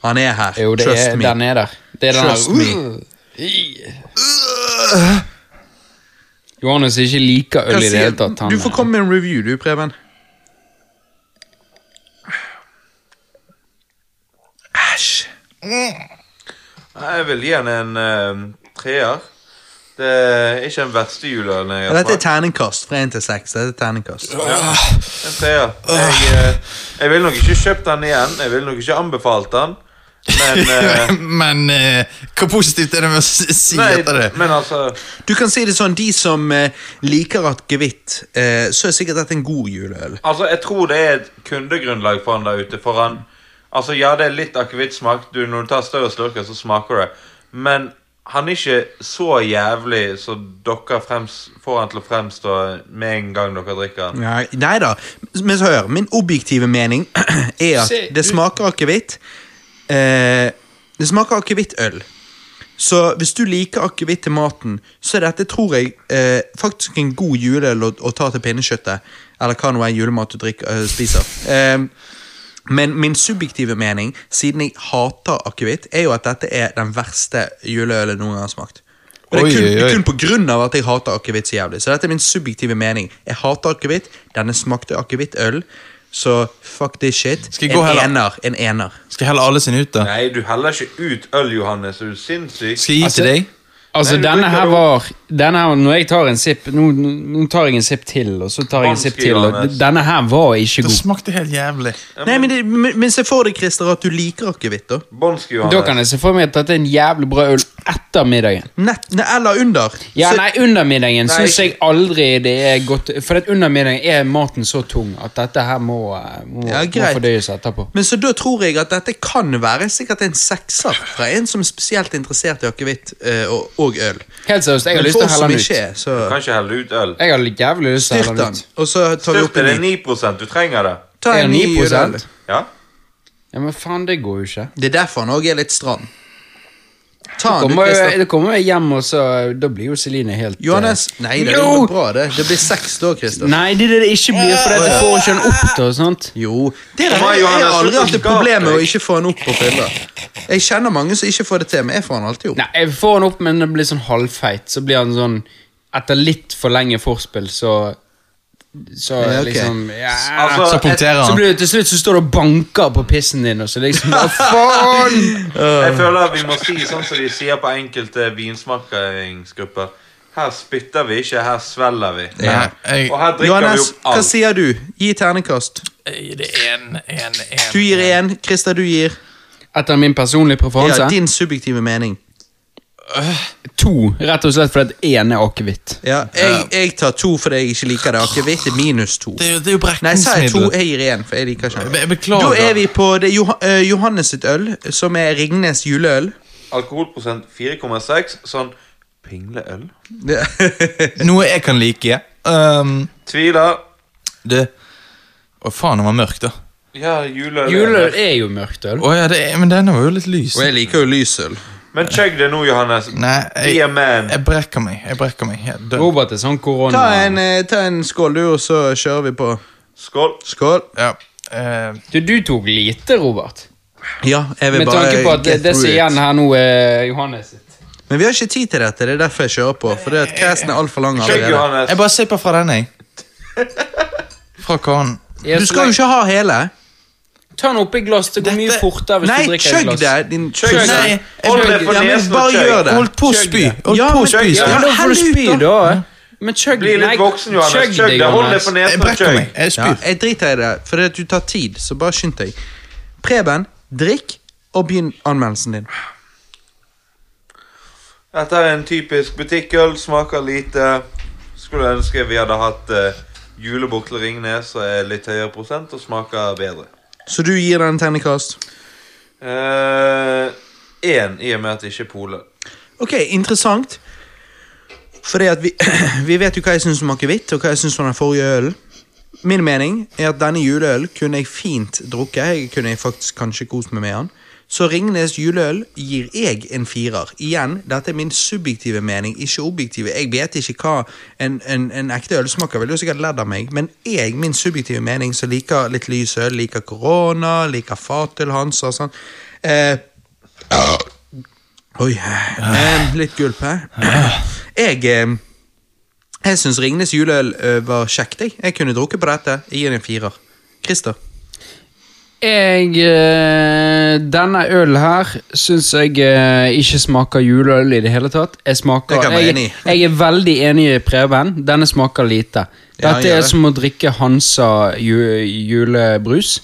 han er her. Jo, det Trust er, me. den er der. Det er den Trust der. Johannes ikke liker Hva øl i det sier- hele tatt. Du får Han, komme med en review, du, Preben. Æsj. Nei, Jeg vil gi den en eh, treer. Det er ikke den verste juleølen jeg Ja, har Dette er smakt. terningkast fra 1 til 6. Dette er terningkast. En treer. Jeg, eh, jeg ville nok ikke kjøpt den igjen. Jeg ville nok ikke anbefalt den. Men, *laughs* eh, *laughs* men eh, hva positivt er det med å si si etter nei, det? men altså Du kan si det sånn, De som eh, liker akevitt, eh, så er sikkert dette en god juleøl. Altså, jeg tror det er et kundegrunnlag for han der ute. For han Altså, ja, det er litt akevittsmak. Du, Når du tar større slurker, så smaker det. Men han er ikke så jævlig så dere frems, får han til å fremstå med en gang dere drikker den. Nei, nei da. Men så hør, min objektive mening *clears throat* er at Se, det du- smaker akevitt. Eh, det smaker akevittøl. Så hvis du liker akevitt til maten, så er dette, tror jeg, eh, faktisk en god juleøl å, å ta til pinnekjøttet. Eller hva nå er julemat du drikker, eh, spiser. Eh, men min subjektive mening, siden jeg hater akevitt, er jo at dette er den verste juleølen jeg noen gang har smakt. Og det er kun, Oi, oi, det er oi. kun på grunn av at jeg hater akevitt så jævlig. Så dette er min subjektive mening. Jeg hater akevitt. Denne smakte akevittøl. Så fuck this shit. Skal jeg en gå heller? ener. En ener. Skal jeg helle alle sine ut, da? Nei, du heller ikke ut øl, Johannes. Er du sinnssyk? Skal jeg gi til deg? altså, Nei, du denne drikker her det var denne her, Når jeg tar en sipp Nå, nå tar jeg en sipp til, og så tar jeg en sipp til. Og Vanskelig, Johannes. denne her var ikke Det god. smakte helt jævlig. Nei, men, det, men, men se for deg, Christer, at du liker akevitt. da. Bonski, Johannes. Da kan jeg se for meg at dette er en jævlig bra øl etter middagen. Nett, ne, eller under. Ja, Så- nei, Under middagen Nei, syns jeg ikke- aldri det er godt For at under middagen er maten så tung at dette her må, eh, må, Ja, må greit. fordøyes etterpå. Men så da tror jeg at dette kan være sikkert en sekser fra en som er spesielt interessert i akevitt eh, og, og øl. Helt seriøst, jeg har Men lyst for til oss å helle som den ut. ikke er, så Du kan ikke helle ut øl. Jeg har jævlig lyst til å styrt helle den den. ut. Og så tar vi opp Styrte en det ny. 9 Du trenger det. Ta Er en ny 9%? juleøl. Ja? Ja, Men faen, det går jo ikke. Det er derfor han òg er litt stram. Ta den, du, Kommer jeg, Christer. da kommer jeg hjem, og så Da blir jo Celine helt eh, Johannes. Nei, det blir Jo! bra, altså. det. Det blir seks da, Christer. Nei, det er det det ikke blir, for dette får ikke han opp til. sant? Jo. Det er, Kom an, jeg har Johannes, aldri slutt å hatt et skape problem med å deg. ikke få han opp på piller. Jeg kjenner mange som ikke får det til, men jeg får han alltid opp. Nei, jeg får han opp, men det blir sånn halvfeit. Så blir han sånn Etter litt for lenge forspill, så Så Ja, ok. liksom ja. Altså, Eh, Så punkterer Så han. blir det til slutt så står du og banker på pissen din, og så liksom *laughs* Hva faen? Jeg føler at vi må si sånn som de sier på enkelte vinsmakingsgrupper. Her spytter vi ikke, her svelger vi. Nei, jeg, Og her drikker Johannes, vi opp hva alt. sier du? Gi ternekast. Eh, det er en, en, en. Du gir én, Christer du gir. Etter min personlige preferanse? Ja, din subjektive mening. To, rett og slett fordi at én er akevitt. Ja, jeg, jeg tar to fordi jeg ikke liker det. Akevitt er minus to. Det er jo, det er jo Nei, sa jeg to? brekningsmiddel. Jeg gir én, for jeg liker ikke Be- det. beklager. Da er vi på det, Joh eh, Johannes sitt øl, som er Ringnes juleøl. Alkoholprosent 4,6. Sånn pingleøl. Det- Noe jeg kan like. Um, Tviler. det Å, faen, den var mørk, da. Ja, juleøl. Juleøl er jo mørkt øl. Å ja, det er, men denne var jo litt lys. Og jeg liker jo lysøl. Men chugg det nå, Johannes. Nei, Be a jeg, man. jeg brekker meg. Jeg brekker meg. Jeg dør. Robert er sånn korona... Ta en, eh, ta en skål, du, og så kjører vi på. Skål. Skål. Ja. eh, Du, du tok lite, Robert. Ja, jeg vil Med bare tanke på at det, get det som through er it. igjen her nå, er Johannes sitt. Men vi har ikke tid til dette, det er derfor jeg kjører på. For det at casten er altfor lang Chugg, allerede. Johannes. jeg bare sipper fra denne, jeg. Fra kranen. Du skal jo ikke ha hele. Ta den oppi glass, det går mye Dette- fortere hvis Nei, du drikker et chugg glass. det! Din Chugg Nei, det. jeg- Hold det for Ja, men nesen og bare chugg. gjør det. Holdt på å spy! Holdt Ja, på å men- spy! Ja, Ja, så- men da får du Helvete. spy, da. Men chugg Bli litt voksen, Johannes. Chugg det. Hold det for Jeg nesen og brekker chugg. meg. Jeg Ja, spyr. jeg driter i det, for det at du tar tid, så bare skynd deg. Preben, drikk og begynn anmeldelsen din. Dette er en typisk butikkøl. Smaker lite. Skulle ønske vi hadde hatt uh, julebukle Ringnes som er litt høyere prosent og smaker bedre. Så du gir den en terningkast? Én, Eh, i og med at det ikke er pole. Ok, interessant. Fordi at vi, *clears throat* vi vet jo hva jeg syns om akevitt, og hva jeg syns om den forrige ølen. Min mening er at denne juleøl kunne jeg fint drukke. Jeg kunne jeg faktisk kanskje kost meg med den. Så Ringnes juleøl gir jeg en firer. Igjen, dette er min subjektive mening, ikke objektive. Jeg vet ikke hva en, en, en ekte øl smaker, ville jo sikkert ledd av meg, men jeg, min subjektive mening, som liker litt lys øl, liker korona, liker Fatøl Hansa og sånn eh, Oi. eh, litt gulp her. Jeg eh, Jeg syns Ringnes juleøl eh, var kjekt. Jeg Jeg kunne drukket på dette. Jeg gir det en firer. Christer. Jeg eh, Denne ølen her syns jeg eh, ikke smaker juleøl i det hele tatt. Jeg, smaker, Det kan jeg være enig jeg, i. jeg er veldig enig i Preben. Denne smaker lite. Ja, Dette gjør er det. som å drikke Hansa ju, julebrus.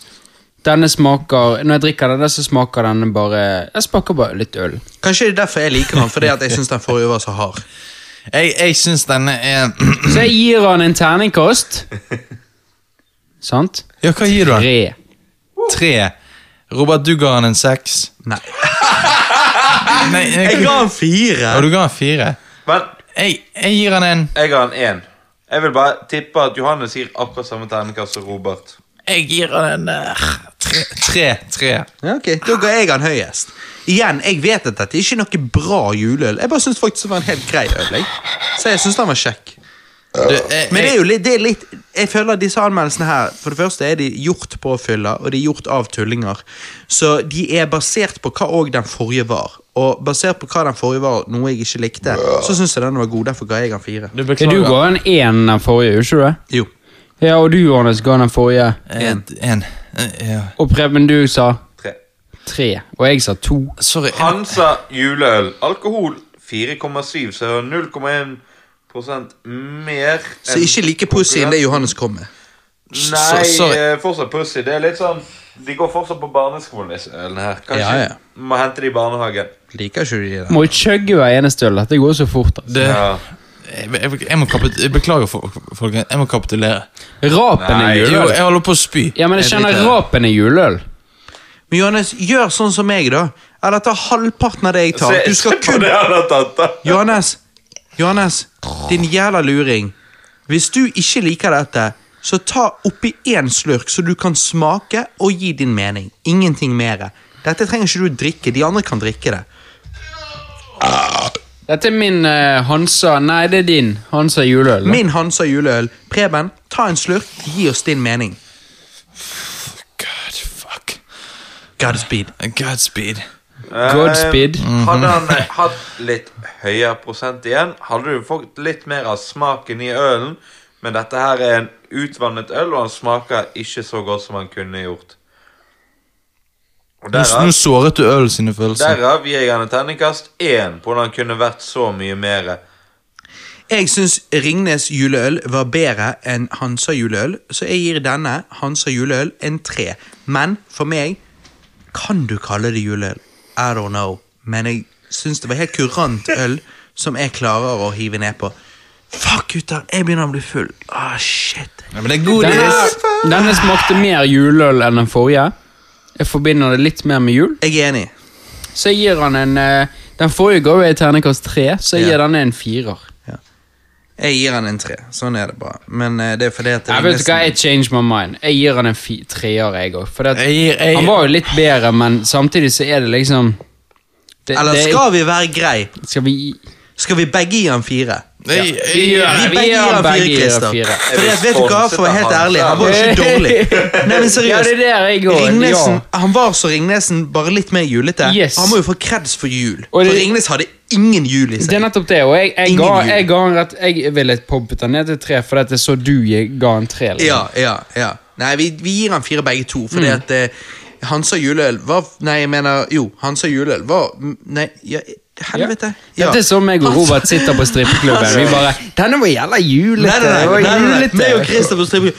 Denne smaker Når jeg drikker denne, så smaker denne bare Jeg smaker bare litt øl. Kanskje det er derfor jeg liker den, fordi at jeg syns den forrige var så hard. Jeg, jeg syns denne er *clears throat* Så jeg gir han *laughs* en terningkast. Sant? Ja, hva gir du den? Tre. Tre. Robert, du ga han en seks. Nei. Nei, jeg, en fire. og du ga han fire. Men Jeg, jeg gir han en jeg ga han én. Jeg vil bare tippe at Johannes gir akkurat samme terningkast som Robert. Jeg gir han en eh, tre. Tre. tre. Ja, ok, Da ga jeg den høyest. Igjen, jeg vet at dette er ikke noe bra juleøl. Jeg bare syns faktisk det var en helt grei øl. Jeg. Så jeg syns den var kjekk. Du, jeg, Men det er jeg, jo litt, det er litt Jeg føler at disse anmeldelsene her For det første er de gjort på fylla Og de er gjort av tullinger Så de er basert på hva også den forrige var Og basert på hva den forrige var Noe jeg ikke likte Så synes jeg den var god Derfor ga jeg den fire du Ja, du beklager. ga en én den forrige, gjorde ikke du det? Jo Ja, og du, Johannes, ga den forrige. Eh, En. Eh, Ja. Og Preben, du sa Tre. tre, og jeg sa to. Sorry. Han Hansa juleøl. Alkohol 4,7, så 0,1 mer Så ikke like pussy enn det Johannes kom med Nei, Så- sorry. eh, fortsatt pussy. Det er litt sånn De går fortsatt på barneskolen, disse ølene her. Kanskje Ja, ja. må hente de i barnehagen. Liker ikke du de der Må jo chugge hver eneste øl. Dette går så fort. Altså. det, Ja. jeg, jeg, jeg må kapit jeg beklager, fol- folkens. Jeg må kapitulere. Rapen er Nei, Jo, juleøl. jeg holder på å spy. Ja, men jeg kjenner driter. rapen er juleøl. Men Johannes, gjør sånn som meg da Eller ta halvparten av det jeg tar Se- Du skal se på kun det han har tatt, da. Johannes, Johannes, din jævla luring. Hvis du ikke liker dette, så ta oppi én slurk, så du kan smake og gi din mening. Ingenting mer. Dette trenger ikke du drikke. De andre kan drikke det. Dette er min eh, Hansa Nei, det er din. Hansa juleøl. da. Min Hansa juleøl. Preben, ta en slurk. Gi oss din mening. God, fuck. Godspeed. Godspeed. Godspeed. Eh, Hadde han eh, hatt litt høyere prosent igjen, hadde du fått litt mer av smaken i ølen. Men dette her er en utvannet øl, og han smaker ikke så godt som han kunne gjort. Og Nå nå derav, såret du øl sine følelser. derav gir jeg han et terningkast én på hvordan han kunne vært så mye mer. Jeg syns Ringnes juleøl var bedre enn Hansa juleøl, så jeg gir denne Hansa juleøl en tre. Men for meg Kan du kalle det juleøl? I don't know. Men jeg syns det var helt kurant øl som jeg klarer å hive ned på. Fuck, gutter! Jeg begynner å bli full. Ah, shit. Ja, men det er godis. Denne, denne smakte mer juleøl enn den forrige. Jeg forbinder det litt mer med jul. Jeg er enig. Så jeg gir han en eh, Den forrige ga jo jeg terningkast tre, så jeg Ja. gir denne en firer. Jeg gir han en tre. Sånn er det bare. Men eh, det er fordi at Jeg vet du hva, Ringnes- jeg change my mind. Jeg gir han en fi treer, jeg òg. For det, Jeg gir- jeg- han var jo litt bedre, men samtidig så er det liksom det, Eller det, skal vi være grei? skal vi gi- Skal vi begge gi han fire? Nei, Vi jeg- gjør det. Vi Vi begge gir gir han han fire, begge gir han Christer. fire. Fordi at, vet du hva, for å være helt ærlig, han var ikke *laughs* dårlig. Nei, men Ja, det seriøst. er der jeg går. Ringnesen, Ja. han var så Ringnesen, bare litt mer julete. Yes. Han må jo få kreds for jul. For Og det- Ringnes hadde ingen jul i Det er seg. nettopp det, og jeg, jeg, Ingen ga, jul. jeg ga han rett Jeg ville poppet han ned til tre, for dette så du jeg ga han tre. liksom. Ja, ja, ja. Nei, vi, vi gir han fire begge to, fordi Mm. at eh, Hansa juleøl var Nei, jeg mener Jo, Hansa juleøl var Nei, ja, helvete. Ja. Dette er som meg og Robert sitter på strippeklubben. Vi bare 'Denne var jævla Nei, julete'. nei, nei, det var nei, nei, nei. eh, julete». Meg og Christer på stripper.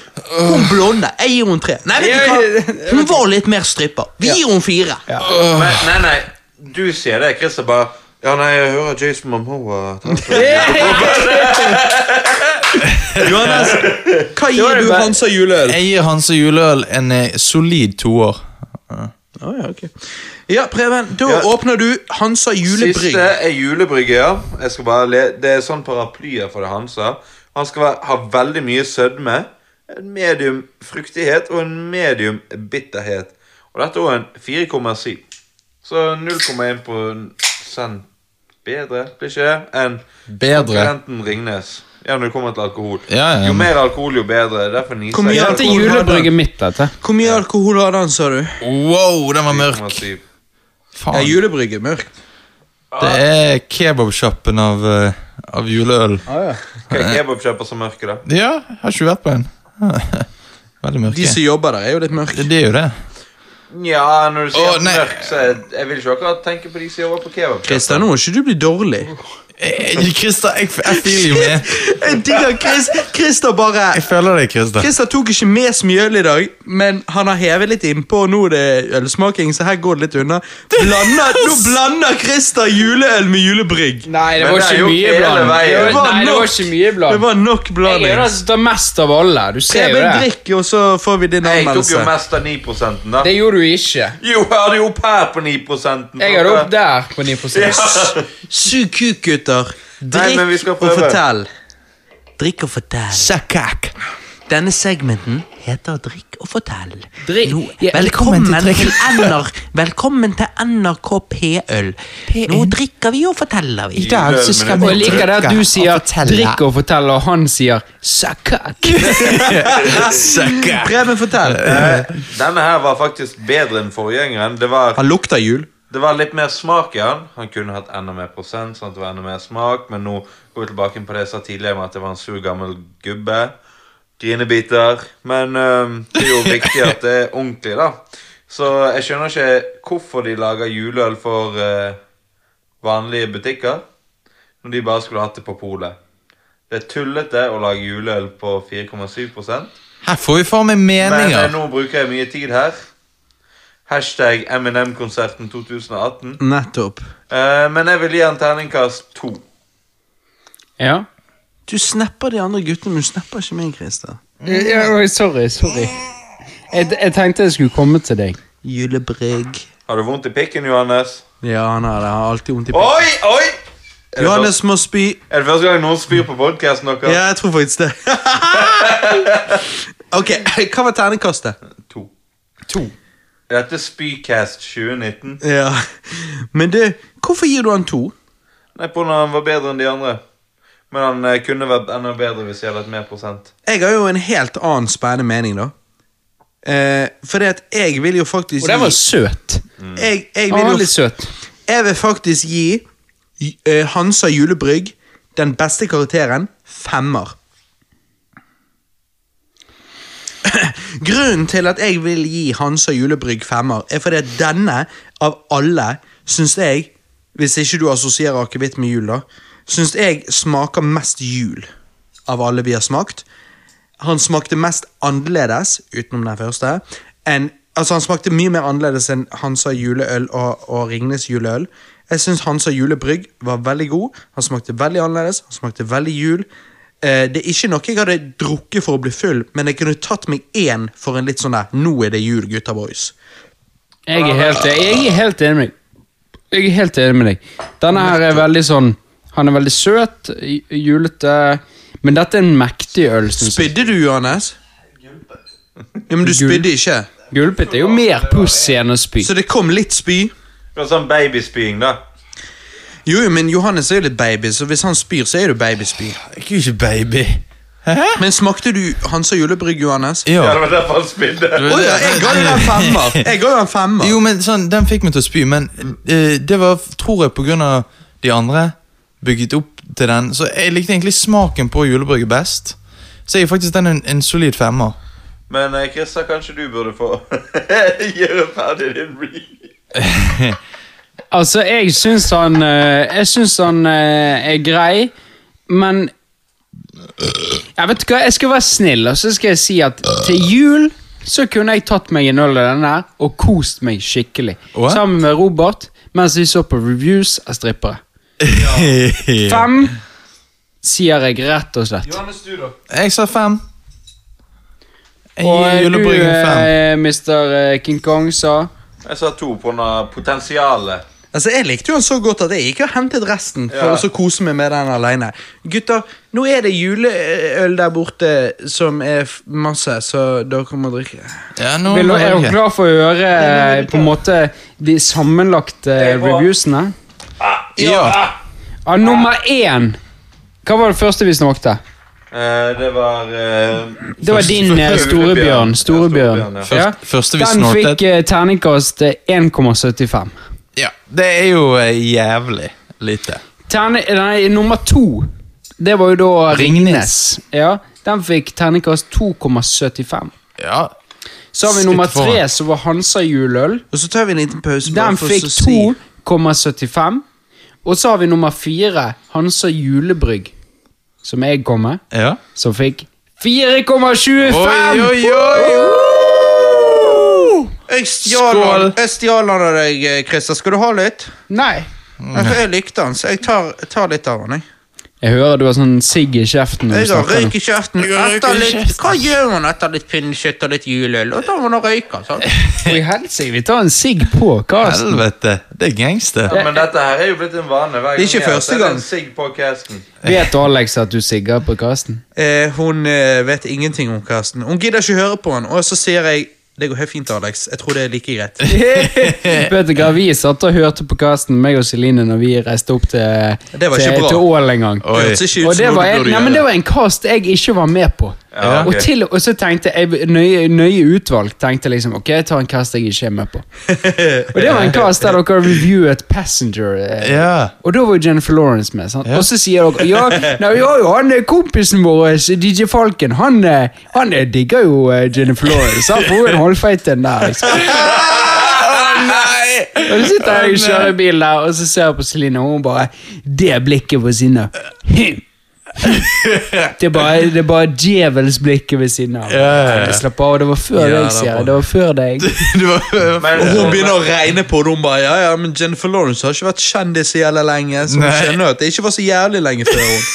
Hun blonde, jeg gir hun tre. Nei, vet du hva? Hun var litt mer stripper. Vi gir hun fire. Nei, nei, nei, du sier det. Christer bare Ja, nei, jeg hører Jason Mamoa ta det». *laughs* Johannes, hva var gir det du bare- Hansa juleøl? Jeg gir Hansa juleøl en eh, solid toer. Å, ja, ok. ja, Preben, da Ja. åpner du Hansa julebrygg. Siste er julebrygge, ja. Jeg skal bare le det er sånn paraplyer for det Hansa. Han skal være, ha veldig mye sødme, en medium fruktighet og en medium bitterhet. Og dette er også en 4,7. Så 0,1 prosent bedre, blir ikke det, enn Bedre. konkurrenten Ringnes. Ja, når det kommer til alkohol. Ja, ja, Jo men- mer alkohol, jo bedre. Derfor niser Hvor mye jeg. Dette er julebrygget mitt, dette. Hvor mye alkohol hadde han, sa du? Wow, den var mørk. 4,7. Ja, Faen. julebrygg er mørkt. Det er kebabsjappen av, eh, av juleøl. Hva er kebabkjøper så mørke, da? Ja, jeg har ikke vært på en. *laughs* Veldig De mørke. som jobber der, er jo litt mørke. Det er jo det. Nja, når du Å, sier nei. mørk, så jeg, jeg vil ikke akkurat tenke på de som jobber på kebab. altså. Christer, nå må ikke du bli dårlig. Eh, Christer, jeg, jeg føler jo med. Jeg digger Chris. Christer bare Jeg føler deg, Christer. Christer tok ikke med så mye øl i dag, men han har hevet litt innpå, og nå er det ølsmaking, så her går det litt unna. *laughs* Blander, nå blander Christer juleøl med julebrygg! Nei, det Men var det er ikke jo mye hele blant. veien. Det Det var- var Nei, det var nok. ikke mye Det blant. var nok Jeg altså. er blanding. den som tar mest av alle. Du ser jo Preben, det. drikk, og så får vi din Jeg tok jo anmeldelse. mest av 9 da. Det gjorde du ikke. Jo, jeg hadde jo opp her på 9 Jeg hadde opp der på 9 Sug kuk, gutter. Nei, men vi Drikk skal og prøve. fortell. Drikk og fortell. Sakak. Denne segmenten heter Drikk og fortell. Drikk- Nå, Ja, velkommen, til NR, velkommen til NRK P-øl. Nå drikker vi og forteller vi. dag så skal vi Og jeg liker det at du sier 'drikk og fortell', og han sier 'sakak'. Sakak. Preben, fortell. Denne her var faktisk bedre enn forgjengeren. Det var, Han lukter jul. det var litt mer smak i den. Han kunne hatt enda mer prosent, sånn at det var enda mer smak, men nå går vi tilbake på det jeg sa tidligere, med at det var en sur gammel gubbe. Grinebiter. Men øhm, det er jo viktig at det er ordentlig, da. Så jeg skjønner ikke hvorfor de lager juleøl for øh, vanlige butikker, når de bare skulle hatt det på polet. Det er tullete å lage juleøl på 4,7 Her får vi faen meg Men eh, meninger. nå bruker jeg mye tid her. Hashtag M&M-konserten 2018. Nettopp. Eh, men jeg vil gi en terningkast to. Ja. Du snapper de andre guttene, men du snapper ikke meg, Christer. Ja, oi, Sorry. sorry jeg, jeg tenkte jeg skulle komme til deg. Julebrygg. Har du vondt i pikken, Johannes? Ja, han har det. Han har alltid vondt i pikken. Oi, oi! Er det, Johannes må spy. første, er det første gang noen spyr på podkasten deres? Ja, jeg tror faktisk det. ok, hva var terningkastet? To. Er Dette er Spycast 2019. Ja. Men du, hvorfor gir du han to? Nei, på når han var bedre enn de andre. Men han eh, kunne vært enda bedre hvis jeg hadde hatt mer prosent. Jeg har jo en helt annen spennende mening, da. Eh, for det at jeg vil jo faktisk Og den var gi- søt. jeg, jeg, Han vil var jo, litt søt. jeg vil faktisk gi eh, Hansa Julebrygg den beste karakteren femmer. *clears throat* Grunnen til at jeg vil gi Hansa Julebrygg femmer, er fordi at denne, av alle, syns jeg Hvis ikke du assosierer akevitt med jul, da. Syns jeg smaker mest jul av alle vi har smakt. Han smakte mest annerledes, utenom den første. enn- altså Han smakte mye mer annerledes enn Hansa juleøl og, og Ringnes juleøl. Jeg syns Hansa julebrygg var veldig god. Han smakte veldig annerledes. Han smakte veldig jul. Eh, det er ikke noe jeg hadde drukket for å bli full, men jeg kunne tatt meg én for en litt sånn der Nå er det jul, gutta boys. Jeg er helt, e- jeg er helt enig med deg. Jeg er helt enig med deg. Denne her er veldig sånn Han er veldig søt, j- julete, men dette er en mektig øl. synes jeg. Spydde du, Johannes? Ja, men du spydde ikke. Gulpet er jo mer pussig enn å spy. Så det kom litt spy. Det var sånn babyspying, da. Jo, jo, men Johannes er jo litt baby, så hvis han spyr, så er det jo babyspy. Jeg er jo ikke baby. Men smakte du Hansa julebrygg, Johannes? Ja. Ja, det var derfor han spydde. Å ja, jeg ga jo den *laughs* femmer. Jeg ga jo en femmer. Jo, men sånn, Den fikk meg til å spy, men eh, det var, tror jeg, pga. de andre. Bygget opp til den. Så jeg likte egentlig smaken på julebrygget best. Så jeg gir faktisk den en, en solid femmer. Men eh, Christer, kanskje du burde få *laughs* gjøre ferdig din read. Altså, jeg syns han eh, Jeg syns han eh, er grei, men Jeg vet du hva, jeg skal være snill, og så skal jeg si at til jul så kunne jeg tatt meg en øl av denne her og kost meg skikkelig. Hva? Sammen med Robert mens vi så på reviews av strippere. *laughs* Fem sier jeg rett og slett. Johannes, du, da? Jeg sa fem. Jeg gir Og du, julebrygget fem. eh, Mr. King Kong, sa Jeg sa to på noe potensialet. Altså, Jeg likte jo han så godt at jeg ikke har hentet resten for å Ja. så kose meg med den alene. Gutter, nå er det juleøl der borte som er f- masse, så dere må drikke. Ja, nå Vil, var Er jeg dere glad for å høre eh, på en måte de sammenlagte er bra. reviewsene? Ja. Ja, nummer én. Hva var det første vi snakket? Eh, det var eh, Det var din *laughs* eh, Storebjørn. Storebjørn. Storebjørn. Ja, Først- første vi Den snortet. fikk eh, terningkast eh, 1,75. ja. Det er jo eh, jævlig lite. Terni- Nei, nummer to. Det var jo da Ringnes. Ja, Den fikk terningkast 2,75. Ja. Så har vi Skritt nummer foran. tre, som var Hansa Juløl. Og så tar vi en liten pause. bare Den for fikk å så si- 2,75. Og så har vi nummer fire, Hansa Julebrygg, som jeg kom med, ja. som fikk 4,25! Oi, oi, oi! Jeg stjal Skål. den- Jeg stjal den av deg, eh, Christer. Skal du ha litt? Nei. Ja, for Jeg likte den, så jeg tar, jeg tar litt av den. Jeg, Jeg hører du har sånn sigg i kjeften. Når jeg du har snakker røyk nå. i kjeften. har røyk i Etter litt, kjeften. hva gjør man etter litt pinnekjøtt og litt juleøl? Og da må man røyke. sant? For i helsike, vi tar en sigg på Karsten. Helvete. Det er gangster. Ja, men dette her er jo blitt en vane. Hver Det er ikke gang jeg- første så er det en gang. Sigg på casten. Vet Alex at du sigger *laughs* på Karsten? Eh, hun eh, vet ingenting om Karsten. Hun gidder ikke høre på han, og så sier jeg det går helt fint, Alex. Jeg tror det er like greit. Vet du hva, Vi satt og hørte på Karsten, meg og Celine, når vi reiste opp til, Det var ikke til, bra. til Ål en gang. Oi. Hørtes ikke ut Og som det noe var, du en, burde nei, men det gjøre. var en cast jeg ikke var med på. Ja, ok. og, til, og så tenkte jeg nøye, nøye utvalgt tenkte liksom, ok, jeg tar en cast jeg ikke er med *laughs* på. og det var en cast der dere reviewet Passenger. eh, Ja. Og da var jo Jennifer Lawrence med. Sant? Og så sier dere ja, nei, ja, jo, han er kompisen vår, eh, DJ Falken, han, eh, han eh, digger jo eh, Jennifer Lawrence. Han får jo en halvfeit en der. Liksom. Nei! Og så sitter jeg og kjører bil der, og så ser jeg på Celine, og hun bare Det blikket på siden av. Hm. Det er bare, det er bare djevelsblikket ved siden av. ja, ja. Slapp av, det var før Ja, deg, det var- sier jeg. Det var før deg. *laughs* Det var Men, Og hun begynner å regne på det. Hun bare, ja, ja, men Jennifer Lawrence har ikke vært kjendis så jævla lenge. Så hun Nei. skjønner at det ikke var så jævlig lenge før hun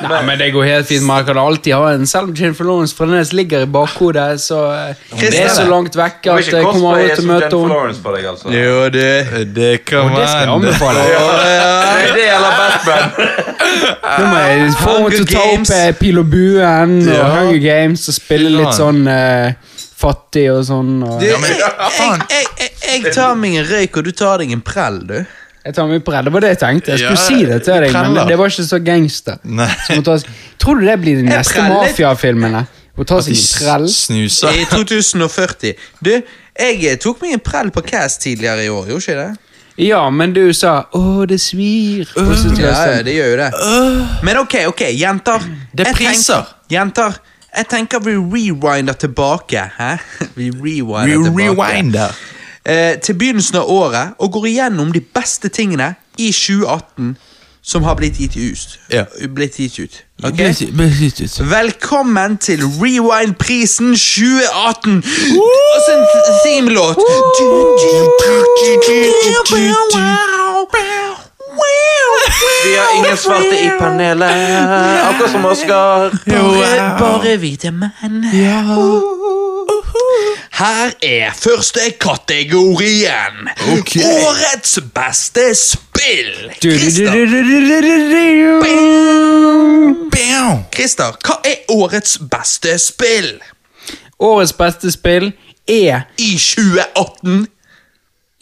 Nei, men det går helt fint. Man kan alltid ha en Selv om Jennifer Lawrence fremdeles ligger i bakhodet, så eh, det er så langt vekk Du må at ikke jeg kommer cosplaye aldri til som å møte Jennifer henne. Lawrence på deg, altså. Jo, det Det kan Det skal jeg man. anbefale. Det er det *laughs* eller Batman. Nå må jeg få henne til å ta Games. opp eh, Pil og buen og Ja. Hunger Games og spille litt sånn eh, fattig og sånn. Og... jeg, men- jeg, jeg, jeg, jeg tar meg en røyk, og du tar deg en prell, du. Jeg tar meg på redd. Det var det jeg tenkte. Jeg Ja, skulle si det til deg, preller. men det var ikke så gangster. Nei. Som å ta, seg- tror du det blir de neste preller. mafiafilmene? Å ta De seg en prell? snuser. I 2040. Du, jeg eh, tok meg en prell på Cast tidligere i år, gjorde ikke jeg det? Ja, men du sa 'Å, det svir'. Og så tror jeg Ja, ja, sånn, det gjør jo det. Eh, Men ok, ok, jenter. Det er Jeg tenker- priser. Jenter, jeg tenker vi rewinder tilbake. Hæ? *laughs* Vi rewinder Re- tilbake. Rewinder. Eh, til begynnelsen av året og går igjennom de beste tingene i 2018 som har blitt gitt ut. Ja. Blitt gitt ut. ok? Okay. Velkommen til Rewind-prisen 2018! Og så en themelåt. Vi har ingen svarte i panelet, akkurat som Oskar. Bare, bare hvite menn. Uh, Her er første kategorien. Ok. Årets beste spill. du, du, du, Christer, du, du, du, du, du, du. Bam! Christer, hva er årets beste spill Årets beste spill er i 2018?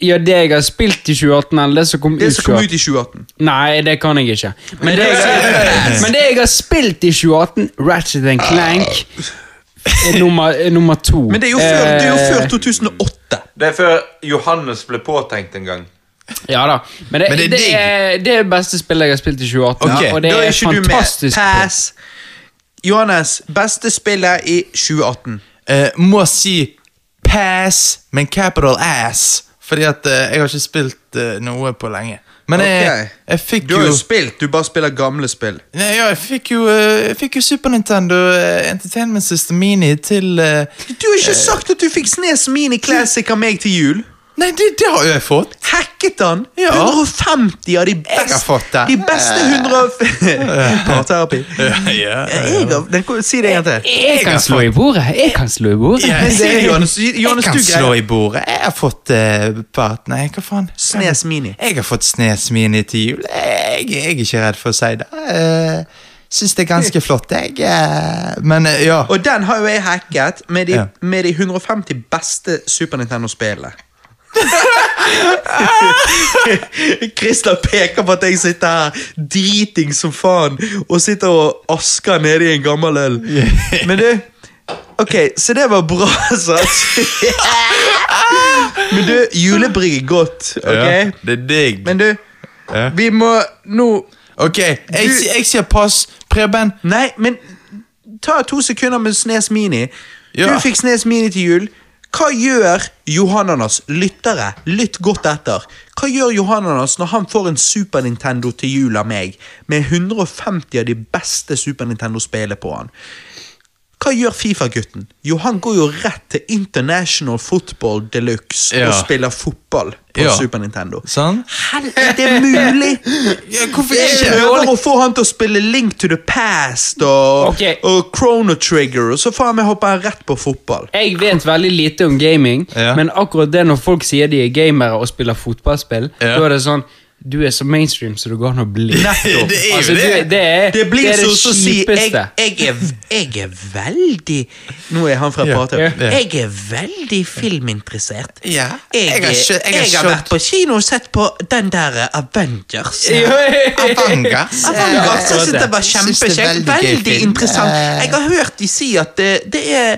ja, det jeg har spilt i 2018, eller det som kom Det ut som kom 2018. ut i 2018. Nei, det kan jeg ikke. Men det *laughs* jeg, men det jeg har spilt i 2018, Ratchet and Clank, er nummer, er nummer to. Men det er jo før, det er jo Eh, før 2008. Det er før Johannes ble påtenkt en gang. Ja da. Men det, Men det er det, digg. er, det er beste spillet jeg har spilt i 2018, Ok, og det Da er, er et ikke du med. fantastisk. spill. Pass. Johannes, beste spillet i 2018. Eh, må si pass, men capital ass. Fordi at eh, jeg har ikke spilt eh, noe på lenge. Men jeg, Ok. jeg fikk Du har jo jo spilt, du bare spiller gamle spill. Nei, ja, jeg fikk jo, eh, jeg fikk jo Super Nintendo eh, Entertainment System Mini til eh, Du har ikke sagt at du fikk Snes Mini Classic av meg til jul. Nei, det, det har jo jeg fått! Hacket han! Ja. 150 av de beste har fått det. Eh. De beste *laughs* 100 Parterapi. ja, Jeg har- den kan- Si det en gang til. Jeg kan slå i bordet! Jeg kan slå i bordet. Ja, Men jeg- si det, Johannes. Johannes, jeg du kan slå greier i bordet. Jeg har fått eh, part... Nei, hva faen? Snes Mini. Jeg har fått Snes Mini til jul. Jeg, jeg er ikke redd for å si det. Uh, Syns det er ganske flott, jeg. eh, men eh, ja. Og den har jo jeg hacket med de, Ja. med de 150 beste Super *laughs* Nintendo-spillene. Christer peker på at jeg sitter her driting som faen og sitter og asker nede i en gammel øl. Men du Ok, så det var bra, *laughs* sant? Men du, julebrygg er godt, ok? det er digg. Men du, Ja. vi må nå ok, jeg, Du- si- jeg sier pass. Preben, Nei, men ta to sekunder med Snes Mini. Ja. Du fikk Snes Mini til jul. Hva gjør Johananas lyttere? Lytt godt etter. Hva gjør Johananas når han får en Super Nintendo til jul av meg, med 150 av de beste Super Nintendo-spillene på han? Hva gjør Fifa-gutten? Jo, han går jo rett til International Football Deluxe og Ja. spiller fotball på Ja. Super Nintendo. Sånn. Helvete, det er mulig! Ja, hvorfor Jeg prøver å få han til å spille Link to the Past og, Ok. og Chrono Trigger, og så faen meg hopper han rett på fotball. Jeg vet veldig lite om gaming, Ja. men akkurat det når folk sier de er gamere og spiller fotballspill, Ja. da er det sånn Du er så mainstream som du går an å bli. Nettopp. Det er jo altså, det. Du, det er Det blir det, er så det som å si jeg, kjipeste. jeg, er, jeg er veldig Nå er han fra Ja, Partøy. ja. Jeg er veldig filminteressert. Ja, Jeg, jeg har er- skjø- jeg har jeg har skjønt. vært på kino og sett på den der eh, Avengers. *laughs* Avangers. Avengers, jeg synes det var Synes det er kjempekjekt. veldig gøy Veldig, film. interessant. Eh. Jeg har hørt de si at det, det er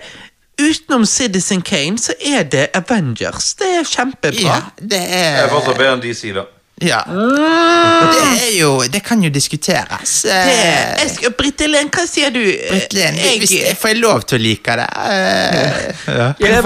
Utenom Citizen Kane, så er det Avengers. Det er kjempebra. Eh, Ja, det Jeg er er fortsatt bedre enn de sier da. Ja. Ah! Det er jo Det kan jo diskuteres. eh, Det er- jeg skal- Britt Helen, hva sier du? Britt Len, Jeg- hvis jeg får jeg lov til å like det? eh, Jeg *laughs* får- Det er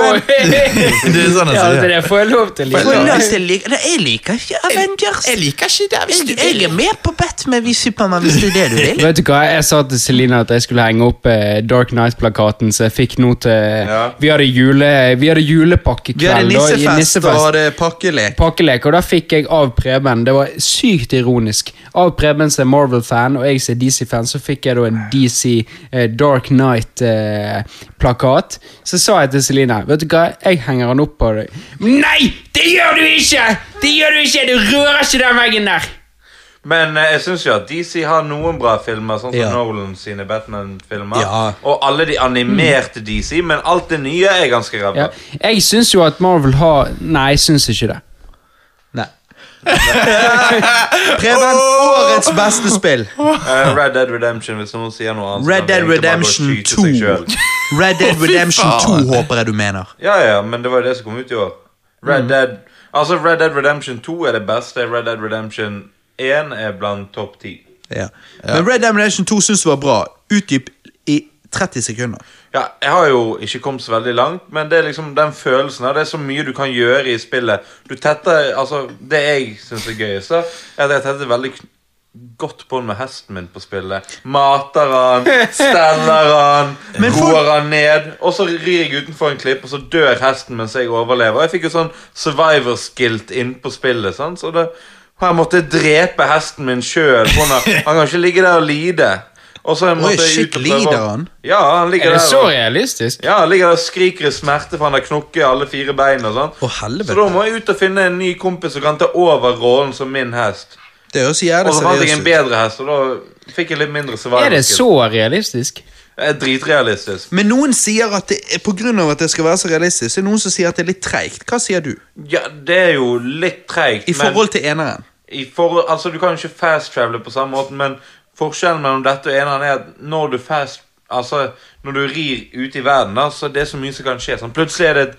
sånn jeg Ja, sier. det er- får jeg lov til. Får Liksom. lov til å like- Nei, jeg liker ikke Avengers. Jeg liker ikke det hvis du Jeg, jeg er vil. med på Batman vi Supermann, hvis det er det du vil. Vet du hva, Jeg sa til Celine at jeg skulle henge opp eh, Dark Night-plakaten, så jeg fikk nå til Ja. Vi hadde, jule, vi hadde julepakkekveld. da, i det pakkelek. pakkelek, og da fikk jeg av Preben. Det var sykt ironisk. Av Preben som er Marvel-fan, og jeg som er DC-fan, så fikk jeg da en DC eh, Dark Night-plakat. så sa jeg til Celine Vet du hva, jeg henger den opp på deg. Nei! Det gjør du ikke! Det gjør du ikke! Du rører ikke den veggen der! Men eh, jeg syns jo at DC har noen bra filmer, sånn som Ja. Nolan sine Batman-filmer. Ja. Og alle de animerte DC, men alt det nye er ganske ræva. Ja. Jeg syns jo at Marvel har Nei, jeg syns ikke det. *laughs* Nei. *laughs* Preben, årets beste spill! Eh, Red Dead Redemption, hvis noen sier noe annet. så Red kan Dead vi egentlig bare gå og Redemption skyte seg 2. selv. Red Dead Redemption 2 håper jeg du mener. Ja, ja, men det var jo det som kom ut i år. Red Mm. Dead Altså, Red Dead Redemption 2 er det beste. Red Dead Redemption 1 er blant topp 10. Ja. Men Red Dead Redemption 2 syns du var bra. Utdyp i 30 sekunder. Ja, jeg har jo ikke kommet så veldig langt, men det er liksom den følelsen av Det er så mye du kan gjøre i spillet. Du tetter Altså, det jeg syns er gøyest, da, er at jeg tetter veldig kn- godt bånd med hesten min på spillet. Mater *laughs* han, steller han, Men for- roer han ned. Og så rir jeg utenfor en klipp, og så dør hesten mens jeg overlever. Og jeg fikk jo sånn survivor skilt inn på spillet, sant? så det og jeg måtte drepe hesten min sjøl. Han *laughs* han kan ikke ligge der og lide. Og så måtte jeg shit, ut og prøve å- lider han? Ja, han ligger Er det der. så og- realistisk? ja, han ligger der og skriker i smerte for han har knokket i alle fire bein. og sånn Å, helvete. Så da må jeg ut og finne en ny kompis som kan ta over rollen som min hest. Det høres Og jævlig så fant jeg en seriøst ut. bedre hest, og da fikk jeg litt mindre survival Er det skill. så realistisk? Det er dritrealistisk. Men noen sier at det er på grunn av at det skal være så realistisk, så er det noen som sier at det er litt treigt. Hva sier du? Ja, det er jo litt treigt, I men forhold til eneren. i forhold, Altså, du kan jo ikke fast-travele på samme måte, men forskjellen mellom dette og eneren er at når du fast Altså, når du rir ute i verden, da, så er det så mye som kan skje. Sånn, plutselig er det et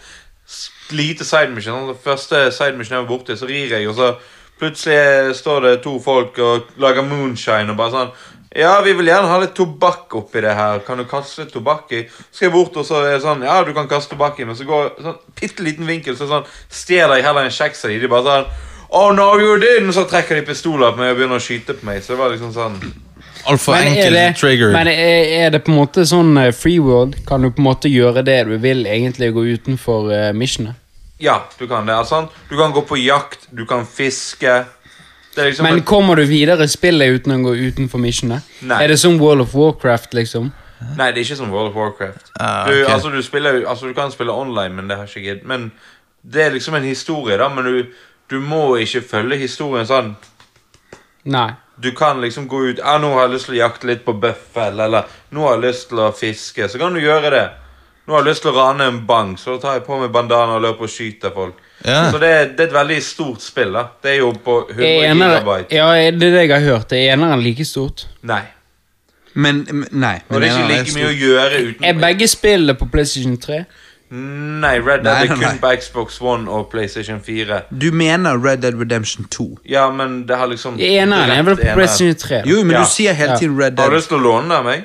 s- lite side mission. Sånn, det første side mission er borte, så rir jeg, og så plutselig står det to folk og lager moonshine og bare sånn ja, vi vil gjerne ha litt tobakk oppi det her. Kan du kaste litt tobakk i? Så skal jeg bort, og så er det sånn Ja, du kan kaste tobakk i, men så går sånn bitte liten vinkel, så sånn stjeler jeg heller en kjeks av de. De bare sånn Oh no, you didn't! Så trekker de pistoler på meg og begynner å skyte på meg. Så det var liksom sånn Altfor er enkel det, trigger. men er, er det på en måte sånn eh, free world? Kan du på en måte gjøre det du vil, egentlig gå utenfor uh, missionet? Ja, du kan det. er sant? Du kan gå på jakt, du kan fiske. Det er liksom Men kommer du videre i spillet uten å gå utenfor missionet? Nei. Er det som World of Warcraft, liksom? Nei, det er ikke som World of Warcraft. Ah, du, ok. altså, du, spiller, jo- altså, du kan spille online, men det har ikke gidd. Men det er liksom en historie, da. Men du, du må ikke følge historien sånn. Nei. Du kan liksom gå ut ah, 'Nå har jeg lyst til å jakte litt på bøffel', eller 'Nå har jeg lyst til å fiske'. Så kan du gjøre det. 'Nå har jeg lyst til å rane en bank', så da tar jeg på meg bandana og løper og skyter folk. Ja. Så det er, det er et veldig stort spill, da. Det er jo på 100 Er enere, gigabyte. ja, er det er det jeg har hørt. Er eneren like stort? Nei. Men, men- nei. Og Men det er ikke eneren like mye stor. å gjøre uten Er begge spillene på PlayStation 3? Nei, Red Dead Nei, er nei, kun nei. på Xbox One og PlayStation 4. Du mener Red Dead Redemption 2. Ja, men det har liksom Eneren er vel Direkt på eneren. PlayStation 3? Jo, men Ja. du sier hele Ja. tiden Red Har du Dead. lyst til å låne den av meg?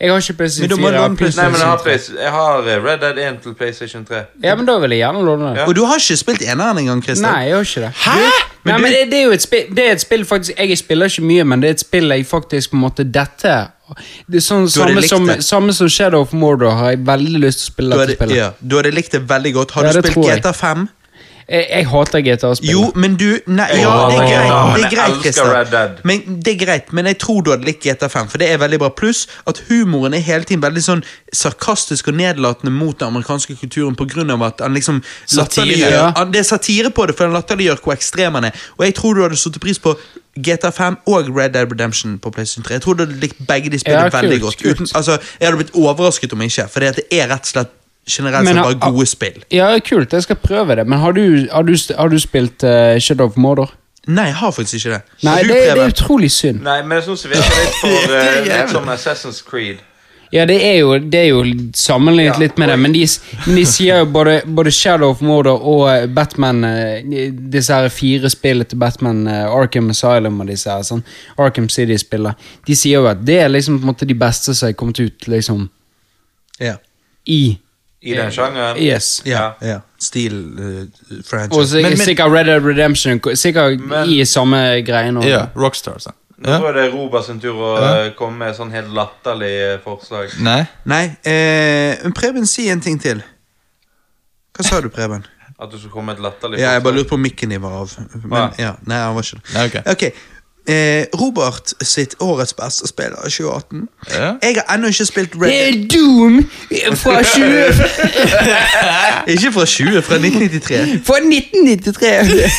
Jeg har ikke Men PlayStation da 4. må jeg du ha har en Nei, PlayStation men jeg har, 3. Play- jeg har eh, Red Dead 1 til PlayStation 3. Ja, men da vil jeg gjerne låne den. Ja. Og du har ikke spilt eneren engang, Christian. Nei, jeg har ikke det. Hæ? Nei, men det, det er jo et spill, det er et spill faktisk, Jeg spiller ikke mye, men det er et spill jeg faktisk på en måte Dette det er sånn, Du hadde samme, likt som, det. samme som Shadow of Mordor har jeg veldig lyst til å spille Du dette hadde, spillet. ja, du hadde likt det veldig godt. Har Ja, du det spilt tror jeg. GTA 5? Jeg, jeg hater GTA-spill. Jo, men du Nei, Jeg ja, det er hater greit. Det GTA, men er jeg greit, elsker Christian. Red Dead. Men det er greit, men jeg tror du hadde likt GTA5, for det er veldig bra. Pluss at humoren er hele tiden veldig sånn sarkastisk og nedlatende mot den amerikanske kulturen på grunn av at han liksom latterliggjør- ja. han- Det er satire på det, for han latterliggjør hvor ekstrem han er. Og jeg tror du hadde satt pris på GTA5 og Red Dead Redemption på PlayStation 3. Jeg tror du hadde likt begge de spillene Ja, kult, veldig godt. kult. Uten, altså, jeg hadde blitt overrasket om ikke, for det er rett og slett generelt Men sett har- bare gode spill. Ja, kult, jeg skal prøve det. Men har du, har du, har du spilt eh, Shadow of Mordor? Nei, jeg har faktisk ikke det. Nei, Du, det, det Preben? er utrolig synd. Nei, men jeg syns det virker *laughs* litt for eh, Det er jævlig. litt som Assassin's Creed. Ja, det er jo, det er jo sammenlignet Ja. litt med det, men de, s- men de sier jo både, både Shadow of Mordor og eh, Batman eh, Disse her fire spillene til Batman, eh, Arkham Asylum og disse her, sånn, Arkham City-spillene, de sier jo at det er liksom på en måte de beste som er kommet ut liksom Ja. i I den sjangeren. Yes. Ja, ja. Steel eh, franchise. Og så Men- men- sikkert Red Dead Redemption, ko- sikkert Men- i samme greie nå. Ja, Rockstar, altså. sant. Nå Ja. tror jeg det er Robert sin tur å Ja. eh, komme med sånn helt latterlig eh, forslag. Nei. Nei, eh, men Preben, si en ting til. Hva sa du, Preben? At du skal komme med et latterlig Ja, jeg bare forslag. lurte på om mikken din var av. Men, Ah. ja, nei, han var ikke det. Nei, ok. Ok, eh, Robert sitt årets beste spill av 2018. Ja. Jeg har ennå ikke spilt Red Det er Dead. Doom fra 20... Ikke fra 20, fra 1993. Fra *laughs*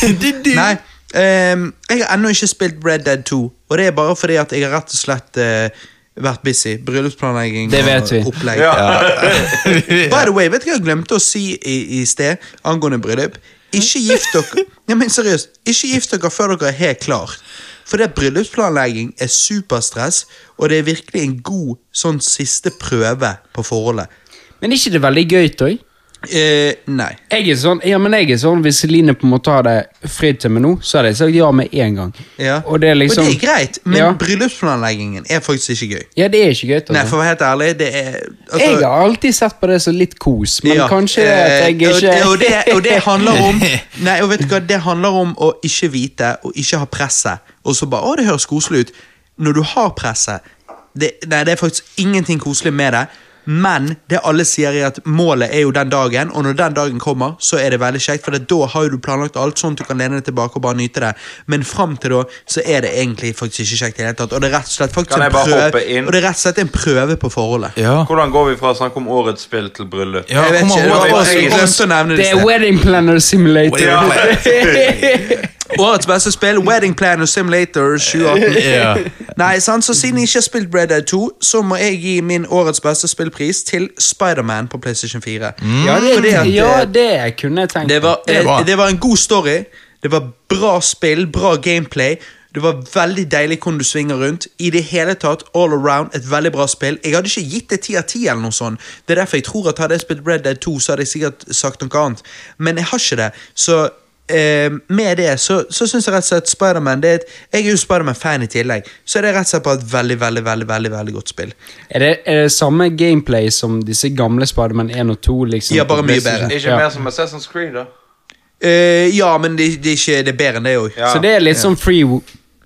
1993! Nei, ehm, jeg har ennå ikke spilt Red Dead 2, og det er bare fordi at jeg har rett og slett eh, vært busy. Bryllupsplanlegging Det vet vi. og opplegg. Ja. *laughs* By the way, vet du hva jeg glemte å si i, i sted angående bryllup? Ikke gift dere Nei, men seriøst, ikke gift dere før dere er helt klar. For det bryllupsplanlegging er superstress, og det er virkelig en god sånn siste prøve på forholdet. Men er ikke det veldig gøy, Toy? Eh, nei. Jeg er sånn, ja, men jeg er sånn, Hvis Celine på en måte hadde fridd til meg nå, så hadde jeg sagt ja med en gang. Ja. Og det er liksom Og det er greit, men ja. bryllupsplanleggingen er faktisk ikke gøy. ja, det er ikke gøy. Toy. Nei, for å være helt ærlig, det er altså- jeg har alltid sett på det som litt kos, men Ja, kanskje eh, at jeg og- ikke og, det, og det handler om Nei, og vet du hva, det handler om å ikke vite og ikke ha presset, og så bare 'Å, det høres koselig ut'. Når du har presset det, Nei, det er faktisk ingenting koselig med det, men det alle sier, er at målet er jo den dagen, og når den dagen kommer, så er det veldig kjekt, for det, da har jo du planlagt alt, sånn at du kan lene deg tilbake og bare nyte det, men fram til da så er det egentlig faktisk ikke kjekt i det hele tatt, og det er rett og slett faktisk Kan en jeg bare prøve, hoppe inn? og det er rett og slett en prøve på forholdet. Ja. Hvordan går vi fra å snakke om årets spill til bryllup? Ja, Jeg vet kommer ikke, det var over- bare så jeg over- glemte å nevne det *laughs* Det i er sted. Wedding Planner Simulator. Ja. *laughs* Årets beste spill, Wedding Planner Simulator *laughs* 2018. Ja. Nei, sant, så Siden jeg ikke har spilt Red Dead 2, så må jeg gi min årets beste spillpris til Spiderman på PlayStation 4. Ja, Fordi det, at, ja, eh, det kunne jeg tenkt det, var, Det er bra. eh, det var en god story, det var bra spill, bra gameplay. Det var veldig deilig hvordan du svinger rundt. I det hele tatt, all around, et veldig bra spill. Jeg hadde ikke gitt det 10 av 10 eller noe sånt. Det er derfor jeg tror at hadde jeg spilt Red Dead 2, så hadde jeg sikkert sagt noe annet. Men jeg har ikke det. Så eh, med det så, så syns jeg rett og slett Spiderman det er et, Jeg er jo Spiderman-fan i tillegg, så er det rett og slett bare et veldig, veldig, veldig, veldig, veldig godt spill. Er det, er det samme gameplay som disse gamle Spiderman 1 og 2? Liksom, Ja, bare på mye PlayStation? bedre. Ikke Ja. mer sånn- som Assassin's Creed, da. Eh, ja, men det, det, er ikke, det er bedre enn det òg. Ja. Så det er litt sånn free, wo-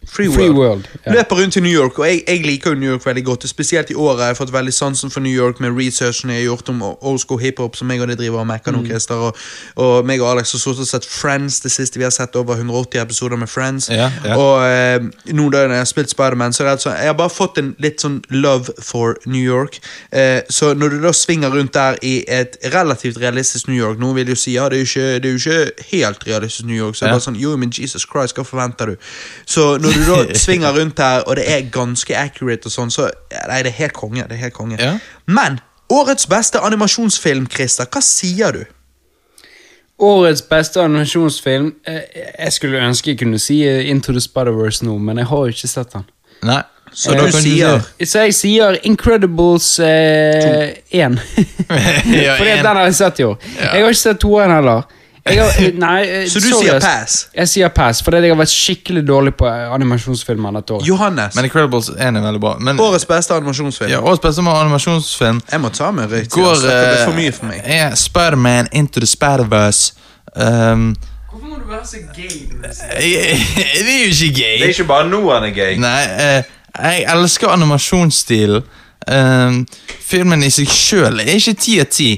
Free World. Free World, ja. Løper rundt i New York, og jeg, jeg liker jo New York veldig godt. og Spesielt i året har jeg fått veldig sansen for New York med researchen jeg har gjort om old school hiphop, som jeg og det driver og mekker nå, Mm. Christer. Og, og meg og Alex har stort sett Friends det siste. Vi har sett over 180 episoder med Friends. Ja, ja. Og eh, nå da når jeg har spilt Spiderman, så er det altså Jeg har bare fått en litt sånn love for New York. Eh, så når du da svinger rundt der i et relativt realistisk New York Noen vil jo si ja, det er jo ikke, det er jo ikke helt realistisk New York, så det er Ja. bare sånn Jo, men Jesus Christ, hva forventer du? Så når du da *laughs* svinger rundt der, og det er ganske accurate og sånn, så ja, Nei, det er helt konge. Det er helt konge. Ja. Men årets beste animasjonsfilm, Christer, hva sier du? Årets beste animasjonsfilm eh, Jeg skulle ønske jeg kunne si eh, Into the Spider-Verse nå, men jeg har jo ikke sett den. Nei. Så Ja, du da kan sier- si Så jeg sier Incredibles *laughs* 1. Ja, *laughs* Fordi at en. den har jeg sett i år. Jeg har ikke sett toeren heller. Jeg har, nei, eh, *laughs* Så du sorry, sier ass. pass? Jeg sier pass, fordi at jeg har vært skikkelig dårlig på eh, animasjonsfilmer dette året. Johannes, Men Incredibles 1 er veldig bra. Men årets beste animasjonsfilm. ja, årets beste med animasjonsfilm Jeg må ta meg riktig. går altså. Dette blir for eh, mye for meg. Er Spiderman Into the Spiderverse um, *laughs* Hvorfor må du være så gay? Det er jo ikke gøy! Det er ikke bare nå han er gay. Nei, eh, jeg elsker animasjonsstilen. Eh, filmen i seg sjøl er ikke ti av ti,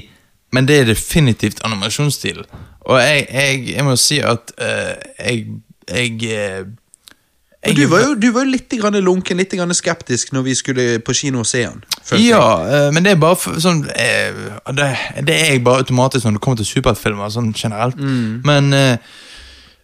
men det er definitivt animasjonsstil. Og jeg, jeg, jeg må si at eh, jeg, jeg, eh, jeg Du var jo, du var jo litt grann lunken, litt grann skeptisk når vi skulle på kino og se han. følte jeg. Ja, eh, men det er bare f- sånn eh, det, det er jeg bare automatisk når det kommer til superheltfilmer, sånn generelt. Mm. Men eh,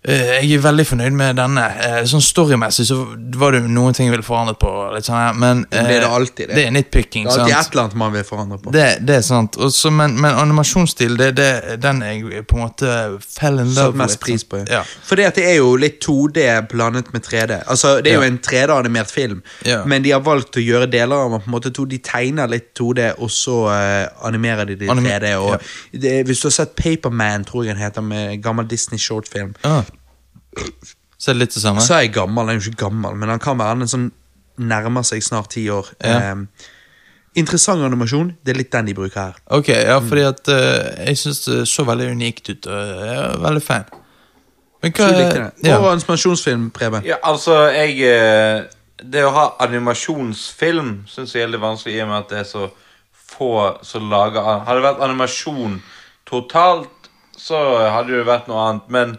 eh, jeg er veldig fornøyd med denne. Eh, Sånn storymessig så var det jo noen ting jeg ville forandret på. Litt sånn her, men eh, Det er det alltid, det. det er nitpicking. Det er alltid sant? et eller annet man vil forandre på. Det, det er sant. Og så- men, men animasjonsstil, det, det, den jeg på en måte fell in love Satt mest with, pris sant? på. Ja. For det at det er jo litt 2D blandet med 3D. Altså, Det er jo Ja. en 3D-animert film, Ja. men de har valgt å gjøre deler av den på en måte to. De tegner litt 2D, og så eh, animerer de det i Anime- 3D. Og det, hvis du har sett Paperman, tror jeg den heter, med gammel Disney shortfilm. Ah. Så er det litt det samme? Så er jeg gammel, han er jo ikke gammel, men han kan være en sånn nærmer seg snart ti år. Ja. Ehm, interessant animasjon, det er litt den de bruker her. Ok, ja, fordi at eh, jeg syns det så veldig unikt ut, og jeg er veldig fan. Men hva Du likte det. Eh, ja. Og animasjonsfilm, Preben. Ja, altså, jeg eh, Det å ha animasjonsfilm syns jeg er litt vanskelig i og med at det er så få som lager an- Hadde det vært animasjon totalt, så hadde det jo vært noe annet. Men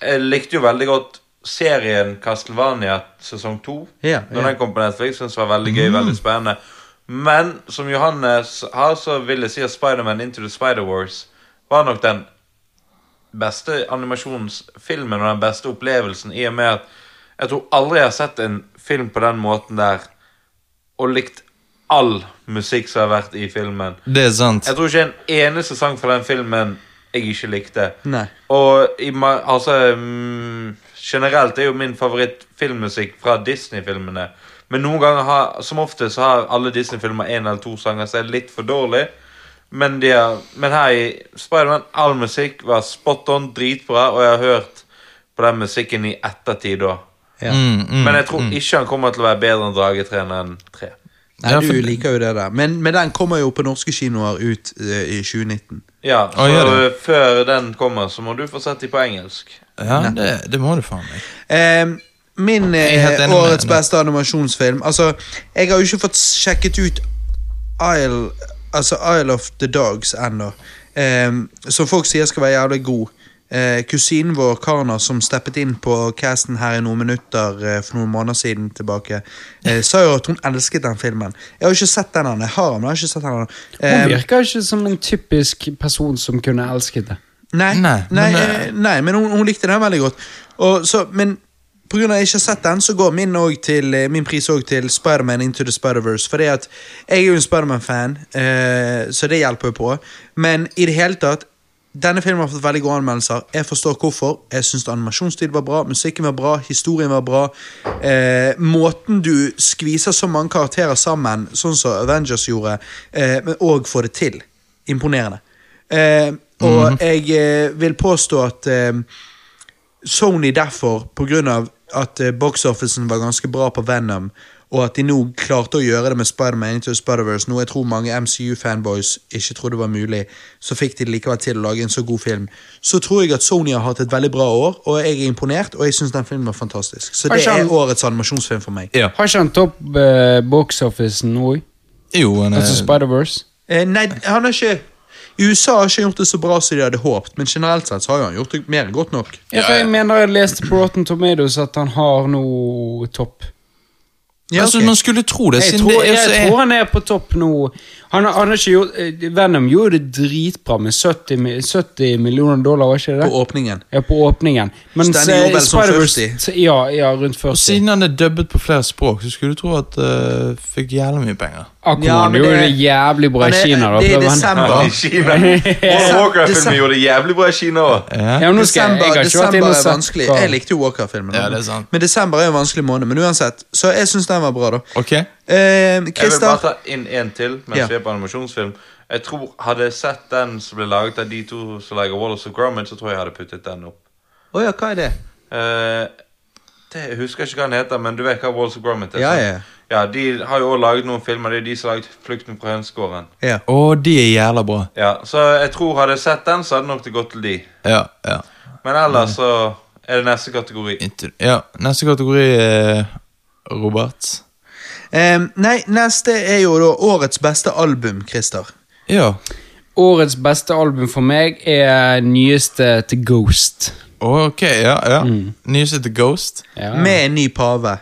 jeg likte jo veldig godt serien Castlevania sesong to. Ja, ja. Mm. Når den kom på Netflix, syntes jeg var veldig gøy, veldig spennende. Men som Johannes har, så vil jeg si at Spiderman Into the Spider-Wars var nok den beste animasjonsfilmen og den beste opplevelsen i og med at jeg tror aldri jeg har sett en film på den måten der og likt all musikk som har vært i filmen. Det er sant. Jeg tror ikke en eneste sang fra den filmen jeg ikke likte. Nei. Og i, ma- altså mm, Generelt er jo min favorittfilmmusikk fra Disney-filmene. Men noen ganger har, som ofte så har alle Disney-filmer én eller to sanger som er litt for dårlig. Men, de er, men her i Spiderman, all musikk var spot on, dritbra, og jeg har hørt på den musikken i ettertid òg. Ja. Mm, mm. Men jeg tror ikke han kommer til å være bedre enn Dragetreneren enn tre. Nei, Ja, du for- liker jo det der. Men, men den kommer jo på norske kinoer ut eh, i 2019. Ja, så gjør øh, før den kommer, så må du få sett dem på engelsk. Ja, det, det må du faen meg. Eh, min eh, Jeg er helt enig med årets deg. beste animasjonsfilm Altså, jeg har jo ikke fått sjekket ut Isle, altså Isle of the Dogs ennå. Eh, som folk sier skal være jævlig god. Eh, kusinen vår, Karna, som steppet inn på casten her i noen minutter eh, for noen måneder siden tilbake, eh, sa jo at hun elsket den filmen. Jeg har jo ikke sett den ennå. Jeg har den, men jeg har ikke sett den ennå. Hun Eh, virker ikke som en typisk person som kunne elsket det. Nei, nei, Nei, nei, men, eh, men, hun, hun likte den veldig godt. Og så, men pga. at jeg ikke har sett den, så går min, og til, eh, min pris òg til Spiderman Into the Spider-Verse. For jeg er jo en Spiderman-fan, eh, så det hjelper jo på. Men i det hele tatt denne filmen har fått veldig gode anmeldelser. Jeg forstår hvorfor. Jeg syns animasjonsstil var bra, musikken var bra, historien var bra. Eh, måten du skviser så mange karakterer sammen, sånn som Avengers gjorde, eh, men òg får det til. Imponerende. Eh, og jeg eh, vil påstå at eh, Sony derfor, på grunn av at eh, box-officen var ganske bra på Venom, og at de nå klarte å gjøre det med Spider-Man Into the Spider-Verse, noe jeg tror mange MCU-fanboys ikke trodde var mulig, så fikk de det likevel til å lage en så god film. Så tror jeg at Sony har hatt et veldig bra år, og jeg er imponert, og jeg syns den filmen var fantastisk. Så det Kanskje han- er årets animasjonsfilm for meg. Har ikke han topp eh, box office nå òg? Jo, han er Altså Spider-Verse? Eh, nei, han har ikke I USA har ikke gjort det så bra som de hadde håpet, men generelt sett så har jo han gjort det mer enn godt nok. Ja, for jeg mener jeg leste på Rotten Tomatoes at han har nå topp. Ja, altså, ok. Man skulle tro det, Jeg siden tror, det er så jeg tror han er på topp nå. Han, har- han har ikke gjort, eh, Venom gjorde det dritbra med 70, mi- 70 millioner dollar, var ikke det? På åpningen. ja, på åpningen. Men Så den er jo vel som 40? Ja, ja, rundt 40. Og siden han er dubbet på flere språk, så skulle du tro at uh, fikk jævlig mye penger. Akkurat, Ja, men det gjorde det- det jævlig bra i Men det- Kina. da. det er prøver han- desember. Ja, *laughs* i Kina. Warren Walker-filmen gjorde det jævlig bra i Kina òg. Ja. Ja, men nå skal jeg, Desember, jeg har ikke vært desember inne og er sett vanskelig. hva- Jeg likte jo Walker-filmen. Ja, det er sant. Men desember er jo en vanskelig måned. Men uansett, så jeg syns den var bra, da. Ok? Eh, Jeg vil Christer, bare ta inn en til mens Ja. vi er på animasjonsfilm. Jeg tror Hadde jeg sett den som ble laget av de to som lager Wallace og Gromit, så tror jeg jeg hadde puttet den opp. Å ja, hva er det? Eh, det, jeg husker ikke hva den heter, men du vet hva Wallace og Gromit er? Ja, sant? ja. ja, De har jo også laget noen filmer. Det er de som har laget 'Flukten fra hønsegården'. Ja. Og de er jævla bra. Ja, så jeg tror hadde jeg sett den, så hadde nok det gått til de. Ja, ja. Men ellers så er det neste kategori. Inntil- ja. Neste kategori er Robert. Eh, nei, neste er jo da årets beste album, Christer. Ja. Årets beste album for meg er nyeste til Ghost. Ok, ja. ja. Nyeste til Ghost. Ja. Med en ny pave.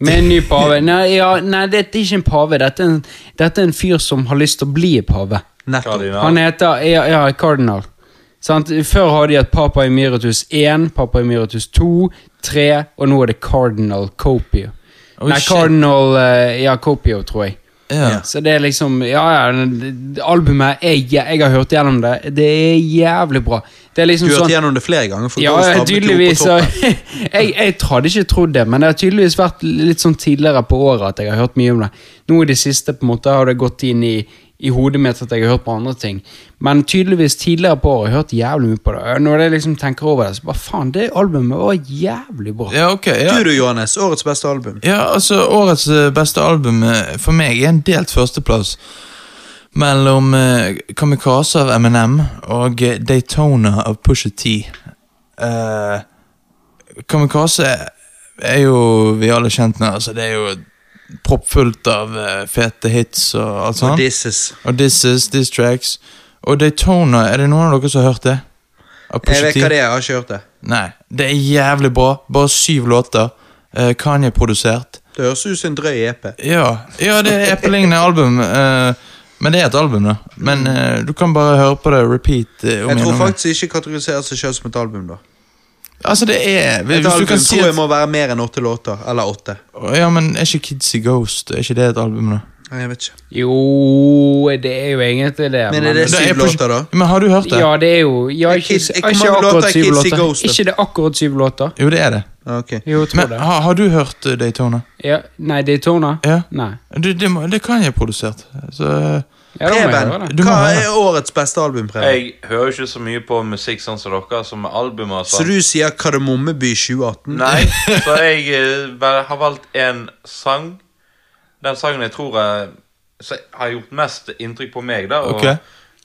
Med en ny pave. Nei, ja, nei dette er ikke en pave. Dette er en, dette er en fyr som har lyst til å bli pave. Nettopp. Kardinal. Han heter ja, ja, Cardinal. Sant? Før har de hatt Papa Emeritus 1, Papa Emeritus 2, 3, og nå er det Cardinal Copio. Oh, nei, shit. Cardinal eh, Ja, Copio, tror jeg. Ja. Så det er liksom Ja, ja, det- det- albumet er, jæ- Jeg har hørt gjennom det. Det er jævlig bra. Det er liksom Du har hørt sånn gjennom det flere ganger. For ja, Ghost ja, havnet jo på tydeligvis. toppen. og- *laughs* jeg, jeg hadde ikke trodd det, men det har tydeligvis vært litt sånn tidligere på året at jeg har hørt mye om det. Nå i det siste på en måte har det gått inn i, i hodet mitt at jeg har hørt på andre ting. Men tydeligvis tidligere på året har jeg hørt jævlig mye på det. Og Når jeg liksom tenker over det, så bare faen, det albumet var jævlig bra. Ja, ok. Ja. Du du, Johannes. Årets beste album. Ja, altså Årets eh, beste album eh, for meg er en delt førsteplass mellom eh, Kamikaze av Eminem og eh, Daytona av Pusha T. Eh, kamikaze er jo vi alle kjent med. altså Det er jo proppfullt av eh, fete hits og alt Og sånt. This Is. Og This Is, This Tracks. Og Daytona, er det noen av dere som har hørt det? Av Jeg Pusha vet T? hva det er, jeg har ikke hørt det. Nei. Det er jævlig bra. Bare syv låter. Eh, Kanye produsert. Det høres ut som en drøy E EP. Ja, ja det er eplelignende album. eh, men det er et album, da. Men eh, du kan bare høre på det repeat. eh, om Jeg igjen tror og om igjen. faktisk ikke kategoriserer seg selv som et album, da. Altså, det er hvis, Et hvis du album kan si tror jeg at, må være mer enn åtte låter. Eller åtte. Ja, men er ikke Kids i Ghost Er ikke det et album, da? Nei, jeg vet ikke. Jo, det er jo egentlig det. Men er det Det er syv på- låter, da? Men har du hørt det? Ja, det er jo ja, ikke, Kids- ikke hvor mange låter akkurat er syv Kids i låter. Ghost, da? Ikke det akkurat syv låter. Jo, det er det. Ah, Ok. Jo, jeg tror Men det. har, har du hørt eh, Daytona? Ja, nei, Daytona? Ja. Nei. Det, det, må, det kan jeg ha produsert. Så Ja, da må jeg Preben, høre det. Du må hva høre det. er årets beste album, Preben? Jeg hører jo ikke så mye på musikk sånn som dere, som med albumer og Så sånn. du sier Kardemommeby 2018? Nei, så jeg eh, vel- har valgt en sang. Den sangen jeg tror jeg, så jeg har gjort mest inntrykk på meg, da. Og Ok.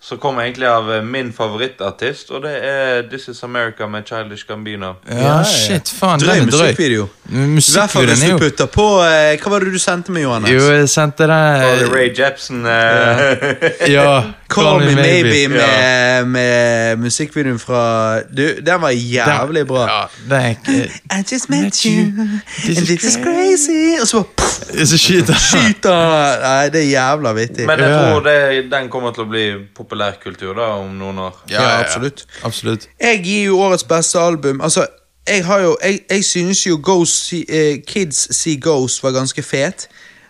Så kommer egentlig av eh, min favorittartist, og det er This Is America med Childish Gambino. Ja, ja. shit, faen. Drøy Den er drøy. musikkvideo. I hvert fall hvis Musikkvideoen er du jo putter på eh, Hva var det du sendte meg, Johannes? Jo, jeg sendte Og det er deg Ray Jepsen. eh, Ja. Call Me Maybe med, Ja. med musikkvideoen fra Du, den var jævlig bra. Ja, det er ikke I just met you, and this is crazy Og så bare pff, Det er så shit. skyter Nei, det er jævla vittig. *laughs* Men jeg Ja. tror det, den kommer til å bli populærkultur da, om noen år. Ja, absolutt. Absolutt. Jeg gir jo årets beste album Altså, jeg har jo Jeg, jeg synes jo Ghost, See- eh, Kids See Ghost var ganske fet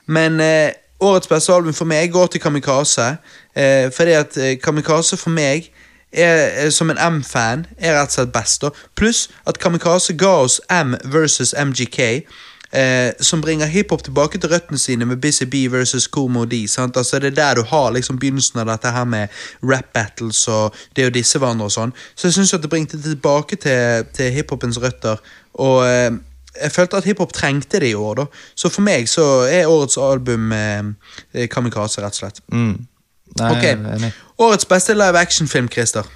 Men eh, årets beste album for meg går til Kamikaze eh, Fordi at eh, Kamikaze for meg er, eh, som en M-fan er rett og slett best da Pluss at Kamikaze ga oss M versus MGK eh, som bringer hiphop tilbake til røttene sine med Busy Bee versus Komo D. Sant? Altså, det er der du har liksom begynnelsen av dette her med rap battles og det å disse hverandre og sånn. Så jeg syns at det bringte det tilbake til, til hiphopens røtter. Og eh, jeg følte at hiphop trengte det i år, da. Så for meg så er årets album eh, Kamikaze, rett og slett. Mm. Nei, Ok. jeg er enig. Årets beste live action-film, Christer.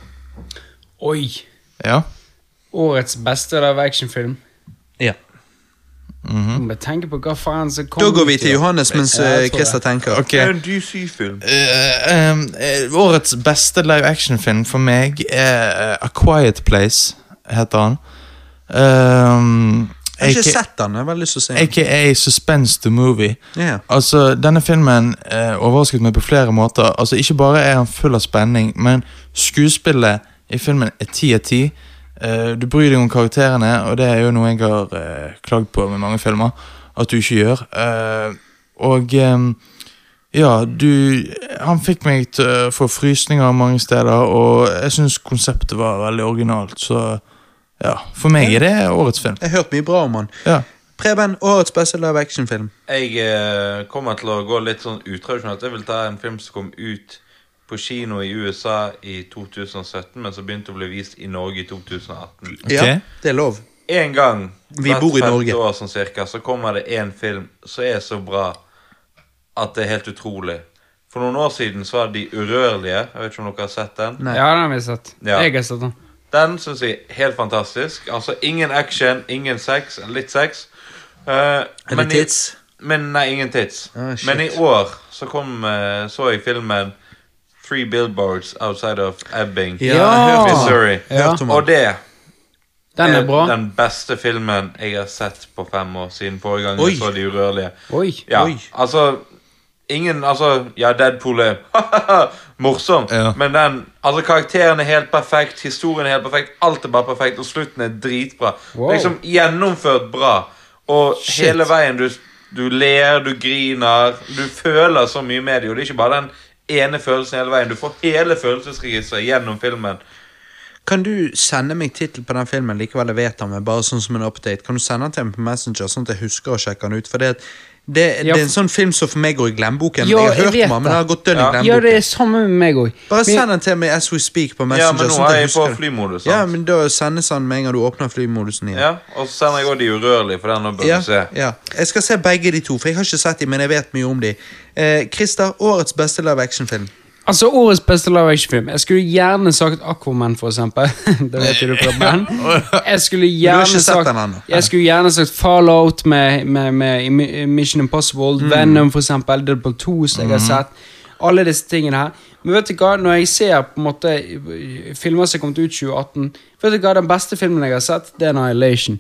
Oi! Ja. Årets beste live actionfilm. Ja. Jeg må tenke på hva faen som kom Mhm. Da går vi ut i til år. Johannes mens Ja, jeg eh, tror Christer det. tenker. Ok. en DC-film. Eh, ehm, eh, årets beste live action-film for meg er eh, A Quiet Place, heter han. Eh, Ehm, Jeg har ikke aka sett den, jeg har veldig lyst til å se den. AKA Suspense the Movie. Ja. Altså, Denne filmen eh, overrasket meg på flere måter. Altså, Ikke bare er han full av spenning, men skuespillet i filmen er ti av ti. Eh, du bryr deg om karakterene, og det er jo noe jeg har eh, klagd på med mange filmer. At du ikke gjør. Eh, og eh, ja, du Han fikk meg til å få frysninger mange steder, og jeg syns konseptet var veldig originalt, så ja. For meg er det årets film. Jeg har hørt mye bra om han. Ja. Preben, årets beste live action-film. Jeg eh, kommer til å gå litt sånn utradisjonelt. Jeg vil ta en film som kom ut på kino i USA i 2017, men som begynte å bli vist i Norge i 2018. Ok. Ja, det er lov. En gang Vi bor i Norge. år sånn cirka, så kommer det en film som er så bra at det er helt utrolig. For noen år siden så var De urørlige. Jeg vet ikke om dere har sett den? Nei. Ja, den har vi sett. Ja. Jeg har sett den. Den syns jeg er helt fantastisk. Altså ingen action, ingen sex, litt sex. Eh, Er det i- tits? Men nei, ingen tits. Ah, shit. men i år så kom eh, så jeg filmen Three Billboards Outside of Ebbing. Ja, jeg Ja. hørte om den. Missouri. Jeg hørte om Og den. det Den Eh, er bra. den beste filmen jeg har sett på fem år, siden forrige gang Oi. jeg så De urørlige. Oi. Ja, Oi. altså Ingen Altså, ja, Deadpool er *laughs* morsom, Ja. men den Altså, karakteren er helt perfekt, historien er helt perfekt, alt er bare perfekt, og slutten er dritbra. Wow. Liksom gjennomført bra. Og hele veien du, du ler, du griner, du føler så mye med det, og det er ikke bare den ene følelsen hele veien. Du får hele følelsesregisteret gjennom filmen. Kan du sende meg tittelen på den filmen likevel jeg vet den, men bare sånn som en update? Kan du sende den til meg på Messenger, sånn at jeg husker å sjekke den ut? For det, det, Ja. det er en sånn film som for meg går i glemmeboken. Ja, jeg har jeg hørt vet om den, men den har gått dønn Ja. i Ja, det glemmeboken. er samme med meg òg. Bare send den til meg as we speak på Ja, men Messenger. nå sånn at er jeg på husker det. flymodus. Ja, Sant? men da sendes den med en gang du åpner flymodisen igjen. Ja, og så sender jeg òg De urørlige, for den nå bør Ja, du se. ja. Jeg skal se begge de to, for jeg har ikke sett dem, men jeg vet mye om dem. Eh, Christer, årets beste live action-film. Altså, årets beste live action-film. Jeg skulle gjerne sagt Aquaman, for eksempel. *laughs* da vet jo du fra band. Jeg skulle har gjerne ikke sett sagt, den ennå. jeg skulle gjerne sagt Fallout med, med, med Mission Impossible, Venom, for eksempel, Deadpool 2, som jeg har sett. Alle disse tingene her. Men vet du hva, når jeg ser på en måte filmer som kom ut 2018 Vet du hva, den beste filmen jeg har sett, det er Annihilation.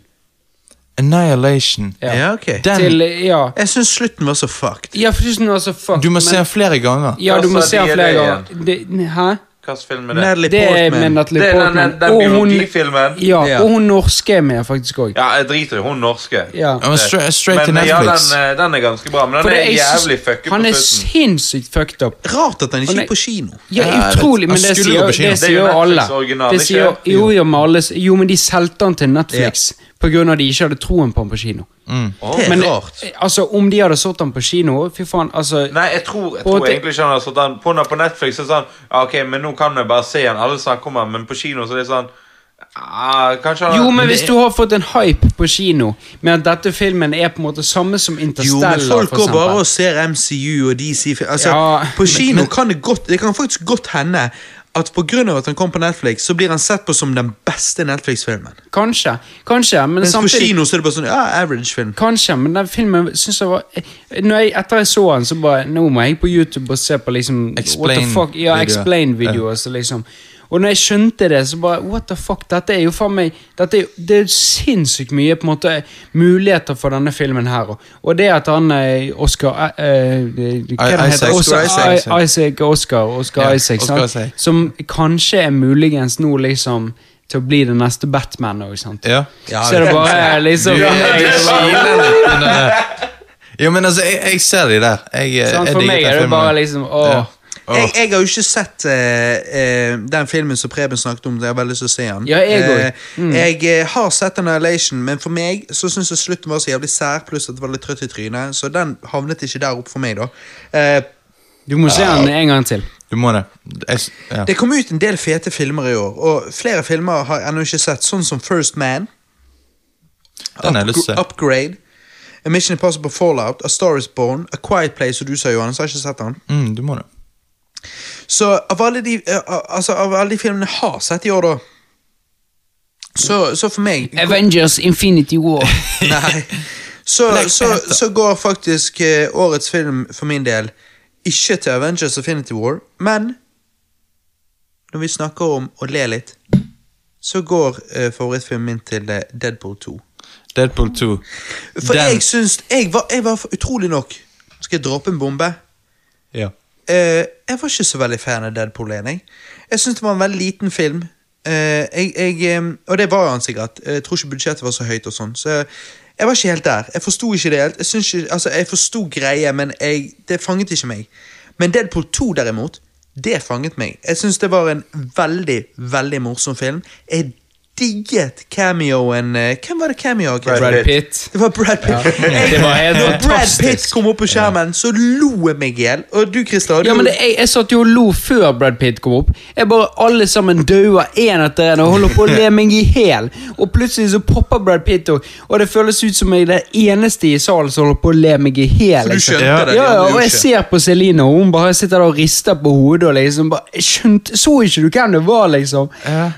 Annihilation. Ja. Ja, ok. Den- Til, ja. Jeg syns slutten var så fucked. ja, for det er sånn, altså, fuck. Du må men- se den flere ganger. Ja, du må Altså, se de den er flere det ganger. Det- Hæ? Hvilken film er det? Natalie Det er Portman. med Natalie Det er den- Portman. den- den og hun- biologifilmen. Ja, Ja. og hun norske er med faktisk òg. Ja, jeg driter i hun norske. Ja. Ja, men stra- straight Men til eh, ja, den, Netflix. eh, den er ganske bra, men den For det er jeg synes- jævlig fucket Han på er slutten. sinnssykt fucked up. Rart at den Og ikke nei- gikk på kino. Ja, Ja, jeg vet. utrolig, men Han det skulle sier, gå på kino. det Det er sier jo jo alle. Netflix-original, Det ikke? sier, jo, jo, men alle s- jo, men de solgte han til Netflix pga. at de ikke hadde troen på han på kino. Det er Men rart. eh, altså, om de hadde solgt han på kino Fy faen, altså Nei, jeg tror, jeg Og tror det- egentlig ikke han har satt den på den på Netflix. Så er det sånn, ja, ok, men nå kan jeg bare se den. Alle snakker om den, men på kino så er det sånn ah, Kanskje han Jo, men hvis du har fått en hype på kino med at dette filmen er på en måte samme som Jo, Interstellar, men folk for går bare og eksempel. ser MCU og DC fi- altså, Ja, På kino kan det godt Det kan faktisk godt hende at pga. at han kom på Netflix, så blir han sett på som den beste Netflix-filmen. Kanskje, kanskje, men Mens på samtidig kino så er det bare sånn ja, average film. Kanskje, men den filmen synes jeg var eh, når jeg, Etter jeg så den, så bare Nå må jeg på YouTube og se på liksom what the Explain fuck, Ja, videoer. explain-videoer. så liksom Og når jeg skjønte det, så bare What the fuck, dette er jo faen meg dette er, jo- Det er jo sinnssykt mye på en måte muligheter for denne filmen her. Og, og det at han eh, Oscar eh, eh, Hva er det han Isaac. heter Oscar, Oscar Isaac. I- Isaac Oscar, Oscar Ja, Isaac, sant? Oscar Isaac. som kanskje er muligens nå liksom til å bli den neste Batman òg, sant? Ja. Ja, så er det bare liksom Ja, det er Men, eh, Jo, men altså, jeg, jeg ser de der. Jeg, eh, Sånn, jeg for digger meg den er det filmen. bare liksom åh. Ja. Åh. Jeg, jeg har jo ikke sett eh, eh, den filmen som Preben snakket om. Jeg har veldig lyst til å se den. Ja, jeg også. Eh, Mm. jeg eh, har sett Annihilation, men for meg så syns jeg slutten var så jævlig sær, pluss at det var litt trøtt i trynet, så den havnet ikke der oppe for meg, da. Eh, Du må se den en gang til. Du må det. Jeg, s- ja. det kom ut en del fete filmer i år, og flere filmer har jeg ennå ikke sett, sånn som First Man. Den har jeg lyst til. Upgra- Upgrade. A Mission Impossible Fallout, A Star Is Born, A Quiet Place, og du sa Johannes, har ikke sett den. Mm, du må det. Så av alle de, eh, altså, av alle de filmene jeg har sett i år, da Så, så for meg Avengers Infinity War. Nei. Så, så, så går faktisk eh, årets film for min del ikke til Avengers Affinity War, men når vi snakker om å le litt, så går eh, favorittfilmen min til eh, Deadpool 2. Deadpool 2. For Den- jeg syns jeg var, jeg var for- utrolig nok Skal jeg droppe en bombe? Ja. Eh, jeg var ikke så veldig fan av Deadpool 1. Jeg, jeg syns det var en veldig liten film. Eh, jeg, jeg, eh, og det var han sikkert. Jeg tror ikke budsjettet var så høyt. og sånn Så jeg var ikke helt der. Jeg forsto ikke det helt. Jeg, syns ikke, altså, jeg forsto greie, men jeg, det fanget ikke meg. Men Deadpool 2, derimot, det fanget meg. Jeg syns det var en veldig, veldig morsom film. Jeg digget cameoen eh, Hvem var det cameoen? Brad Pitt. Det var Brad Pitt. Jeg- Det var helt Når Brad fantastisk. Pitt kom opp på skjermen, så lo jeg meg i hjel. Og du, Christer, Ja, du- men det, jeg, jeg satt jo og lo før Brad Pitt kom opp. Jeg bare Alle sammen daua én etter en og holder på å le meg i hjel. Og plutselig så popper Brad Pitt, og, og det føles ut som jeg er den eneste i salen som holder på å le meg i hjel. For du skjønte Ja. det, de Ja, ja, andre og gjorde jeg ikke. ser på Celine, og hun bare sitter der og rister på hodet. og liksom bare, jeg skjønte, Så ikke du hvem det var, liksom?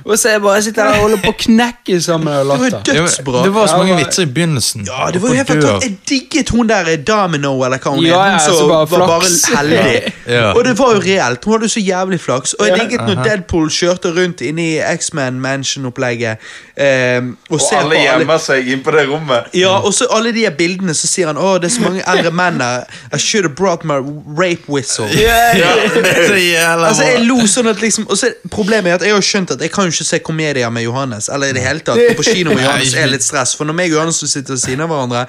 Og så jeg bare sitter der og holder på å knekke sammen av Det var latter. dødsbra. Det var så mange Ja, men- vitser i begynnelsen. Ja, det var jo Og helt dør. fantastisk. Jeg digget hun der eh, Domino, eller hva hun Ja, het. ja, Hun så som bare var bare flaks. heldig. Ja. Og det var jo reelt. Hun hadde jo så jævlig flaks. Og jeg digget når Deadpool kjørte rundt inne i X-Man Mansion-opplegget. eh, og, Og ser alle på alle gjemmer seg inn på det rommet. ja, og så alle de her bildene, så sier han Åh, det er så mange eldre menn her. I should have brought my rape whistle. Det er så jævla Altså, bra. jeg lo sånn at liksom Og så er problemet er at jeg har skjønt at jeg kan jo ikke se komedier med Johannes. Eller i det hele tatt gå På kino med Johannes er litt stress, for når meg og Johannes sitter ved siden av hverandre,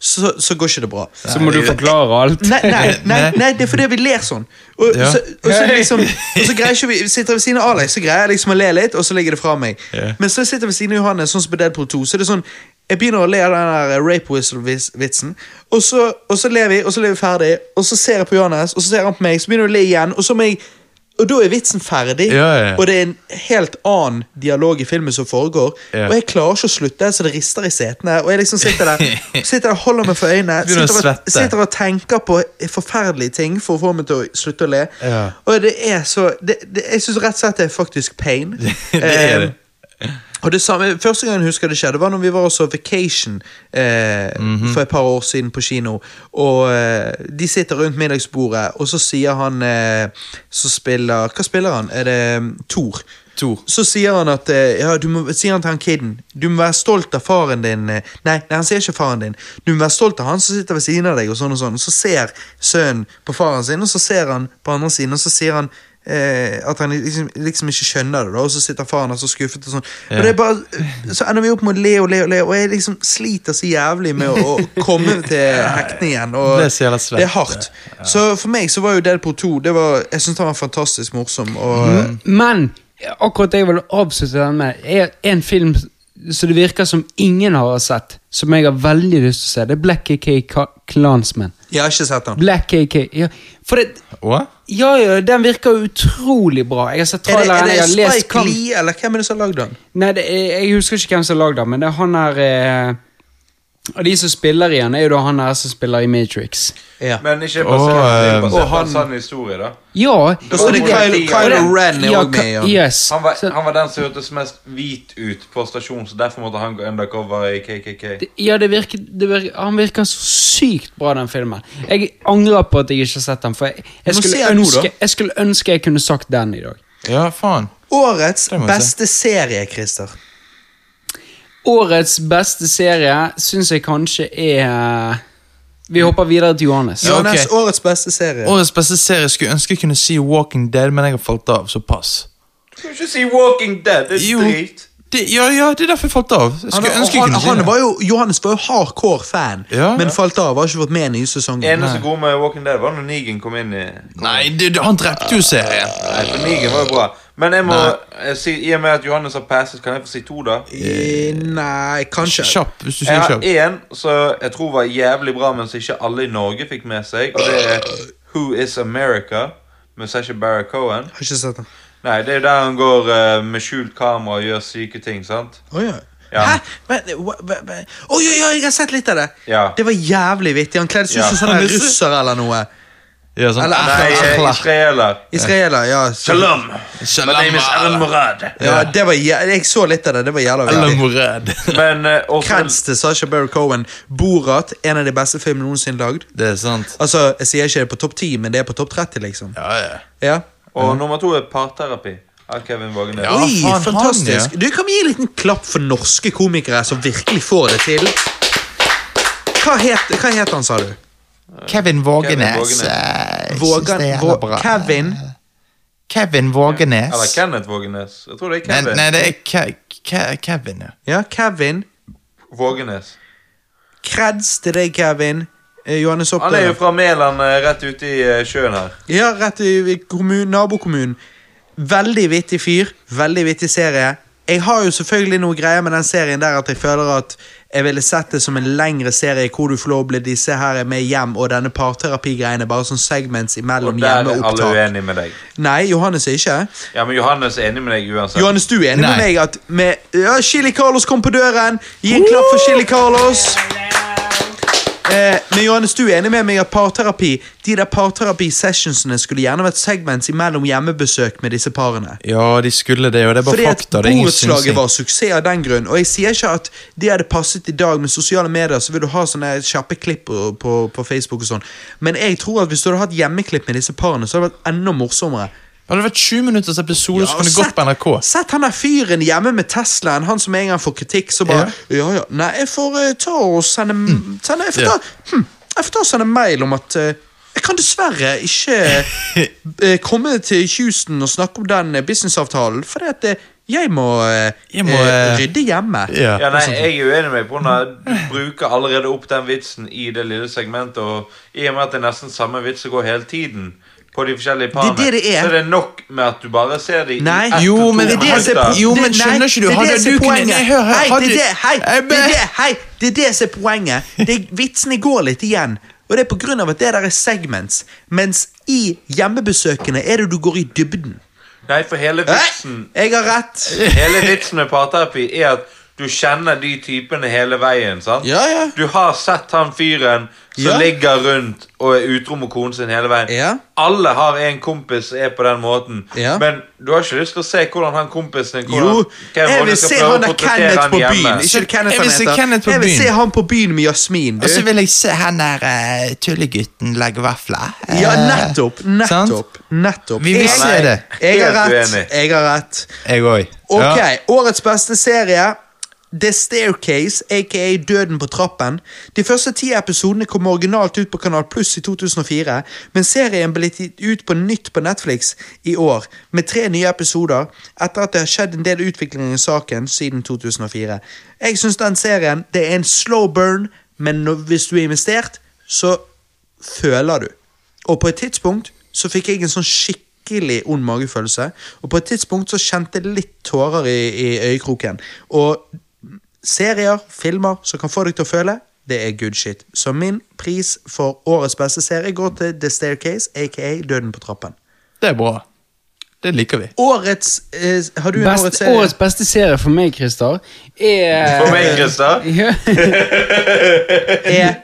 så, så går ikke det bra. Så må du forklare alt. Nei, nei, nei, nei, det er fordi vi ler sånn. Og, Ja. så, og så liksom Og så greier ikke vi Sitter ved siden av Alex, så greier jeg liksom å le litt, og så ligger det fra meg. Ja. Men så sitter jeg ved siden av Johannes, sånn som på Deadpool 2. Så er det sånn Jeg begynner å le av den der rape whistle-vitsen, og, så- og så ler vi, og så ler vi ferdig, og så ser jeg på Johannes, og så ser han på meg, så begynner jeg å le igjen, og så må jeg og da er vitsen ferdig, Ja, ja, ja. og det er en helt annen dialog i filmen som foregår. Ja. Og jeg klarer ikke å slutte, så det rister i setene. Og jeg liksom sitter der, *laughs* sitter der og holder meg for øynene. Begynner å sitter og, svette. sitter og tenker på forferdelige ting for å få meg til å slutte å le. Ja. Og det er så det, det, Jeg syns rett og slett det er faktisk pain. *laughs* Ehm, Det er det. Og det samme, Første gang jeg husker det skjedde, var når vi var også vacation eh, Mhm. for et par år siden på kino. Og eh, De sitter rundt middagsbordet, og så sier han eh, Så spiller Hva spiller han? Er det um, Thor? Thor. Så sier han at eh, ja, du må, sier han til han kiden Du må være stolt av faren din eh, nei, nei, han sier ikke faren din. Du må være stolt av han som sitter ved siden av deg, og sånn og sånn. Så ser sønnen på faren sin, og så ser han på andre siden, og så sier han eh, At han liksom, liksom ikke skjønner det, da, og så sitter faren hans og skuffet. og sånn Og det er bare, Så ender vi opp med å le og le og le, og jeg liksom sliter så jævlig med å, *laughs* å komme til hektene igjen. Og Det er så jævla svett. det er hardt. Så for meg så var jo Deadpool 2 det var, Jeg syns den var fantastisk morsom. Og, Mm. Men akkurat det jeg vil avslutte den med, er en film som det virker som ingen har sett, som jeg har veldig lyst til å se. Det er Black KK Ka- Klansman. Jeg har ikke sett den. Black KK, ja. For det, Hva? ja, ja, den virker jo utrolig bra. Jeg har sett Er det, traileren, er jeg det har lest Spike kamp- Lee, eller hvem er det som har lagd den? Nei, det, er- jeg husker ikke hvem som har lagd den, men det er han her eh, Og de som spiller i den, er jo da han her som spiller i Matrix. Ja. Men ikke Åh, basert eh, basert på og han- en sann historie, da. Ja. Da står det Og det- Kylo, og det- Kylo Ren er ja, også med. ka- Ja. Yes. Han var, Så- han var den som hørtes mest hvit ut på stasjonen, så derfor måtte han gå undercover i KKK. Det- Ja, det virker, det virker, han virker så sykt bra, den filmen. Jeg angrer på at jeg ikke har sett den, for jeg, jeg, må se skulle, den nå, da. ønske, jeg skulle ønske jeg kunne sagt den i dag. Ja, faen. Årets Det må jeg beste serie, Christer. Årets beste serie syns jeg kanskje er eh, Vi hopper videre til Johannes. Ja, ok. Johannes, årets beste serie. Årets beste serie skulle ønske jeg kunne si Walking Dead, men jeg har falt av, så pass. Du kan ikke si Walking Dead! Det Jo. er drit. Det, ja, ja, det er derfor jeg falt av. Han, Jeg skulle ønske jeg han, kunne si han det. var jo, Johannes var jo hardcore fan, Ja. men falt av. Har ikke fått med nye sesonger. Eneste gode med Walking Dead var når Negan kom inn i Nei, det, det, han drepte jo serien. Nei, for Negan var jo bra. Men jeg må eh, si, i og med at Johannes har passet, kan jeg få si to, da? Eh, Nei, kanskje. Kjapp, hvis du Jeg sier har kjapp. én som jeg tror var jævlig bra, men som ikke alle i Norge fikk med seg. Og det er Who Is America? Med Sasha Barra Cohen. Har ikke sett den. Nei, det er der han går eh, med skjult kamera og gjør syke ting, sant? Å ja. Ja. Hæ? Men, hva- hva- hva- Å ja, ja, jeg har sett litt av det! Ja. Det var jævlig vittig. Han kledde seg ut Ja. som sånn en russer eller noe. Ja, sånn. Eller- Nei, eh, israeler. Israeler, ja. så- Shalom! My Shalom, name is Allah. Alan Murad. ja det var, jæ- jeg så litt av det. Det var jævla Eller vittig. Morad. Men eh, Krens også, til Sasha Barry Cohen. Borat, en av de beste filmene noensinne lagd. Det er sant. Altså, jeg sier ikke det er på topp 10, men det er på topp 30, liksom. Ja, ja. Ja. og nummer to er parterapi av Kevin Vågenes. Mm. Ja, Oi, faen, fantastisk. han, Du kan vi gi en liten klapp for norske komikere som virkelig får det til. Hva het, hva het han, sa du? Kevin eh, Vågenes, Vågan, Vå, Kevin? Kevin Vågenes. Eller Kenneth Vågenes. Jeg tror det er Nei, Kevin nei, det er Ke Ke Kevin, ja. Ja, Kevin. Vågenes. Kreds til deg, Kevin. Eh, Johannes Han er jo Oppdal. fra Mæland, eh, rett ute i eh, sjøen her. Ja, rett i i kommun, nabokommunen. Veldig vittig fyr. Veldig vittig serie. Jeg har jo selvfølgelig noe greier med den serien der at jeg føler at jeg ville sett det som en lengre serie hvor du får lov å bli disse her med hjem, og denne parterapigreiene bare sånn segments Og imellom der er alle hjemmeopptak. uenige med deg. Nei, Johannes er ikke. Ja, men Johannes er enig med deg uansett. Johannes, du er enig med Nei. meg at med ja, Chili Carlos kom på døren. Gi en klapp for Chili Carlos. Eh, men Johannes, du er enig med meg at parterapi De der parterapi-sessionsene skulle gjerne vært segments imellom hjemmebesøk med disse parene. Ja, de skulle det, og det er Fordi bare at fakta. Det er ingen Borettslaget synsing. var suksess av den grunn. Og jeg sier ikke at det hadde passet i dag med sosiale medier, så vil du ha sånne kjappe klipp på, på, på Facebook og sånn. Men jeg tror at hvis du hadde hatt hjemmeklipp med disse parene, så hadde det vært enda morsommere. Hadde det vært 20 minutters episode, så Ja, kunne det sett- gått på NRK. Sett han der fyren hjemme med Teslaen, han som en gang får kritikk, så bare Ja, ja, nei, jeg får eh, ta og sende, sende jeg, får Mm. Ja. ta, hm, jeg får ta og sende mail om at eh, jeg kan dessverre ikke *laughs* eh, komme til Houston og snakke om den eh, businessavtalen, fordi at eh, jeg må, eh, Jeg må, eh, eh, rydde hjemme. Ja. Ja, nei, Jeg er uenig med Bruna. Du bruker allerede opp den vitsen i det lille segmentet. Og I og med at det er nesten samme vits som går hele tiden, på de forskjellige parene, Det er det det er. så er det nok med at du bare ser dem Nei. i ett Jo, og to men det er det som er minutter. po- jo, men skjønner ikke du, det er hadde det som du er kunne- poenget. Nei, hør her, Hei, hadde- det er det, hei, Jeg det ber- er det, hei, det er det som er poenget. Det, er- vitsene går litt igjen. Og det er på grunn av at det der er segments. Mens i hjemmebesøkene er det du går i dybden. Nei, for hele vitsen Nei, jeg har rett. Hele vitsen med parterapi er at du kjenner de typene hele veien. sant? Ja, ja. Du har sett han fyren som Ja. ligger rundt og er utro med konen sin hele veien. Ja. Alle har en kompis som er på den måten, Ja. men du har ikke lyst til å se hvordan han kompisen din hvordan, Jo, jeg hvem han vil skal se prøve å han der portrettere Kenneth han på hjemme. byen. Ikke Kenneth Jeg han vil se heter. Kenneth på Jeg vil byen. se han på byen med Jasmin. Du. Og så vil jeg se han der eh, tullegutten legge vafler. Eh, Ja, nettopp. Nettopp. nettopp. Vi vil Jeg- se det. Jeg har Helt rett. uenig. Jeg har rett. Jeg òg. Ok, årets beste serie The Staircase, aka Døden på trappen. De første ti episodene kom originalt ut på Kanal Pluss i 2004, men serien ble gitt ut på nytt på Netflix i år, med tre nye episoder, etter at det har skjedd en del utvikling i saken siden 2004. Jeg syns den serien det er en slow burn, men når, hvis du er investert, så føler du. Og på et tidspunkt så fikk jeg en sånn skikkelig ond magefølelse. Og på et tidspunkt så kjente jeg litt tårer i, i øyekroken. Og serier, filmer som kan få deg til å føle, det er good shit. Så min pris for årets beste serie går til The Staircase, aka Døden på trappen. Det er bra. Det liker vi. Årets eh, Har du en Best, årets serie? årets beste serie for meg, Christer, er For meg, Christer. Ja. er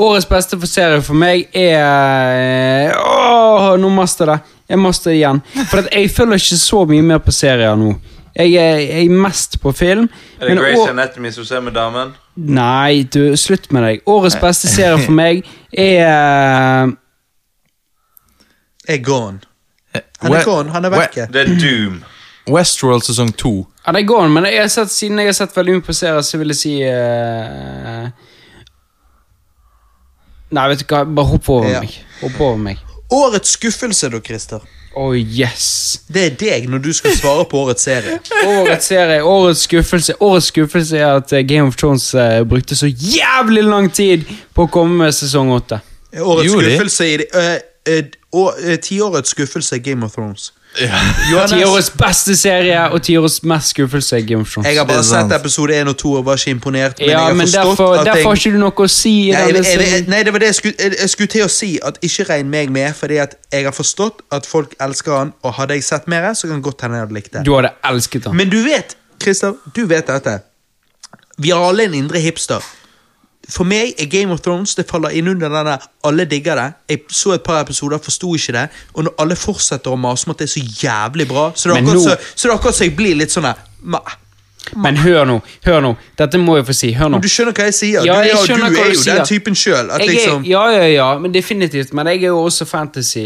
Årets beste for serie for meg er Åh, nå master jeg det. Jeg master det igjen. For at jeg følger ikke så mye mer på serier nå. Jeg er, jeg er mest på film. Er det men Grace å- Anatomy som ser med damen? Nei, du, slutt med deg. Årets beste serie for meg eh, er er eh, gone. Han We- er gone, han er We- vekke. Det er Doom. Westworld sesong to. Ja, det går an, men jeg har sett, siden jeg har sett veldig mye på serier, så vil jeg si eh, Nei, vet du hva, bare hopp over Ja. meg. Hopp over meg. Årets skuffelse, da, Christer. Oh yes! Det er deg når du skal svare på årets serie. Årets serie, årets skuffelse. Årets skuffelse er at eh, Game of Thrones eh, brukte så jævlig lang tid på å komme med sesong åtte. Årets Gjorde de? skuffelse i de- eh, eh, å- eh, Tiårets skuffelse er Game of Thrones. Johannes, Tiårets beste serie og tiårets mest skuffelse er Game of Thrones. jeg har Det bare er sant. sett episode 1 og 2 og var ikke imponert. Men jeg ja, har men forstått derfor, at derfor har jeg ikke du noe å si. i Nei, denne jeg, jeg, serien. jeg, nei, det var det jeg skulle, jeg, jeg skulle til å si. At Ikke regn meg med, fordi at jeg har forstått at folk elsker han. Og hadde jeg sett mer, så kan godt hende jeg hadde likt det. Du hadde elsket den. Men du vet, Christer, du vet dette. Vi har alle en indre hipster. For meg er Game of Thrones det faller inn under denne 'alle digger det'. Jeg så et par episoder, forsto ikke det. Og når alle fortsetter å mase om at det er så jævlig bra, så det er Men akkurat nå- så, så, det er akkurat så jeg blir litt sånn her "Ma." Men hør nå, hør nå. Dette må jeg få si. Hør nå. Du skjønner hva jeg sier? Ja, du, jeg er- du skjønner hva er du jo sier. den typen sjøl. Jeg er, Liksom, ja, ja, ja, men definitivt. Men jeg er jo også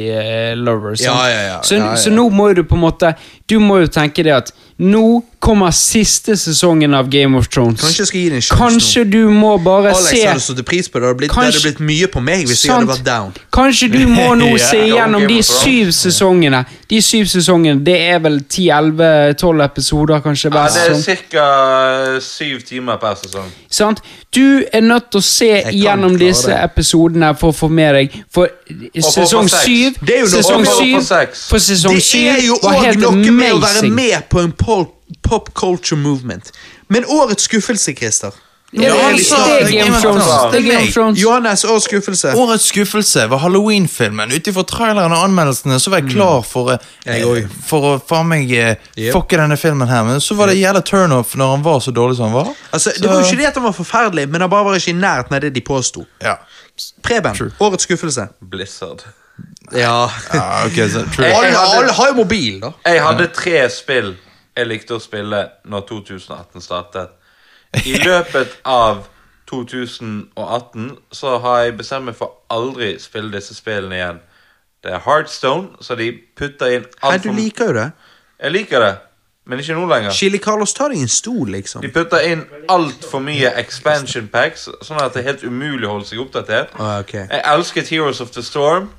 fantasy-lover. Ja, ja, ja, så, ja, ja. så nå må jo du på en måte Du må jo tenke det at nå kommer siste sesongen av Game of Thrones. kanskje jeg skal gi det en sjanse Kanskje du må bare nå. Alex se hadde satt pris på det. Det hadde blitt, det hadde Kanskje- blitt mye på meg hvis jeg Sant. hadde vært down. Kanskje du må *laughs* nå Ja, se ja, igjennom Game de of Thrones. syv sesongene. De syv sesongene, Det er vel 10-11-12 episoder, kanskje. Ja, hver det sånn. sesong. er ca. syv timer per sesong. Sant? Du er nødt til å se kan gjennom klare disse det. episodene for å få med deg For sesong seks. syv Det er jo noe- Sesong og for- syv for seks. For sesong Det er jo syv var òg helt noe med å være amazing. med på en pol- pop culture movement. Men årets skuffelse, Christer. Ja, Nå er vi altså, snart- det er Game of Thrones. Det er Game of Thrones. Johannes, årets skuffelse. Årets skuffelse var Halloween-filmen. Ut ifra traileren og anmeldelsene så var jeg klar for, eh, Mm. Jeg òg. for å faen meg eh, Yep. fucke denne filmen her. Men så var det jævla turnoff når han var så dårlig som han var. Altså, Så- det var jo ikke det at han var forferdelig, men han bare var ikke i nærheten av det de påsto. Ja. Preben, årets skuffelse. Blizzard. Ja. ja, Ah, ok, så true. Jeg- Alle, hadde- alle har jo mobil, da. Jeg hadde tre spill jeg likte å spille når 2018 startet. I løpet av 2018 så har jeg bestemt meg for aldri spille disse spillene igjen. Det er Heartstone, så de putter inn Nei, alt du for liker jo det. Jeg liker det, men ikke nå lenger. Chili Carlos, ta deg en stol, liksom. De putter inn altfor mye expansion packs, sånn at det er helt umulig å holde seg oppdatert. Ah, ok. Jeg elsket Heroes of the Storm,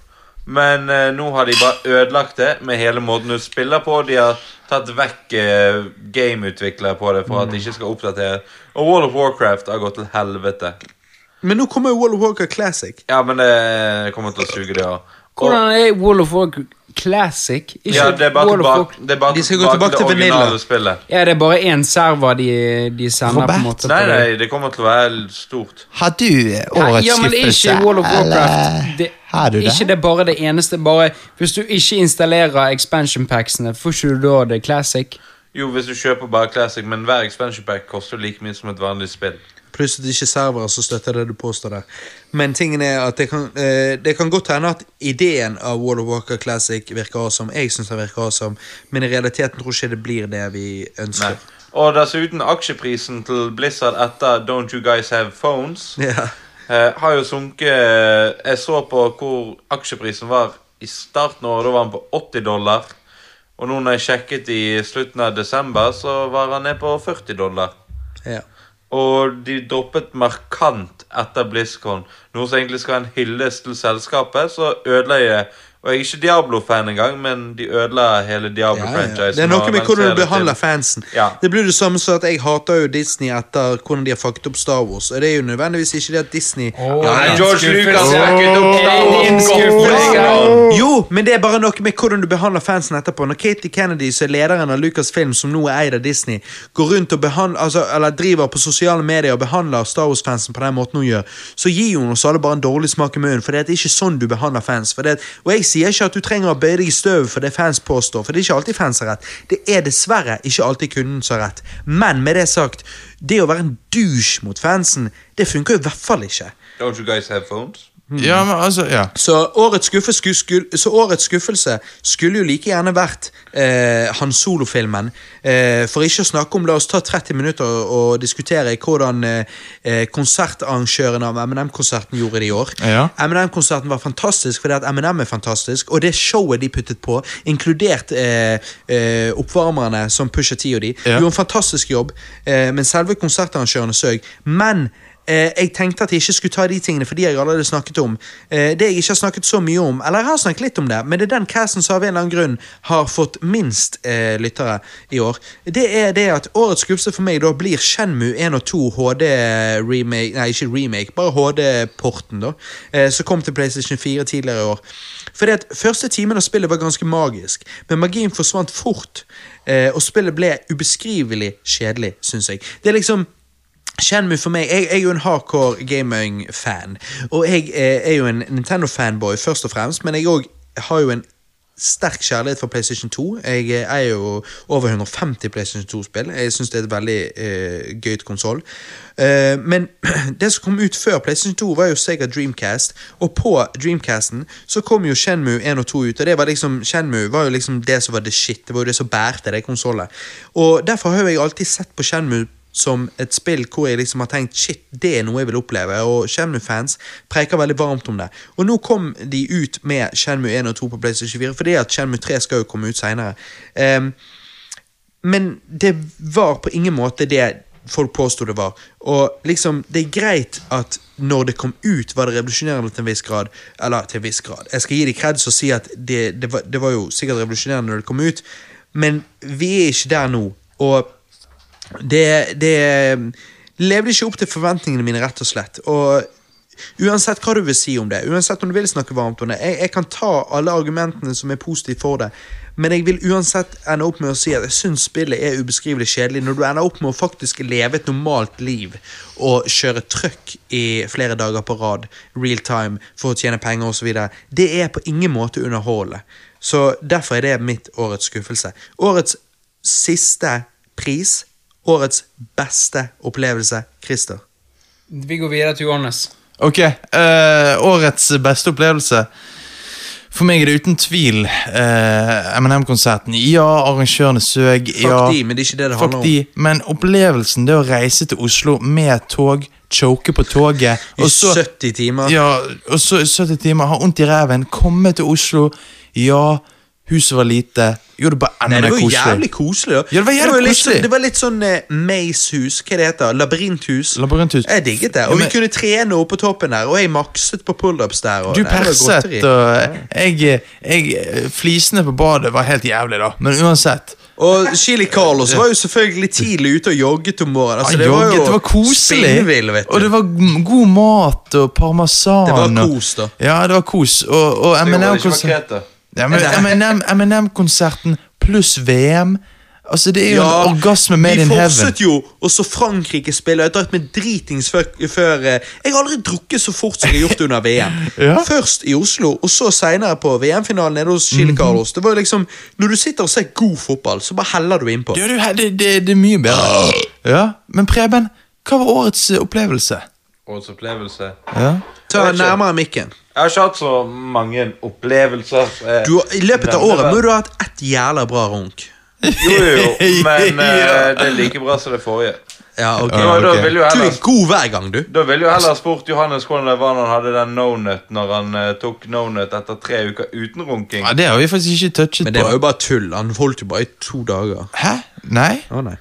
men eh, nå har de bare ødelagt det med hele måten du spiller på. De har tatt vekk eh, gameutviklere på det for at de ikke skal oppdatere. Og Wall of Warcraft har gått til helvete. Men nå kommer jo World of Walker Classic. Ja, men det kommer til å suge, det òg. Hvordan er Wall of Warcraft Classic? Ikke Ja, det er bare Wall of Warcraft- tilbake, det er bare De skal gå tilbake tilbake til til det originale vanilla. spillet. Ja, det er bare én server de, de sender på en Robert? måte. Nei, til det. nei, det kommer til å være stort. Har du eh, årets Ja, men det er skuffelse? ikke Wall of Warcraft. eller Det, har du det? Ikke det bare det eneste. Bare, hvis du ikke installerer expansion packsene, får ikke du da det classic? Jo, hvis du kjøper bare Classic, men hver expansion pack koster jo like mye som et vanlig spill. Pluss at det ikke er servere som støtter det du påstår der. Men tingen er at det kan, eh, det kan godt hende at ideen av World of Walker Classic virker awesome. Jeg syns den virker awesome, men i realiteten tror jeg ikke det blir det vi ønsker. Nei. Og dessuten, aksjeprisen til Blizzard etter Don't You Guys Have Phones Ja. eh, har jo sunket eh, Jeg så på hvor aksjeprisen var i starten av året, da var den på 80 dollar. Og nå når jeg sjekket i slutten av desember, så var han ned på 40 dollar. Ja. Og de droppet markant etter BlizzCon, noe som egentlig skal være en hyllest til selskapet. Så ødela jeg Og jeg er ikke Diablo-fan engang, men de ødela hele Ja, ja. Diablo-franchisen. Det er noe og med hvordan lanserte du behandler til- fansen. Ja. Det blir det samme som at jeg hater jo Disney etter hvordan de har fucket opp Star Wars. Og det er jo nødvendigvis ikke det at Disney ja, Nei, ja. George Lucas fucket opp Star Åh. Wars godt på egen hånd. Jo, men det er bare noe med hvordan du behandler fansen etterpå. Når Katie Kennedy, som er lederen av Lucasfilm, som nå er eid av Disney, går rundt og behandler, altså, eller driver på sosiale medier og behandler Star Wars-fansen på den måten hun gjør, så gir hun oss alle bare en dårlig smak i munnen. For det er ikke sånn du behandler fans. For det, og jeg sier ikke at du trenger å bøye deg i støvet for det fans påstår, for det er ikke alltid fans har rett. Det er dessverre ikke alltid kunden som har rett. Men med det sagt, det å være en douche mot fansen, det funker jo i hvert fall ikke. Don't you guys have phones? Ja, men altså, ja. Så årets, skuffe sku, sku, så årets skuffelse skulle jo like gjerne vært eh, Han Solo-filmen. Eh, for ikke å snakke om La oss ta 30 minutter og, og diskutere hvordan eh, eh, konsertarrangøren av MNM-konserten gjorde det i år. Ja. MNM-konserten var fantastisk fordi at MNM er fantastisk, og det showet de puttet på, inkludert eh, eh, oppvarmerne som Pusha T og de, Ja. gjorde en fantastisk jobb, eh, men selve konsertarrangørene søg. Men eh, jeg tenkte at jeg ikke skulle ta de tingene, for de har jeg allerede snakket om. Eh, det jeg ikke har snakket så mye om, eller jeg har snakket litt om det, men det er den casten som av en eller annen grunn har fått minst eh, lyttere i år. Det er det at årets skuffelse for meg da blir Shenmu 1 og 2 HD remake, nei ikke remake, bare HD-porten da, eh, som kom til PlayStation 4 tidligere i år. Fordi at første timen av spillet var ganske magisk, men magien forsvant fort, eh, og spillet ble ubeskrivelig kjedelig, synes jeg. Det er liksom... Shenmue for meg, jeg, jeg er jo en hardcore gaming-fan, og jeg eh, er jo en Nintendo-fanboy først og fremst, men jeg òg har jo en sterk kjærlighet for PlayStation 2. Jeg eh, eier jo over 150 PlayStation 2-spill. Jeg syns det er et veldig eh, gøyt konsoll. Eh, men *clears throat* det som kom ut før PlayStation 2, var jo Sega Dreamcast, og på Dreamcasten så kom jo Shenmue 1 og 2 ut, og det var liksom, Shenmue var jo liksom det som var the shit. Det var jo det som bærte det konsollet. Og derfor har jo jeg alltid sett på Shenmue som et spill hvor jeg liksom har tenkt shit, det er noe jeg vil oppleve, og Shenmue-fans preker veldig varmt om det. Og nå kom de ut med Shenmue 1 og 2 på PlayStation 4, fordi at Shenmue 3 skal jo komme ut Ehm, seinere. men det var på ingen måte det folk påsto det var. Og liksom, det er greit at når det kom ut, var det revolusjonerende til en viss grad. Eller til en viss grad. Jeg skal gi dem kreds og si at det, det, var, det var jo sikkert revolusjonerende når det kom ut, men vi er ikke der nå. Og det, det levde ikke opp til forventningene mine, rett og slett. Og uansett hva du vil si om det, uansett om du vil snakke varmt om det, jeg, jeg kan ta alle argumentene som er positive for det, men jeg vil uansett ende opp med å si at jeg syns spillet er ubeskrivelig kjedelig, når du ender opp med å faktisk leve et normalt liv og kjøre trøkk i flere dager på rad, real time, for å tjene penger osv. Det er på ingen måte underholdende. Så derfor er det mitt årets skuffelse. Årets siste pris Årets beste opplevelse, Christer. Vi går videre til Johannes. Ok, eh, årets beste opplevelse. For meg er det uten tvil eh, M&M-konserten. Ja, arrangørene søg. Fuck ja, de, men det er ikke det det handler fuck om. de, men opplevelsen, det å reise til Oslo med tog, choke på toget I 70 timer. Ja, og så i 70 timer, har vondt i ræven, komme til Oslo. Ja, huset var lite. Jo, det var enda Nei, det mer var jo jævlig koselig. koselig, da. Ja, det var jævlig litt, koselig. sånn- Det var litt sånn eh, maisehus, hva det heter Labyrinthus. Labyrinthus. Jeg digget det. Ja, Og vi men- kunne trene oppe på toppen der, og jeg makset på pullups der. Og, Du Nei, det var perset, godteri. og jeg, jeg Flisene på badet var helt jævlig, da. Men uansett. Og Chili Carlos var jo selvfølgelig tidlig ute og jogget om morgenen. Altså, Han det var jogget, jo det var koselig. spinnvill, vet du. Og det var g- god mat og parmesan. Det var og- kos, da. Ja, det var kos. Og, og Det var ikke M&M-konserten markert, da. ja, men *laughs* M&M M&M-konserten pluss VM Altså, det er jo en orgasme made in Vi heaven. fortsatte jo, og så Frankrike spiller. Jeg drakk meg dritings før, før eh, Jeg har aldri drukket så fort som jeg har gjort under VM. *laughs* Ja. Først i Oslo, og så seinere på VM-finalen nede hos Mhm. Chile Carlos. Det var jo liksom, Når du sitter og ser god fotball, så bare heller du innpå. Ja, du, det, det, det er mye bedre. *gasps* Ja, Men Preben, hva var årets eh, opplevelse? Årets opplevelse. Ja. Ta Jeg vet ikke. nærmere mikken. Jeg har ikke hatt så mange opplevelser. eh, Du, har- I løpet av nevneverdig. året må du ha hatt ett jævla bra runk. Jo, *laughs* jo, men eh, Ja. det er like bra som det forrige. Ja, ok. Nå, da, ok. vil jo Du heller, er god hver gang, du. da vil jo heller spurt Johannes hvordan det var når han hadde den no-nut, når han eh, tok no-nut etter tre uker uten runking. ja, Det har vi faktisk ikke touchet Men det var på. jo bare tull. Han holdt jo bare i to dager. Hæ? Nei? Å nei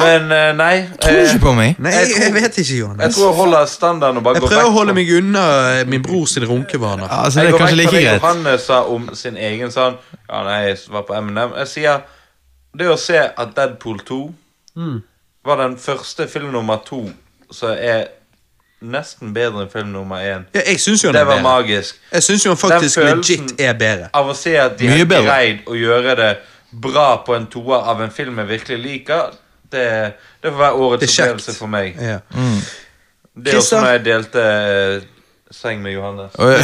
Men eh, nei. Tror du eh, ikke på meg? Nei, Jeg jeg, tror- vet ikke, Jeg Johannes. tror jeg holder standarden og bare Jeg går prøver å vekk holde fra- meg unna eh, min brors runkevaner. Ja, Altså, Jeg det er går kanskje vekk fra like det greit. Johannes sa om sin egen sånn Ja, nei, jeg var på M&M Jeg sier Det å se at Deadpool 2 Var den første film nummer 2 Som er nesten bedre enn film nummer 1 Ja, jeg syns jo han Det er var bedre. magisk Jeg syns jo han faktisk Den følelsen- legit er bedre. Av å se at de Mye har bedre. greid Å gjøre det bra på en toer Av en film jeg virkelig liker Det, det får være Det er årets kjekt. opplevelse for meg Ja. Det er også Christer? når jeg delte eh, Seng med Johannes Og-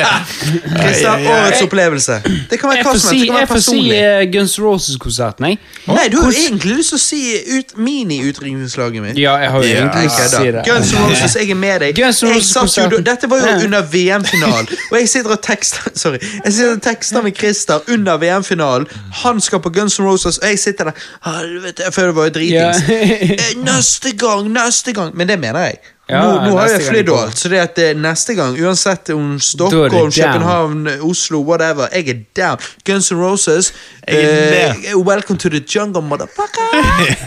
Christer, Ja, ja, ja. årets opplevelse. Det kan være Jeg hva får som helst. si, Det kan jeg være får si personlig. eh, Guns Roses-konserten, jeg. Nei, du har jo egentlig lyst til å si ut mini-utrykningslaget mitt. Ja, jeg har jo Ja. egentlig lyst til å Ah, si Kødda. det. Guns N' Roses, jeg er med deg. Guns N' Jeg Roses satt jo, konserten. dette var jo Ja. under VM-finalen, og jeg sitter og tekster *laughs* Sorry, jeg sitter og tekster med Christer under VM-finalen. Han skal på Guns N' Roses, og jeg sitter der Helvete, jeg føler det var jo dritings. Ja. *laughs* Eh, Neste gang, neste gang. Men det mener jeg. Ja, nå, nå har neste jeg gang flydd de og kommer. alt, så det at eh, neste gang, uansett om Da er Stockholm, det down. København, Oslo, whatever, jeg er down. Guns N' Roses, Jeg er eh, der. welcome to the jungle, motherfucker. *laughs*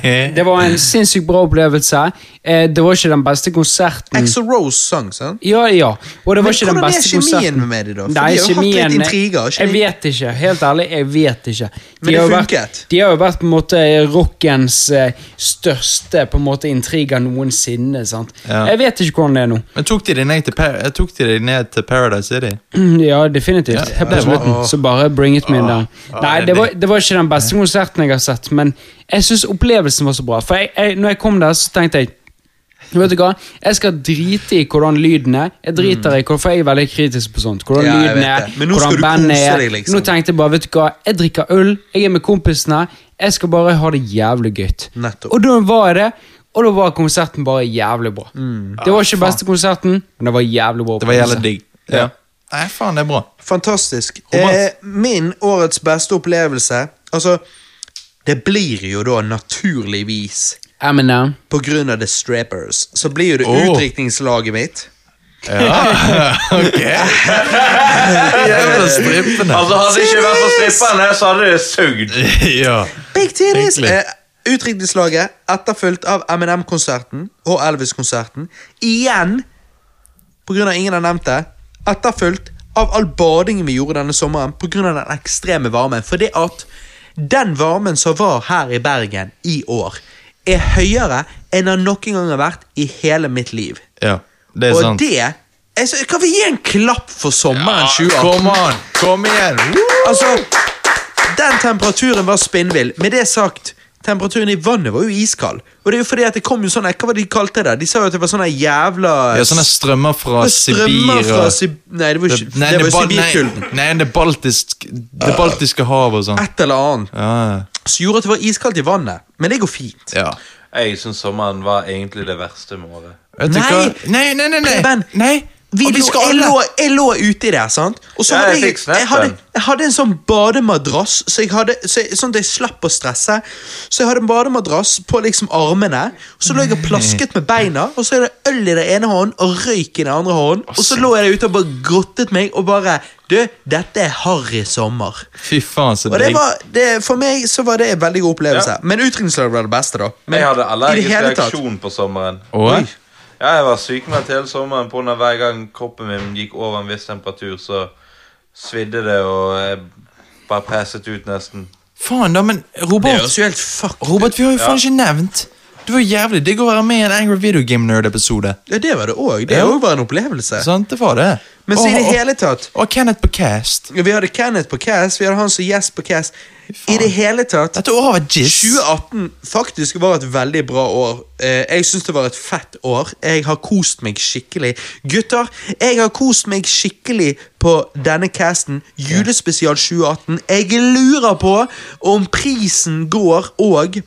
Eh, Det var en sinnssykt bra opplevelse. Eh, Det var ikke den beste konserten. Axl Rose sang, sant? Ja, ja. Og det var Men ikke den hvordan er beste kjemien konserten. med de da? For Nei, de har jo hatt litt kjemien- eh, intriger, ikke Jeg de? vet ikke. Helt ærlig, jeg vet ikke. De Men det har jo funket. Vært, de har jo vært på en måte rockens eh, største på en måte intriger noensinne. sant? Ja. Jeg vet ikke hvordan det er nå. Men tok de deg ned til, Par tok de deg ned til Paradise City? Mm, Ja, definitivt. Helt på det var- slutten. Så bare bring it me Ah, Åh. down. Åh, Nei, det det blir- var, det var ikke den beste konserten jeg har sett, men jeg syns opplevelsen var så bra. For jeg, jeg, når jeg kom der, så tenkte jeg Vet du hva? Jeg skal drite i hvordan lyden er. Jeg driter i, For jeg er veldig kritisk på sånt. Hvordan Mm. Ja, jeg lyden vet er, det. Men nå skal hvordan du bandet kose er. deg, liksom. Nå tenkte jeg bare vet du hva, jeg drikker øl, jeg er med kompisene. Jeg skal bare ha det jævlig gøy. Nettopp. Og da var jeg det, og da var konserten bare jævlig bra. Mm. Det var Ah, ikke beste konserten, men det var jævlig bra. Det var jævla opplevelse. digg. Ja. Nei, faen, det er bra. Fantastisk. Thomas? Eh, min årets beste opplevelse Altså, det blir jo da naturligvis Eminem. på grunn av The Strappers. Så blir jo det Åh. utdrikningslaget mitt. Ok. Jævla strippende. Altså hadde det ikke vært for stripperne Så hadde det sugd *laughs* ja. Big titties! Virkelig. Eh, utdrikningslaget etterfulgt av M&M-konserten og Elvis-konserten. Igjen, på grunn av ingen har nevnt det, etterfulgt av all badingen vi gjorde denne sommeren på grunn av den ekstreme varmen. For det at den varmen som var her i Bergen i år, er høyere enn den noen gang har vært i hele mitt liv. ja. Det er Og sant. det jeg sy- Kan vi gi en klapp for sommeren 2018? Kom an! Kom igjen! Altså, den temperaturen var spinnvill. Med det sagt, temperaturen i vannet var jo iskald. Og det er jo fordi at det kom jo sånne, hva var det de kalte det? De sa jo at det var sånne jævla Ja, sånne strømmer fra det strømmer Sibir fra og Sib... Nei, det var Det- ikke Nei, det var bal- Sibirkulden. nei, nei, det, baltisk, det baltiske havet og sånn. Et eller annet. Ja. Som gjorde at det var iskaldt i vannet. Men det går fint. ja. Jeg synes sommeren var egentlig det verste med året Vet du Nei! hva? Nei, nei, nei! nei. Preben, nei. Vi Og lå, jeg, alle- lå, jeg lå uti der, sant? Og så Ja, hadde jeg jeg, fikk jeg, snappen. hadde, jeg hadde en sånn bademadrass, så jeg hadde, så jeg, sånn at jeg slapp å stresse. Så jeg hadde en bademadrass på liksom armene, og så lå jeg og plasket med beina, og så er det øl i den ene hånden og røyk i den andre hånden, og så lå jeg der ute og bare grottet meg og bare Du, dette er harry sommer. Fy faen, så Og det digg. var, det, For meg så var det en veldig god opplevelse. Men utdrikningslaget var det beste, da. Men Jeg hadde i det allergisk hele tatt- reaksjon på sommeren. Åh? Oi. Ja, jeg var sykemeldt hele sommeren pga. hver gang kroppen min gikk over en viss temperatur, så svidde det, og jeg bare passet ut nesten. Faen, da, men Det Robert, høres jo helt fuck Robert, vi har jo faen ikke nevnt. Det var jævlig digg å være med i en Angry Video Game Nerd-episode. Ja, det var det òg. Det Ja. òg var en opplevelse. Sant, det var det. Men så i det Og- hele tatt Og Kenneth på Cast. Vi hadde Kenneth på Cass, vi hadde han som gjest på Cass. I det hele tatt Dette året var jizz. 2018 faktisk var et veldig bra år. Eh, jeg syns det var et fett år. Jeg har kost meg skikkelig. Gutter, jeg har kost meg skikkelig på denne casten. Julespesial 2018. Jeg lurer på om prisen går òg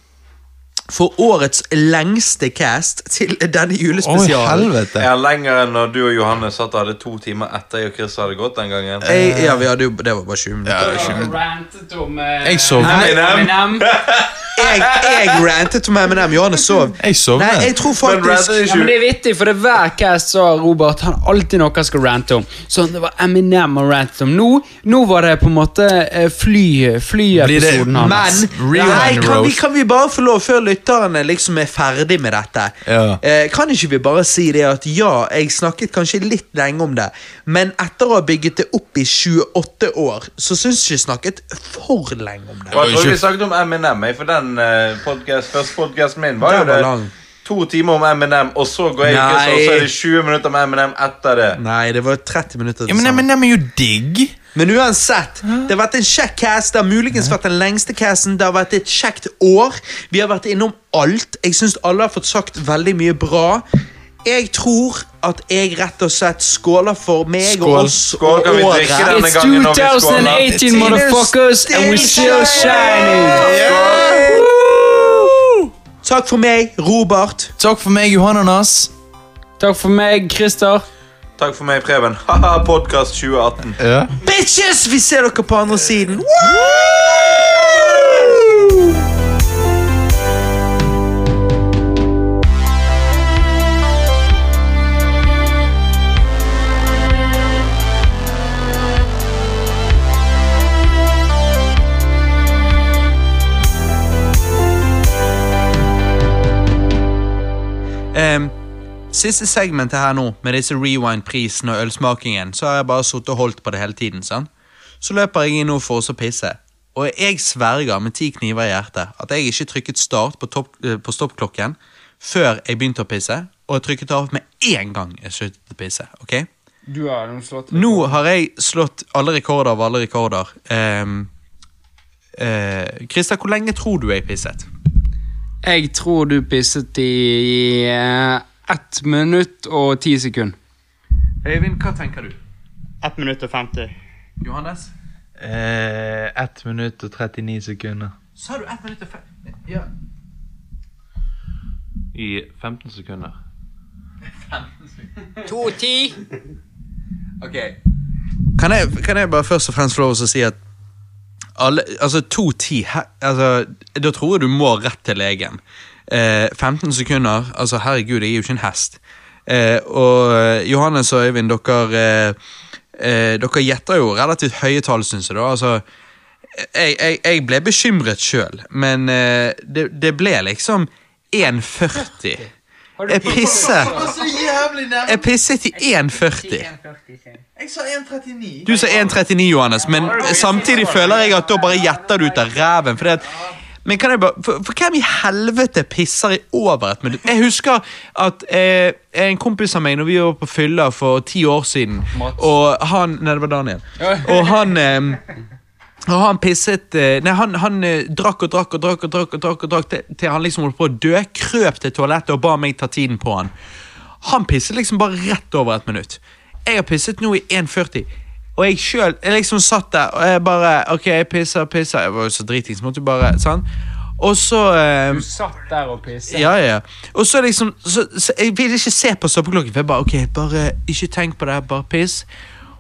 for årets lengste cast til denne Å, julespesialen. helvete. Jeg er lenger enn når du og Johannes satt og hadde to timer etter jeg og Chris hadde gått den gangen. jeg, ja, vi hadde jo Det var bare 20 minutter. Rantet om eh, Jeg sovnet. Eminem. jeg, jeg rantet om M&M, Johanne sov. Jeg sovnet. Nei, jeg tror Men faktisk rather Ja, men det er vittig, for det er hver cast sa Robert han alltid noe han skal rante om. Sånn, det var Eminem han rantet om. Nå, nå var det på en måte eh, fly, Blir det flyepisoden hans. Men Rewind Nei, kan vi, roast. kan vi bare få lov før lytterne liksom er ferdig med dette, Ja. eh, kan ikke vi bare si det at ja, jeg snakket kanskje litt lenge om det, men etter å ha bygget det opp i 28 år, så syns jeg ikke jeg snakket for lenge om det. Og Jeg tror ikke- vi snakket om Eminem, jeg, for den eh, podcast, første podcasten min var Den jo var det. lang. To timer om Eminem, og så går jeg ikke, så, Nei. så er det 20 minutter om Eminem etter det. Nei, det var 30 minutter Ja, men, sammen. men de er jo digg. Men uansett, det har vært en kjekk cast. Det har muligens vært den lengste casten. Det har vært et kjekt år. Vi har vært innom alt. Jeg syns alle har fått sagt veldig mye bra. Jeg tror at jeg rett og slett skåler for meg Skål. og oss Skål, kan vi og drikke den? året. It's gangen når vi skåler. 2018, motherfuckers, and we're still shining! Takk for meg, Robert. Takk for meg, Johananas. Takk for meg, Christer. Takk for meg, Preben. *laughs* Haha, podcast 2018. Ja. Bitches, vi ser dere på andre siden. Em, Siste segmentet her nå, med disse rewind-prisen og ølsmakingen, så har jeg bare sittet og holdt på det hele tiden, sant? Så løper jeg inn nå for å pisse, og jeg sverger med ti kniver i hjertet at jeg ikke trykket start på, topp, eh, på stoppklokken før jeg begynte å pisse, og jeg trykket av med én gang jeg sluttet å pisse, ok? Du har nå slått Nå har jeg slått alle rekorder av alle rekorder. Em, eh, Christer, hvor lenge tror du jeg pisset? Jeg tror du pisset i eh, ett minutt og ti sekunder. Øyvind, hva tenker du? 1 minutt og 50. Johannes? Eh, 1 minutt og 39 sekunder. Sa du ett minutt og fem? Ja. I 15 sekunder. To ti. Kan jeg, kan jeg bare først og fremst få lov til å si at alle, altså 2.10 he- altså, Da tror jeg du må rett til legen. Eh, 15 sekunder altså Herregud, jeg er jo ikke en hest. Eh, og eh, Johannes og Øyvind, dere eh, eh, Dere gjetter jo relativt høye tall, syns jeg. da altså jeg, jeg, jeg ble bekymret sjøl, men eh, det, det ble liksom 1,40. Jeg pisser Så Altså, jævlig nær. Jeg pisset i 1,40. Jeg sa 1,39. Du sa 1,39, Johannes, men samtidig føler jeg at da bare gjetter du ut av ræven. For, men kan jeg bare, for, for hvem i helvete pisser i over et minutt? Jeg husker at eh, en kompis av meg, når vi var på fylla for ti år siden Og han, Nei, det var Daniel. Og han eh, og han pisset eh, Nei, han, han eh, drakk og drakk og drakk og drakk og drakk, og drakk til, til han liksom holdt på å dø. Krøp til toalettet og ba meg ta tiden på han. Han pisset liksom bare rett over et minutt. Jeg har pisset nå i 1,40. Og jeg sjøl jeg liksom satt der og jeg bare Ok, jeg pisser, pisser. Jeg var jo så dritings, måtte jo bare Sånn. Og så eh, Satt der og pisset. ja, ja. Og så liksom så, så Jeg ville ikke se på stoppeklokken, for jeg bare ok, bare ikke tenk på det, her, bare piss.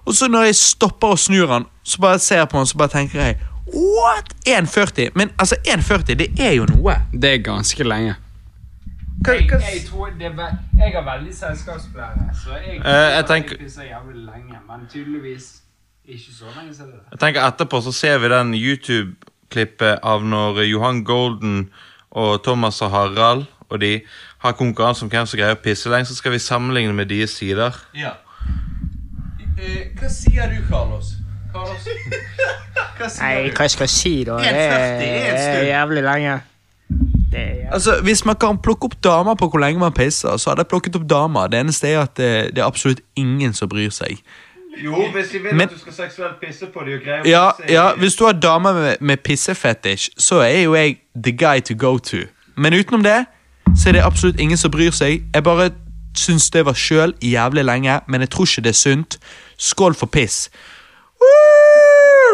Og så når jeg stopper og snur han, så bare ser jeg på han, så bare tenker jeg What? 1,40? Men altså, 1,40, det er jo noe. Det er ganske lenge. Jeg, jeg, tror det er ve- jeg har veldig selskapsplære, så jeg, Eh, jeg tenker- pisser jævlig lenge. Men tydeligvis ikke så lenge siden. Jeg tenker Etterpå så ser vi den YouTube-klippet av når Johan Golden og Thomas og Harald og de har konkurranse om hvem som greier å pisse lengst, så skal vi sammenligne med deres sider. Ja. Eh, hva sier du, Carlos? Carlos? Hva Nei, hva skal jeg si, da? 1,40 Det er en stund. er jævlig lenge. Det er jævlig. Altså, Hvis man kan plukke opp damer på hvor lenge man pisser, så hadde jeg plukket opp damer. Det eneste er at eh, det, det er absolutt ingen som bryr seg. Jo, hvis de vil Men- at du skal seksuelt pisse på dem og greier Ja, ja, hvis du har damer med, med pissefetisj, så er jo jeg the guy to go to. Men utenom det, så er det absolutt ingen som bryr seg. Jeg bare syns det var sjøl jævlig lenge, men jeg tror ikke det er sunt. Skål for piss. Woo!